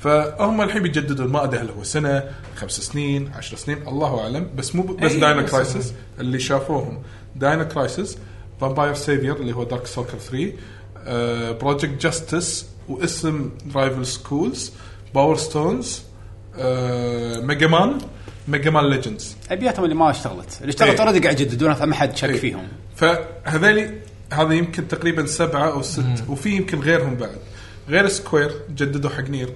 [SPEAKER 3] فهم الحين بيجددون ما ادري هل هو سنه خمس سنين عشر سنين الله اعلم بس مو بس
[SPEAKER 2] أي،
[SPEAKER 3] داينا
[SPEAKER 2] بس-
[SPEAKER 3] كرايسس اللي شافوهم داينا كرايسس فامباير سيفير اللي هو دارك سوكر 3 بروجكت جاستس آه، واسم رايفل سكولز باور ستونز ميجا مان ميجا مان ليجندز
[SPEAKER 1] ابياتهم اللي ما اشتغلت اللي اشتغلت
[SPEAKER 3] إيه.
[SPEAKER 1] اوريدي قاعد يجددونها فما حد شك
[SPEAKER 3] إيه.
[SPEAKER 1] فيهم
[SPEAKER 3] فهذيلي هذا يمكن تقريبا سبعه او ست وفي يمكن غيرهم بعد غير سكوير جددوا حق نير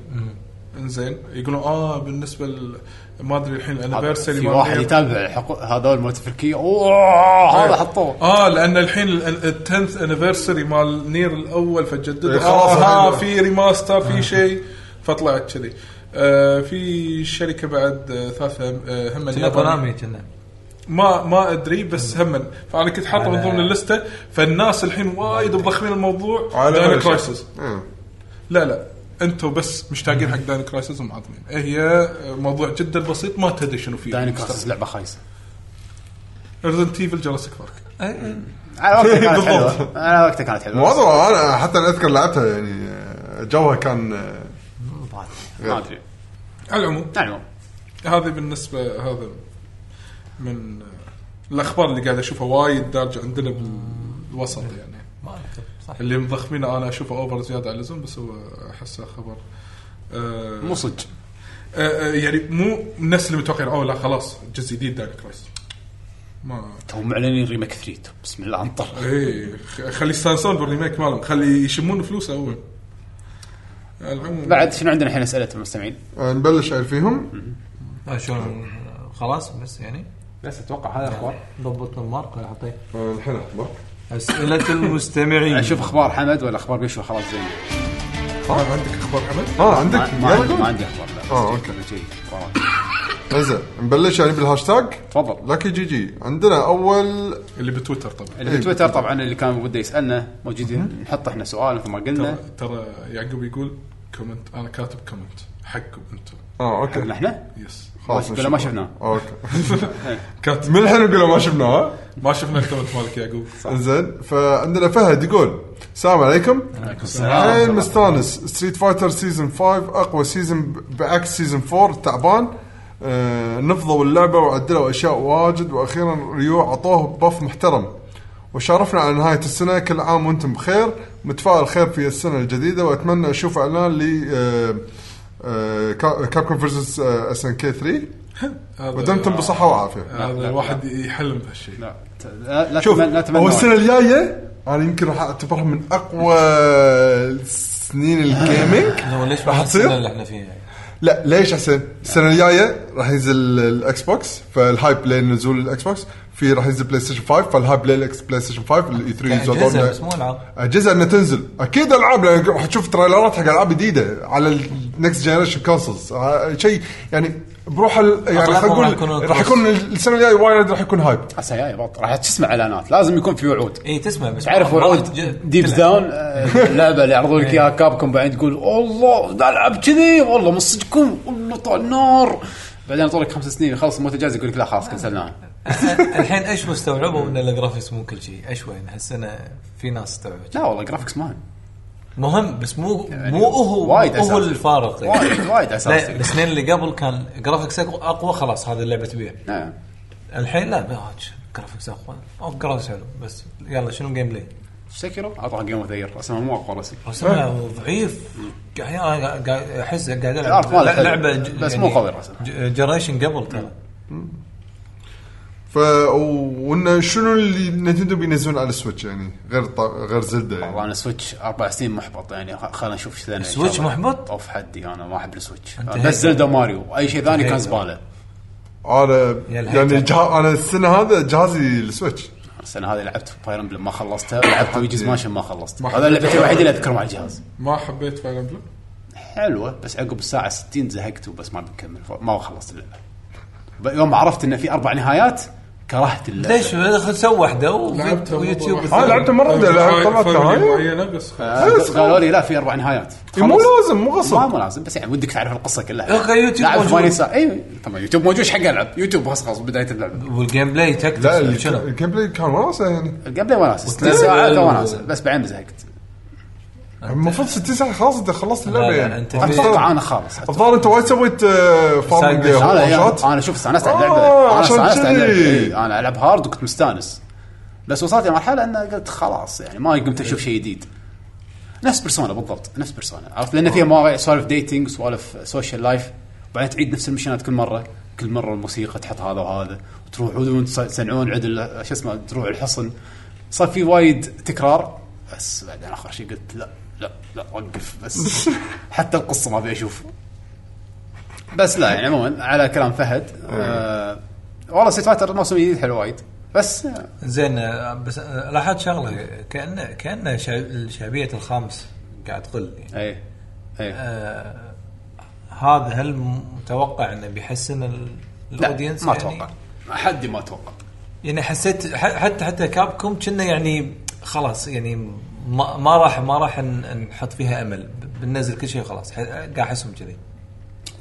[SPEAKER 3] انزين يقولون اه بالنسبه ل- ما ادري الحين الانيفرساري
[SPEAKER 1] في واحد يتابع حقوق هذول مالت الفلكيه اوه
[SPEAKER 5] آه،
[SPEAKER 1] هذا
[SPEAKER 3] *laughs*
[SPEAKER 1] حطوه
[SPEAKER 3] اه لان الحين التنث انيفرساري مال نير الاول فجددوا
[SPEAKER 5] إيه،
[SPEAKER 3] آه,
[SPEAKER 5] خلاص
[SPEAKER 3] آه
[SPEAKER 5] الحين.
[SPEAKER 3] في ريماستر في شيء فطلعت كذي آه في شركه بعد آه ثالثه آه هم
[SPEAKER 2] كنا
[SPEAKER 3] اليابانية.
[SPEAKER 2] كونامي كنا
[SPEAKER 3] ما ما ادري بس هم فانا كنت حاطه من ضمن اللسته فالناس الحين وايد مضخمين الموضوع داينا كرايسس
[SPEAKER 5] إيه.
[SPEAKER 3] لا لا انتم بس مشتاقين حق داينا كرايسس ومعظمين إيه هي موضوع جدا بسيط ما تدري شنو فيه
[SPEAKER 1] دايني كراسس لعبه خايسه
[SPEAKER 3] ريزنت ايفل جراسيك بارك
[SPEAKER 1] على وقتها كانت
[SPEAKER 5] بالضبط.
[SPEAKER 1] حلوه على وقتها كانت حلوه
[SPEAKER 5] موضوع انا حتى أنا اذكر لعبتها يعني آه، جوها كان آه،
[SPEAKER 1] ما يعني ادري
[SPEAKER 3] على العموم
[SPEAKER 1] على العموم
[SPEAKER 3] هذه بالنسبه هذا من الاخبار اللي قاعد اشوفها وايد دارجه عندنا بالوسط يعني
[SPEAKER 2] ما أذكر. صح
[SPEAKER 3] اللي مضخمينه انا اشوفه اوفر زياده على اللزوم بس هو احسه خبر آه،
[SPEAKER 1] مو صدق
[SPEAKER 3] آه، آه، يعني مو الناس اللي متوقعين اوه لا خلاص جزء جديد دارك كرايس ما
[SPEAKER 1] توهم معلنين ريميك 3 بسم الله انطر
[SPEAKER 3] ايه خ- خلي يستانسون بالريميك مالهم خلي يشمون فلوس اول على العموم
[SPEAKER 1] بعد شنو عندنا الحين اسئله المستمعين؟
[SPEAKER 5] آه، نبلش عيل فيهم
[SPEAKER 2] آه، شلون خلاص بس يعني
[SPEAKER 1] بس اتوقع هذا اخبار
[SPEAKER 2] ضبطنا المارك ولا حطيت
[SPEAKER 5] آه، الحين أخبر.
[SPEAKER 2] اسئله المستمعين
[SPEAKER 1] اشوف اخبار يعني حمد ولا اخبار قشوه خلاص زين
[SPEAKER 3] آه، عندك اخبار حمد؟
[SPEAKER 5] اه عندك
[SPEAKER 1] ما ما عندي- ما عندي اخبار لا
[SPEAKER 5] آه، أوكي.
[SPEAKER 1] شيء. والله.
[SPEAKER 5] زين نبلش يعني بالهاشتاج
[SPEAKER 1] تفضل
[SPEAKER 5] لكي جي جي عندنا اول
[SPEAKER 3] اللي بتويتر طبعا
[SPEAKER 1] اللي في تويتر طبعا اللي كان وده يسالنا موجودين نحط احنا سؤال مثل ما قلنا
[SPEAKER 3] ترى ترى يعقوب يقول كومنت انا كاتب كومنت حقكم انتم
[SPEAKER 5] اه اوكي
[SPEAKER 1] احنا
[SPEAKER 3] يس
[SPEAKER 5] خلاص
[SPEAKER 1] ولا ما شفناه.
[SPEAKER 5] *laughs* اوكي
[SPEAKER 3] كات
[SPEAKER 5] من الحين نقول له ما شفناه ها؟
[SPEAKER 3] ما شفنا الكومنت مالك يا يعقوب
[SPEAKER 5] زين طيب. فعندنا فهد يقول السلام عليكم الحين مستانس ستريت فايتر سيزون 5 اقوى سيزون بعكس سيزون 4 تعبان آه، نفضوا اللعبه وعدلوا اشياء واجد واخيرا ريو عطوه بف محترم وشرفنا على نهايه السنه كل عام وانتم بخير متفائل خير في السنه الجديده واتمنى اشوف اعلان ل آه، كابكوم فيرسس آه، اس ان كي 3
[SPEAKER 3] هذا-
[SPEAKER 5] ودمتم بصحه وعافيه
[SPEAKER 3] هذا الواحد يحلم بهالشيء
[SPEAKER 1] لا ت- لا لا
[SPEAKER 5] شوف
[SPEAKER 1] تمن- لا
[SPEAKER 5] هو
[SPEAKER 1] تمنوا
[SPEAKER 5] السنه الجايه انا يمكن راح اعتبرها من اقوى سنين الجيمنج
[SPEAKER 2] هو ليش
[SPEAKER 5] راح
[SPEAKER 2] ما
[SPEAKER 5] تصير؟
[SPEAKER 2] السنه اللي احنا فيها
[SPEAKER 5] لا ليش حسين؟ السنه الجايه راح ينزل الاكس بوكس فالهايب لين نزول الاكس بوكس في راح ينزل بلاي ستيشن 5 فالهايب لين الأكس- بلاي ستيشن 5 الاي 3
[SPEAKER 2] اجهزه بس مو العاب
[SPEAKER 5] اجهزه انها آه، تنزل اكيد العاب لان راح تشوف تريلرات حق العاب جديده على النكست جنريشن كونسولز شيء يعني بروح ال- يعني راح
[SPEAKER 2] أغلبهم راح
[SPEAKER 5] اقول
[SPEAKER 2] يكونون
[SPEAKER 5] راح يكون السنه الجايه وايد راح يكون هايب
[SPEAKER 1] هسه جاي بط راح تسمع اعلانات لازم يكون في وعود
[SPEAKER 2] اي إيه، تسمع بس
[SPEAKER 1] تعرف
[SPEAKER 2] ما- ما
[SPEAKER 1] وعود
[SPEAKER 2] تج-
[SPEAKER 1] ديب
[SPEAKER 2] تلعب.
[SPEAKER 1] داون آه، اللعبه اللي عرضوا لك اياها كابكم بعدين تقول الله نلعب كذي والله من صدقكم والله طال نار بعدين طول لك خمس سنين يخلص المنتج يقول لك لا خلاص كنسلناها
[SPEAKER 2] الحين ايش مستوعبوا ان الجرافيكس مو كل شيء ايش وين هالسنه في ناس استوعبت
[SPEAKER 1] لا والله جرافكس مهم
[SPEAKER 2] مهم بس مو مو هو
[SPEAKER 1] يعني وايد
[SPEAKER 2] وايد هو
[SPEAKER 1] أساسي.
[SPEAKER 2] الفارق يعني.
[SPEAKER 1] وايد وايد
[SPEAKER 2] لا
[SPEAKER 1] اساسي
[SPEAKER 2] السنين اللي قبل كان جرافيكس أقوى- اقوى خلاص هذه اللعبه تبيع
[SPEAKER 1] نعم.
[SPEAKER 2] الحين لا لا، ش- جرافيكس اقوى اوه جرافيكس حلو بس يلا شنو جيم بلاي؟
[SPEAKER 1] سكيرو اعطاها جيم اوف ذير اصلا مو اقوى رسم
[SPEAKER 2] رسمها ضعيف قاعد قاعد- احس قاعد
[SPEAKER 1] العرض
[SPEAKER 2] العب
[SPEAKER 1] ماله حلو،
[SPEAKER 2] لعبه ج- يعني
[SPEAKER 1] بس مو قوي الرسم.
[SPEAKER 2] ج- جنريشن قبل ترى
[SPEAKER 5] ف وانه شنو اللي نتندو بينزلون على السويتش يعني غير ط... غير زلده يعني
[SPEAKER 1] والله انا سويتش اربع سنين محبط يعني خ- خلينا نشوف ايش ثاني إن شاء
[SPEAKER 2] سويتش
[SPEAKER 1] الله.
[SPEAKER 2] محبط؟
[SPEAKER 1] اوف حدي انا ما احب السويتش
[SPEAKER 2] أنت
[SPEAKER 1] بس
[SPEAKER 2] هيك.
[SPEAKER 1] زلدا ماريو اي شيء ثاني كان
[SPEAKER 2] هيك.
[SPEAKER 1] زباله
[SPEAKER 5] انا
[SPEAKER 2] يا الهيتر.
[SPEAKER 5] يعني جه... انا السنه هذا جهازي السويتش
[SPEAKER 1] السنه هذه لعبت فاير امبلم ما خلصتها لعبت ويجز ماشن ما خلصت
[SPEAKER 3] ما
[SPEAKER 1] هذا لعبتي الوحيده اللي اذكرهم على الجهاز
[SPEAKER 3] ما حبيت فاير امبلم
[SPEAKER 1] حلوه بس عقب الساعه 60 زهقت وبس ما بكمل ف- ما خلصت اللعبه ب- يوم عرفت ان في اربع نهايات كرهت اللعبه
[SPEAKER 2] ليش خذ سوى واحده وفي-
[SPEAKER 3] لعبتها
[SPEAKER 2] ويوتيوب
[SPEAKER 5] آه، لعبتها مرة
[SPEAKER 3] طيب،
[SPEAKER 5] واحدة، لعبت طلعت هاي.
[SPEAKER 3] معينه بس خلاص.
[SPEAKER 1] آه،
[SPEAKER 5] بس
[SPEAKER 1] قالوا لي لا في اربع نهايات
[SPEAKER 5] إيه، مو لازم مو غصب
[SPEAKER 1] ما مو لازم بس يعني ودك تعرف القصه كلها
[SPEAKER 2] يا أخي، يوتيوب
[SPEAKER 1] لعب
[SPEAKER 2] موجود.
[SPEAKER 1] 80 ساعه اي طبعا إيه، يوتيوب موجود ايش حق العب يوتيوب بس خلاص بدايه اللعبه
[SPEAKER 2] والجيم بلاي
[SPEAKER 5] لا
[SPEAKER 2] تكتس
[SPEAKER 5] ال-
[SPEAKER 2] شنو؟
[SPEAKER 5] الجيم بلاي كان وناسه يعني
[SPEAKER 1] قبل وناسه ست
[SPEAKER 2] وتنزل-
[SPEAKER 1] ساعات وناسه بس بعدين زهقت
[SPEAKER 5] المفروض 60 ساعه خلاص انت خلصت اللعبه
[SPEAKER 2] لا، لا،
[SPEAKER 5] يعني
[SPEAKER 2] أنت
[SPEAKER 1] اتوقع
[SPEAKER 5] أتوقع.
[SPEAKER 1] انا خالص أتوقع.
[SPEAKER 5] الظاهر انت وايد سويت آه، فارمنج
[SPEAKER 2] Side mission.
[SPEAKER 5] هوم
[SPEAKER 1] انا
[SPEAKER 5] شوت.
[SPEAKER 1] يا- انا شوف استانست على
[SPEAKER 5] آه،
[SPEAKER 1] اللعبه انا
[SPEAKER 5] عشان
[SPEAKER 1] استانست على اللعبه
[SPEAKER 5] كذي.
[SPEAKER 1] إي، انا العب هارد وكنت مستانس بس وصلت لمرحله ان قلت خلاص يعني ما قمت اشوف شيء جديد نفس بيرسونا بالضبط نفس بيرسونا عرفت لان فيها مواضيع سوالف ديتنج سوالف سوشيال لايف وبعدين تعيد نفس المشينات كل مره كل مره الموسيقى تحط هذا وهذا وتروح وانت تسنعون عدل شو اسمه تروح الحصن صار في وايد تكرار بس بعدين اخر شيء قلت لا لا لا وقف بس *laughs* حتى القصه ما ابي اشوف بس لا يعني عموما على كلام فهد آه والله ستريت فايتر الموسم الجديد حلو وايد بس آه،
[SPEAKER 2] زين آه، بس آه، لاحظت شغله كانه كانه شع- شعبيه الخامس قاعد تقل
[SPEAKER 1] اي
[SPEAKER 2] يعني.
[SPEAKER 1] اي
[SPEAKER 2] آه، هذا هل متوقع انه بيحسن ال-
[SPEAKER 1] لا
[SPEAKER 2] الاودينس
[SPEAKER 1] ما
[SPEAKER 2] يعني؟
[SPEAKER 1] اتوقع حدي ما اتوقع
[SPEAKER 2] يعني حسيت ح- حتى حتى كابكم كنا يعني خلاص يعني ما, ما راح ما راح ن- نحط فيها امل ب- بننزل كل شيء خلاص ح- قاعد احسهم كذي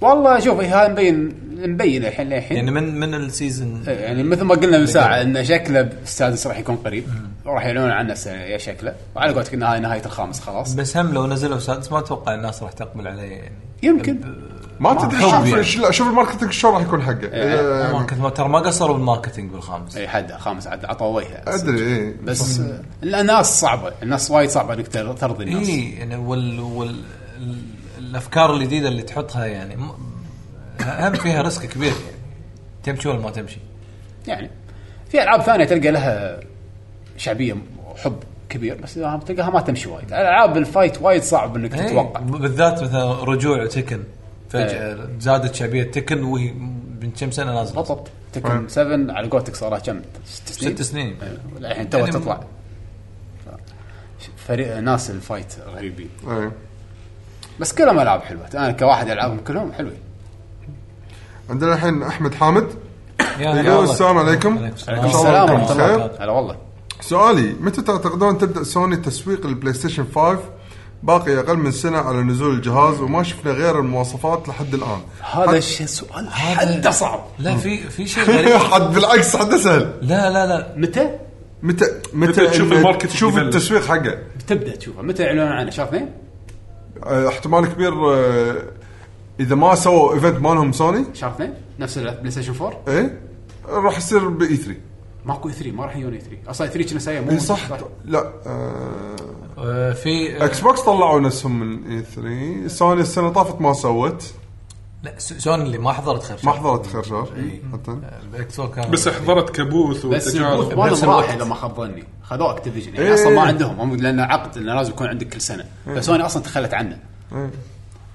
[SPEAKER 1] والله شوف هاي مبين مبين الحين للحين يعني,
[SPEAKER 2] يعني من من السيزون
[SPEAKER 1] يعني مثل ما قلنا من ساعه انه شكله بالسادس راح يكون قريب وراح يعلنون عنه السنة- يا شكله وعلى قولتك انه هاي نهايه الخامس خلاص
[SPEAKER 2] بس هم لو نزلوا سادس ما اتوقع الناس راح تقبل عليه يعني
[SPEAKER 1] يمكن
[SPEAKER 5] ما تدري
[SPEAKER 2] حب يعني. إيه،
[SPEAKER 5] شوف شو- شوف الماركتنج شلون راح يكون حقه آه،
[SPEAKER 2] الماركت ما ترى ما قصروا بالماركتينج بالخامس
[SPEAKER 1] اي إيه، حد خامس عد عطوا وجهه
[SPEAKER 5] ادري إيه.
[SPEAKER 1] بس آه، الناس صعبه الناس وايد صعبه انك تر- ترضي الناس
[SPEAKER 2] اي يعني وال, وال ال- الافكار الجديده اللي تحطها يعني م- هم فيها ريسك كبير يعني تمشي ولا ما تمشي
[SPEAKER 1] يعني في العاب ثانيه تلقى لها شعبيه وحب كبير بس إذا تلقاها ما تمشي وايد العاب الفايت وايد صعب انك
[SPEAKER 2] إيه،
[SPEAKER 1] تتوقع إيه.
[SPEAKER 2] بالذات مثلا رجوع تكن فجاه زادت شعبيه تكن وهي من كم سنه نازله
[SPEAKER 1] بالضبط تكن 7 على قولتك صار لها كم ست سنين
[SPEAKER 2] ست سنين.
[SPEAKER 1] إيه، الحين تو
[SPEAKER 2] يعني
[SPEAKER 1] تطلع ف- فريق ناس الفايت غريبين
[SPEAKER 5] إيه.
[SPEAKER 1] بس كلهم العاب حلوه انا كواحد العابهم كلهم حلوين
[SPEAKER 5] عندنا الحين احمد حامد
[SPEAKER 2] يا
[SPEAKER 5] يقول
[SPEAKER 2] الله.
[SPEAKER 5] السلام عليكم.
[SPEAKER 2] عليكم
[SPEAKER 5] إن شاء الله
[SPEAKER 1] السلام
[SPEAKER 5] يكون
[SPEAKER 1] ورحمه الله
[SPEAKER 5] بخير.
[SPEAKER 1] هلا والله
[SPEAKER 5] سؤالي متى تعتقدون تبدا سوني تسويق البلاي ستيشن 5 باقي اقل من سنه على نزول الجهاز وما شفنا غير المواصفات لحد الان
[SPEAKER 1] هذا الشيء سؤال حده صعب
[SPEAKER 2] لا في في شيء غريب
[SPEAKER 5] *laughs* حد بالعكس حد سهل
[SPEAKER 2] لا لا لا
[SPEAKER 1] متى
[SPEAKER 5] متى
[SPEAKER 3] متى
[SPEAKER 5] متى
[SPEAKER 3] تشوف
[SPEAKER 5] إن-
[SPEAKER 3] الماركت
[SPEAKER 5] تشوف
[SPEAKER 3] يبلش.
[SPEAKER 5] التسويق حقه
[SPEAKER 1] تبدا تشوفه متى اعلنوا عنه شهر اثنين
[SPEAKER 5] آه، احتمال كبير آه، اذا ما سووا ايفنت مالهم سوني
[SPEAKER 1] شهر اثنين نفس البلاي ستيشن 4
[SPEAKER 5] ايه راح يصير E باي 3
[SPEAKER 1] ماكو 3 ما راح يجون 3 اصلا 3 كنا سايا مو
[SPEAKER 5] اي إيه، صح لا آه،
[SPEAKER 2] آه، في آه،
[SPEAKER 5] اكس بوكس طلعوا نفسهم من اي 3 سوني السنه طافت ما سوت
[SPEAKER 2] لا س- سوني اللي ما حضرت خير
[SPEAKER 5] ما
[SPEAKER 2] شر.
[SPEAKER 5] حضرت خير شهر حتى
[SPEAKER 2] الاكس بوكس كان
[SPEAKER 3] بس حضرت كبوث
[SPEAKER 1] بس
[SPEAKER 3] وتجارب
[SPEAKER 1] البوث
[SPEAKER 2] بنفس
[SPEAKER 1] مالهم
[SPEAKER 3] إيه،
[SPEAKER 1] راح
[SPEAKER 2] الوقت.
[SPEAKER 1] اذا ما خاب ظني خذوه اكتيفيجن يعني
[SPEAKER 5] إيه.
[SPEAKER 1] اصلا ما عندهم هم لان عقد انه لازم يكون عندك كل سنه فسوني اصلا تخلت عنه
[SPEAKER 5] إيه.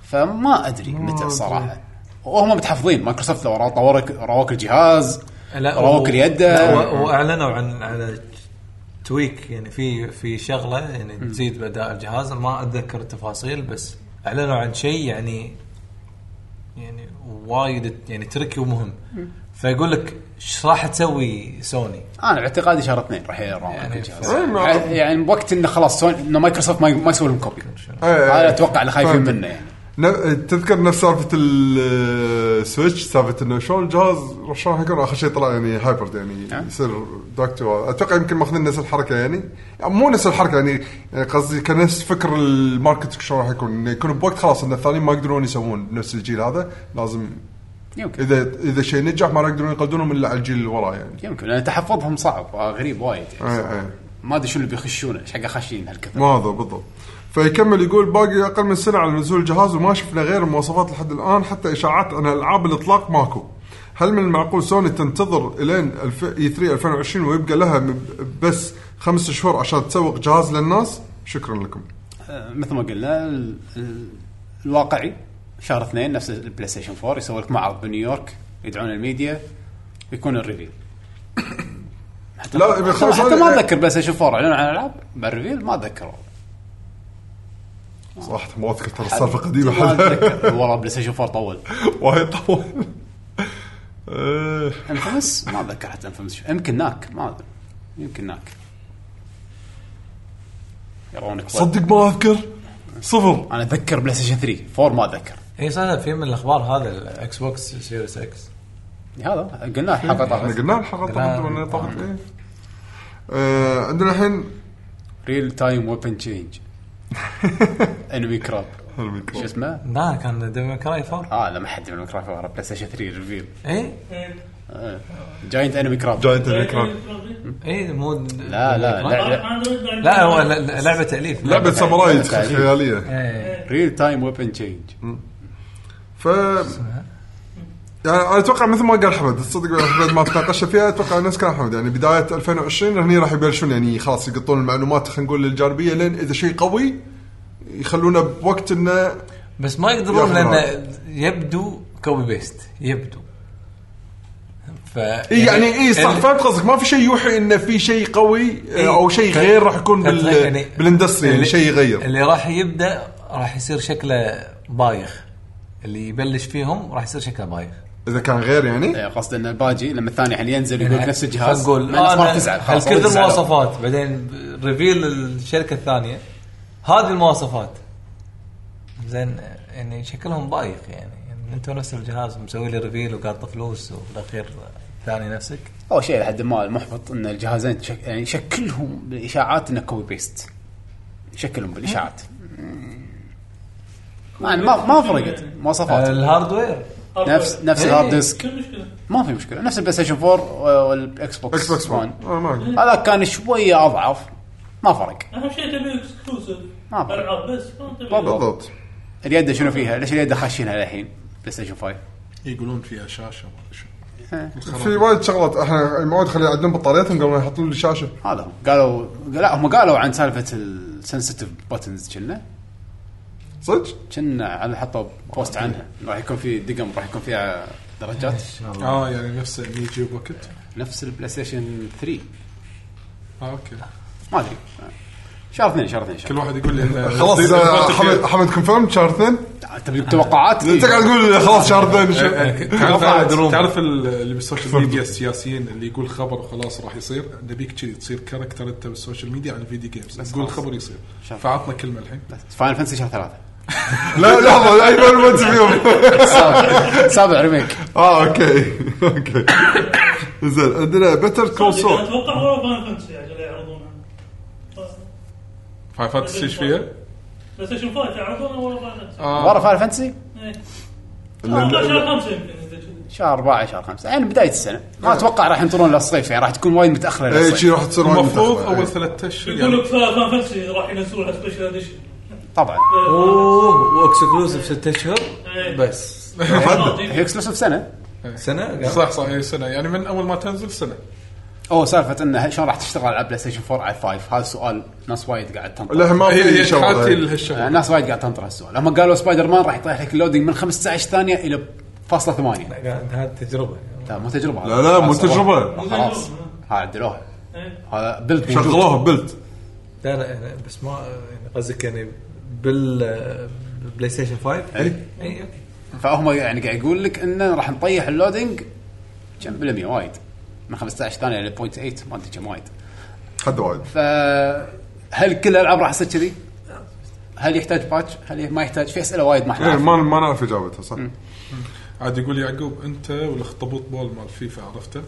[SPEAKER 1] فما ادري متى صراحه وهم متحفظين مايكروسوفت لو راوك راوك الجهاز راوك اليد
[SPEAKER 2] واعلنوا عن على تويك يعني في في شغله يعني تزيد باداء الجهاز ما اتذكر التفاصيل بس اعلنوا عن شيء يعني يعني وايد يعني تركي ومهم فيقول لك ايش راح تسوي سوني؟
[SPEAKER 1] انا اعتقادي شهر اثنين راح يراوك
[SPEAKER 2] يعني
[SPEAKER 1] الجهاز
[SPEAKER 5] إيه، ما-
[SPEAKER 1] يعني- يعني وقت انه خلاص سوني انه مايكروسوفت ما ي- ما يسوي لهم كوبي
[SPEAKER 5] إيه.
[SPEAKER 1] انا اتوقع اللي خايفين
[SPEAKER 5] فهمت.
[SPEAKER 1] منه يعني
[SPEAKER 5] ن- تذكر نفس آه، سالفه السويتش سالفه انه شلون الجهاز شلون راح يكون اخر شيء طلع يعني هايبرد يعني يصير داك تو اتوقع يمكن ماخذين نفس الحركه يعني مو نفس الحركه يعني يعني قصدي كان نفس فكر الماركت شلون راح يكون انه يكون بوقت خلاص ان الثانيين ما يقدرون يسوون نفس الجيل هذا لازم
[SPEAKER 1] يمكن
[SPEAKER 5] اذا اذا شيء نجح ما راح يقدرون يقلدونهم الا على الجيل اللي وراه يعني
[SPEAKER 1] يمكن لان تحفظهم صعب آه، غريب وايد يعني
[SPEAKER 5] إيه، إيه.
[SPEAKER 1] ما ادري شو اللي بيخشونه ايش حق خاشين هالكثر
[SPEAKER 5] ما هذا بالضبط فيكمل يقول باقي اقل من سنه على نزول الجهاز وما شفنا غير المواصفات لحد الان حتى اشاعات عن العاب الاطلاق ماكو هل من المعقول سوني تنتظر E الين اي 3 2020 ويبقى لها م- بس خمس شهور عشان تسوق جهاز للناس شكرا لكم
[SPEAKER 1] آه، مثل ما قلنا ال- ال- الواقعي شهر اثنين نفس البلاي ستيشن 4 يسوي لك معرض بنيويورك يدعون الميديا يكون الريفيل *coughs* حتى
[SPEAKER 5] لا،
[SPEAKER 1] حتى-
[SPEAKER 5] خلاص
[SPEAKER 1] حتى
[SPEAKER 5] هذا- يعني-
[SPEAKER 1] ما اتذكر بلاي ستيشن 4 اعلنوا عن العاب بالريفيل ما اتذكر
[SPEAKER 5] صراحه ما اذكر ترى السالفه قديمه
[SPEAKER 1] ما
[SPEAKER 5] *laughs* حد
[SPEAKER 1] اتذكر والله بلاي ستيشن 4 طول
[SPEAKER 5] وايد طول إيه.
[SPEAKER 1] انفمس ما اتذكر حتى انفمس يمكن ناك ما ادري يمكن ناك يرونك
[SPEAKER 5] صدق ما اذكر صفر
[SPEAKER 1] انا اتذكر بلاي ستيشن 3 4 ما اتذكر
[SPEAKER 2] اي صح في من الاخبار هذا الاكس بوكس سيريس اكس
[SPEAKER 1] هذا قلناه حلقه
[SPEAKER 5] احنا
[SPEAKER 1] طافت
[SPEAKER 5] قلنا الحلقه طافت ولا طافت ايه آه، عندنا الحين
[SPEAKER 1] ريل تايم ويبن *laughs* تشينج انمي كراب شو اسمه؟
[SPEAKER 2] لا كان ديفل كراي 4
[SPEAKER 1] اه لا ما حد من كراب ورا بلاي ستيشن 3 ريفيل
[SPEAKER 2] اي
[SPEAKER 1] جاينت انمي كراب
[SPEAKER 5] جاينت الكراب
[SPEAKER 2] اي مو
[SPEAKER 1] لا لا لا
[SPEAKER 2] لا هو ل- لعبه تاليف
[SPEAKER 5] لعبه ساموراي خياليه
[SPEAKER 2] إيه.
[SPEAKER 1] ريل تايم ويبن تشينج
[SPEAKER 5] ف يعني انا اتوقع مثل ما قال احمد الصدق احمد ما تناقشنا فيها اتوقع نفس كلام احمد يعني بدايه 2020 هني راح يبلشون يعني خلاص يقطون المعلومات خلينا نقول الجانبيه لين اذا شيء قوي يخلونه بوقت انه
[SPEAKER 2] بس ما يقدرون
[SPEAKER 5] ياخذ
[SPEAKER 2] لان يبدو كوبي بيست يبدو ف
[SPEAKER 5] اي يعني اي صح
[SPEAKER 2] ال-
[SPEAKER 5] فهمت قصدك ما في شيء يوحي انه في شيء قوي آه، او شيء
[SPEAKER 2] ف-
[SPEAKER 5] غير راح يكون
[SPEAKER 2] فتلاقي
[SPEAKER 5] بال... بالاندستري يعني
[SPEAKER 2] اللي-
[SPEAKER 5] شيء يغير
[SPEAKER 2] اللي راح يبدا راح يصير شكله بايخ اللي يبلش فيهم راح يصير شكله بايخ
[SPEAKER 5] اذا كان غير يعني
[SPEAKER 1] إيه، قصد ان الباجي لما الثاني الحين ينزل يقول نفس الجهاز
[SPEAKER 2] يعني نقول آه،
[SPEAKER 1] ما ما راح تزعل خلاص،
[SPEAKER 2] الكل
[SPEAKER 1] تزعل.
[SPEAKER 2] المواصفات بعدين ريفيل الشركه الثانيه هذه المواصفات زين يعني شكلهم بايخ يعني, يعني انت نفس الجهاز مسوي لي ريفيل وقاطه فلوس وبالاخير ثاني نفسك
[SPEAKER 1] اول شيء لحد ما المحبط ان الجهازين شك... يعني شكلهم بالاشاعات انه كوبي بيست شكلهم بالاشاعات ما ما ما فرقت مواصفات
[SPEAKER 2] آه، الهاردوير
[SPEAKER 1] نفس نفس
[SPEAKER 2] إيه.
[SPEAKER 1] الهارد ديسك
[SPEAKER 6] المشكله؟
[SPEAKER 1] ما في مشكله نفس البلاي ستيشن 4 والاكس بوكس
[SPEAKER 5] اكس بوكس 1
[SPEAKER 1] One.
[SPEAKER 5] آه، ما أدري.
[SPEAKER 1] هذا كان شويه اضعف ما فرق
[SPEAKER 6] اهم شيء تبي اكسكلوسيف
[SPEAKER 1] ما أبغى.
[SPEAKER 6] العاب بس ما تبي.
[SPEAKER 1] بالضبط.
[SPEAKER 5] بالضبط
[SPEAKER 1] اليد شنو فيها؟ ليش اليد خاشينها للحين؟ بلاي ستيشن 5
[SPEAKER 3] يقولون فيها شاشه ما أدري شو.
[SPEAKER 5] في وايد شغلات احنا المواد خلي يعدلون بطارياتهم قبل ما يحطون لي شاشه
[SPEAKER 1] هذا هو قالوا لا هم قالوا عن سالفه السنسيتيف باتنز كنا
[SPEAKER 5] صدق؟
[SPEAKER 1] كنا على حطوا بوست عنها راح يكون في دقم راح يكون فيها درجات
[SPEAKER 5] آه،
[SPEAKER 3] اه يعني نفس اللي يجي بوكت
[SPEAKER 1] نفس البلاي ستيشن 3
[SPEAKER 3] اه اوكي
[SPEAKER 1] ما ادري شهر اثنين شهر اثنين شهر
[SPEAKER 3] كل واحد يقول لي طيب، إنه
[SPEAKER 5] *laughs* خلاص
[SPEAKER 3] يصير
[SPEAKER 5] آه،
[SPEAKER 3] يضبط
[SPEAKER 5] حمد
[SPEAKER 3] فيها.
[SPEAKER 5] حمد كونفيرم شهر اثنين
[SPEAKER 1] اثنين. تبي توقعات
[SPEAKER 5] انت قاعد تقول خلاص شهر ثاني
[SPEAKER 3] إيه،
[SPEAKER 5] شهر- *laughs*
[SPEAKER 3] آه،
[SPEAKER 5] آه،
[SPEAKER 3] تعرف
[SPEAKER 1] دروم.
[SPEAKER 3] تعرف ال- اللي بالسوشيال ميديا السياسيين اللي يقول خبر وخلاص راح يصير نبيك كذي تصير كاركتر انت بالسوشيال ميديا عن الفيديو جيمز تقول
[SPEAKER 1] خلاص.
[SPEAKER 3] خبر يصير
[SPEAKER 1] شاف.
[SPEAKER 3] فعطنا كلمه الحين
[SPEAKER 1] فاينل فانسي شهر ثلاثة
[SPEAKER 5] لا لحظه اي معلومات فيهم
[SPEAKER 1] سابع *laughs* سابع ريميك
[SPEAKER 5] اه اوكي اوكي زين عندنا بيتر كول
[SPEAKER 6] أنا
[SPEAKER 5] سول
[SPEAKER 6] اتوقع يعني ورا يعني فاينل فانتسي عشان يعرضونها
[SPEAKER 3] فاين فانتسي ايش فيها؟
[SPEAKER 6] بس اشوف فايت يعرضونها ورا فاينل فانتسي
[SPEAKER 7] آه.
[SPEAKER 1] ورا فاينل فانسي
[SPEAKER 6] إيه. آه، شهر خمسه يمكن إذا كذي.
[SPEAKER 1] شهر أربعة شهر خمسة يعني بداية السنة ما أتوقع راح ينطرون للصيف يعني راح تكون وايد متأخرة
[SPEAKER 5] اي إيه، شي
[SPEAKER 1] للصيف
[SPEAKER 5] راح تصير وايد
[SPEAKER 3] المفروض
[SPEAKER 5] متأخرة.
[SPEAKER 3] اول ثلاثة اشهر
[SPEAKER 6] يقول
[SPEAKER 3] يعني
[SPEAKER 6] لك فاينل فانتسي راح ينزلون لها سبيشل اديشن
[SPEAKER 1] طبعا
[SPEAKER 6] آه،
[SPEAKER 2] اوه واكسكلوسيف ست اشهر إيه.
[SPEAKER 6] إيه.
[SPEAKER 2] بس
[SPEAKER 5] إيه،
[SPEAKER 1] هي اكسلوسيف سنة
[SPEAKER 2] سنه
[SPEAKER 3] صح صح اي سنه يعني من اول ما تنزل سنه
[SPEAKER 1] أو سالفة أنه شلون راح تشتغل على بلاي ستيشن 4 على 5 هذا سؤال ناس وايد قاعد تنطر
[SPEAKER 5] لا ما
[SPEAKER 3] هي
[SPEAKER 5] في
[SPEAKER 3] هي
[SPEAKER 5] شغله
[SPEAKER 3] حالتي
[SPEAKER 5] هاي.
[SPEAKER 1] آه،
[SPEAKER 3] لهالشهر
[SPEAKER 1] ناس وايد قاعد تنطر هالسؤال لما قالوا سبايدر مان راح يطيح لك اللودينج من 15 ثانية إلى فاصلة ثمانية
[SPEAKER 2] هذه تجربه
[SPEAKER 1] لا مو تجربة
[SPEAKER 5] لا، لا، مو
[SPEAKER 1] خلاص،
[SPEAKER 5] تجربة. إيه.
[SPEAKER 1] خلاص. خلاص ها عدلوها هذا بلد موجود
[SPEAKER 5] شغلوها بلت
[SPEAKER 2] لا لا يعني بس ما يعني قصدك يعني بال بلاي ستيشن إيه، 5
[SPEAKER 1] إي.
[SPEAKER 2] اي اوكي
[SPEAKER 1] فهم يعني قاعد يقول لك انه راح نطيح اللودينج كم بالمية وايد من 15 ثانية ل 0.8 ما ادري كم وايد
[SPEAKER 5] حد وايد
[SPEAKER 1] فهل كل الالعاب راح تصير كذي؟ هل يحتاج باتش؟ هل ما يحتاج؟ في اسئله وايد ما
[SPEAKER 5] إيه،
[SPEAKER 1] احنا
[SPEAKER 5] ما ما نعرف اجابتها صح
[SPEAKER 3] عاد يقول يعقوب انت والاخطبوط بول مال فيفا عرفته؟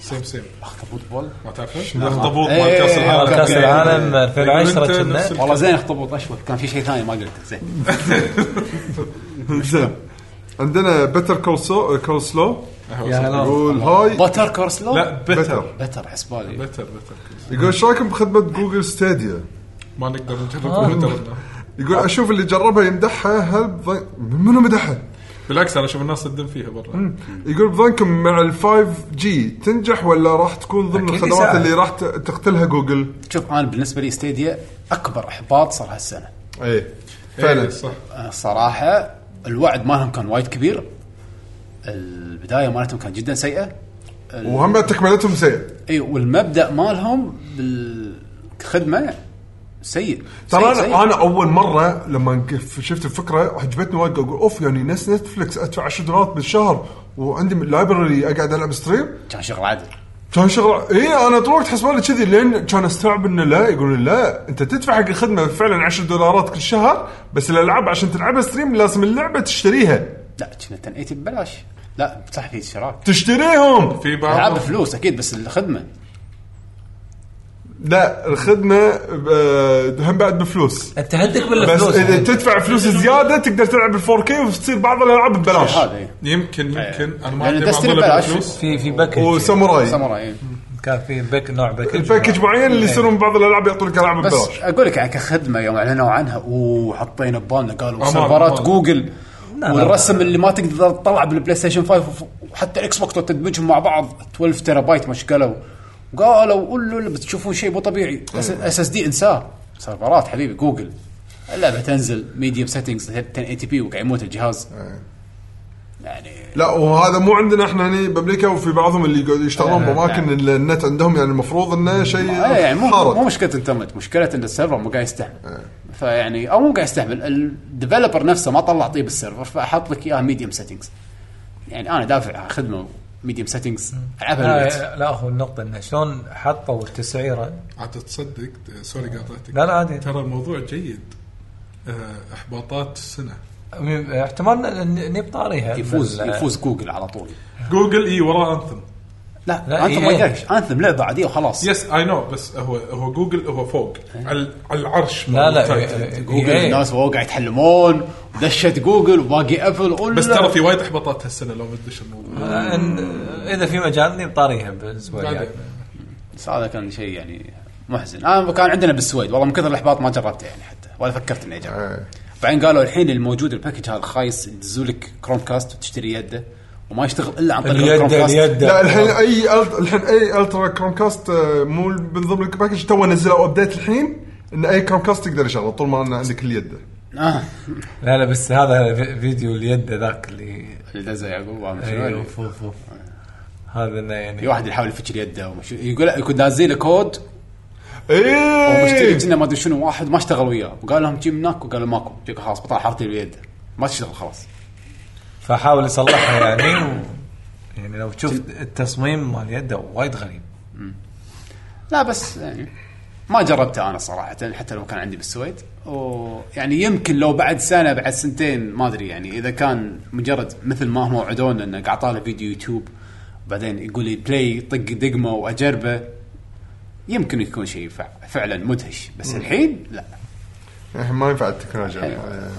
[SPEAKER 3] سيم سيم
[SPEAKER 1] اخطبوط بول
[SPEAKER 3] ما تعرفه؟ الاخطبوط مال
[SPEAKER 1] إيه،
[SPEAKER 3] كاس
[SPEAKER 1] إيه،
[SPEAKER 3] العالم
[SPEAKER 1] كأس
[SPEAKER 2] العالم 2010
[SPEAKER 3] يقول أنت
[SPEAKER 2] كنا.
[SPEAKER 3] نفس ال-
[SPEAKER 1] والله زين اخطبوط اشوف كان في شيء ثاني ما قلته زين
[SPEAKER 5] زين عندنا بيتر كول سو كول سلو
[SPEAKER 2] يا هلا
[SPEAKER 5] يقول هاي
[SPEAKER 1] باتر كورسلو
[SPEAKER 3] لا بتر
[SPEAKER 5] بيتر
[SPEAKER 1] بتر حسبالي
[SPEAKER 3] بتر بتر
[SPEAKER 5] يقول ايش رايكم بخدمه جوجل ستاديا؟
[SPEAKER 3] ما نقدر نجرب بتر
[SPEAKER 5] يقول اشوف اللي جربها يمدحها هل بظن- منو مدحها؟
[SPEAKER 3] بالعكس انا اشوف الناس تدم فيها برا
[SPEAKER 5] يقول بظنكم مع ال 5 جي تنجح ولا راح تكون ضمن
[SPEAKER 2] أكيد
[SPEAKER 5] الخدمات
[SPEAKER 2] يساعد.
[SPEAKER 5] اللي راح ت- تقتلها جوجل؟
[SPEAKER 1] شوف انا بالنسبه لي ستيديا اكبر احباط صار هالسنه
[SPEAKER 5] ايه
[SPEAKER 3] إيه،
[SPEAKER 5] فعلا
[SPEAKER 3] صح
[SPEAKER 1] أنا الصراحه الوعد مالهم كان وايد كبير البدايه مالتهم كانت جدا سيئه
[SPEAKER 5] وهم بعد تكملتهم سيء
[SPEAKER 1] اي والمبدا مالهم بالخدمه سيء
[SPEAKER 5] ترى
[SPEAKER 1] سيء-
[SPEAKER 5] أنا-
[SPEAKER 1] سيء.
[SPEAKER 5] انا اول مره لما قف- شفت الفكره عجبتني وايد اقول اوف يعني نفس نتفلكس ادفع 10 دولار بالشهر وعندي لايبرري اقعد العب ستريم
[SPEAKER 1] كان شغل عادل
[SPEAKER 5] كان شغل اي انا طول الوقت حسبان لي كذي لين كان استوعب انه لا يقول لي لا انت تدفع حق الخدمه فعلا 10 دولارات كل شهر بس الالعاب عشان تلعبها ستريم لازم اللعبه تشتريها
[SPEAKER 1] لا كنا 1080 ببلاش لا صح في اشتراك
[SPEAKER 5] تشتريهم
[SPEAKER 3] في
[SPEAKER 1] العاب
[SPEAKER 3] بعض
[SPEAKER 1] بفلوس اكيد بس الخدمه
[SPEAKER 5] لا الخدمه آه، هم بعد بفلوس
[SPEAKER 2] انت عندك
[SPEAKER 5] بس
[SPEAKER 2] بالفلوس
[SPEAKER 1] يعني.
[SPEAKER 5] اذا تدفع فلوس زياده تقدر تلعب ال 4K وتصير بعض الالعاب ببلاش
[SPEAKER 1] هذا إيه.
[SPEAKER 3] يمكن يمكن انا ما
[SPEAKER 1] لأن
[SPEAKER 3] عندي
[SPEAKER 1] Destiny
[SPEAKER 3] معضله
[SPEAKER 1] ببلاش.
[SPEAKER 3] بالفلوس
[SPEAKER 2] في في باكج
[SPEAKER 5] وساموراي
[SPEAKER 1] ساموراي إيه.
[SPEAKER 2] كان في باك نوع إيه. باكج
[SPEAKER 5] الباكج معين اللي يصيرون بعض الالعاب يعطونك العاب
[SPEAKER 1] بس
[SPEAKER 5] ببلاش
[SPEAKER 1] اقول لك يعني كخدمه يوم اعلنوا عنها اوه حطينا ببالنا قالوا
[SPEAKER 3] أمان،
[SPEAKER 1] سيرفرات
[SPEAKER 3] أمان.
[SPEAKER 1] جوجل
[SPEAKER 2] لا،
[SPEAKER 1] والرسم اللي ما تقدر تطلع بالبلاي ستيشن 5 وف- وحتى الاكس بوكس لو تدمجهم مع بعض 12 تيرا بايت مش قالوا قالوا قولوا اللي بتشوفون شيء مو طبيعي
[SPEAKER 2] إيه.
[SPEAKER 1] اس اس دي انساه سيرفرات حبيبي جوجل اللعبه تنزل ميديوم سيتنجز 1080 بي وقاعد يموت الجهاز
[SPEAKER 2] إيه.
[SPEAKER 1] يعني
[SPEAKER 5] لا وهذا مو عندنا احنا هنا بامريكا وفي بعضهم اللي يقعد يشتغلون باماكن اللي النت عندهم يعني المفروض انه شيء
[SPEAKER 1] آه، يعني مو
[SPEAKER 5] خارق.
[SPEAKER 1] مو مشكله الانترنت مشكله ان السيرفر مو قاعد يستحمل فيعني او مو قاعد يستحمل الديفلوبر نفسه ما طلع طيب السيرفر فاحط لك اياها ميديوم سيتنجز يعني انا دافع على خدمه ميديوم سيتنجز العبها بالبيت
[SPEAKER 2] آه، لا لا، هو النقطة انه شلون حطوا التسعيره
[SPEAKER 3] عاد تصدق سوري قاطعتك
[SPEAKER 2] لا لا عادي
[SPEAKER 3] ترى الموضوع جيد آه، احباطات السنه
[SPEAKER 2] مم، احتمال إن- اني بطاريها
[SPEAKER 1] يفوز
[SPEAKER 2] بال-
[SPEAKER 1] يفوز جوجل على طول
[SPEAKER 3] جوجل اي وراه انثم
[SPEAKER 1] لا,
[SPEAKER 2] لا،
[SPEAKER 1] انثم
[SPEAKER 2] إيه.
[SPEAKER 1] ما يقلقش انثم لعبه عاديه وخلاص
[SPEAKER 3] يس اي نو بس هو هو جوجل هو فوق على على العرش
[SPEAKER 2] إيه. لا لا
[SPEAKER 3] مال
[SPEAKER 2] إيه،
[SPEAKER 3] Titan.
[SPEAKER 2] إيه،
[SPEAKER 1] جوجل
[SPEAKER 2] إيه.
[SPEAKER 1] الناس فوق قاعد يتحلمون دشت جوجل وباقي ابل أولا.
[SPEAKER 3] بس ترى في وايد احباطات هالسنه لو ما تدش الموضوع
[SPEAKER 2] آه، إن- اذا في مجال اني بطاريها بالاسبوع الجاي
[SPEAKER 1] بس هذا كان شيء يعني محزن انا كان عندنا بالسويد والله من كثر الاحباط ما جربته يعني حتى ولا فكرت اني اجرب
[SPEAKER 5] إيه.
[SPEAKER 1] بعدين قالوا الحين الموجود الباكج هذا الخايس يدزولك كروم كاست وتشتري يده وما يشتغل الا عن طريق الكروم
[SPEAKER 2] اليد
[SPEAKER 1] كاست
[SPEAKER 2] اليد
[SPEAKER 5] لا الحين اي ألت- الحين اي الترا كروم كاست آه، مو من ضمن الباكج تو نزلوا ابديت الحين ان اي كروم كاست تقدر يشغله طول ما انه عندك اليد
[SPEAKER 1] آه.
[SPEAKER 2] لا لا بس هذا في- فيديو اليد ذاك اللي
[SPEAKER 1] اللي دزه يعقوب وما شنو
[SPEAKER 2] أيوه،
[SPEAKER 1] يعني.
[SPEAKER 2] اوف اوف اوف هذا انه
[SPEAKER 1] في
[SPEAKER 2] يعني
[SPEAKER 1] واحد يحاول يفجر يده وما شنو- يقول يكون دازين له كود ومشتري
[SPEAKER 5] ايه
[SPEAKER 2] إيه.
[SPEAKER 1] كنا ما ادري شنو واحد ما اشتغل وياه وقال لهم جيم هناك وقالوا ماكو جيك خلاص بطل حارتي بيده ما تشتغل خلاص
[SPEAKER 2] فحاول يصلحها يعني و... يعني لو تشوف التصميم مال يده وايد غريب
[SPEAKER 1] لا بس يعني ما جربته انا صراحه حتى لو كان عندي بالسويد ويعني يمكن لو بعد سنه بعد سنتين ما ادري يعني اذا كان مجرد مثل ما هم وعدونا انه قاعد طالع فيديو يوتيوب بعدين يقول لي بلاي طق دقمه واجربه يمكن يكون شيء فع- فعلا مدهش بس الحين لا
[SPEAKER 5] الحين إيه، ما ينفع التكنولوجيا
[SPEAKER 1] حلو.
[SPEAKER 5] آه،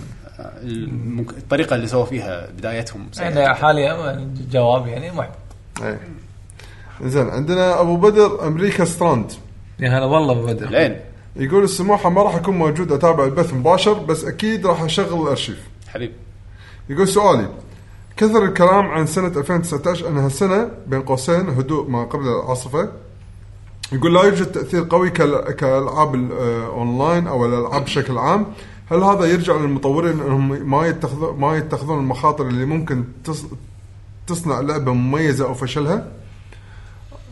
[SPEAKER 1] المك- الطريقه اللي سووا فيها بدايتهم سيئة.
[SPEAKER 2] انا حاليا جواب يعني محبط
[SPEAKER 5] إيه. زين عندنا ابو بدر امريكا ستراند
[SPEAKER 4] يا هلا والله ابو بدر
[SPEAKER 1] لين
[SPEAKER 5] يقول السموحه ما راح اكون موجود اتابع البث مباشر بس اكيد راح اشغل الارشيف
[SPEAKER 1] حبيب
[SPEAKER 5] يقول سؤالي كثر الكلام عن سنة 2019 أنها سنة بين قوسين هدوء ما قبل العاصفة يقول لا يوجد تأثير قوي كال- كألعاب الأونلاين أو الألعاب بشكل عام هل هذا يرجع للمطورين أنهم ما يتخذون ما يتخذون المخاطر اللي ممكن تص- تصنع لعبة مميزة أو فشلها؟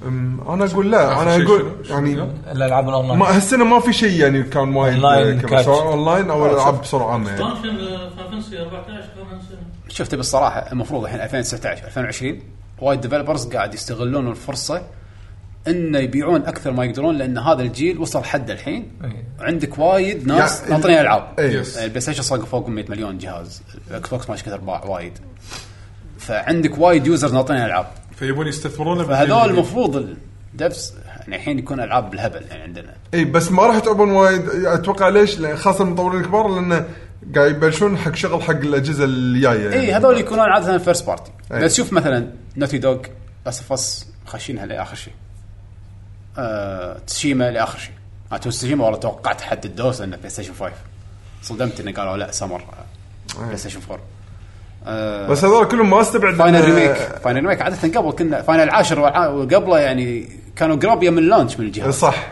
[SPEAKER 5] أم، أنا أقول لا أنا
[SPEAKER 3] آخر شيء
[SPEAKER 5] أقول
[SPEAKER 3] شنو؟ شنو
[SPEAKER 5] يعني
[SPEAKER 3] اليوم؟
[SPEAKER 2] الالعاب الاونلاين
[SPEAKER 5] ما هالسنة ما في شيء يعني كان وايد
[SPEAKER 2] أونلاين
[SPEAKER 5] كبير،
[SPEAKER 2] كاتش.
[SPEAKER 5] سواء أونلاين أو الألعاب بسرعة عامة يعني
[SPEAKER 6] طنشن آه، فانسي 14 كمان سنه
[SPEAKER 1] شفت بالصراحه المفروض الحين 2019 2020 وايد ديفلوبرز قاعد يستغلون الفرصه انه يبيعون اكثر ما يقدرون لان هذا الجيل وصل حد الحين عندك وايد ناس
[SPEAKER 5] يعني-
[SPEAKER 1] ناطرين العاب
[SPEAKER 5] إيه.
[SPEAKER 3] Yes.
[SPEAKER 1] البلاي ستيشن صاق فوق 100 مليون جهاز الاكس بوكس ما إيش كثر باع وايد فعندك وايد يوزرز ناطرين العاب
[SPEAKER 3] فيبون يستثمرونه
[SPEAKER 1] فهذول المفروض الدفس يعني الحين يكون العاب بالهبل يعني عندنا
[SPEAKER 5] اي إيه، بس ما راح يتعبون وايد اتوقع ليش لأن خاصه المطورين الكبار لان قاعد يبلشون حق شغل حق يعني. الاجهزه اللي
[SPEAKER 1] اي
[SPEAKER 5] جايه
[SPEAKER 1] إيه، هذول يكونون عاده فيرست بارتي
[SPEAKER 5] إيه.
[SPEAKER 1] بس شوف مثلا نوتي دوغ اسفس خاشينها لاخر شيء آه، تسوشيما لاخر شيء انا تسوشيما والله توقعت حد الدوس انه بلاي ستيشن 5 صدمت انه قالوا لا سمر آه،
[SPEAKER 5] إيه.
[SPEAKER 1] بلاي ستيشن 4 آه،
[SPEAKER 5] بس هذول كلهم ما استبعد
[SPEAKER 1] فاينل
[SPEAKER 5] لأن-
[SPEAKER 1] ريميك فاينل ريميك عاده قبل كنا فاينل 10 والع- وقبله يعني كانوا قراب يم اللانش من
[SPEAKER 5] آه،
[SPEAKER 1] الجهاز
[SPEAKER 5] صح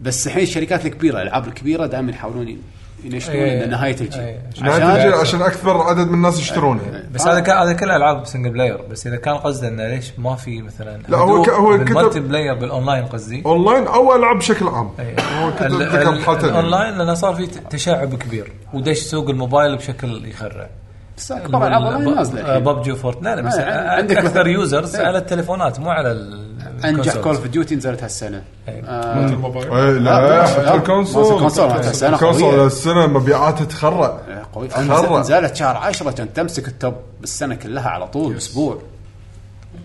[SPEAKER 1] بس الحين الشركات الكبيره الالعاب الكبيره دائما يحاولون ي- ينشرون
[SPEAKER 2] إيه.
[SPEAKER 1] إنه نهايه الجيل
[SPEAKER 2] إيه.
[SPEAKER 5] نهاية الجيل عشان اكثر عدد من الناس يعني. يشترونها
[SPEAKER 2] بس هذا كان هذا كل العاب سنجل بلاير بس اذا كان قصده انه ليش ما في مثلا
[SPEAKER 5] لا، هو ك- هو كتب-
[SPEAKER 2] الملتي بلاير بالاونلاين قصدي
[SPEAKER 5] اونلاين او العاب بشكل عام
[SPEAKER 2] إيه.
[SPEAKER 5] هو كنت
[SPEAKER 2] ال-
[SPEAKER 5] أتذكر
[SPEAKER 2] ال-
[SPEAKER 5] بحالتين.
[SPEAKER 2] الاونلاين لانه صار في تشعب كبير ودش سوق الموبايل بشكل يخرع
[SPEAKER 1] بس اكبر العاب والله نازله الحين.
[SPEAKER 2] ببجي وفورت لا لا بس
[SPEAKER 1] آه، عندك
[SPEAKER 2] عندك اكثر
[SPEAKER 1] مثلاً-
[SPEAKER 2] يوزرز
[SPEAKER 1] إيه.
[SPEAKER 2] على التليفونات مو على
[SPEAKER 1] انجح كول
[SPEAKER 2] الكونسولز.
[SPEAKER 1] اوف ديوتي نزلت هالسنه
[SPEAKER 2] إيه.
[SPEAKER 1] آه،
[SPEAKER 5] إيه،
[SPEAKER 1] لا،
[SPEAKER 5] لا حتى
[SPEAKER 1] لا.
[SPEAKER 5] الكونسول
[SPEAKER 1] مالت الكونسول، مالت السنة قوية.
[SPEAKER 5] الكونسول السنه مبيعاتها تخرع
[SPEAKER 1] قوي
[SPEAKER 5] خرع.
[SPEAKER 1] نزلت شهر 10 كان تمسك التوب بالسنه كلها على طول اسبوع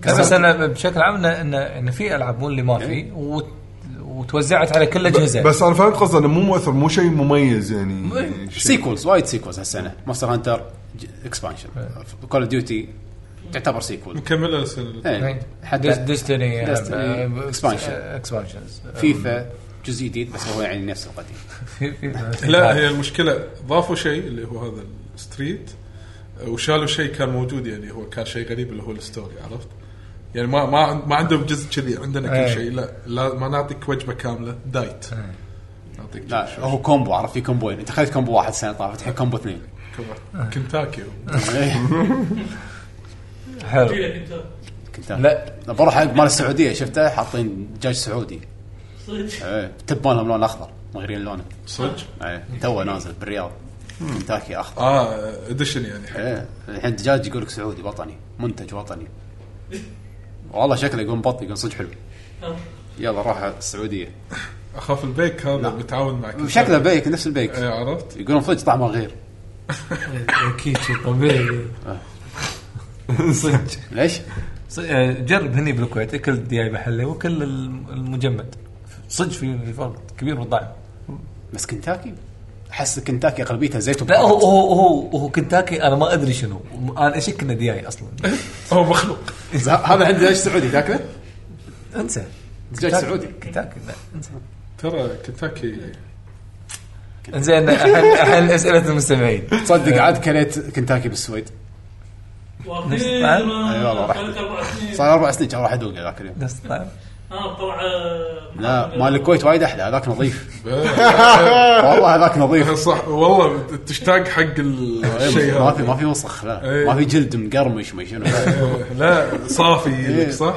[SPEAKER 2] لا، بس انا بشكل عام انه انه إن في العاب مو اللي ما
[SPEAKER 1] إيه.
[SPEAKER 2] في وت- وتوزعت على كل الاجهزه
[SPEAKER 5] بس انا فهمت قصده انه مو مؤثر مو شيء مميز يعني شيء-
[SPEAKER 1] سيكولز وايد سيكولز هالسنه مونستر هانتر اكسبانشن كول اوف ديوتي تعتبر سيكول
[SPEAKER 3] مكمله السنه
[SPEAKER 1] إيه.
[SPEAKER 2] ديس-
[SPEAKER 1] حتى
[SPEAKER 2] ديستني
[SPEAKER 1] Destiny،
[SPEAKER 2] آه،
[SPEAKER 1] expansion.
[SPEAKER 2] اكسبانشنز
[SPEAKER 1] فيفا جزء جديد بس هو يعني نفس القديم *laughs*
[SPEAKER 3] لا
[SPEAKER 2] إيه.
[SPEAKER 3] هي المشكله ضافوا شيء اللي هو هذا الستريت وشالوا شيء كان موجود يعني هو كان شيء غريب اللي هو الستوري عرفت؟ يعني ما ما عن- ما عندهم جزء كذي عندنا كل
[SPEAKER 2] إيه.
[SPEAKER 3] شيء لا لا ما نعطيك وجبه كامله دايت نعطيك
[SPEAKER 1] لا هو كومبو عرفت في كومبوين انت خذيت كومبو واحد السنه طافت الحين كومبو اثنين
[SPEAKER 2] إيه.
[SPEAKER 1] إيه،
[SPEAKER 3] كم- كنتاكي
[SPEAKER 2] حلو
[SPEAKER 6] فيها كنت
[SPEAKER 1] كنت
[SPEAKER 2] لا.
[SPEAKER 1] بروح حق مال السعوديه شفته حاطين دجاج سعودي
[SPEAKER 6] صدق
[SPEAKER 1] ايه تبانهم لون اخضر مغيرين لونه
[SPEAKER 3] صدق
[SPEAKER 1] ايه توه نازل بالرياض كنتاكي اخضر
[SPEAKER 3] اه اديشن يعني
[SPEAKER 1] ايه الحين دجاج يقول لك سعودي وطني منتج وطني والله شكله يقول بطني يقول صدق حلو
[SPEAKER 6] آه.
[SPEAKER 1] يلا روح السعوديه
[SPEAKER 3] اخاف البيك هذا متعاون مع كنتاكي.
[SPEAKER 1] شكله بيك نفس البيك
[SPEAKER 3] إيه، عرفت؟
[SPEAKER 1] يقولون صدق طعمه غير
[SPEAKER 2] كيتشي طبيعي صدق
[SPEAKER 1] ليش؟
[SPEAKER 2] ص- آه، جرب هني بالكويت اكل دياي محلي وكل الم- المجمد صدق في في فرق كبير بالطعم
[SPEAKER 1] بس كنتاكي احس كنتاكي اغلبيتها زيت
[SPEAKER 2] لا هو
[SPEAKER 1] وبهارات
[SPEAKER 2] هو هو هو كنتاكي انا ما ادري شنو انا اشك انه دياي اصلا
[SPEAKER 3] هو مخلوق
[SPEAKER 1] ز- هذا عنده دجاج سعودي تاكله؟
[SPEAKER 2] انسى
[SPEAKER 1] دجاج
[SPEAKER 2] كنتاكي-
[SPEAKER 1] سعودي
[SPEAKER 2] كنتاكي لا انسى
[SPEAKER 3] ترى كنتاكي *laughs*
[SPEAKER 2] زين الحين الحين اسئله المستمعين
[SPEAKER 1] تصدق عاد كليت كنتاكي بالسويد
[SPEAKER 6] واخيرا
[SPEAKER 1] أي والله، راح.
[SPEAKER 6] خلت اربع سنين
[SPEAKER 1] صار اربع سنين كان راح ادوقه ذاك اليوم
[SPEAKER 2] نفس الطعم
[SPEAKER 6] ها آه، طلع
[SPEAKER 1] لا مال الكويت وايد احلى هذاك
[SPEAKER 3] *laughs*
[SPEAKER 1] نظيف
[SPEAKER 3] إيه.
[SPEAKER 1] والله هذاك نظيف
[SPEAKER 3] صح والله تشتاق حق ال- الشيء
[SPEAKER 1] إيه، ما في
[SPEAKER 3] هذا
[SPEAKER 1] ما في وسخ لا
[SPEAKER 3] إيه.
[SPEAKER 1] ما في جلد مقرمش ما شنو
[SPEAKER 3] إيه، لا صافي لك
[SPEAKER 1] *laughs*
[SPEAKER 3] صح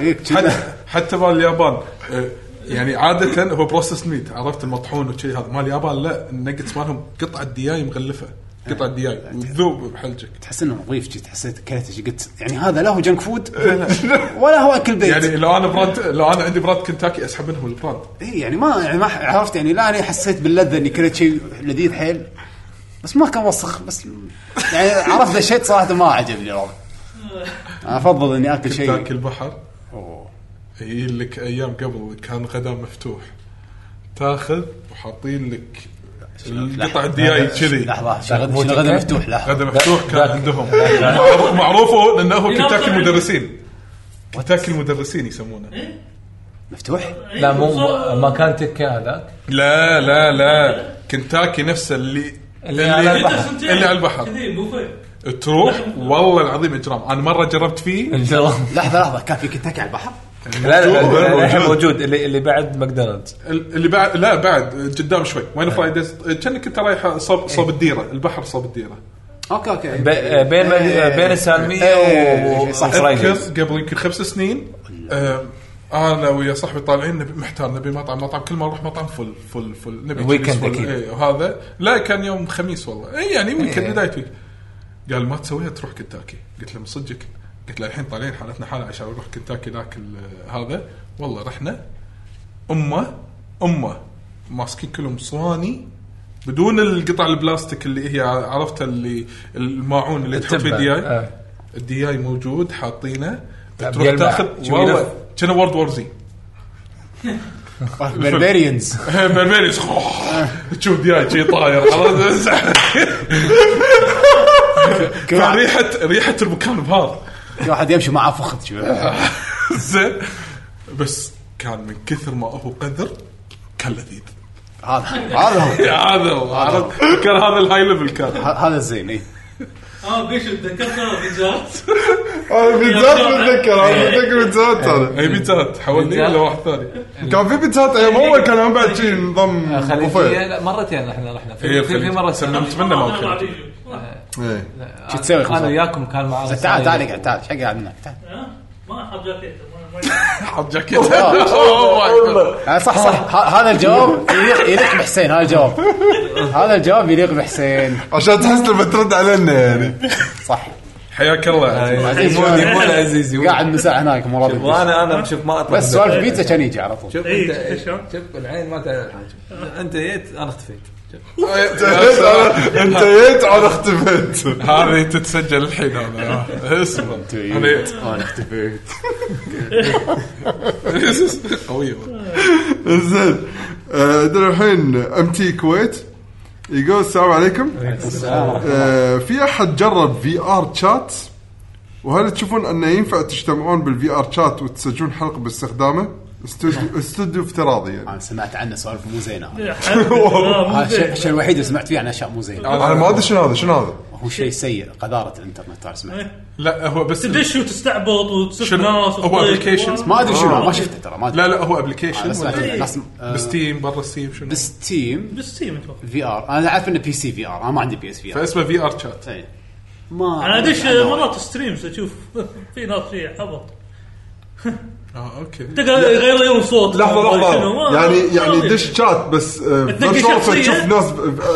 [SPEAKER 1] إيه، كذا.
[SPEAKER 3] حتى حتى مال اليابان إيه، يعني عادة هو بروسس ميت عرفت المطحون وشي هذا مال اليابان لا النجتس مالهم قطعة دياي مغلفة
[SPEAKER 1] إيه.
[SPEAKER 3] قطع الدياي وتذوب بحلجك
[SPEAKER 1] تحس انه نظيف جي تحس كلته شي قلت يعني هذا لا هو جنك فود ولا هو اكل بيت
[SPEAKER 3] إيه. يعني لو انا براند لو انا عندي براند كنتاكي اسحب منهم البراند
[SPEAKER 1] إيه يعني ما يعني ما عرفت يعني لا انا حسيت باللذه اني كلت شيء لذيذ حيل بس ما كان وسخ بس يعني عرفت دشيت صراحه ما عجبني الوضع انا افضل اني اكل
[SPEAKER 3] كنتاكي
[SPEAKER 1] شيء
[SPEAKER 3] البحر يجي إيه لك ايام قبل كان غدا مفتوح تاخذ وحاطين لك قطع الدياي كذي
[SPEAKER 1] لحظه شنو غدا- شنو غدا مفتوح لحظه
[SPEAKER 3] غدا مفتوح كان عندهم معروف- معروفه انه هو كنتاكي المدرسين كنتاكي المدرسين يسمونه
[SPEAKER 1] مفتوح
[SPEAKER 6] إيه،
[SPEAKER 7] لا مو ما كان تكه هذاك
[SPEAKER 3] لا لا لا كنتاكي نفسه اللي
[SPEAKER 7] اللي على البحر.
[SPEAKER 3] اللي على البحر
[SPEAKER 6] كذي بوفيه
[SPEAKER 3] تروح والله العظيم اجرام انا مره جربت
[SPEAKER 7] إيه.
[SPEAKER 3] فيه
[SPEAKER 1] لحظه لحظه كان في كنتاكي على البحر
[SPEAKER 7] لا لا
[SPEAKER 3] موجود.
[SPEAKER 7] الحين موجود اللي اللي بعد ماكدونالدز
[SPEAKER 3] اللي بعد لا بعد قدام شوي
[SPEAKER 7] إيه.
[SPEAKER 3] وين فرايديز كانك انت رايح صوب صوب الديره البحر صوب الديره
[SPEAKER 1] اوكي اوكي
[SPEAKER 7] ب- آه، بين
[SPEAKER 1] إيه.
[SPEAKER 7] بين
[SPEAKER 3] *laughs*
[SPEAKER 7] السالميه
[SPEAKER 1] إيه،
[SPEAKER 7] و-
[SPEAKER 1] صح.
[SPEAKER 7] وفرايديز.
[SPEAKER 3] اذكر قبل يمكن خمس سنين آم، انا ويا صاحبي طالعين نبي محتار نبي مطعم مطعم كل ما نروح مطعم فل فل فل نبي
[SPEAKER 7] الويكند
[SPEAKER 3] تشيلز فل.
[SPEAKER 7] أكيد.
[SPEAKER 3] إيه، وهذا لا كان يوم خميس والله اي يعني
[SPEAKER 7] إيه.
[SPEAKER 3] ويكند بدايه ويك قال ما تسويها تروح كنتاكي قلت له من صدقك قلت له الحين طالعين حالتنا حاله عشان نروح كنتاكي ناكل آه، هذا والله رحنا امه امه ماسكين كلهم صواني بدون القطع البلاستيك اللي هي عرفتها اللي الماعون اللي تحط فيه
[SPEAKER 7] التبة.
[SPEAKER 3] الدياي
[SPEAKER 7] آه.
[SPEAKER 3] الدياي موجود حاطينه
[SPEAKER 7] طب
[SPEAKER 3] تروح
[SPEAKER 7] يلمع.
[SPEAKER 3] تاخذ
[SPEAKER 7] شو يلف؟
[SPEAKER 3] والله كان وورد *laughs* وور زي
[SPEAKER 1] بربريانز
[SPEAKER 3] بربريس تشوف دياي شي طاير خلاص كان ريحه ريحه المكان بهار
[SPEAKER 1] في واحد يمشي معاه فخذ شو
[SPEAKER 3] *laughs* زين بس كان من كثر ما هو قذر كان لذيذ
[SPEAKER 1] هذا هذا هو.
[SPEAKER 3] هذا هو، عرفت؟ كان هذا الهاي ليفل كان
[SPEAKER 1] ه- هذا إيه. الزين اي
[SPEAKER 6] اه بيش تذكرت
[SPEAKER 1] *laughs*
[SPEAKER 6] انا بيتزات
[SPEAKER 5] انا بيتزات بتذكر انا بتذكر بيتزات انا
[SPEAKER 3] اي بيتزا هات، حولني
[SPEAKER 2] بيتزا.
[SPEAKER 3] ولا واحد ثاني
[SPEAKER 5] كان في بيتزات ايام اول كان هم بعد شيء نظام بوفيه
[SPEAKER 2] خليجيه لا مرتين احنا رحنا
[SPEAKER 3] إيه،
[SPEAKER 2] في, في, في
[SPEAKER 3] الخليج.
[SPEAKER 2] مره
[SPEAKER 3] سلمت
[SPEAKER 2] سلمت
[SPEAKER 3] منه ما
[SPEAKER 6] *laughs*
[SPEAKER 3] أكل.
[SPEAKER 7] آه.
[SPEAKER 6] ما
[SPEAKER 5] إيه.
[SPEAKER 1] شو تسوي
[SPEAKER 2] انا
[SPEAKER 1] خمسة؟
[SPEAKER 2] وياكم كان معاه
[SPEAKER 1] تعال تعال اقعد تعال شقع منك تعال
[SPEAKER 6] آه، ما احب جاكيت
[SPEAKER 3] حط جاكيت *laughs* أوه، ماي جاد.
[SPEAKER 1] آه، صح صح ه- هذا الجواب يليق يليق بحسين هذا الجواب هذا الجواب يليق بحسين
[SPEAKER 5] عشان تحس لما ترد علينا يعني
[SPEAKER 1] صح
[SPEAKER 3] حياك
[SPEAKER 2] إيه،
[SPEAKER 3] الله
[SPEAKER 1] عزيز
[SPEAKER 7] يبون-
[SPEAKER 1] شلون؟
[SPEAKER 7] يبون عزيز يبون.
[SPEAKER 1] قاعد من ساعه هناك مو راضي يدش.
[SPEAKER 7] وانا انا شوف ما اطلع
[SPEAKER 1] بس سوالف بيتزا كان يجي على طول
[SPEAKER 7] شوف انت شوف العين ما تعرف حاجه انت جيت إيه، انا اختفيت
[SPEAKER 5] انت جيت انا اختفيت
[SPEAKER 3] هذه تتسجل الحين هذا *laughs* اسمه
[SPEAKER 1] طيب.
[SPEAKER 3] أنا-
[SPEAKER 1] انا اختفيت
[SPEAKER 3] قوية
[SPEAKER 5] زين آه، عندنا الحين ام تي كويت يقول السلام عليكم آه، في احد جرب في ار شات وهل تشوفون انه ينفع تجتمعون بالفي ار شات وتسجلون حلقه باستخدامه؟ استوديو استوديو افتراضي يعني
[SPEAKER 1] انا سمعت عنه سوالف مو زينه هذا. هذا الشيء-
[SPEAKER 6] تمام
[SPEAKER 1] الشيء الوحيد اللي سمعت فيه عن اشياء مو زينه
[SPEAKER 3] آه.
[SPEAKER 5] انا ما ادري شنو هذا شنو هذا؟
[SPEAKER 1] هو شيء سيء قذاره الانترنت ترى سمعت
[SPEAKER 3] لا هو بس
[SPEAKER 6] تدش وتستعبط وتصير
[SPEAKER 3] شنو؟
[SPEAKER 6] ناس
[SPEAKER 3] هو
[SPEAKER 6] وتطيق.
[SPEAKER 3] applications؟
[SPEAKER 1] ما ادري
[SPEAKER 6] Ah,
[SPEAKER 1] شنو ما شفته ترى ما ادري
[SPEAKER 3] لا لا هو
[SPEAKER 1] انا سمعت عن
[SPEAKER 3] ابلكيشن
[SPEAKER 1] ناس آه،
[SPEAKER 3] بستيم برا ستيم شنو
[SPEAKER 1] بستيم
[SPEAKER 6] بالستيم اتوقع
[SPEAKER 1] في ار انا عارف انه بي سي في ار انا ما عندي بي اس في ار
[SPEAKER 3] فاسمه في ار شات
[SPEAKER 1] إيه. ما
[SPEAKER 6] انا ادش
[SPEAKER 1] عنه وايد.
[SPEAKER 6] مرات ستريمز *laughs* اشوف في ناس في عبط
[SPEAKER 3] اه اوكي
[SPEAKER 6] تقعد يغير لهم صوت
[SPEAKER 5] لحظه
[SPEAKER 6] شنو؟
[SPEAKER 5] لحظه
[SPEAKER 6] ما-
[SPEAKER 5] يعني
[SPEAKER 6] ما
[SPEAKER 5] يعني
[SPEAKER 6] أدري.
[SPEAKER 5] دش شات بس آه،
[SPEAKER 6] *laughs* تنقي
[SPEAKER 5] فيرتشوال
[SPEAKER 6] شخصية.
[SPEAKER 5] تشوف ناس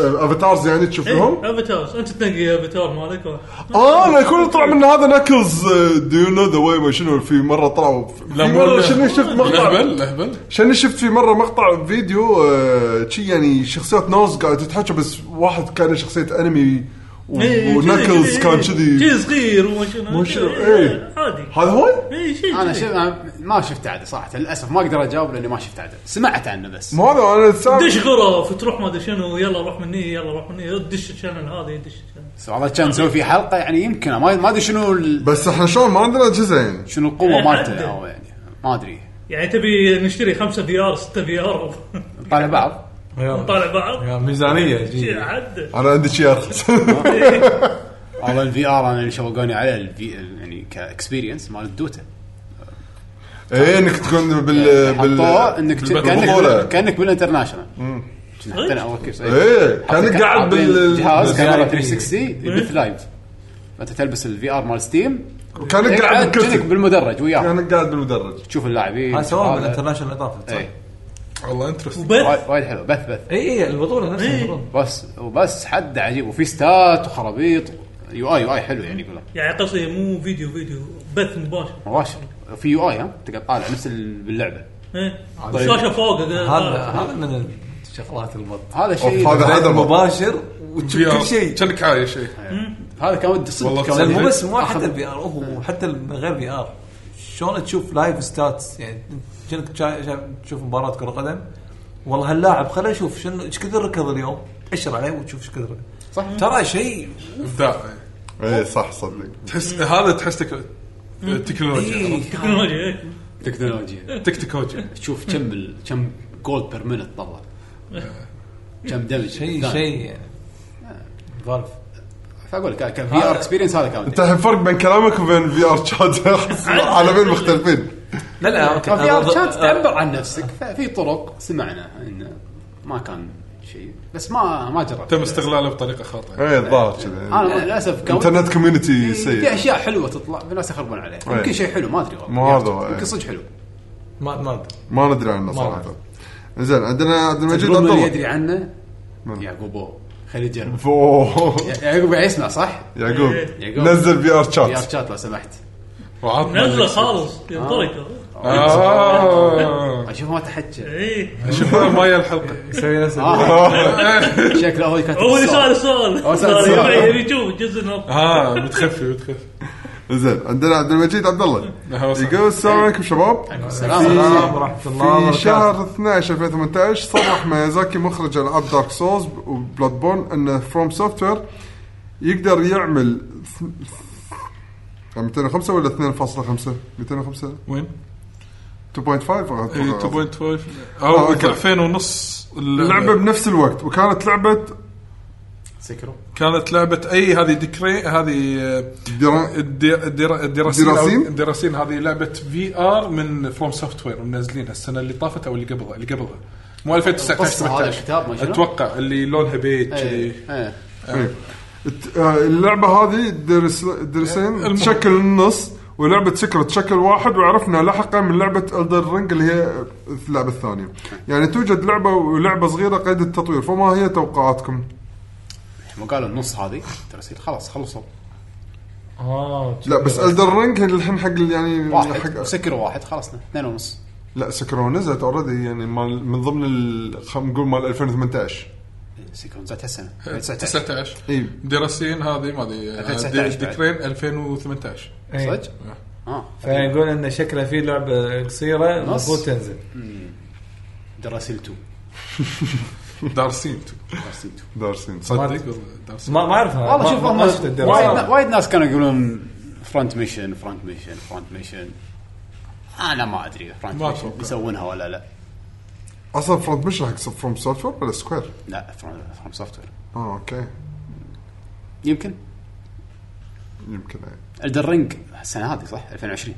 [SPEAKER 5] افاتارز يعني تشوف لهم
[SPEAKER 6] ايه افاتارز انت تنقي افاتار مالك
[SPEAKER 5] اه انا كل طلع من هذا آه، ناكلز دو يو نو ذا واي ما شنو في مره طلعوا
[SPEAKER 3] لا،
[SPEAKER 5] في
[SPEAKER 3] مو
[SPEAKER 5] مره
[SPEAKER 3] لا.
[SPEAKER 5] شنو شفت مقطع
[SPEAKER 3] اهبل اهبل
[SPEAKER 5] شنو شفت في مره مقطع فيديو آه، شي يعني شخصيات ناس قاعده تتحكى بس واحد كان شخصيه انمي و-
[SPEAKER 6] إيه،
[SPEAKER 5] وناكلز
[SPEAKER 6] كذي،
[SPEAKER 5] كان
[SPEAKER 6] إيه، كذي
[SPEAKER 5] كذي
[SPEAKER 6] صغير وما شنو
[SPEAKER 5] وما شنو،
[SPEAKER 6] إيه،
[SPEAKER 5] إيه.
[SPEAKER 6] عادي
[SPEAKER 5] هذا هو؟
[SPEAKER 6] اي شيء
[SPEAKER 1] انا
[SPEAKER 6] كذي.
[SPEAKER 1] شف... أنا ما شفت عدل صراحه للاسف ما اقدر اجاوب لاني ما شفت عدل سمعت عنه بس
[SPEAKER 5] ما هذا انا الساعة-
[SPEAKER 6] دش غرف وتروح ما ادري شنو يلا روح من هني يلا روح من هني دش الشانل هذا دش الشانل
[SPEAKER 1] بس والله كان نسوي فيه حلقه يعني يمكن ما ما ادري شنو ال...
[SPEAKER 5] بس احنا شلون ما عندنا اجهزه يعني
[SPEAKER 1] شنو القوه
[SPEAKER 6] إيه،
[SPEAKER 1] مالته
[SPEAKER 6] عدل.
[SPEAKER 1] او يعني ما ادري
[SPEAKER 6] يعني تبي نشتري خمسه في ار سته في *laughs* ار
[SPEAKER 1] نطالع بعض
[SPEAKER 6] ونطالع بعض
[SPEAKER 7] يا ميزانيه جي.
[SPEAKER 6] شي
[SPEAKER 1] *laughs*
[SPEAKER 6] عد
[SPEAKER 5] انا عندي شيء *laughs* ارخص
[SPEAKER 1] والله الفي ار انا اللي شوقوني عليه الفي يعني كاكسبيرينس مال الدوتا
[SPEAKER 5] ايه انك تكون
[SPEAKER 1] يعني
[SPEAKER 5] بال بال
[SPEAKER 1] حطوه انك
[SPEAKER 5] بالبطولة.
[SPEAKER 1] كانك كانك بالانترناشونال كنا حطينا اول كيس
[SPEAKER 5] ايه كانك قاعد بال
[SPEAKER 1] جهاز كاميرا
[SPEAKER 7] بال-
[SPEAKER 1] 360 يبث لايف انت تلبس الفي ار مال ستيم
[SPEAKER 5] كانك قاعد
[SPEAKER 1] تقعد كأنك
[SPEAKER 5] بالكرسي
[SPEAKER 1] بالمدرج وياه
[SPEAKER 5] كانك قاعد بالمدرج
[SPEAKER 1] تشوف اللاعبين
[SPEAKER 7] إيه. هذا سواه
[SPEAKER 1] هذا.
[SPEAKER 7] بالانترناشونال اضافه صح؟ إيه،
[SPEAKER 1] إيه.
[SPEAKER 3] والله انترستنج
[SPEAKER 6] وبث
[SPEAKER 1] وايد- وايد حلو بث بث
[SPEAKER 2] اي اي البطوله نفسها البطولة.
[SPEAKER 1] بس وبس حد عجيب وفي ستات وخرابيط يو اي يو اي حلو يعني يقول لك
[SPEAKER 6] يعني قصدي مو فيديو فيديو بث مباشر
[SPEAKER 1] مباشر في يو اي ها تقعد طالع نفس ال- باللعبه
[SPEAKER 6] إيه.
[SPEAKER 1] طيب.
[SPEAKER 6] الشاشه فوق
[SPEAKER 7] هذا
[SPEAKER 6] آه.
[SPEAKER 7] هذا من الشغلات البط
[SPEAKER 1] هذا شيء
[SPEAKER 5] هذا هذا الموضوع.
[SPEAKER 7] مباشر وتشوف كل شيء
[SPEAKER 3] كانك عايش إيه. شيء
[SPEAKER 1] هذا كان ودي صدق
[SPEAKER 3] والله
[SPEAKER 1] كان
[SPEAKER 3] صدق.
[SPEAKER 1] ودي.
[SPEAKER 7] مو بس مو حتى البي ار هو حتى من غير بي ار شلون تشوف لايف ستاتس يعني كأنك شا- شا- تشوف مباراه كره قدم والله هاللاعب خليني اشوف شنو ايش كثر ركض اليوم اشر عليه وتشوف ايش كثر
[SPEAKER 1] صح.
[SPEAKER 7] ترى شيء
[SPEAKER 3] ابداع
[SPEAKER 5] اي إيه، صح صدق
[SPEAKER 3] إيه. تحس هذا تحس تك- تكنولوجيا
[SPEAKER 7] إيه.
[SPEAKER 6] تكنولوجيا إيه.
[SPEAKER 1] تكنولوجيا
[SPEAKER 3] تكتيكولوجيا
[SPEAKER 1] تشوف كم ال- كم جولد بير مينت طلع كم دمج
[SPEAKER 7] شيء شيء يعني فالف
[SPEAKER 1] فاقول لك كان في ار اكسبيرينس هذا كان
[SPEAKER 5] انت الحين فرق بين كلامك وبين في ار شات *laughs* عالمين مختلفين
[SPEAKER 7] لا لا اوكي
[SPEAKER 1] كان في
[SPEAKER 7] أنا
[SPEAKER 1] ار
[SPEAKER 7] ضد-
[SPEAKER 1] شات تعبر عن نفسك ففي طرق سمعنا انه ما كان شيء بس ما ما جربت
[SPEAKER 3] تم استغلاله بطريقه خاطئه
[SPEAKER 5] اي إيه، الظاهر كذا
[SPEAKER 1] انا للاسف كان
[SPEAKER 5] انترنت كوميونتي
[SPEAKER 1] إيه، في
[SPEAKER 5] سيء
[SPEAKER 1] اشياء حلوه تطلع الناس يخربون عليها
[SPEAKER 5] إيه.
[SPEAKER 1] يمكن شيء حلو ما ادري والله
[SPEAKER 5] مو هذا هو، إيه.
[SPEAKER 1] يمكن صدق حلو
[SPEAKER 7] ما ما ادري
[SPEAKER 5] ما ندري عنه صراحه زين عندنا عبد المجيد
[SPEAKER 1] تقول
[SPEAKER 5] عبد
[SPEAKER 1] اللي
[SPEAKER 5] الله
[SPEAKER 1] يدري عنه
[SPEAKER 5] نعم.
[SPEAKER 1] يعقوب أوه. خليه يجرب
[SPEAKER 5] فوه.
[SPEAKER 1] يع- يعقوب يسمع صح؟
[SPEAKER 5] يعقوب
[SPEAKER 1] يعقوب.
[SPEAKER 5] نزل في ار
[SPEAKER 1] يا
[SPEAKER 5] شات
[SPEAKER 1] شات لو سمحت
[SPEAKER 3] وعطنا
[SPEAKER 6] نزله
[SPEAKER 3] اللي-
[SPEAKER 6] خالص يا طريقه
[SPEAKER 5] آه.
[SPEAKER 3] آه.
[SPEAKER 1] اشوف ما تحكي
[SPEAKER 6] اي
[SPEAKER 3] شوف ماي الحلقه
[SPEAKER 7] يسوي نفس
[SPEAKER 1] آه.
[SPEAKER 5] آه.
[SPEAKER 7] إيه.
[SPEAKER 1] شكله هو كاتب
[SPEAKER 6] هو اللي سال السؤال
[SPEAKER 1] هو سأل
[SPEAKER 6] لا،
[SPEAKER 1] السؤال. آه.
[SPEAKER 6] يبي- يبي يشوف الجزء النص
[SPEAKER 3] ها متخفي متخفي
[SPEAKER 5] زين عندنا عبد المجيد عبد الله
[SPEAKER 3] أهلا وسهلا.
[SPEAKER 5] يقول السلام عليكم شباب
[SPEAKER 1] السلام
[SPEAKER 5] آه.
[SPEAKER 7] ورحمه آه، الله
[SPEAKER 5] في
[SPEAKER 7] وبركاته
[SPEAKER 5] شهر 12 2018 صرح ميازاكي مخرج العاب دارك سولز وبلاد بورن ان فروم سوفت وير يقدر يعمل ث- ث- 205 ولا 2.5 205
[SPEAKER 3] وين؟
[SPEAKER 5] 2.5 أو
[SPEAKER 3] إيه، 2.5
[SPEAKER 5] إيه. آه،
[SPEAKER 3] او
[SPEAKER 5] أوكي.
[SPEAKER 3] ضعفين ونص
[SPEAKER 5] اللعبه بنفس الوقت وكانت لعبه
[SPEAKER 1] سكروا
[SPEAKER 3] كانت لعبه اي هذه ديكري هذه آه،
[SPEAKER 5] درا-
[SPEAKER 3] الدي- الدرا- الدراسين
[SPEAKER 5] دراسين؟
[SPEAKER 3] أو- الدراسين هذه لعبه في ار من فروم سوفت وير منزلينها السنه اللي طافت او اللي قبلها اللي قبلها مو 2019
[SPEAKER 1] القصة هذا
[SPEAKER 3] 18
[SPEAKER 1] الكتاب ما شنو؟
[SPEAKER 3] اتوقع اللي لونها بيج كذي
[SPEAKER 5] إيه. الت- آه، اللعبه هذه درس درسين
[SPEAKER 3] المهم.
[SPEAKER 5] تشكل النص ولعبه سكر تشكل واحد وعرفنا لاحقا من لعبه الدر رينج اللي هي اللعبه الثانيه يعني توجد لعبه ولعبه صغيره قيد التطوير فما هي توقعاتكم
[SPEAKER 1] مو قالوا النص هذه ترى خلاص خلصوا
[SPEAKER 5] إيه،
[SPEAKER 7] اه
[SPEAKER 5] لا بس الدر رينج الحين حق ال- يعني
[SPEAKER 1] واحد
[SPEAKER 5] حق
[SPEAKER 1] سكروا واحد خلصنا اثنين ونص
[SPEAKER 5] لا سكر نزلت اوريدي يعني مال- من ضمن ال خلينا نقول مال 2018
[SPEAKER 1] إيه، سكروا نزلت هالسنه
[SPEAKER 5] إيه،
[SPEAKER 1] 19
[SPEAKER 3] 19
[SPEAKER 5] اي
[SPEAKER 3] دراسين هذه ما ادري آه،
[SPEAKER 1] 2019 بعد.
[SPEAKER 3] ديكرين 2018
[SPEAKER 1] صدق؟
[SPEAKER 5] إيه.
[SPEAKER 1] اه
[SPEAKER 7] إيه. فيقول ان شكله في لعبه قصيره
[SPEAKER 1] نص.
[SPEAKER 7] المفروض تنزل
[SPEAKER 1] دراسيلتو
[SPEAKER 3] دارسين
[SPEAKER 1] دراسيلتو
[SPEAKER 5] دارسين صدق
[SPEAKER 3] تصدق والله دارسين
[SPEAKER 7] ما ما اعرفها
[SPEAKER 1] والله شوف
[SPEAKER 7] ما- ما شفت آه.
[SPEAKER 1] هم وايد
[SPEAKER 7] الدراسه
[SPEAKER 1] وايد ناس كانوا يقولون فرونت ميشن فرونت ميشن فرونت ميشن انا آه، ما ادري فرونت
[SPEAKER 3] ما
[SPEAKER 1] ميشن
[SPEAKER 3] أتوقع.
[SPEAKER 1] بيسوونها ولا لا
[SPEAKER 5] اصلا فرونت مش حق فروم سوفت وير ولا سكوير
[SPEAKER 1] لا فروم سوفت وير
[SPEAKER 5] اه اوكي
[SPEAKER 1] يمكن
[SPEAKER 5] يمكن يعني.
[SPEAKER 1] الدرينج السنه هذه صح 2020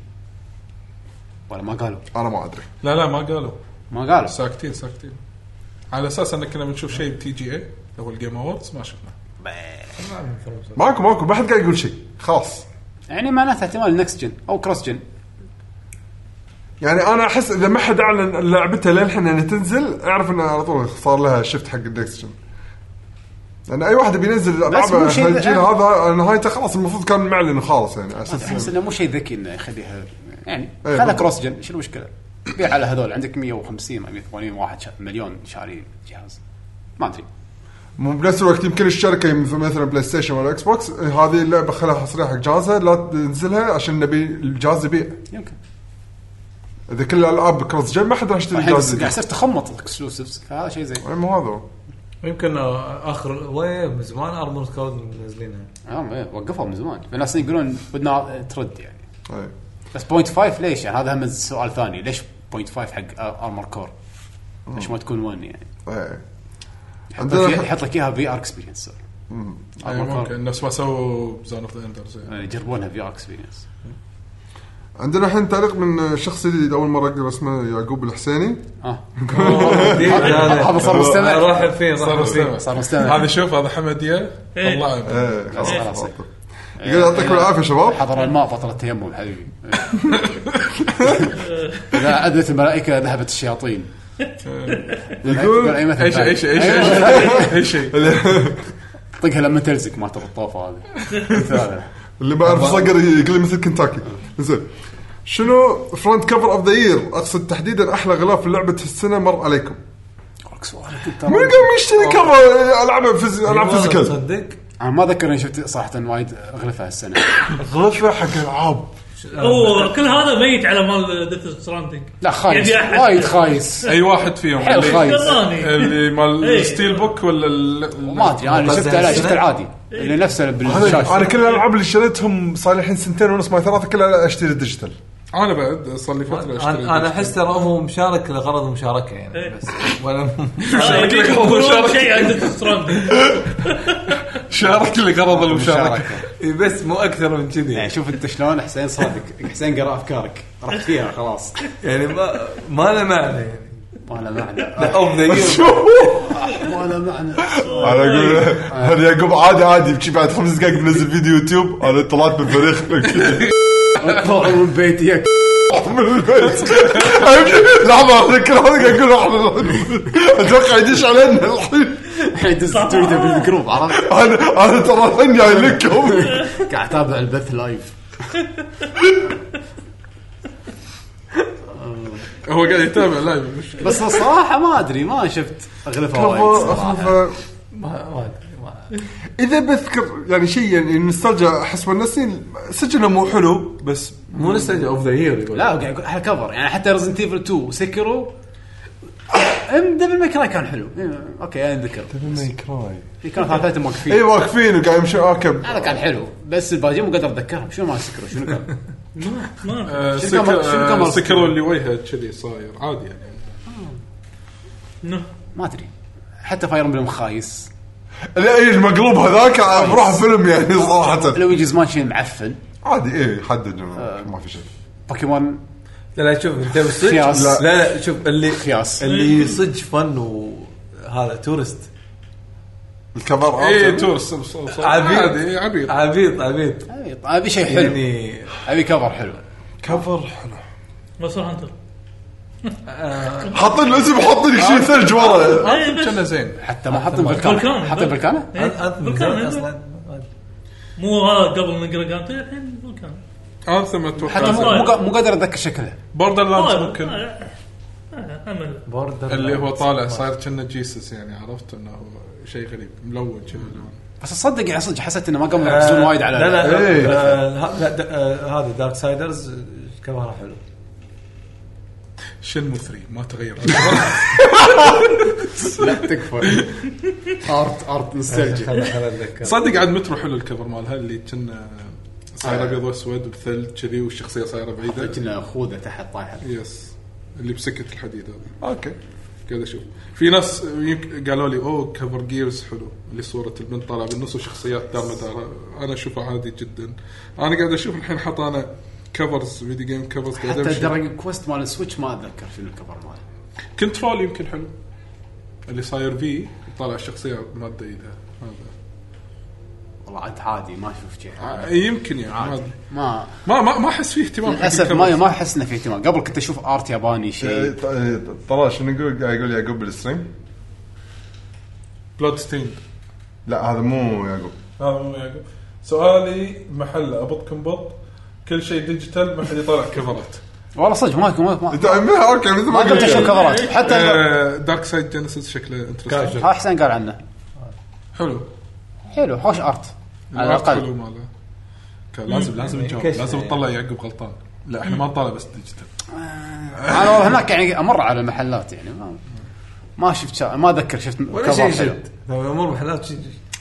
[SPEAKER 1] ولا ما قالوا
[SPEAKER 5] انا ما ادري
[SPEAKER 3] لا لا ما قالوا
[SPEAKER 1] ما قالوا
[SPEAKER 3] ساكتين ساكتين على اساس ان كنا بنشوف شيء بتي جي اي اللي هو الجيم اووردز ما شفناه
[SPEAKER 5] ماكو ماكو ما حد قاعد يقول شيء خلاص
[SPEAKER 1] يعني معناته احتمال نكست جن او كروس جن
[SPEAKER 5] يعني انا احس اذا ما حد اعلن لعبتها للحين انها تنزل اعرف انها على طول صار لها شفت حق النكست جن لان اي واحد بينزل العاب
[SPEAKER 1] مو شيء-
[SPEAKER 5] هالجيل هذا نهايته خلاص المفروض كان معلن خالص يعني على
[SPEAKER 1] احس
[SPEAKER 5] اساس
[SPEAKER 1] انه مو شيء ذكي انه يخليها يعني
[SPEAKER 5] إيه،
[SPEAKER 1] خلها
[SPEAKER 5] بالضبط.
[SPEAKER 1] كروس جن شنو المشكله؟ بيع على هذول عندك 150 180 واحد شا- مليون شاري جهاز ما ادري
[SPEAKER 5] مو بنفس الوقت يمكن الشركه مثل مثلا بلاي ستيشن ولا اكس بوكس هذه اللعبه خلها حصريه حق جهازها لا تنزلها عشان نبي الجهاز يبيع
[SPEAKER 1] يمكن
[SPEAKER 5] اذا كل الالعاب كروس جن ما حد راح يشتري
[SPEAKER 1] الحين
[SPEAKER 5] الجهاز
[SPEAKER 1] قاعد
[SPEAKER 5] الجديد.
[SPEAKER 1] يصير تخمط الاكسلوسيفز فهذا شيء زين
[SPEAKER 5] أي مو هذا هو.
[SPEAKER 7] يمكن آه، اخر ويب من زمان ارمور كود منزلينها
[SPEAKER 1] آه، إيه، وقفوا من زمان الناس يقولون ودنا ترد يعني
[SPEAKER 5] أي.
[SPEAKER 1] بس بوينت 5 ليش يعني هذا هم سؤال ثاني ليش بوينت 5 حق ارمر كور؟ ليش ما تكون 1 يعني؟
[SPEAKER 5] أي.
[SPEAKER 1] يحط
[SPEAKER 5] عندنا
[SPEAKER 1] لك يحط لك اياها في ار اكسبيرينس
[SPEAKER 3] أي ممكن نفس ما سووا زون اوف ذا اندرز
[SPEAKER 1] يعني يجربونها في ار اكسبيرينس
[SPEAKER 5] عندنا الحين تعليق من شخص جديد اول مره اقرا اسمه يعقوب الحسيني
[SPEAKER 1] اه
[SPEAKER 7] هذا
[SPEAKER 1] هذا صار مستمع
[SPEAKER 7] ارحب فيه
[SPEAKER 3] صار
[SPEAKER 7] صار فيه
[SPEAKER 3] مستمع
[SPEAKER 1] صار مستمع
[SPEAKER 3] هذا شوف هذا حمديه
[SPEAKER 6] إيه.
[SPEAKER 3] طلع
[SPEAKER 5] ايه خلاص
[SPEAKER 1] خلاص.
[SPEAKER 5] خلاص. يقول يعطيكم العافيه شباب
[SPEAKER 1] حضر الماء فترة *laughs* *laughs* تيمم حبيبي إذا عدت الملائكة ذهبت الشياطين يقول اي مثل
[SPEAKER 3] ايش
[SPEAKER 1] ثاني.
[SPEAKER 3] ايش ايش ايش ايش
[SPEAKER 1] طقها لما تلزق ما تبغى الطوفه *laughs* هذه مثل هذا.
[SPEAKER 5] اللي ما اعرف صقر يقول لي مثل كنتاكي زين شنو فرونت كفر اوف ذا يير اقصد تحديدا احلى غلاف لعبه السنه مر عليكم
[SPEAKER 1] أورك سؤالك أنت.
[SPEAKER 5] من قام يشتري كفر العاب فيز- العاب فيزيكال
[SPEAKER 7] تصدق
[SPEAKER 1] انا ما اذكر اني شفت صراحه وايد اغلفها هالسنه
[SPEAKER 5] غلفه حق العاب
[SPEAKER 6] هو كل هذا ميت على مال ديث ستراندنج
[SPEAKER 1] لا خايس وايد خايس
[SPEAKER 3] اي واحد فيهم
[SPEAKER 1] حيل
[SPEAKER 3] اللي-
[SPEAKER 1] خايس.
[SPEAKER 3] اللي مال
[SPEAKER 6] إيه.
[SPEAKER 3] الستيل بوك ولا
[SPEAKER 1] ما ادري انا شفت لا شفت العادي اللي نفسه
[SPEAKER 5] هذا-
[SPEAKER 1] بالشاشه
[SPEAKER 5] انا كل الالعاب اللي شريتهم صار لي الحين سنتين ونص ما ثلاثه كلها اشتري *laughs* ديجيتال
[SPEAKER 3] انا بعد صار لي فتره
[SPEAKER 7] أنا-
[SPEAKER 3] اشتري
[SPEAKER 7] انا احس ترى هو مشارك لغرض المشاركه يعني بس ولا *laughs*
[SPEAKER 3] شارك لك هو شارك.
[SPEAKER 6] آه، شيء عن ديث ستراندنج
[SPEAKER 3] شارك لي غرض المشاركه
[SPEAKER 1] مشاركة.
[SPEAKER 7] إيه، بس مو اكثر من كذي
[SPEAKER 1] يعني شوف انت شلون حسين صادق حسين قرا افكارك رحت فيها خلاص
[SPEAKER 7] يعني ما ما له معنى يعني
[SPEAKER 1] ولا معنى
[SPEAKER 7] اوف ذا يير
[SPEAKER 1] ولا معنى
[SPEAKER 5] انا اقول انا يعقوب عادي عادي بشي بعد خمس دقائق بنزل فيديو يوتيوب انا طلعت من فريق
[SPEAKER 1] اطلع من بيتي يا ك-
[SPEAKER 5] من البيت أمشي- لحظه انا كل حلقه اقول لحظه اتوقع يدش علينا الحين
[SPEAKER 1] الحين دز تويتر بالجروب عرفت
[SPEAKER 5] انا انا ترى الحين جاي لكم
[SPEAKER 1] قاعد اتابع البث لايف
[SPEAKER 3] هو قاعد يتابع لايف مش
[SPEAKER 1] بس الصراحه ما ادري ما شفت اغلفها وايد
[SPEAKER 5] أخاف-
[SPEAKER 1] صراحه
[SPEAKER 5] أخاف- اذا بذكر يعني شيء يعني النوستالجيا احس ونسني سجنه مو حلو بس
[SPEAKER 7] مو نستنجع اوف ذا يير يقول
[SPEAKER 1] لا قاعد اقول على كفر يعني حتى ريزنت ايفل 2 وسكرو ام دبل ماي كراي كان حلو إيه، اوكي انا ذكر في كانوا ثلاثتهم
[SPEAKER 5] اي
[SPEAKER 1] واقفين
[SPEAKER 5] إيه،
[SPEAKER 7] أيوة.
[SPEAKER 5] واقفين وقاعد يمشون اوكي
[SPEAKER 1] هذا كان حلو بس الباجي مو قادر اتذكرهم شنو مال سكرو شنو كان
[SPEAKER 6] ما
[SPEAKER 3] آه،
[SPEAKER 1] شنو كان-
[SPEAKER 3] سكر-
[SPEAKER 1] شنو كان
[SPEAKER 3] آه،
[SPEAKER 1] مرة
[SPEAKER 3] سكروا
[SPEAKER 1] سكر؟
[SPEAKER 3] اللي وجهه كذي صاير عادي يعني
[SPEAKER 6] نو.
[SPEAKER 1] ما ادري حتى فاير امبلم خايس
[SPEAKER 5] لا اي المقلوب هذاك بروح فيلم يعني صراحه
[SPEAKER 1] لويجيز مانشن معفن
[SPEAKER 5] عادي اي حدد ما في شيء
[SPEAKER 1] بوكيمون
[SPEAKER 7] لا لا شوف انت بالصدق
[SPEAKER 1] خياس.
[SPEAKER 7] لا لا شوف اللي
[SPEAKER 1] خياس.
[SPEAKER 7] اللي صدق فن وهذا تورست
[SPEAKER 5] الكفر
[SPEAKER 3] اي
[SPEAKER 5] آرت.
[SPEAKER 3] تورس إيه، ص- ص-
[SPEAKER 7] عبيط.
[SPEAKER 3] عادي عبيط
[SPEAKER 7] عبيط عبيط
[SPEAKER 1] أبي- ابي شيء حلو
[SPEAKER 7] يعني
[SPEAKER 1] ابي كفر حلو
[SPEAKER 5] كفر حلو
[SPEAKER 6] مصر هانتر
[SPEAKER 5] حاطين الاسم حاطين لك شيء ثلج ورا
[SPEAKER 6] إيه، بس.
[SPEAKER 3] كنا زين
[SPEAKER 1] حتى ما حطهم بالكان
[SPEAKER 6] بالكان.
[SPEAKER 1] حطهم بالكان
[SPEAKER 6] إيه،
[SPEAKER 7] أنثم
[SPEAKER 6] فولكان،
[SPEAKER 7] زين
[SPEAKER 6] إيه.
[SPEAKER 7] اصلا
[SPEAKER 6] مو هذا قبل من جراجانتي الحين فولكان
[SPEAKER 3] انثم
[SPEAKER 1] حتى مو-
[SPEAKER 3] اتوقع
[SPEAKER 1] مو قا- مو قادر اتذكر شكله
[SPEAKER 3] بوردر لاندز
[SPEAKER 6] طيب،
[SPEAKER 3] ممكن
[SPEAKER 6] آه، آه، امل
[SPEAKER 7] بوردر
[SPEAKER 3] اللي هو طالع صاير كنا جيسس يعني عرفت انه هو شيء غريب ملون كذي لون.
[SPEAKER 1] بس اصدق يعني صدق حسيت انه ما قاموا يركزون وايد على
[SPEAKER 7] آه، لا لا
[SPEAKER 5] إيه.
[SPEAKER 7] آه، ه- لا د- آه، هذا دارك سايدرز كفرها حلو
[SPEAKER 3] شنمو 3 ما تغير
[SPEAKER 1] لا تكفى ارت ارت
[SPEAKER 5] *laughs*
[SPEAKER 1] نوستالجيا
[SPEAKER 7] خل خل اتذكر
[SPEAKER 3] صدق عاد مترو حلو الكفر مالها اللي كنا صاير ابيض واسود بثلج كذي والشخصيه صايره بعيده
[SPEAKER 1] كنا خوذه تحت طايحه
[SPEAKER 3] يس اللي بسكه الحديد هذا
[SPEAKER 5] اوكي
[SPEAKER 3] قاعد اشوف في ناس يمك- قالوا لي اوه كفر جيرز حلو اللي صوره البنت طالعه بالنص وشخصيات دار مدارها انا اشوفه عادي جدا انا قاعد اشوف الحين حط انا كفرز فيديو جيم كفرز قاعد
[SPEAKER 1] حتى
[SPEAKER 3] امشي
[SPEAKER 1] دراجون كويست مال السويتش ما اتذكر شنو الكفر ماله
[SPEAKER 3] كنترول يمكن حلو اللي صاير في طالع الشخصيه ماده ايدها هذا
[SPEAKER 1] والله عاد عادي ما اشوف شيء
[SPEAKER 3] ع- يمكن يعني ما
[SPEAKER 1] عادي
[SPEAKER 3] أدري.
[SPEAKER 1] ما
[SPEAKER 3] ما ما ما احس فيه اهتمام حق
[SPEAKER 1] للاسف ما
[SPEAKER 3] الكفرز.
[SPEAKER 1] ما احس انه في اهتمام قبل كنت اشوف ارت ياباني
[SPEAKER 7] آه.
[SPEAKER 5] إيه،
[SPEAKER 1] شيء
[SPEAKER 5] ط- إيه، ترى شنو يقول قاعد يقول يعقوب بالستريم
[SPEAKER 3] بلود ستيند
[SPEAKER 5] لا هذا مو يعقوب
[SPEAKER 3] هذا مو يعقوب سؤالي محل ابطكم بط كل شيء ديجيتال ما حد يطلع كفرات
[SPEAKER 1] والله صدق ما ما ما
[SPEAKER 5] إنت- *laughs* إيه، اوكي مثل ما
[SPEAKER 1] ما قمت
[SPEAKER 5] قلت
[SPEAKER 1] اشوف كفرات حتى
[SPEAKER 3] آه، دارك سايد جينيسيس شكله انترستنج
[SPEAKER 1] ها حسين قال عنه
[SPEAKER 3] حلو
[SPEAKER 1] حلو خوش ارت على الاقل
[SPEAKER 3] ماله كان لازم لازم نجاوب
[SPEAKER 7] كشف
[SPEAKER 3] لازم
[SPEAKER 7] يعني.
[SPEAKER 3] نطلع يعقوب غلطان لا احنا ما نطلع بس ديجيتال
[SPEAKER 1] انا والله هناك يعني امر على محلات يعني ما ما شفت شا... ما اذكر شفت
[SPEAKER 7] ولا
[SPEAKER 1] كفر
[SPEAKER 7] شيء طيب،
[SPEAKER 1] حلو
[SPEAKER 7] شد امور محلات شي-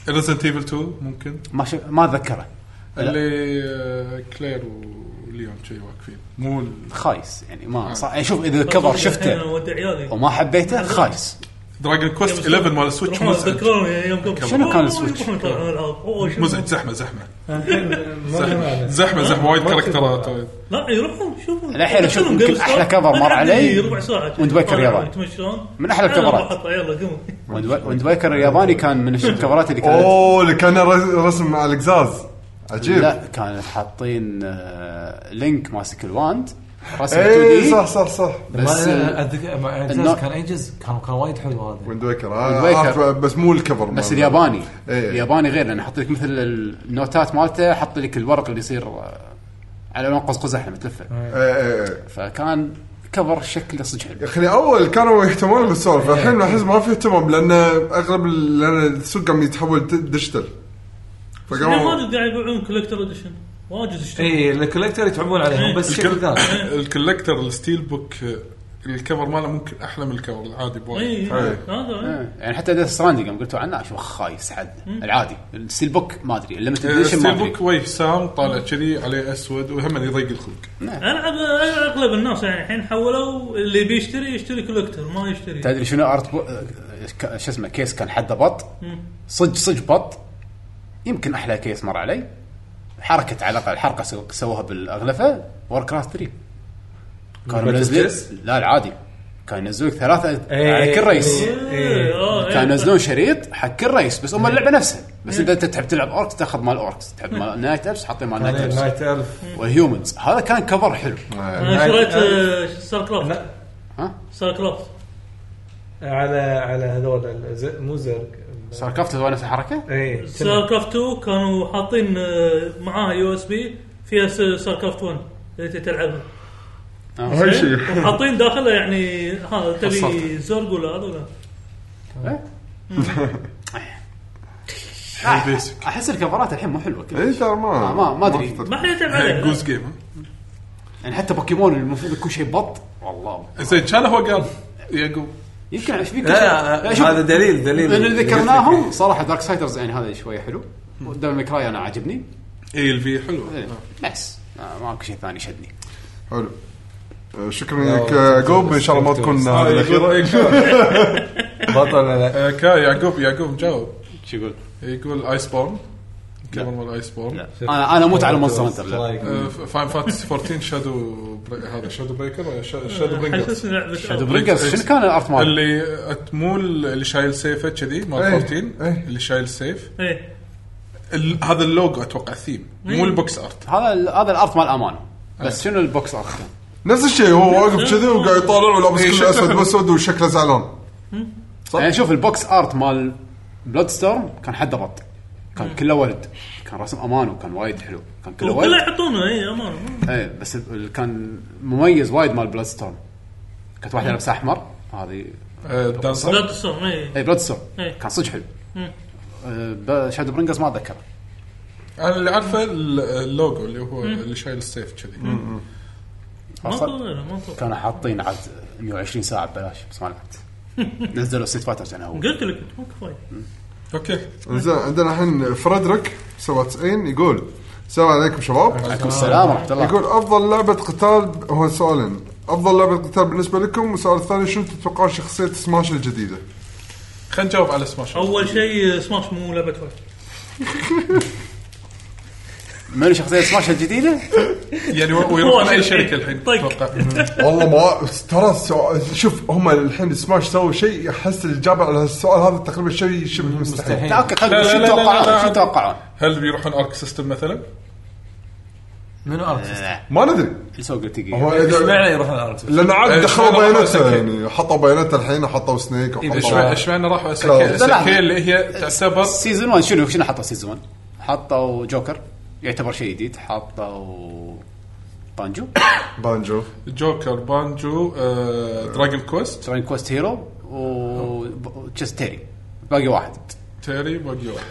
[SPEAKER 3] ريزنت ايفل 2 ممكن
[SPEAKER 1] ما شف... ما اتذكره لا.
[SPEAKER 3] اللي آه، كلير وليون شي واقفين مو ال-
[SPEAKER 1] خايس يعني ما صح... يعني شوف اذا الكفر
[SPEAKER 6] الحين
[SPEAKER 1] شفته
[SPEAKER 6] أنا ودي عيالي
[SPEAKER 1] وما حبيته خايس
[SPEAKER 3] دراجون كويست 11 مال السويتش
[SPEAKER 6] يروحون
[SPEAKER 3] مزعج
[SPEAKER 6] يتذكرون يوم قبل
[SPEAKER 1] شنو كان
[SPEAKER 6] أوه،
[SPEAKER 1] السويتش؟
[SPEAKER 6] يروحون يطلعون ألعاب. أوه، شنو؟
[SPEAKER 3] مزعج زحمه زحمه
[SPEAKER 7] ما له
[SPEAKER 3] زحمه
[SPEAKER 7] معنى.
[SPEAKER 3] زحمه زحمه وايد آه، طيب. كاركترات وايد
[SPEAKER 6] لا يروحون شوفون
[SPEAKER 1] الحين أشوف
[SPEAKER 6] يروحون
[SPEAKER 1] يمكن
[SPEAKER 6] قبل
[SPEAKER 1] أحلى
[SPEAKER 6] ساعة.
[SPEAKER 1] كفر مر
[SPEAKER 6] أنا عندي
[SPEAKER 1] علي
[SPEAKER 6] ربع ساعه
[SPEAKER 1] وأنت بكر يلا.
[SPEAKER 6] طيب، يتمشون
[SPEAKER 1] من أحلى
[SPEAKER 6] أنا
[SPEAKER 1] الكفرات.
[SPEAKER 6] بحطها، يلا قوموا
[SPEAKER 1] وند وند بايكر الياباني كان من الكفرات اللي كانت
[SPEAKER 5] اوه اللي كان رس- رسم على القزاز عجيب
[SPEAKER 1] لا كانت حاطين آه، لينك ماسك الواند رسم 2
[SPEAKER 5] اي
[SPEAKER 1] دي
[SPEAKER 5] إيه، صح صح صح
[SPEAKER 1] بس آه،
[SPEAKER 7] ما- اتذكر مع اجزاز
[SPEAKER 1] النوع-
[SPEAKER 7] كان ايجز كان كان وايد حلو هذا
[SPEAKER 5] ويند ويكر
[SPEAKER 1] Wind Waker.
[SPEAKER 5] آه، بس مو الكفر
[SPEAKER 1] بس
[SPEAKER 5] ماله.
[SPEAKER 1] الياباني
[SPEAKER 5] إيه.
[SPEAKER 1] الياباني غير لانه حط لك مثل النوتات مالته حط لك الورق اللي يصير آه، على لون قوس قزح لما تلفه
[SPEAKER 5] اي اي اي
[SPEAKER 1] فكان كفر شكله صدق حلو
[SPEAKER 5] إيه، يا اخي اول كانوا يهتمون
[SPEAKER 1] إيه.
[SPEAKER 5] بالسولفه الحين احس ما في اهتمام لان اغلب ال- لان السوق قام يتحول د- ديجيتال
[SPEAKER 6] الحين ما
[SPEAKER 5] فقاموا
[SPEAKER 6] قاعد يبيعون كولكتر اديشن واجد اشتري
[SPEAKER 3] إيه.
[SPEAKER 7] اي الكوليكتر إيه، يتعبون عليهم بس شكل
[SPEAKER 3] الكل-
[SPEAKER 7] ثاني
[SPEAKER 3] الكولكتر الستيل بوك آه، الكفر ماله ممكن احلى من الكفر العادي بوايد آه،
[SPEAKER 6] اي إيه، هذا
[SPEAKER 1] إيه. يعني حتى ديث ستراندنج يوم قلتوا عنه شو خايس حد العادي الستيل بوك ما ادري الليمتد
[SPEAKER 3] آه،
[SPEAKER 1] اديشن ما
[SPEAKER 3] الستيل
[SPEAKER 1] ادري
[SPEAKER 3] بوك وجه سام طالع كذي عليه اسود وهم يضيق الخلق
[SPEAKER 6] العب اغلب الناس يعني الحين حولوا اللي بيشتري يشتري كولكتر ما يشتري
[SPEAKER 1] تدري شنو ارت بو... آه، ك- شو اسمه كيس كان حده بط صج صج بط يمكن احلى كيس مر علي حركه على الاقل حركه سو- سووها بالاغلفه وور كرافت 3 كانوا منزلين لا العادي كان ينزلون لك ثلاثه على كل رئيس
[SPEAKER 6] إيه،
[SPEAKER 3] إيه.
[SPEAKER 1] كان
[SPEAKER 6] كان
[SPEAKER 1] ينزلون شريط حق كل رئيس بس هم اللعبه نفسها بس اذا انت تحب تلعب اوركس تاخذ مال اوركس تحب مال نايت ابس حاطين مال نايت ابس
[SPEAKER 7] نايت الف
[SPEAKER 1] والهيومنز هذا كان كفر حلو
[SPEAKER 6] انا شريت آه، ستار كرافت
[SPEAKER 7] لا
[SPEAKER 1] ها
[SPEAKER 6] ستار كرافت
[SPEAKER 7] على على هذول الز- مو زرق إيه،
[SPEAKER 1] ستار كرافت هو نفس الحركه؟
[SPEAKER 7] اي
[SPEAKER 6] ستار كرافت 2 كانوا حاطين آه، معاها يو اس بي فيها س- ستار كرافت 1 اللي أنت تلعبها
[SPEAKER 1] آه.
[SPEAKER 5] هاي شيء
[SPEAKER 6] وحاطين داخله يعني ها تبي زرق ولا هذا ولا
[SPEAKER 1] آه،
[SPEAKER 3] البيسك
[SPEAKER 1] احس الكفرات الحين مو حلوه كلها
[SPEAKER 5] اي إيه، ترى ما
[SPEAKER 1] آه، ما- ما أدري.
[SPEAKER 5] أفتكر.
[SPEAKER 6] ما حد يتعب
[SPEAKER 3] هاي
[SPEAKER 6] عليه
[SPEAKER 3] جوز جيم ها؟
[SPEAKER 1] يعني حتى بوكيمون المفروض يكون شيء بط والله
[SPEAKER 3] زين شال هو قال يعقوب
[SPEAKER 1] يمكن ايش فيك
[SPEAKER 7] لا،
[SPEAKER 1] شوف،
[SPEAKER 7] هذا دليل- دليل.
[SPEAKER 1] من اللي ذكرناهم صراحه دارك سايدرز يعني هذا شويه حلو دبل ميكراي انا عاجبني
[SPEAKER 3] اي الفي حلو
[SPEAKER 1] إيه، بس آه، ماكو شيء ثاني شدني
[SPEAKER 5] حلو آه، شكرا لك آه، جوب ان شاء الله ما تكون آه، هذه الاخيره
[SPEAKER 7] بطل لا
[SPEAKER 3] آه، كا يعقوب يعقوب مجاوب
[SPEAKER 1] شو يقول؟
[SPEAKER 3] يقول ايس بورن كفر مال ايس بورن
[SPEAKER 1] انا انا اموت على مونستر هانتر لا
[SPEAKER 3] فاين فانتسي 14 شادو بري- هذا شادو بريكر ولا شا-
[SPEAKER 6] Eh, آه،
[SPEAKER 3] شادو برينجر
[SPEAKER 6] حسسني لعبه
[SPEAKER 1] شادو برينجرز شنو كان الارت مال؟
[SPEAKER 3] اللي أت- مو ال- اللي شايل سيفه كذي مال
[SPEAKER 5] إيه،
[SPEAKER 3] 14
[SPEAKER 5] إيه.
[SPEAKER 3] اللي شايل سيف
[SPEAKER 6] ايه
[SPEAKER 3] ال- هذا اللوجو اتوقع ثيم مو البوكس ارت
[SPEAKER 1] هذا ال- هذا الارت مال امانه بس شنو البوكس ارت كان؟
[SPEAKER 5] نفس الشيء هو واقف كذي وقاعد يطالع ولابس
[SPEAKER 3] إيه،
[SPEAKER 5] كل
[SPEAKER 3] شكله
[SPEAKER 5] اسود
[SPEAKER 3] حلو.
[SPEAKER 5] واسود وشكله زعلان
[SPEAKER 1] يعني شوف البوكس ارت مال بلود ستورم كان حده بط كان كله ورد كان رسم امانه كان وايد حلو كان كله
[SPEAKER 6] وكله
[SPEAKER 1] ورد
[SPEAKER 6] يحطونه اي امانه
[SPEAKER 1] ايه بس ال- ال- كان مميز وايد مال بلود ستورم كانت واحده لابسه احمر هذه
[SPEAKER 3] Eh,
[SPEAKER 6] لا
[SPEAKER 1] طيب.
[SPEAKER 3] دانسر
[SPEAKER 6] تصوم اي
[SPEAKER 1] اي بلود ستورم
[SPEAKER 6] إيه.
[SPEAKER 1] كان صدق حلو أه،
[SPEAKER 6] مم.
[SPEAKER 1] شادو برينجرز ما اتذكر
[SPEAKER 3] انا اللي عارفه ال- اللوجو اللي هو اللي شايل السيف كذي
[SPEAKER 6] ما
[SPEAKER 1] أصلاً-
[SPEAKER 6] طول ما طول
[SPEAKER 1] كانوا حاطين عاد 120 ساعه ببلاش بس ما
[SPEAKER 6] *laughs*
[SPEAKER 1] لعبت نزلوا ستيت فايترز انا هو
[SPEAKER 6] قلت لك ماكو فايده
[SPEAKER 3] اوكي
[SPEAKER 5] زين عندنا الحين فريدريك 97 يقول السلام عليكم شباب آه،
[SPEAKER 1] عليكم السلام ورحمه الله
[SPEAKER 5] يقول افضل لعبه قتال هو سؤالين افضل لعبه قتال بالنسبه لكم والسؤال الثاني شنو تتوقعون شخصيه سماش الجديده؟
[SPEAKER 3] خلينا نجاوب على سماش
[SPEAKER 6] اول شيء سماش مو لعبه فايت
[SPEAKER 1] منو شخصيه سماش الجديده؟
[SPEAKER 6] إيه.
[SPEAKER 3] يعني و- ويروح على اي شركه الحين
[SPEAKER 6] طيب.
[SPEAKER 3] اتوقع
[SPEAKER 5] والله ما ترى السؤال- شوف هم الحين سماش سووا شيء احس الاجابه على السؤال هذا تقريبا شيء شبه مستحيل
[SPEAKER 1] لا اوكي
[SPEAKER 3] لا،
[SPEAKER 1] خلينا
[SPEAKER 3] لا،
[SPEAKER 1] شو
[SPEAKER 3] لا، لا، لا.
[SPEAKER 1] تتوقعون؟ شو تتوقعون؟
[SPEAKER 3] هل بيروحون ارك سيستم مثلا؟
[SPEAKER 7] منو ارتست؟
[SPEAKER 5] ما ندري
[SPEAKER 1] السوق
[SPEAKER 5] هو
[SPEAKER 1] تقي
[SPEAKER 5] إذا-
[SPEAKER 7] اشمعنى يروحون ارتست؟
[SPEAKER 5] لان عاد
[SPEAKER 3] إيه،
[SPEAKER 5] دخلوا
[SPEAKER 3] إشمعنى
[SPEAKER 5] بياناته
[SPEAKER 3] راحوا
[SPEAKER 5] يعني حطوا بياناته الحين حطوا سنيك
[SPEAKER 3] اشمعنى
[SPEAKER 5] وحطوا
[SPEAKER 3] اشمعنى راحوا
[SPEAKER 5] لا،
[SPEAKER 3] اسكي اسكي اللي هي تعتبر
[SPEAKER 1] سيزون 1 شنو شنو حطوا سيزون 1 حطوا جوكر يعتبر شيء جديد حطوا بانجو
[SPEAKER 5] بانجو
[SPEAKER 3] جوكر بانجو آه، دراجون كويست
[SPEAKER 1] تراين كوست هيرو وتشستيري باقي واحد
[SPEAKER 3] تيري باقي واحد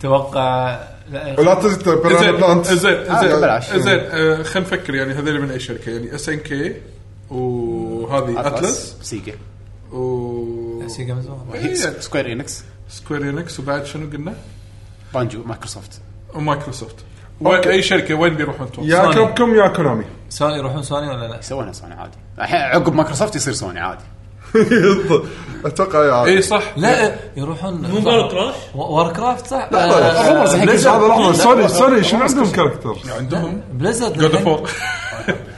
[SPEAKER 7] توقع لا،
[SPEAKER 5] ولا تنسى بيرانا
[SPEAKER 3] زين
[SPEAKER 5] بلانت
[SPEAKER 3] زين
[SPEAKER 1] هذا ببلاش.
[SPEAKER 3] زين زين آه، خلينا نفكر يعني هذول من اي شركه يعني اس ان كي وهذه اتلس
[SPEAKER 1] سيجا
[SPEAKER 3] و
[SPEAKER 7] سيجا من زمان.
[SPEAKER 3] إيه،
[SPEAKER 1] سكوير انكس
[SPEAKER 3] سكوير انكس وبعد شنو قلنا؟
[SPEAKER 1] بانجو مايكروسوفت
[SPEAKER 3] ومايكروسوفت وين اي شركه وين بيروحون توقع؟
[SPEAKER 5] يا
[SPEAKER 7] سوني.
[SPEAKER 5] كوبكم يا
[SPEAKER 3] *laughs*
[SPEAKER 5] كونامي
[SPEAKER 7] سوني يروحون سوني ولا لا؟
[SPEAKER 1] يسوونها سوني عادي الحين عقب مايكروسوفت يصير سوني عادي
[SPEAKER 5] اتوقع يا عاد.
[SPEAKER 3] اي إيه، صح
[SPEAKER 7] لا يروحون
[SPEAKER 6] مو قالوا كراش
[SPEAKER 7] وور كرافت صح؟
[SPEAKER 5] لحظة،
[SPEAKER 1] الرمز الحين
[SPEAKER 5] ليش
[SPEAKER 1] كل
[SPEAKER 5] هذا
[SPEAKER 1] شيء.
[SPEAKER 5] لحظه سوني سوني شنو عندهم كاركتر؟ *laughs*
[SPEAKER 3] يعني. عندهم
[SPEAKER 7] بليزرد
[SPEAKER 3] جود
[SPEAKER 7] الحين-
[SPEAKER 3] اوف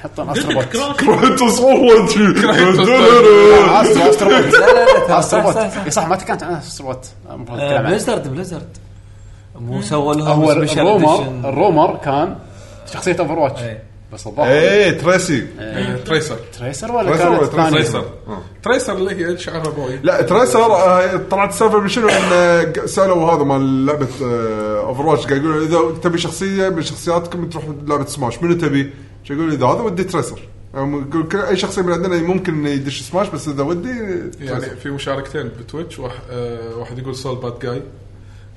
[SPEAKER 1] حطوا
[SPEAKER 6] قلت لك
[SPEAKER 1] استروبوت
[SPEAKER 6] كراش
[SPEAKER 5] *laughs*
[SPEAKER 3] *laughs*
[SPEAKER 1] استرو
[SPEAKER 7] *laughs*
[SPEAKER 1] استروبوت *laughs*
[SPEAKER 7] لا لا لا ترى صح
[SPEAKER 1] استروبوت
[SPEAKER 7] صح *laughs* صح
[SPEAKER 1] اي صح ما تكلمت عن استروبوت المفروض نتكلم
[SPEAKER 7] آه،
[SPEAKER 1] عنه.
[SPEAKER 7] بليزرد بليزرد مو سووا لهم
[SPEAKER 1] هو
[SPEAKER 7] special
[SPEAKER 1] الرومر
[SPEAKER 7] edition.
[SPEAKER 1] الرومر كان شخصيه اوفر واتش
[SPEAKER 7] إيه.
[SPEAKER 1] بس الظاهر
[SPEAKER 5] ايه تريسي
[SPEAKER 3] تريسر
[SPEAKER 1] تريسر ولا
[SPEAKER 5] تريسر ولا
[SPEAKER 1] كانت
[SPEAKER 5] تريسر؟
[SPEAKER 1] ثانية؟
[SPEAKER 3] تريسر تريسر اللي هي شعرها بوي
[SPEAKER 5] لا تريسر آه، طلعت السالفه من شنو ان آه، سالوا هذا مال لعبه اوفر واتش قاعد يقول اذا تبي شخصيه من شخصياتكم تروح لعبه سماش منو تبي؟ شو يقول اذا هذا ودي تريسر يعني يقول كل- اي شخصيه من عندنا ممكن إنه يدش سماش بس اذا ودي
[SPEAKER 3] يعني
[SPEAKER 5] تريسر.
[SPEAKER 3] في مشاركتين بتويتش واحد, آه واحد يقول سول باد جاي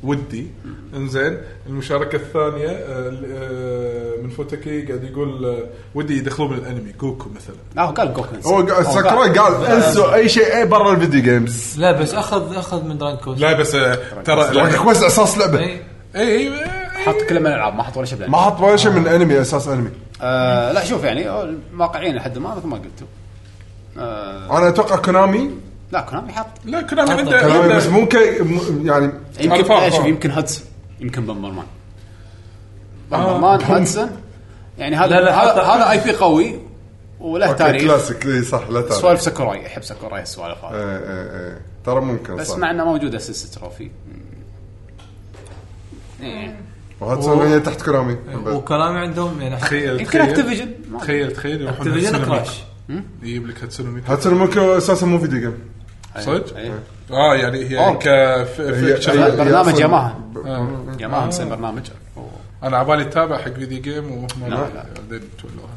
[SPEAKER 3] ودي انزين المشاركه الثانيه آه ال- آه من فوتكي قاعد يقول آه ودي يدخلون الانمي جوكو مثلا
[SPEAKER 1] لا هو قال جوكو
[SPEAKER 5] هو قا- ساكوراي قال انسوا اي شيء إيه برا الفيديو جيمز
[SPEAKER 7] لا بس اخذ اخذ من دراين كوست
[SPEAKER 3] لا بس آه ترى
[SPEAKER 5] رايك
[SPEAKER 3] لا-
[SPEAKER 5] كويس اساس لعبه
[SPEAKER 7] اي
[SPEAKER 3] اي اي آه،
[SPEAKER 1] حط كل من الالعاب ما حط ولا شيء بالألعاب.
[SPEAKER 5] ما حط ولا شيء من انمي اساس انمي
[SPEAKER 1] آه لا شوف يعني آه، واقعيين لحد ما مثل ما قلتوا آه
[SPEAKER 5] انا اتوقع كونامي
[SPEAKER 1] لا كونامي حط
[SPEAKER 3] لا كلام عنده
[SPEAKER 5] كونامي بس
[SPEAKER 3] عنده-
[SPEAKER 5] ممكن م- يعني
[SPEAKER 1] يمكن
[SPEAKER 3] فاهم،
[SPEAKER 1] آه، شوف
[SPEAKER 3] فاهم.
[SPEAKER 1] يمكن هدسون يمكن بمبرمان بمبرمان هدسون يعني هذا
[SPEAKER 7] لا،
[SPEAKER 1] هذا
[SPEAKER 7] حط-
[SPEAKER 1] هذا اي بي قوي وله
[SPEAKER 5] أوكي،
[SPEAKER 1] تاريخ
[SPEAKER 5] كلاسيك إي صح لا تعرف
[SPEAKER 1] سوالف ساكوراي احب ساكوراي السوالف هذه
[SPEAKER 5] إيه، إيه، إيه. ترى ممكن
[SPEAKER 1] بس
[SPEAKER 5] صح.
[SPEAKER 1] مع انه موجوده سلسله تروفي إيه.
[SPEAKER 5] وهاتسون هي تحت كونامي
[SPEAKER 7] وكلامي عندهم يعني
[SPEAKER 3] تخيل
[SPEAKER 1] يمكن
[SPEAKER 3] تخيل-
[SPEAKER 1] Activision. ما-
[SPEAKER 3] تخيل تخيل يروحون
[SPEAKER 7] اكتيفيجن
[SPEAKER 3] Hatsune
[SPEAKER 7] كراش
[SPEAKER 3] Miku. يجيب لك هاتسونو ميكو
[SPEAKER 5] هاتسون ممكن اساسا مو فيديو جيم
[SPEAKER 3] صدق؟
[SPEAKER 1] إيه.
[SPEAKER 3] اه يعني هي
[SPEAKER 1] أوه.
[SPEAKER 5] هي-
[SPEAKER 3] كفيكشن
[SPEAKER 5] هي
[SPEAKER 1] برنامج
[SPEAKER 5] أصلاً-
[SPEAKER 1] ياماها
[SPEAKER 3] آه.
[SPEAKER 1] ياماها مسوي برنامج أوه.
[SPEAKER 3] انا عبالي اتابع حق فيديو جيم وهم
[SPEAKER 1] لا، لا.
[SPEAKER 3] بعدين تولوها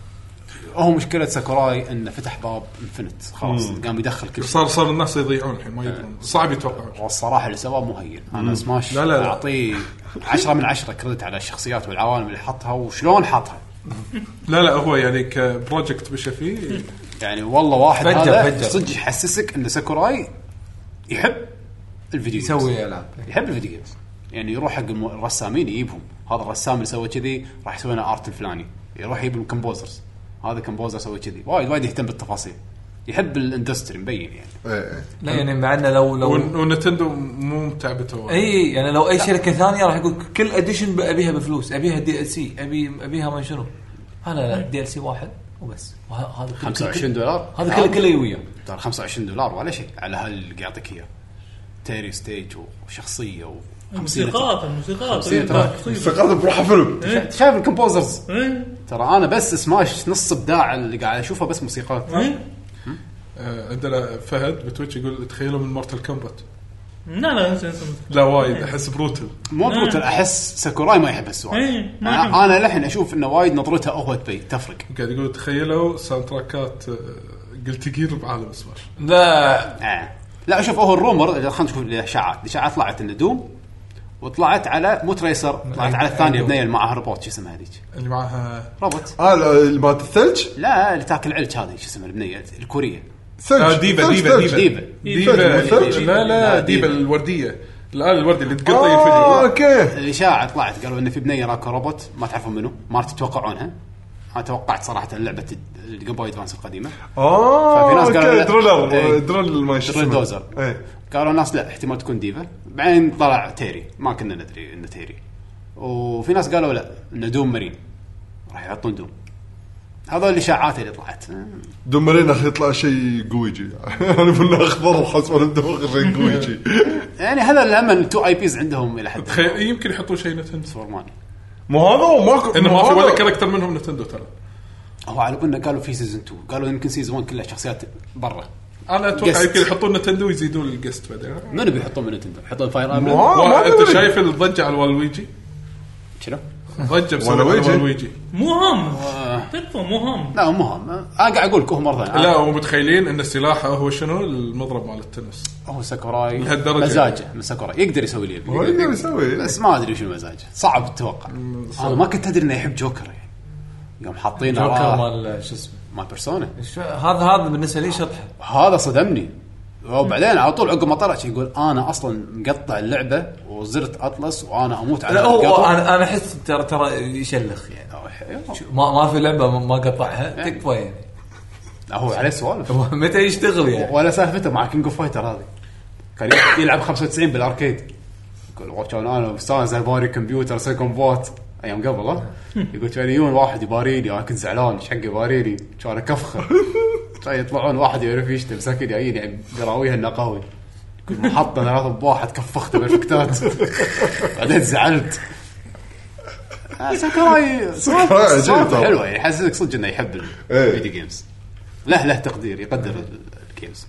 [SPEAKER 1] هو مشكله ساكوراي انه فتح باب انفنت خلاص قام يدخل كل شيء
[SPEAKER 3] صار صار الناس يضيعون الحين ما يدرون صعب يتوقعون
[SPEAKER 1] والصراحه اللي سواه مو هين انا سماش
[SPEAKER 3] لا، لا، لا.
[SPEAKER 1] اعطيه 10 من 10 كريدت على الشخصيات والعوالم اللي حطها وشلون حطها
[SPEAKER 3] لا لا هو يعني كبروجكت مشى فيه
[SPEAKER 1] يعني والله واحد
[SPEAKER 7] فجر-
[SPEAKER 1] هذا
[SPEAKER 7] فجر.
[SPEAKER 1] صدق يحسسك ان ساكوراي يحب الفيديو جيمز.
[SPEAKER 7] يسوي العاب
[SPEAKER 1] يحب الفيديو جيمز يعني يروح حق الم- الرسامين يجيبهم هذا الرسام اللي سوى كذي راح يسوي لنا ارت الفلاني يروح يجيب الكمبوزرز هذا كمبوزر سوى كذي وايد وايد يهتم بالتفاصيل يحب الاندستري مبين يعني
[SPEAKER 5] ايه
[SPEAKER 7] لا يعني مع انه لو لو
[SPEAKER 3] ون- ونتندو مو متعبته وايد.
[SPEAKER 7] اي يعني لو اي شركه ثانيه راح يقول كل اديشن ابيها بفلوس ابيها دي ال سي ابي ابيها ما شنو هلا لا دي ال سي واحد وبس وه- هذا كله-
[SPEAKER 1] 25 دولار
[SPEAKER 7] هذا كله كله يويا
[SPEAKER 1] ترى 25 دولار ولا شيء على هال اللي يعطيك اياه تيري ستيج وشخصيه و 50
[SPEAKER 6] الموسيقات الموسيقات
[SPEAKER 1] خمسين تراك.
[SPEAKER 5] ثقافه بروحها فيلم
[SPEAKER 1] شا- شايف الكمبوزرز
[SPEAKER 6] إيه؟
[SPEAKER 1] ترى انا بس سماش نص ابداع اللي قاعد اشوفه بس موسيقات
[SPEAKER 6] إيه؟
[SPEAKER 3] آه، عندنا فهد بتويتش يقول تخيلوا من مورتال كومبات
[SPEAKER 6] لا لا انسى انسى
[SPEAKER 3] لا وايد احس بروتل
[SPEAKER 1] مو بروتل احس ساكوراي ما يحب السؤال
[SPEAKER 6] إيه، ما يحب.
[SPEAKER 1] انا أنا للحين اشوف انه وايد نظرته هو تبي تفرق
[SPEAKER 3] قاعد يقول تخيلوا ساوند تراكات قلت جير بعالم سماش
[SPEAKER 7] لا
[SPEAKER 1] آه. لا شوف هو الرومر خلينا نشوف الاشاعات الاشاعات طلعت انه دوم وطلعت على مو تريسر طلعت على الثانيه بنيه اللي معاها روبوت شو اسمها هذيك
[SPEAKER 3] اللي
[SPEAKER 7] آه،
[SPEAKER 3] معاها
[SPEAKER 1] روبوت
[SPEAKER 5] اه ال- ال- مالت الثلج؟
[SPEAKER 1] لا اللي تاكل علج هذه شو اسمها البنيه الكوريه
[SPEAKER 5] ثلج
[SPEAKER 3] آه، ديفا-
[SPEAKER 5] ثلج-
[SPEAKER 3] ديفا-
[SPEAKER 5] ثلج.
[SPEAKER 3] ديفا.
[SPEAKER 1] ديبه
[SPEAKER 3] ديبا
[SPEAKER 5] ثلج.
[SPEAKER 3] لا لا
[SPEAKER 1] لا،
[SPEAKER 3] ديبا
[SPEAKER 1] ديبا.
[SPEAKER 3] الورديه الآلة الوردي اللي تقطي
[SPEAKER 5] اه
[SPEAKER 3] الفيديو
[SPEAKER 5] اوكي
[SPEAKER 1] الاشاعه طلعت قالوا انه في بنيه راكو روبوت ما تعرفون منو ما تتوقعونها انا توقعت صراحه لعبه الجيم بوي ادفانس القديمه
[SPEAKER 5] اه
[SPEAKER 1] ففي ناس
[SPEAKER 5] اوكي
[SPEAKER 1] قالوا لا.
[SPEAKER 5] درولر
[SPEAKER 1] إيه.
[SPEAKER 5] درول ما شو
[SPEAKER 1] درول
[SPEAKER 5] اسمه.
[SPEAKER 1] دوزر.
[SPEAKER 5] إيه.
[SPEAKER 1] قالوا الناس لا احتمال تكون ديفا بعدين طلع تيري ما كنا ندري انه تيري وفي ناس قالوا لا انه دوم مارين راح يحطون دوم هذول الاشاعات اللي طلعت
[SPEAKER 5] دومرين اخي يطلع شيء *laughs* قويجي انا قلنا اخضر وحس ولا مدوخ شيء قويجي
[SPEAKER 1] يعني هذا لما التو اي بيز عندهم الى حد
[SPEAKER 3] تخيل
[SPEAKER 5] إيه.
[SPEAKER 3] يمكن يحطون شيء نتندو
[SPEAKER 1] سوبرمان
[SPEAKER 5] مو هذا وماكو
[SPEAKER 3] انه ما في
[SPEAKER 5] مو
[SPEAKER 3] ولا
[SPEAKER 5] هذا.
[SPEAKER 3] كاركتر منهم نتندو ترى
[SPEAKER 1] هو على قولنا قالوا في سيزون 2 قالوا يمكن سيزون 1 كلها شخصيات برا
[SPEAKER 3] انا اتوقع
[SPEAKER 1] Guest. آه،
[SPEAKER 3] يمكن يحطون نتندو ويزيدون الجست بعدين
[SPEAKER 1] منو بيحطون من نتندو؟ يحطون فاير
[SPEAKER 5] مو
[SPEAKER 1] امبلم
[SPEAKER 5] هذا، ما
[SPEAKER 3] انت
[SPEAKER 5] أدري.
[SPEAKER 3] شايف الضجه على والويجي
[SPEAKER 1] شنو؟
[SPEAKER 3] ضجه بسبب
[SPEAKER 5] والويجي؟
[SPEAKER 3] والويجي
[SPEAKER 6] مو هام تكفى مو هام
[SPEAKER 1] لا مو هم انا قاعد اقول لك هو مره ثانيه
[SPEAKER 3] لا هم متخيلين ان سلاحه هو شنو المضرب مال التنس
[SPEAKER 1] هو ساكوراي
[SPEAKER 3] لهالدرجة.
[SPEAKER 1] مزاجه من ساكوراي يقدر يسوي لي
[SPEAKER 5] هو يقدر يسوي
[SPEAKER 1] بس ما ادري شو مزاجه صعب التوقع انا ما كنت ادري انه يحب جوكر يعني يوم حاطينه
[SPEAKER 7] جوكر
[SPEAKER 1] جوكر
[SPEAKER 7] مال شو اسمه
[SPEAKER 1] ما بيرسونا
[SPEAKER 7] شو- هذا هذا بالنسبه لي شطحه
[SPEAKER 1] هذا صدمني وبعدين على طول عقب ما طلع شي يقول انا اصلا مقطع اللعبه وزرت اطلس وانا اموت على
[SPEAKER 7] لا هو
[SPEAKER 1] القطع.
[SPEAKER 7] انا انا احس ترى ترى يشلخ يعني
[SPEAKER 1] أو حيو.
[SPEAKER 7] ما ما في لعبه ما- ما قطعها تكفى يعني
[SPEAKER 1] لا، هو عليه سوالف
[SPEAKER 7] هو *laughs* متى يشتغل يعني
[SPEAKER 1] ولا سالفته مع كينج اوف فايتر هذه كان يلعب 95 بالاركيد يقول "والله كان انا مستانس اباري كمبيوتر سيكون بوت ايام قبل ها يقول كان يجون واحد يباريني انا كنت زعلان ايش حق يباريني كان كفخه كان يطلعون واحد يعرف يشتم ساكن جايين يعني قراويها انه قوي يقول محطه *laughs* ثلاثة بواحد كفخته بالفكتات بعدين زعلت آه، ساكوراي
[SPEAKER 5] ساكوراي عجيب
[SPEAKER 1] سوالفه
[SPEAKER 5] ترى.
[SPEAKER 1] حلوه يعني يحسسك صدق انه يحب
[SPEAKER 5] إيه.
[SPEAKER 1] الفيديو جيمز له له تقدير يقدر ال- الجيمز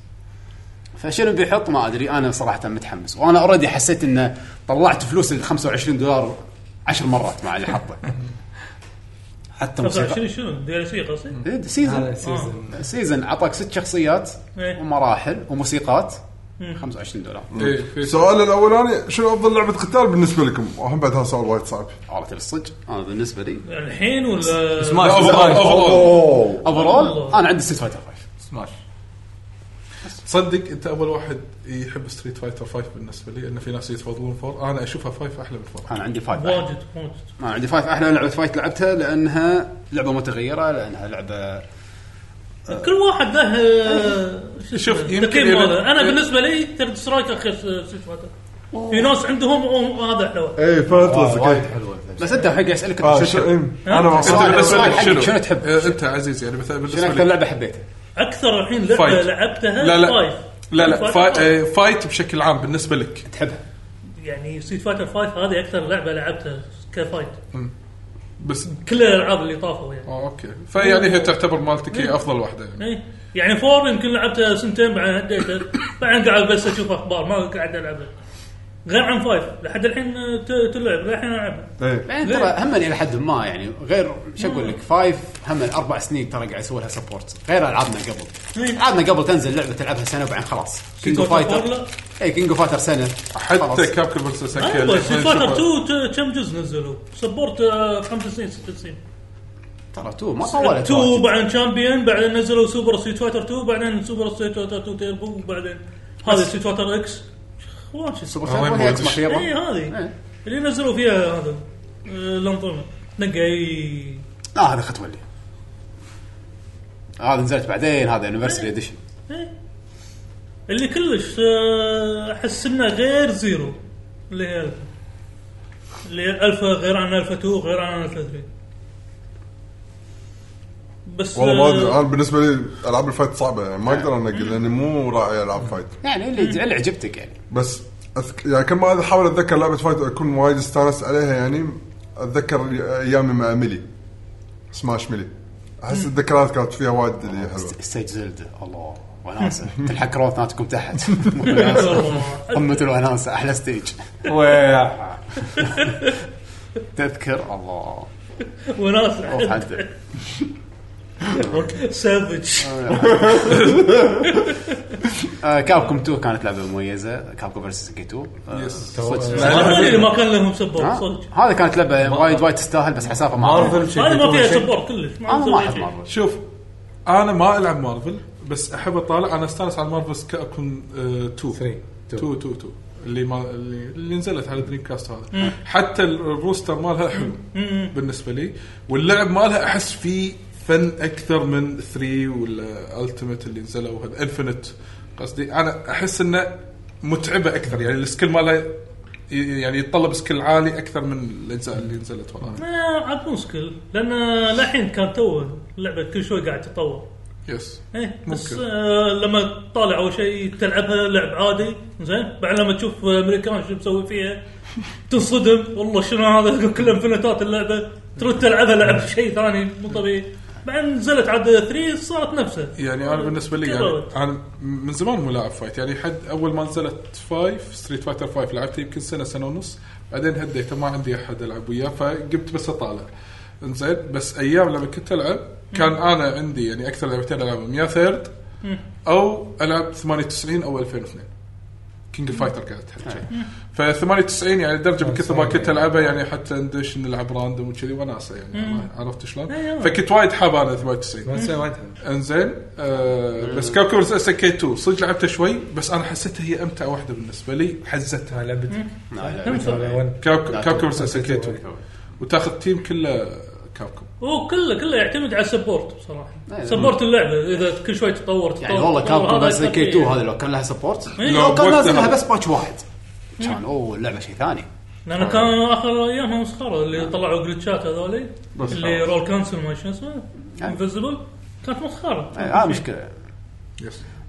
[SPEAKER 1] فشنو بيحط ما ادري انا صراحه متحمس وانا اوريدي حسيت انه طلعت فلوس ال 25 دولار عشر مرات مع اللي حطه
[SPEAKER 7] حتى موسيقى
[SPEAKER 6] 25 شنو دي ال سي قصدي؟
[SPEAKER 3] Hmm.
[SPEAKER 1] إيه، سيزون
[SPEAKER 7] هذا سيزون
[SPEAKER 1] سيزون اعطاك ست شخصيات
[SPEAKER 6] إيه.
[SPEAKER 1] ومراحل وموسيقات 25 دولار
[SPEAKER 3] إيه، في-
[SPEAKER 5] السؤال الاولاني شنو افضل لعبه قتال بالنسبه لكم؟ وهم بعد هذا سؤال وايد صعب
[SPEAKER 1] عرفت الصدق انا بالنسبه لي
[SPEAKER 6] الحين ولا
[SPEAKER 7] سماش
[SPEAKER 3] لا، أوفر-
[SPEAKER 7] سماش.
[SPEAKER 3] أوفر-
[SPEAKER 5] اوه
[SPEAKER 1] اوفرول
[SPEAKER 6] والله.
[SPEAKER 1] انا عندي ستيت فايتر 5
[SPEAKER 7] سماش
[SPEAKER 3] صدق انت اول واحد يحب ستريت فايتر 5 بالنسبه لي انه في ناس يتفضلون 4 انا اشوفها 5 احلى من 4
[SPEAKER 1] انا عندي 5
[SPEAKER 6] واجد واجد
[SPEAKER 1] انا عندي فايت احلى لعبه فايت لعبتها لانها لعبه متغيره لانها لعبه
[SPEAKER 6] كل واحد له آه، شو
[SPEAKER 3] شوف،
[SPEAKER 6] اسمه،
[SPEAKER 3] يمكن
[SPEAKER 6] تقييم
[SPEAKER 3] إذا-
[SPEAKER 6] ماله انا بالنسبه لي ترد سترايك اخر ست ماتت في ناس عندهم أوه، هذا حلو
[SPEAKER 5] اي فهمت قصدك
[SPEAKER 2] وايد
[SPEAKER 5] إيه.
[SPEAKER 2] حلوه
[SPEAKER 1] بس انت حق اسالك
[SPEAKER 5] آه،
[SPEAKER 1] شو
[SPEAKER 5] شو-
[SPEAKER 1] شو
[SPEAKER 5] إيه. انا مع
[SPEAKER 3] انت
[SPEAKER 5] صاحبي.
[SPEAKER 3] بالنسبه
[SPEAKER 1] سؤال
[SPEAKER 3] لك
[SPEAKER 1] حقك،
[SPEAKER 3] شنو؟
[SPEAKER 1] شنو تحب؟
[SPEAKER 3] آه، انت عزيز يعني مثلا بالنسبه
[SPEAKER 1] اكثر
[SPEAKER 3] لك
[SPEAKER 1] لعبه حبيتها؟
[SPEAKER 6] اكثر الحين لعبه
[SPEAKER 3] فايت.
[SPEAKER 6] لعبتها
[SPEAKER 3] لا لا
[SPEAKER 6] فايف.
[SPEAKER 3] لا لا
[SPEAKER 6] فايت
[SPEAKER 3] فا-
[SPEAKER 6] فايف.
[SPEAKER 3] آه، فايت بشكل عام بالنسبه لك
[SPEAKER 1] تحبها
[SPEAKER 6] يعني ستريت فايتر 5 هذه اكثر لعبه لعبتها كفايت
[SPEAKER 3] بس
[SPEAKER 6] كل الالعاب اللي طافوا يعني
[SPEAKER 3] اه اوكي فيعني هي تعتبر مالتك هي افضل واحده يعني
[SPEAKER 6] إيه. يعني فور يمكن لعبتها سنتين بعدين هديتها بعدين قاعد بس اشوف اخبار ما قاعد العبها غير عن فايف لحد الحين آه، ت- تلعب للحين العبها
[SPEAKER 5] إيه.
[SPEAKER 1] بعدين ترى هم الى حد ما يعني غير شو اقول لك فايف هم اربع سنين ترى قاعد يسوي لها سبورت غير العابنا قبل
[SPEAKER 6] إيه.
[SPEAKER 1] العابنا قبل تنزل لعبه تلعبها سنه وبعدين خلاص كينج اوف فايتر اي كينج اوف فايتر سنه خلاص.
[SPEAKER 3] حتى كاب كل بس
[SPEAKER 6] ايوه ستريت فايتر 2 ت- كم جزء نزلوا؟ سبورت آه، 95 96
[SPEAKER 1] ترى تو ما طولت
[SPEAKER 6] 2
[SPEAKER 1] واجد.
[SPEAKER 6] بعدين شامبيون بعدين نزلوا سوبر ستريت فايتر 2 بعدين سوبر ستريت فايتر 2 تيربو وبعدين هذا ستريت فايتر اكس واجد
[SPEAKER 1] سوبر
[SPEAKER 3] وين
[SPEAKER 1] سايبر هي
[SPEAKER 3] ودش؟
[SPEAKER 1] اكس مخيره
[SPEAKER 6] اي هذه
[SPEAKER 1] إيه.
[SPEAKER 6] اللي نزلوا فيها هذا آه، الانظمه نقي
[SPEAKER 5] آه،
[SPEAKER 1] لا هذا خط ولي هذا نزلت بعدين هذا انيفرسري اديشن
[SPEAKER 6] إيه. اللي كلش آه، احس انه غير زيرو اللي هي الفا اللي هي الفا غير عن الفا 2 غير عن الفا 3 بس
[SPEAKER 5] والله ما ادري
[SPEAKER 6] آه،
[SPEAKER 5] انا بالنسبه لي العاب الفايت صعبه يعني ما اقدر انقل لاني مو راعي العاب فايت
[SPEAKER 1] يعني اللي اللي عجبتك يعني
[SPEAKER 5] بس أذك... يعني كل ما احاول اتذكر لعبه فايت اكون وايد استانست عليها يعني اتذكر ايامي مع ميلي سماش ميلي احس الذكريات كانت فيها وايد اللي حلوه
[SPEAKER 1] ستيج زلدة الله وناسه تلحق روثناتكم تحت
[SPEAKER 6] آه، *laughs*
[SPEAKER 1] قمة الوناسة احلى ستيج *laughs* تذكر الله
[SPEAKER 6] وناس
[SPEAKER 1] روح حده
[SPEAKER 6] سافج
[SPEAKER 1] آه، كابكوم 2 كانت لعبه مميزه كابكوم فيرسس 2 آه، صدق.
[SPEAKER 6] هذه اللي ما كان لهم سبورت
[SPEAKER 1] ها؟
[SPEAKER 6] صدق
[SPEAKER 1] هذه كانت لعبه وايد وايد تستاهل بس حسافه ما
[SPEAKER 7] مارفل شيء
[SPEAKER 6] هذه ما فيها
[SPEAKER 7] شيء.
[SPEAKER 6] سبورت كلش ما
[SPEAKER 1] انا ما
[SPEAKER 6] مسوي
[SPEAKER 1] احب
[SPEAKER 6] شيء.
[SPEAKER 1] مارفل
[SPEAKER 3] شوف انا ما العب مارفل بس احب اطالع انا استانس على آه، مارفل كابكون
[SPEAKER 7] 3
[SPEAKER 3] 2 2 2 2 اللي ما اللي, اللي نزلت على دريم كاست هذا حتى الروستر مالها حلو بالنسبه لي واللعب مالها احس فيه فن اكثر من 3 والالتيميت اللي نزلوا هذا انفنت قصدي انا احس انه متعبه اكثر يعني السكيل مالها ي- يعني يتطلب سكيل عالي اكثر من الاجزاء اللي نزلت وراها
[SPEAKER 6] ما عاد مو سكيل لان للحين كان تو اللعبه كل شوي قاعد تتطور
[SPEAKER 3] يس
[SPEAKER 6] ايه بس
[SPEAKER 3] ممكن.
[SPEAKER 6] آه لما تطالع اول شيء تلعبها لعب عادي زين بعد لما تشوف امريكان شو مسوي فيها تنصدم والله شنو هذا *laughs* كل انفنتات اللعبه ترد تلعبها لعب شيء ثاني مو طبيعي بعدين نزلت عاد 3 صارت نفسها
[SPEAKER 3] يعني انا بالنسبه لي يعني
[SPEAKER 6] جربت.
[SPEAKER 3] انا من زمان مو لاعب فايت يعني حد اول ما نزلت فايف ستريت فايتر فايف لعبته يمكن سنه سنه ونص بعدين هديته ما عندي احد العب وياه فقمت بس اطالع انزين بس ايام لما كنت العب كان انا عندي يعني اكثر لعبتين العبهم يا ثيرد او العب 98 او 2002 كينج فايتر قاعد تحكي ف 98 يعني درجه من كثر ما كنت العبها يعني حتى ندش نلعب راندوم وكذي وناسه يعني عرفت شلون؟ فكنت وايد حاب انا 98 انزين آه بس كابكوم اس كي 2 صدق لعبتها شوي بس انا حسيتها هي امتع واحده بالنسبه لي حزتها
[SPEAKER 7] لعبتك
[SPEAKER 1] نعم،
[SPEAKER 3] كابكوم اس كي 2 وتاخذ تيم كله كابكوم
[SPEAKER 6] هو كله كله يعتمد على السبورت بصراحه سبورت اللعبه اذا كل شوي تطور تطور
[SPEAKER 1] أيوة. يعني والله
[SPEAKER 6] تطور،
[SPEAKER 1] كابكوم
[SPEAKER 6] هذا
[SPEAKER 1] فيرسس
[SPEAKER 6] أكثر
[SPEAKER 1] 2
[SPEAKER 6] شيء
[SPEAKER 1] هذه لو كان إيه. لها سبورت لو كان
[SPEAKER 3] وقتها-
[SPEAKER 1] نازل لها بس باتش واحد كان اوه اللعبه شيء ثاني
[SPEAKER 6] لان كان اخر ايامها مسخره اللي طلعوا جلتشات هذولي اللي رول كانسل ما شو اسمه
[SPEAKER 1] آه.
[SPEAKER 6] انفيزبل كانت مسخره
[SPEAKER 1] هاي مشكله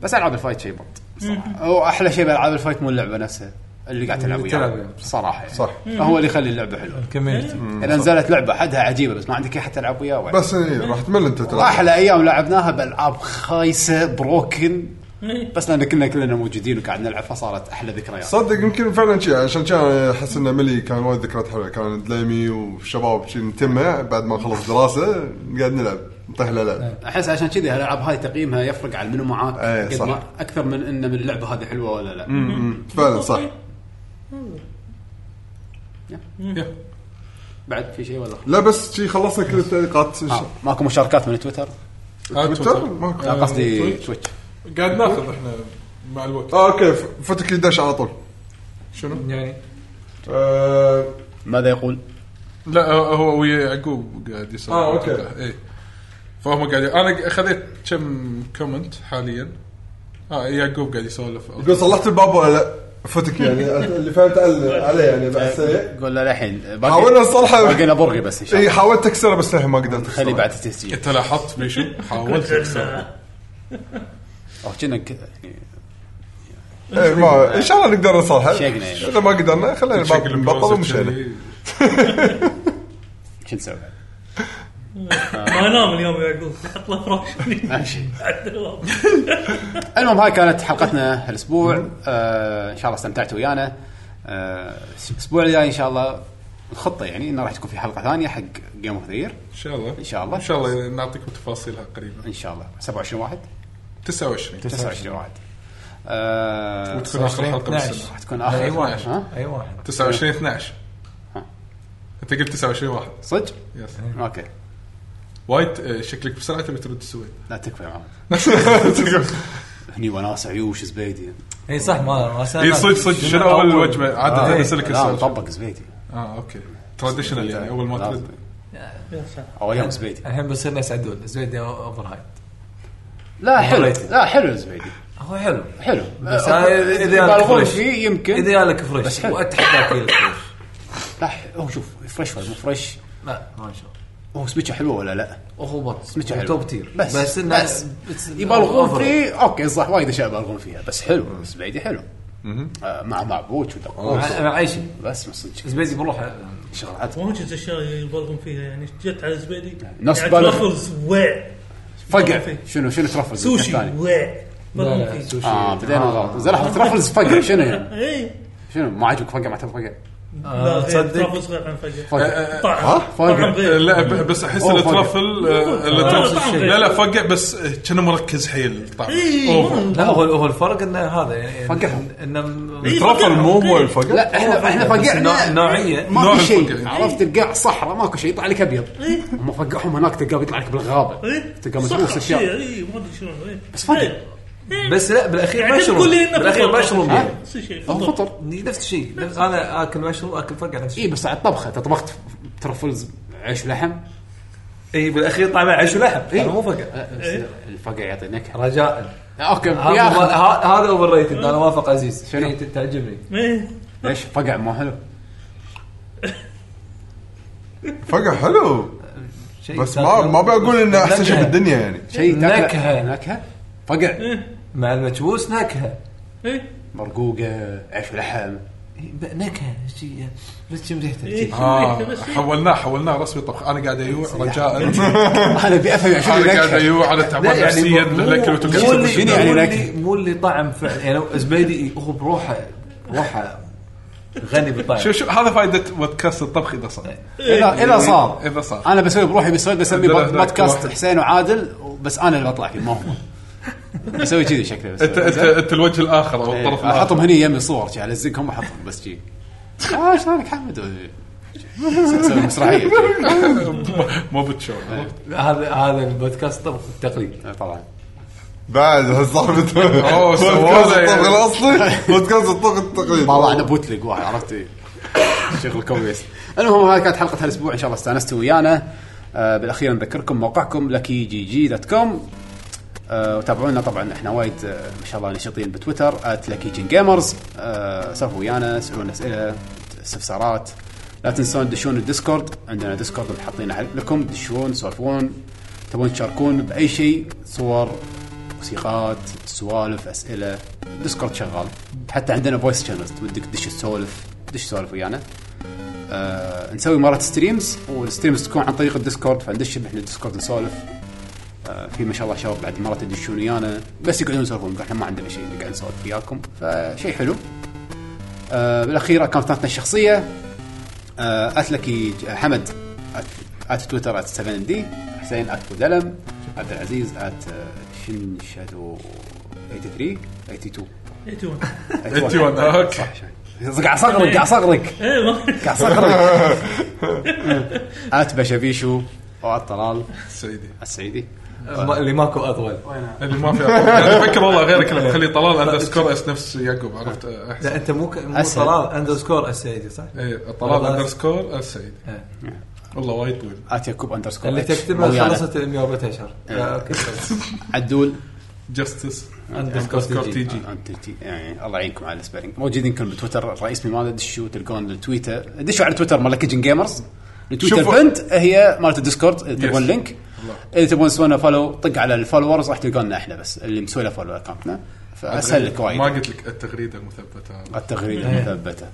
[SPEAKER 1] بس العاب الفايت شيء بط صراحه واحلى شيء بالعاب الفايت مو اللعبه نفسها اللي قاعد تلعب
[SPEAKER 7] اللي تلعب
[SPEAKER 1] وياه
[SPEAKER 7] وياه.
[SPEAKER 1] صراحه يعني.
[SPEAKER 5] صح.
[SPEAKER 1] هو اللي يخلي اللعبه حلوه
[SPEAKER 7] كملت
[SPEAKER 1] اذا نزلت لعبه حدها عجيبه بس ما عندك احد تلعب وياه وعد.
[SPEAKER 5] بس إيه، راح تمل انت تلعب
[SPEAKER 1] احلى ايام لعبناها بالعاب خايسه بروكن بس لان كنا كلنا موجودين وقاعد نلعب فصارت احلى ذكريات
[SPEAKER 5] صدق يمكن فعلا شيء عشان كان احس ان ملي كان وايد ذكريات حلوه كان دليمي وشباب شي نتمه بعد ما نخلص دراسه نقعد نلعب نطيح لعب
[SPEAKER 1] احس عشان كذي هالالعاب هاي تقييمها يفرق على منو معاك
[SPEAKER 5] إيه،
[SPEAKER 1] قد
[SPEAKER 5] صح.
[SPEAKER 1] ما اكثر من ان من اللعبه هذه حلوه ولا لا
[SPEAKER 5] فعلا صح
[SPEAKER 1] بعد في شيء ولا خلاص؟
[SPEAKER 5] لا بس شي خلصنا كل التعليقات
[SPEAKER 1] آه، ماكو مشاركات من تويتر
[SPEAKER 5] آه، تويتر ماكو
[SPEAKER 1] لا قصدي
[SPEAKER 3] تويتش.
[SPEAKER 1] تويتش
[SPEAKER 3] آه، قاعد ناخذ احنا مع الوقت
[SPEAKER 5] آه، اوكي ف- فتك الدش على طول
[SPEAKER 3] شنو؟
[SPEAKER 7] يعني
[SPEAKER 5] آه،
[SPEAKER 1] ماذا يقول؟
[SPEAKER 3] لا هو ويا يعقوب قاعد يسولف
[SPEAKER 5] آه، أوكي.
[SPEAKER 3] اي فهم قاعد انا خذيت كم كومنت حاليا اه يعقوب قاعد يسولف
[SPEAKER 5] يقول صلحت الباب ولا لا فتك
[SPEAKER 3] *laughs*
[SPEAKER 5] يعني اللي فهمت على- عليه يعني بعد سنه
[SPEAKER 3] إيه؟
[SPEAKER 1] قول له الحين
[SPEAKER 5] حاولنا نصلحه
[SPEAKER 1] باقينا برغي بس ان شاء
[SPEAKER 5] اي
[SPEAKER 1] الله
[SPEAKER 5] حاولت اكسره بس للحين ما قدرت
[SPEAKER 1] خلي
[SPEAKER 5] أكسره.
[SPEAKER 1] بعد التسجيل
[SPEAKER 3] انت
[SPEAKER 1] *laughs*
[SPEAKER 3] لاحظت بيشو حاولت أكسر.
[SPEAKER 1] او كنا ك- يعني
[SPEAKER 5] إيه، ما ان شاء الله نقدر نصلحه
[SPEAKER 1] شيقنا آه. يعني.
[SPEAKER 5] اذا ما قدرنا خلينا الباب
[SPEAKER 3] شكل
[SPEAKER 5] نبطل
[SPEAKER 3] البراوزر
[SPEAKER 5] ومشينا
[SPEAKER 3] كذي.
[SPEAKER 1] شو نسوي؟
[SPEAKER 6] ما ينام اليوم يعقوب حط له فراش
[SPEAKER 1] ما في شيء.
[SPEAKER 6] عدل الوضع.
[SPEAKER 1] المهم هاي كانت حلقتنا هالاسبوع آه ان شاء الله استمتعتوا ويانا آه، الاسبوع الجاي ان شاء الله الخطه يعني انه راح تكون في حلقه ثانيه حق جيم اوف ذا
[SPEAKER 3] ان شاء الله
[SPEAKER 1] ان شاء الله
[SPEAKER 3] ان شاء الله نعطيكم تفاصيلها قريبا
[SPEAKER 1] ان شاء الله 27 واحد
[SPEAKER 3] 29
[SPEAKER 1] 29 واحد آه،
[SPEAKER 3] وتكون اخر حلقه
[SPEAKER 7] 12.
[SPEAKER 3] بالسنه
[SPEAKER 1] راح تكون اخر
[SPEAKER 3] أي واحد.
[SPEAKER 1] ها
[SPEAKER 7] اي واحد
[SPEAKER 3] 29 12
[SPEAKER 1] ها. إيه.
[SPEAKER 3] انت قلت 29 واحد
[SPEAKER 1] صدق؟
[SPEAKER 3] يس
[SPEAKER 1] اوكي
[SPEAKER 3] وايد آه، شكلك بسرعه تبي ترد
[SPEAKER 1] *laughs*
[SPEAKER 3] السويد إيه،
[SPEAKER 1] لا تكفى يا محمد هني وناس عيوش زبيدي
[SPEAKER 7] اي صح ما ما
[SPEAKER 3] اي صدق صدق شنو اول وجبه
[SPEAKER 1] آه،
[SPEAKER 3] عاده
[SPEAKER 7] إيه.
[SPEAKER 1] لا
[SPEAKER 3] اسالك السؤال
[SPEAKER 1] مطبق زبيدي
[SPEAKER 3] اه اوكي تراديشنال يعني اول ما
[SPEAKER 1] لازم.
[SPEAKER 3] ترد
[SPEAKER 1] او ايام زبيدي
[SPEAKER 7] الحين بصير يسعدون زبيدي اوفر هايد
[SPEAKER 1] لا حلو
[SPEAKER 7] Overrated.
[SPEAKER 1] لا حلو زبيدي
[SPEAKER 7] هو حلو
[SPEAKER 1] حلو آه،
[SPEAKER 7] بس هاي إذا يالك
[SPEAKER 1] يبالغون
[SPEAKER 7] فريش.
[SPEAKER 1] فيه يمكن
[SPEAKER 7] اذا يالك
[SPEAKER 1] بس
[SPEAKER 7] فريش
[SPEAKER 1] حلو.
[SPEAKER 7] واتحداك يالك فريش
[SPEAKER 1] لا ح- هو شوف فريش ولا مو فريش
[SPEAKER 7] لا ما نشوف
[SPEAKER 1] هو سمكه حلوه ولا لا
[SPEAKER 7] وهو بط
[SPEAKER 1] سمكه حلوه
[SPEAKER 7] توب تير
[SPEAKER 1] بس بس,
[SPEAKER 7] إنه
[SPEAKER 1] بس
[SPEAKER 7] it's
[SPEAKER 1] يبالغون
[SPEAKER 7] overall.
[SPEAKER 1] فيه اوكي صح وايد اشياء يبالغون فيها بس حلو زبيدي حلو آه، مع معبوش ودقوق
[SPEAKER 7] مع مع اي شيء
[SPEAKER 1] بس بس صدق
[SPEAKER 7] زبيدي بروحه
[SPEAKER 1] شغلات
[SPEAKER 6] واجد اشياء يبالغون فيها يعني جت على زبيدي
[SPEAKER 1] نص
[SPEAKER 6] يعني
[SPEAKER 1] بالغ.
[SPEAKER 6] ترفلز ويع
[SPEAKER 1] فقع شنو شنو ترفلز
[SPEAKER 6] سوشي
[SPEAKER 1] الثاني.
[SPEAKER 6] ويع يبالغون فيه.
[SPEAKER 7] سوشي
[SPEAKER 1] اه بدينا
[SPEAKER 7] آه.
[SPEAKER 1] غلط زين لحظه ترفلز فقع شنو يعني
[SPEAKER 6] اي
[SPEAKER 1] شنو ما عجبك فقع معناته فقع
[SPEAKER 6] إيه. لا
[SPEAKER 7] آه، تصدق؟
[SPEAKER 6] تصدق صغير عن فجأة
[SPEAKER 1] فقع
[SPEAKER 6] طعم طعم
[SPEAKER 1] فقع
[SPEAKER 3] آه،
[SPEAKER 6] غير
[SPEAKER 3] لا ب- بس احس
[SPEAKER 1] أوه، فقع.
[SPEAKER 3] الترفل آه، الترفل-
[SPEAKER 6] طعم غير.
[SPEAKER 3] لا لا فقع بس آه، كان مركز حيل الطعم
[SPEAKER 1] إيه.
[SPEAKER 6] إي،
[SPEAKER 3] اوفر
[SPEAKER 7] لا هو هو الفرق انه هذا يعني إن-
[SPEAKER 1] فقعهم.
[SPEAKER 7] انه
[SPEAKER 6] إي،
[SPEAKER 5] الترفل
[SPEAKER 6] فقعهم.
[SPEAKER 5] مو هو
[SPEAKER 6] أوكي.
[SPEAKER 5] الفقر
[SPEAKER 1] إيه. لا احنا احنا
[SPEAKER 7] بس
[SPEAKER 1] فقعنا
[SPEAKER 7] نوع- نوعية.
[SPEAKER 1] ماكو
[SPEAKER 3] نوع
[SPEAKER 1] شيء
[SPEAKER 3] الفقع.
[SPEAKER 1] عرفت تلقاه صحراء ماكو شيء يطلع لك ابيض هم فقعهم هناك تلقاه يطلع لك بالغابه
[SPEAKER 6] إي،
[SPEAKER 1] تلقاه
[SPEAKER 6] صح،
[SPEAKER 1] مدروس
[SPEAKER 6] إيه. شيء،
[SPEAKER 1] اشياء
[SPEAKER 6] اي ما إيه. ادري شنو إي.
[SPEAKER 1] بس فقع
[SPEAKER 6] إي.
[SPEAKER 7] بس لا بالاخير
[SPEAKER 6] يعني
[SPEAKER 7] مشروم
[SPEAKER 6] تقول لي انه
[SPEAKER 7] بالاخير
[SPEAKER 6] فطر.
[SPEAKER 7] مشروم
[SPEAKER 6] ها؟
[SPEAKER 7] يعني.
[SPEAKER 6] نفس الشيء
[SPEAKER 1] هو
[SPEAKER 6] فطر.
[SPEAKER 1] فطر
[SPEAKER 7] نفس الشيء نفس- انا اكل مشروم اكل فرقع نفس
[SPEAKER 1] اي
[SPEAKER 7] الشيء
[SPEAKER 1] إيه، بس على الطبخه انت طبخت ترفلز عيش ولحم
[SPEAKER 7] اي بالاخير طعمه إيه، عيش ولحم
[SPEAKER 1] إي.
[SPEAKER 7] هذا مو فقع
[SPEAKER 1] لا، بس الفقع يعطي نكهه
[SPEAKER 7] رجاء
[SPEAKER 1] اوكي
[SPEAKER 7] هذا
[SPEAKER 1] يا أخي.
[SPEAKER 7] ه- هذا اوفر ريتد انا وافق عزيز
[SPEAKER 1] شنو؟
[SPEAKER 7] شنو تعجبني
[SPEAKER 6] إي.
[SPEAKER 1] ليش فقع مو حلو
[SPEAKER 5] فقع حلو
[SPEAKER 7] شيء
[SPEAKER 5] بس ما ما بقول انه احسن شيء بالدنيا يعني
[SPEAKER 1] شيء تاكله-
[SPEAKER 7] نكهة.
[SPEAKER 1] نكهه فقع
[SPEAKER 7] مع المكبوس نكهه
[SPEAKER 6] إي.
[SPEAKER 1] مرقوقه عيش ولحم
[SPEAKER 7] إي، إيه، ب- نكهه شيء يعني. بس شم ريحته
[SPEAKER 6] إي.
[SPEAKER 7] شي.
[SPEAKER 3] اه
[SPEAKER 6] بس إي.
[SPEAKER 3] حولناه حولناه رسمي طبخ انا قاعد أيوه، ايوع
[SPEAKER 1] *laughs*
[SPEAKER 3] رجاء انا
[SPEAKER 1] انا ابي افهم يعني شنو
[SPEAKER 3] قاعد
[SPEAKER 1] نكهه
[SPEAKER 3] ايوع انا
[SPEAKER 7] لا،
[SPEAKER 3] تعبان
[SPEAKER 7] يعني
[SPEAKER 3] نفسيا
[SPEAKER 7] مو-
[SPEAKER 3] الاكل
[SPEAKER 7] مو اللي-
[SPEAKER 1] شنو
[SPEAKER 3] وتكسر
[SPEAKER 1] يعني
[SPEAKER 7] مو اللي-
[SPEAKER 1] نكهة؟
[SPEAKER 7] مو اللي طعم فعلا يعني زبيدي إي، هو بروحه بروحه غني بالطعم
[SPEAKER 3] شوف شوف هذا فائده بودكاست الطبخ اذا صار
[SPEAKER 7] إيه.
[SPEAKER 1] اذا اذا صار
[SPEAKER 3] اذا إيه، صار
[SPEAKER 1] انا بسوي بروحي بالسويد بسمي
[SPEAKER 3] عندنا
[SPEAKER 1] بود-
[SPEAKER 3] هناك
[SPEAKER 1] بودكاست
[SPEAKER 3] واحد.
[SPEAKER 1] حسين وعادل بس انا اللي بطلع فيه ما هو بسوي كذي شكله بس
[SPEAKER 3] انت انت انت الوجه الاخر او
[SPEAKER 1] إيه،
[SPEAKER 3] الطرف الاخر
[SPEAKER 1] احطهم هني يمي صور شي، الزقهم واحطهم بس جي اه شلونك حمد اسوي مسرحيه
[SPEAKER 7] *laughs*
[SPEAKER 3] مو بتشوف
[SPEAKER 7] إيه.
[SPEAKER 3] عرفت؟
[SPEAKER 7] هذا هذا البودكاست طبخ التقليد
[SPEAKER 1] إيه، طبعا
[SPEAKER 5] بعد هالصاحب
[SPEAKER 3] *laughs* أوه،
[SPEAKER 5] بودكاست
[SPEAKER 3] سواه يعني.
[SPEAKER 5] الطبخ الاصلي بودكاست الطبخ
[SPEAKER 1] طلعنا
[SPEAKER 5] التقليدي
[SPEAKER 1] بوتلق واحد عرفت إيه. شغل كويس المهم هذه كانت حلقه هالاسبوع ان شاء الله استانستوا ويانا آه بالاخير نذكركم موقعكم لكي جي جي دوت كوم آه وتابعونا طبعا احنا وايد آه ما شاء الله نشيطين بتويتر لكي جين جيمرز آه سولفوا ويانا اسالونا اسئله استفسارات لا تنسون تدشون الديسكورد عندنا ديسكورد محطينه حق لكم تدشون تسولفون تبون تشاركون باي شيء صور موسيقات سوالف اسئله ديسكورد شغال حتى عندنا فويس شانلز ودك تدش تسولف تدش تسولف ويانا آه نسوي مرات ستريمز والستريمز تكون عن طريق الديسكورد فندش احنا الديسكورد نسولف آه في ما شاء الله شباب بعد مرات يدشون ويانا بس يقعدون يسولفون يقول احنا ما عندنا شيء نقعد نسولف وياكم فشيء حلو آه بالاخير اكونتاتنا الشخصيه آه اتلكي ج- حمد أت- ات تويتر ات 7 دي حسين ات بودلم عبد العزيز ات آه، شن شادو 83 82
[SPEAKER 6] 81
[SPEAKER 3] 81 اوكي
[SPEAKER 1] صح شايف. قاعد اصغرك قاعد اصغرك
[SPEAKER 6] ايه ما
[SPEAKER 1] قاعد *laughs* اصغرك ات بشافيشو وات طلال
[SPEAKER 3] سعيدي
[SPEAKER 1] السعيدي
[SPEAKER 7] ما- اللي ماكو اطول
[SPEAKER 3] اللي ما في انا افكر والله غير
[SPEAKER 7] إيه.
[SPEAKER 3] كلام خلي طلال اندرسكور اس نفس يعقوب عرفت احسن
[SPEAKER 7] لا انت مو ك- مو
[SPEAKER 1] أسهل.
[SPEAKER 7] طلال اندرسكور السعيدي صح؟
[SPEAKER 3] اي إيه، طلال
[SPEAKER 7] والله.
[SPEAKER 3] اندرسكور اس سعيدي
[SPEAKER 7] إيه.
[SPEAKER 3] والله وايد طويل
[SPEAKER 1] ات يعقوب اندرسكور
[SPEAKER 7] اللي
[SPEAKER 1] إتش.
[SPEAKER 7] تكتبها
[SPEAKER 1] ويانا.
[SPEAKER 7] خلصت المجاوبة اشهر لا، اوكي *laughs*
[SPEAKER 1] عدول
[SPEAKER 3] جستس
[SPEAKER 7] اندرسكور
[SPEAKER 3] اندرسكور
[SPEAKER 7] تي
[SPEAKER 3] تي
[SPEAKER 7] جي.
[SPEAKER 3] جي
[SPEAKER 1] أنت تي- يعني الله يعينكم على السبيرنج موجودين كلهم بتويتر الرئيس ماله دشوا تلقون التويتر دشوا على تويتر مال كيجن جيمرز التويتر
[SPEAKER 3] شوفوا.
[SPEAKER 1] بنت هي مالت الديسكورد إذا تبون
[SPEAKER 3] Yes.
[SPEAKER 1] لينك اذا تبون تسوون فولو طق على الفولورز راح تلقونا احنا بس اللي مسوي له فولو اكونتنا فاسهل لك
[SPEAKER 3] ما إيه.
[SPEAKER 1] وايد
[SPEAKER 3] قلت لك التغريده المثبته
[SPEAKER 7] إيه.
[SPEAKER 1] التغريده المثبته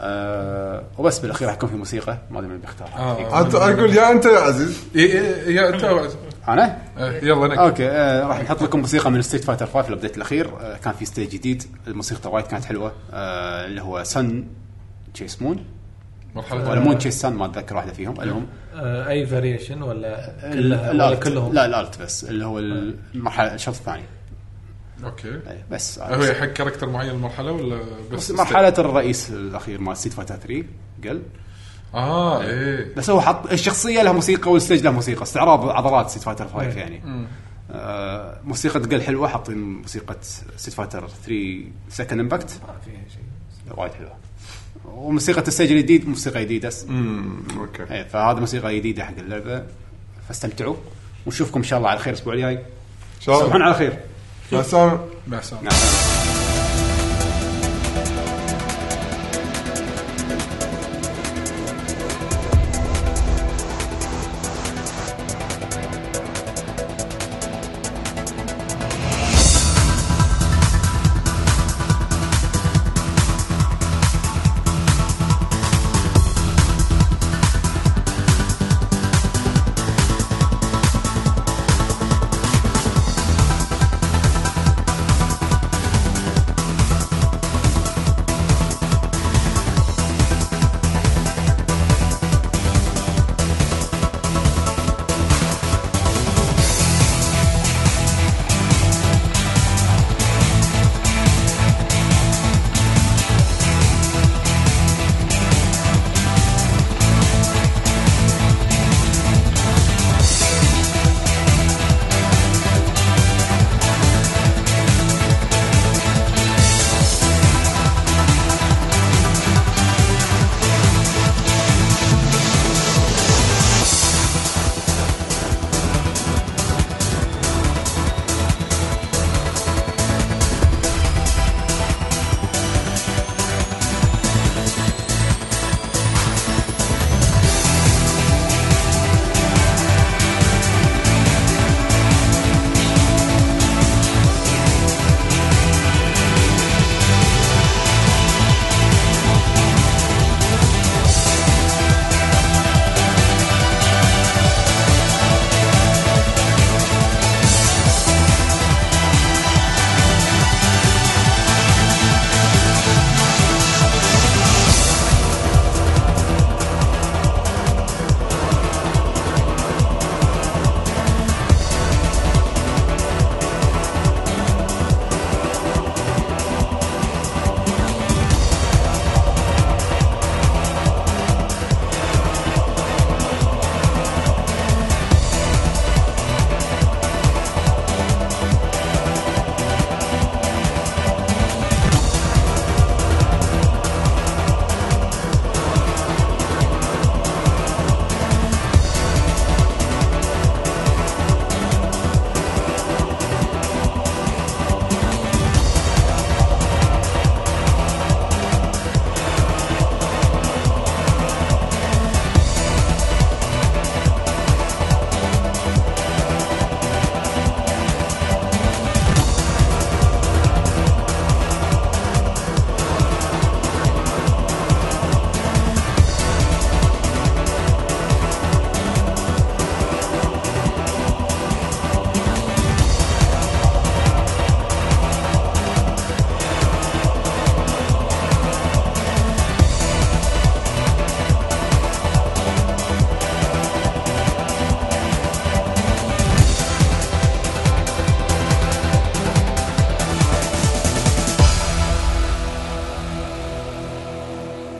[SPEAKER 1] آه وبس بالاخير راح يكون في موسيقى ما ادري من بيختار
[SPEAKER 3] آه.
[SPEAKER 5] أنت- اقول يا انت يا عزيز
[SPEAKER 3] اي اي يا انت وعز.
[SPEAKER 1] انا
[SPEAKER 3] إيه، يلا نك
[SPEAKER 1] اوكي آه راح نحط لكم موسيقى من ستيت فايتر 5 الابديت الاخير آه كان في ستيج جديد الموسيقى وايد كانت حلوه آه اللي هو سن تشيس مون ولا
[SPEAKER 3] مرحله
[SPEAKER 1] مون تشيس سن ما اتذكر واحده فيهم المهم
[SPEAKER 7] اي فاريشن آه، ولا كلها ولا
[SPEAKER 1] الالت
[SPEAKER 7] كلهم
[SPEAKER 1] لا الالت بس اللي هو المرحله الشوط الثاني
[SPEAKER 3] اوكي
[SPEAKER 1] أي، بس آه،
[SPEAKER 3] هو حق كاركتر معين المرحله ولا
[SPEAKER 1] بس
[SPEAKER 3] بس
[SPEAKER 1] مرحله الرئيس الاخير مال ستيت فايتر 3 قل
[SPEAKER 3] اه
[SPEAKER 1] *laughs*
[SPEAKER 3] ايه
[SPEAKER 1] بس هو حط الشخصيه لها موسيقى والستيج له موسيقى استعراض عضلات ستيت فايتر 5 يعني آه موسيقى تقل حلوه حاطين موسيقى ستيت فايتر 3 سكند امباكت وايد حلوه وموسيقى السجل الجديد موسيقى جديده
[SPEAKER 5] اوكي
[SPEAKER 1] اي فهذا موسيقى جديده حق اللعبه فاستمتعوا ونشوفكم ان شاء الله على خير الاسبوع الجاي
[SPEAKER 5] شباب
[SPEAKER 1] تصبحون على خير
[SPEAKER 5] مع السلامه
[SPEAKER 3] مع السلامه
[SPEAKER 1] مع السلامه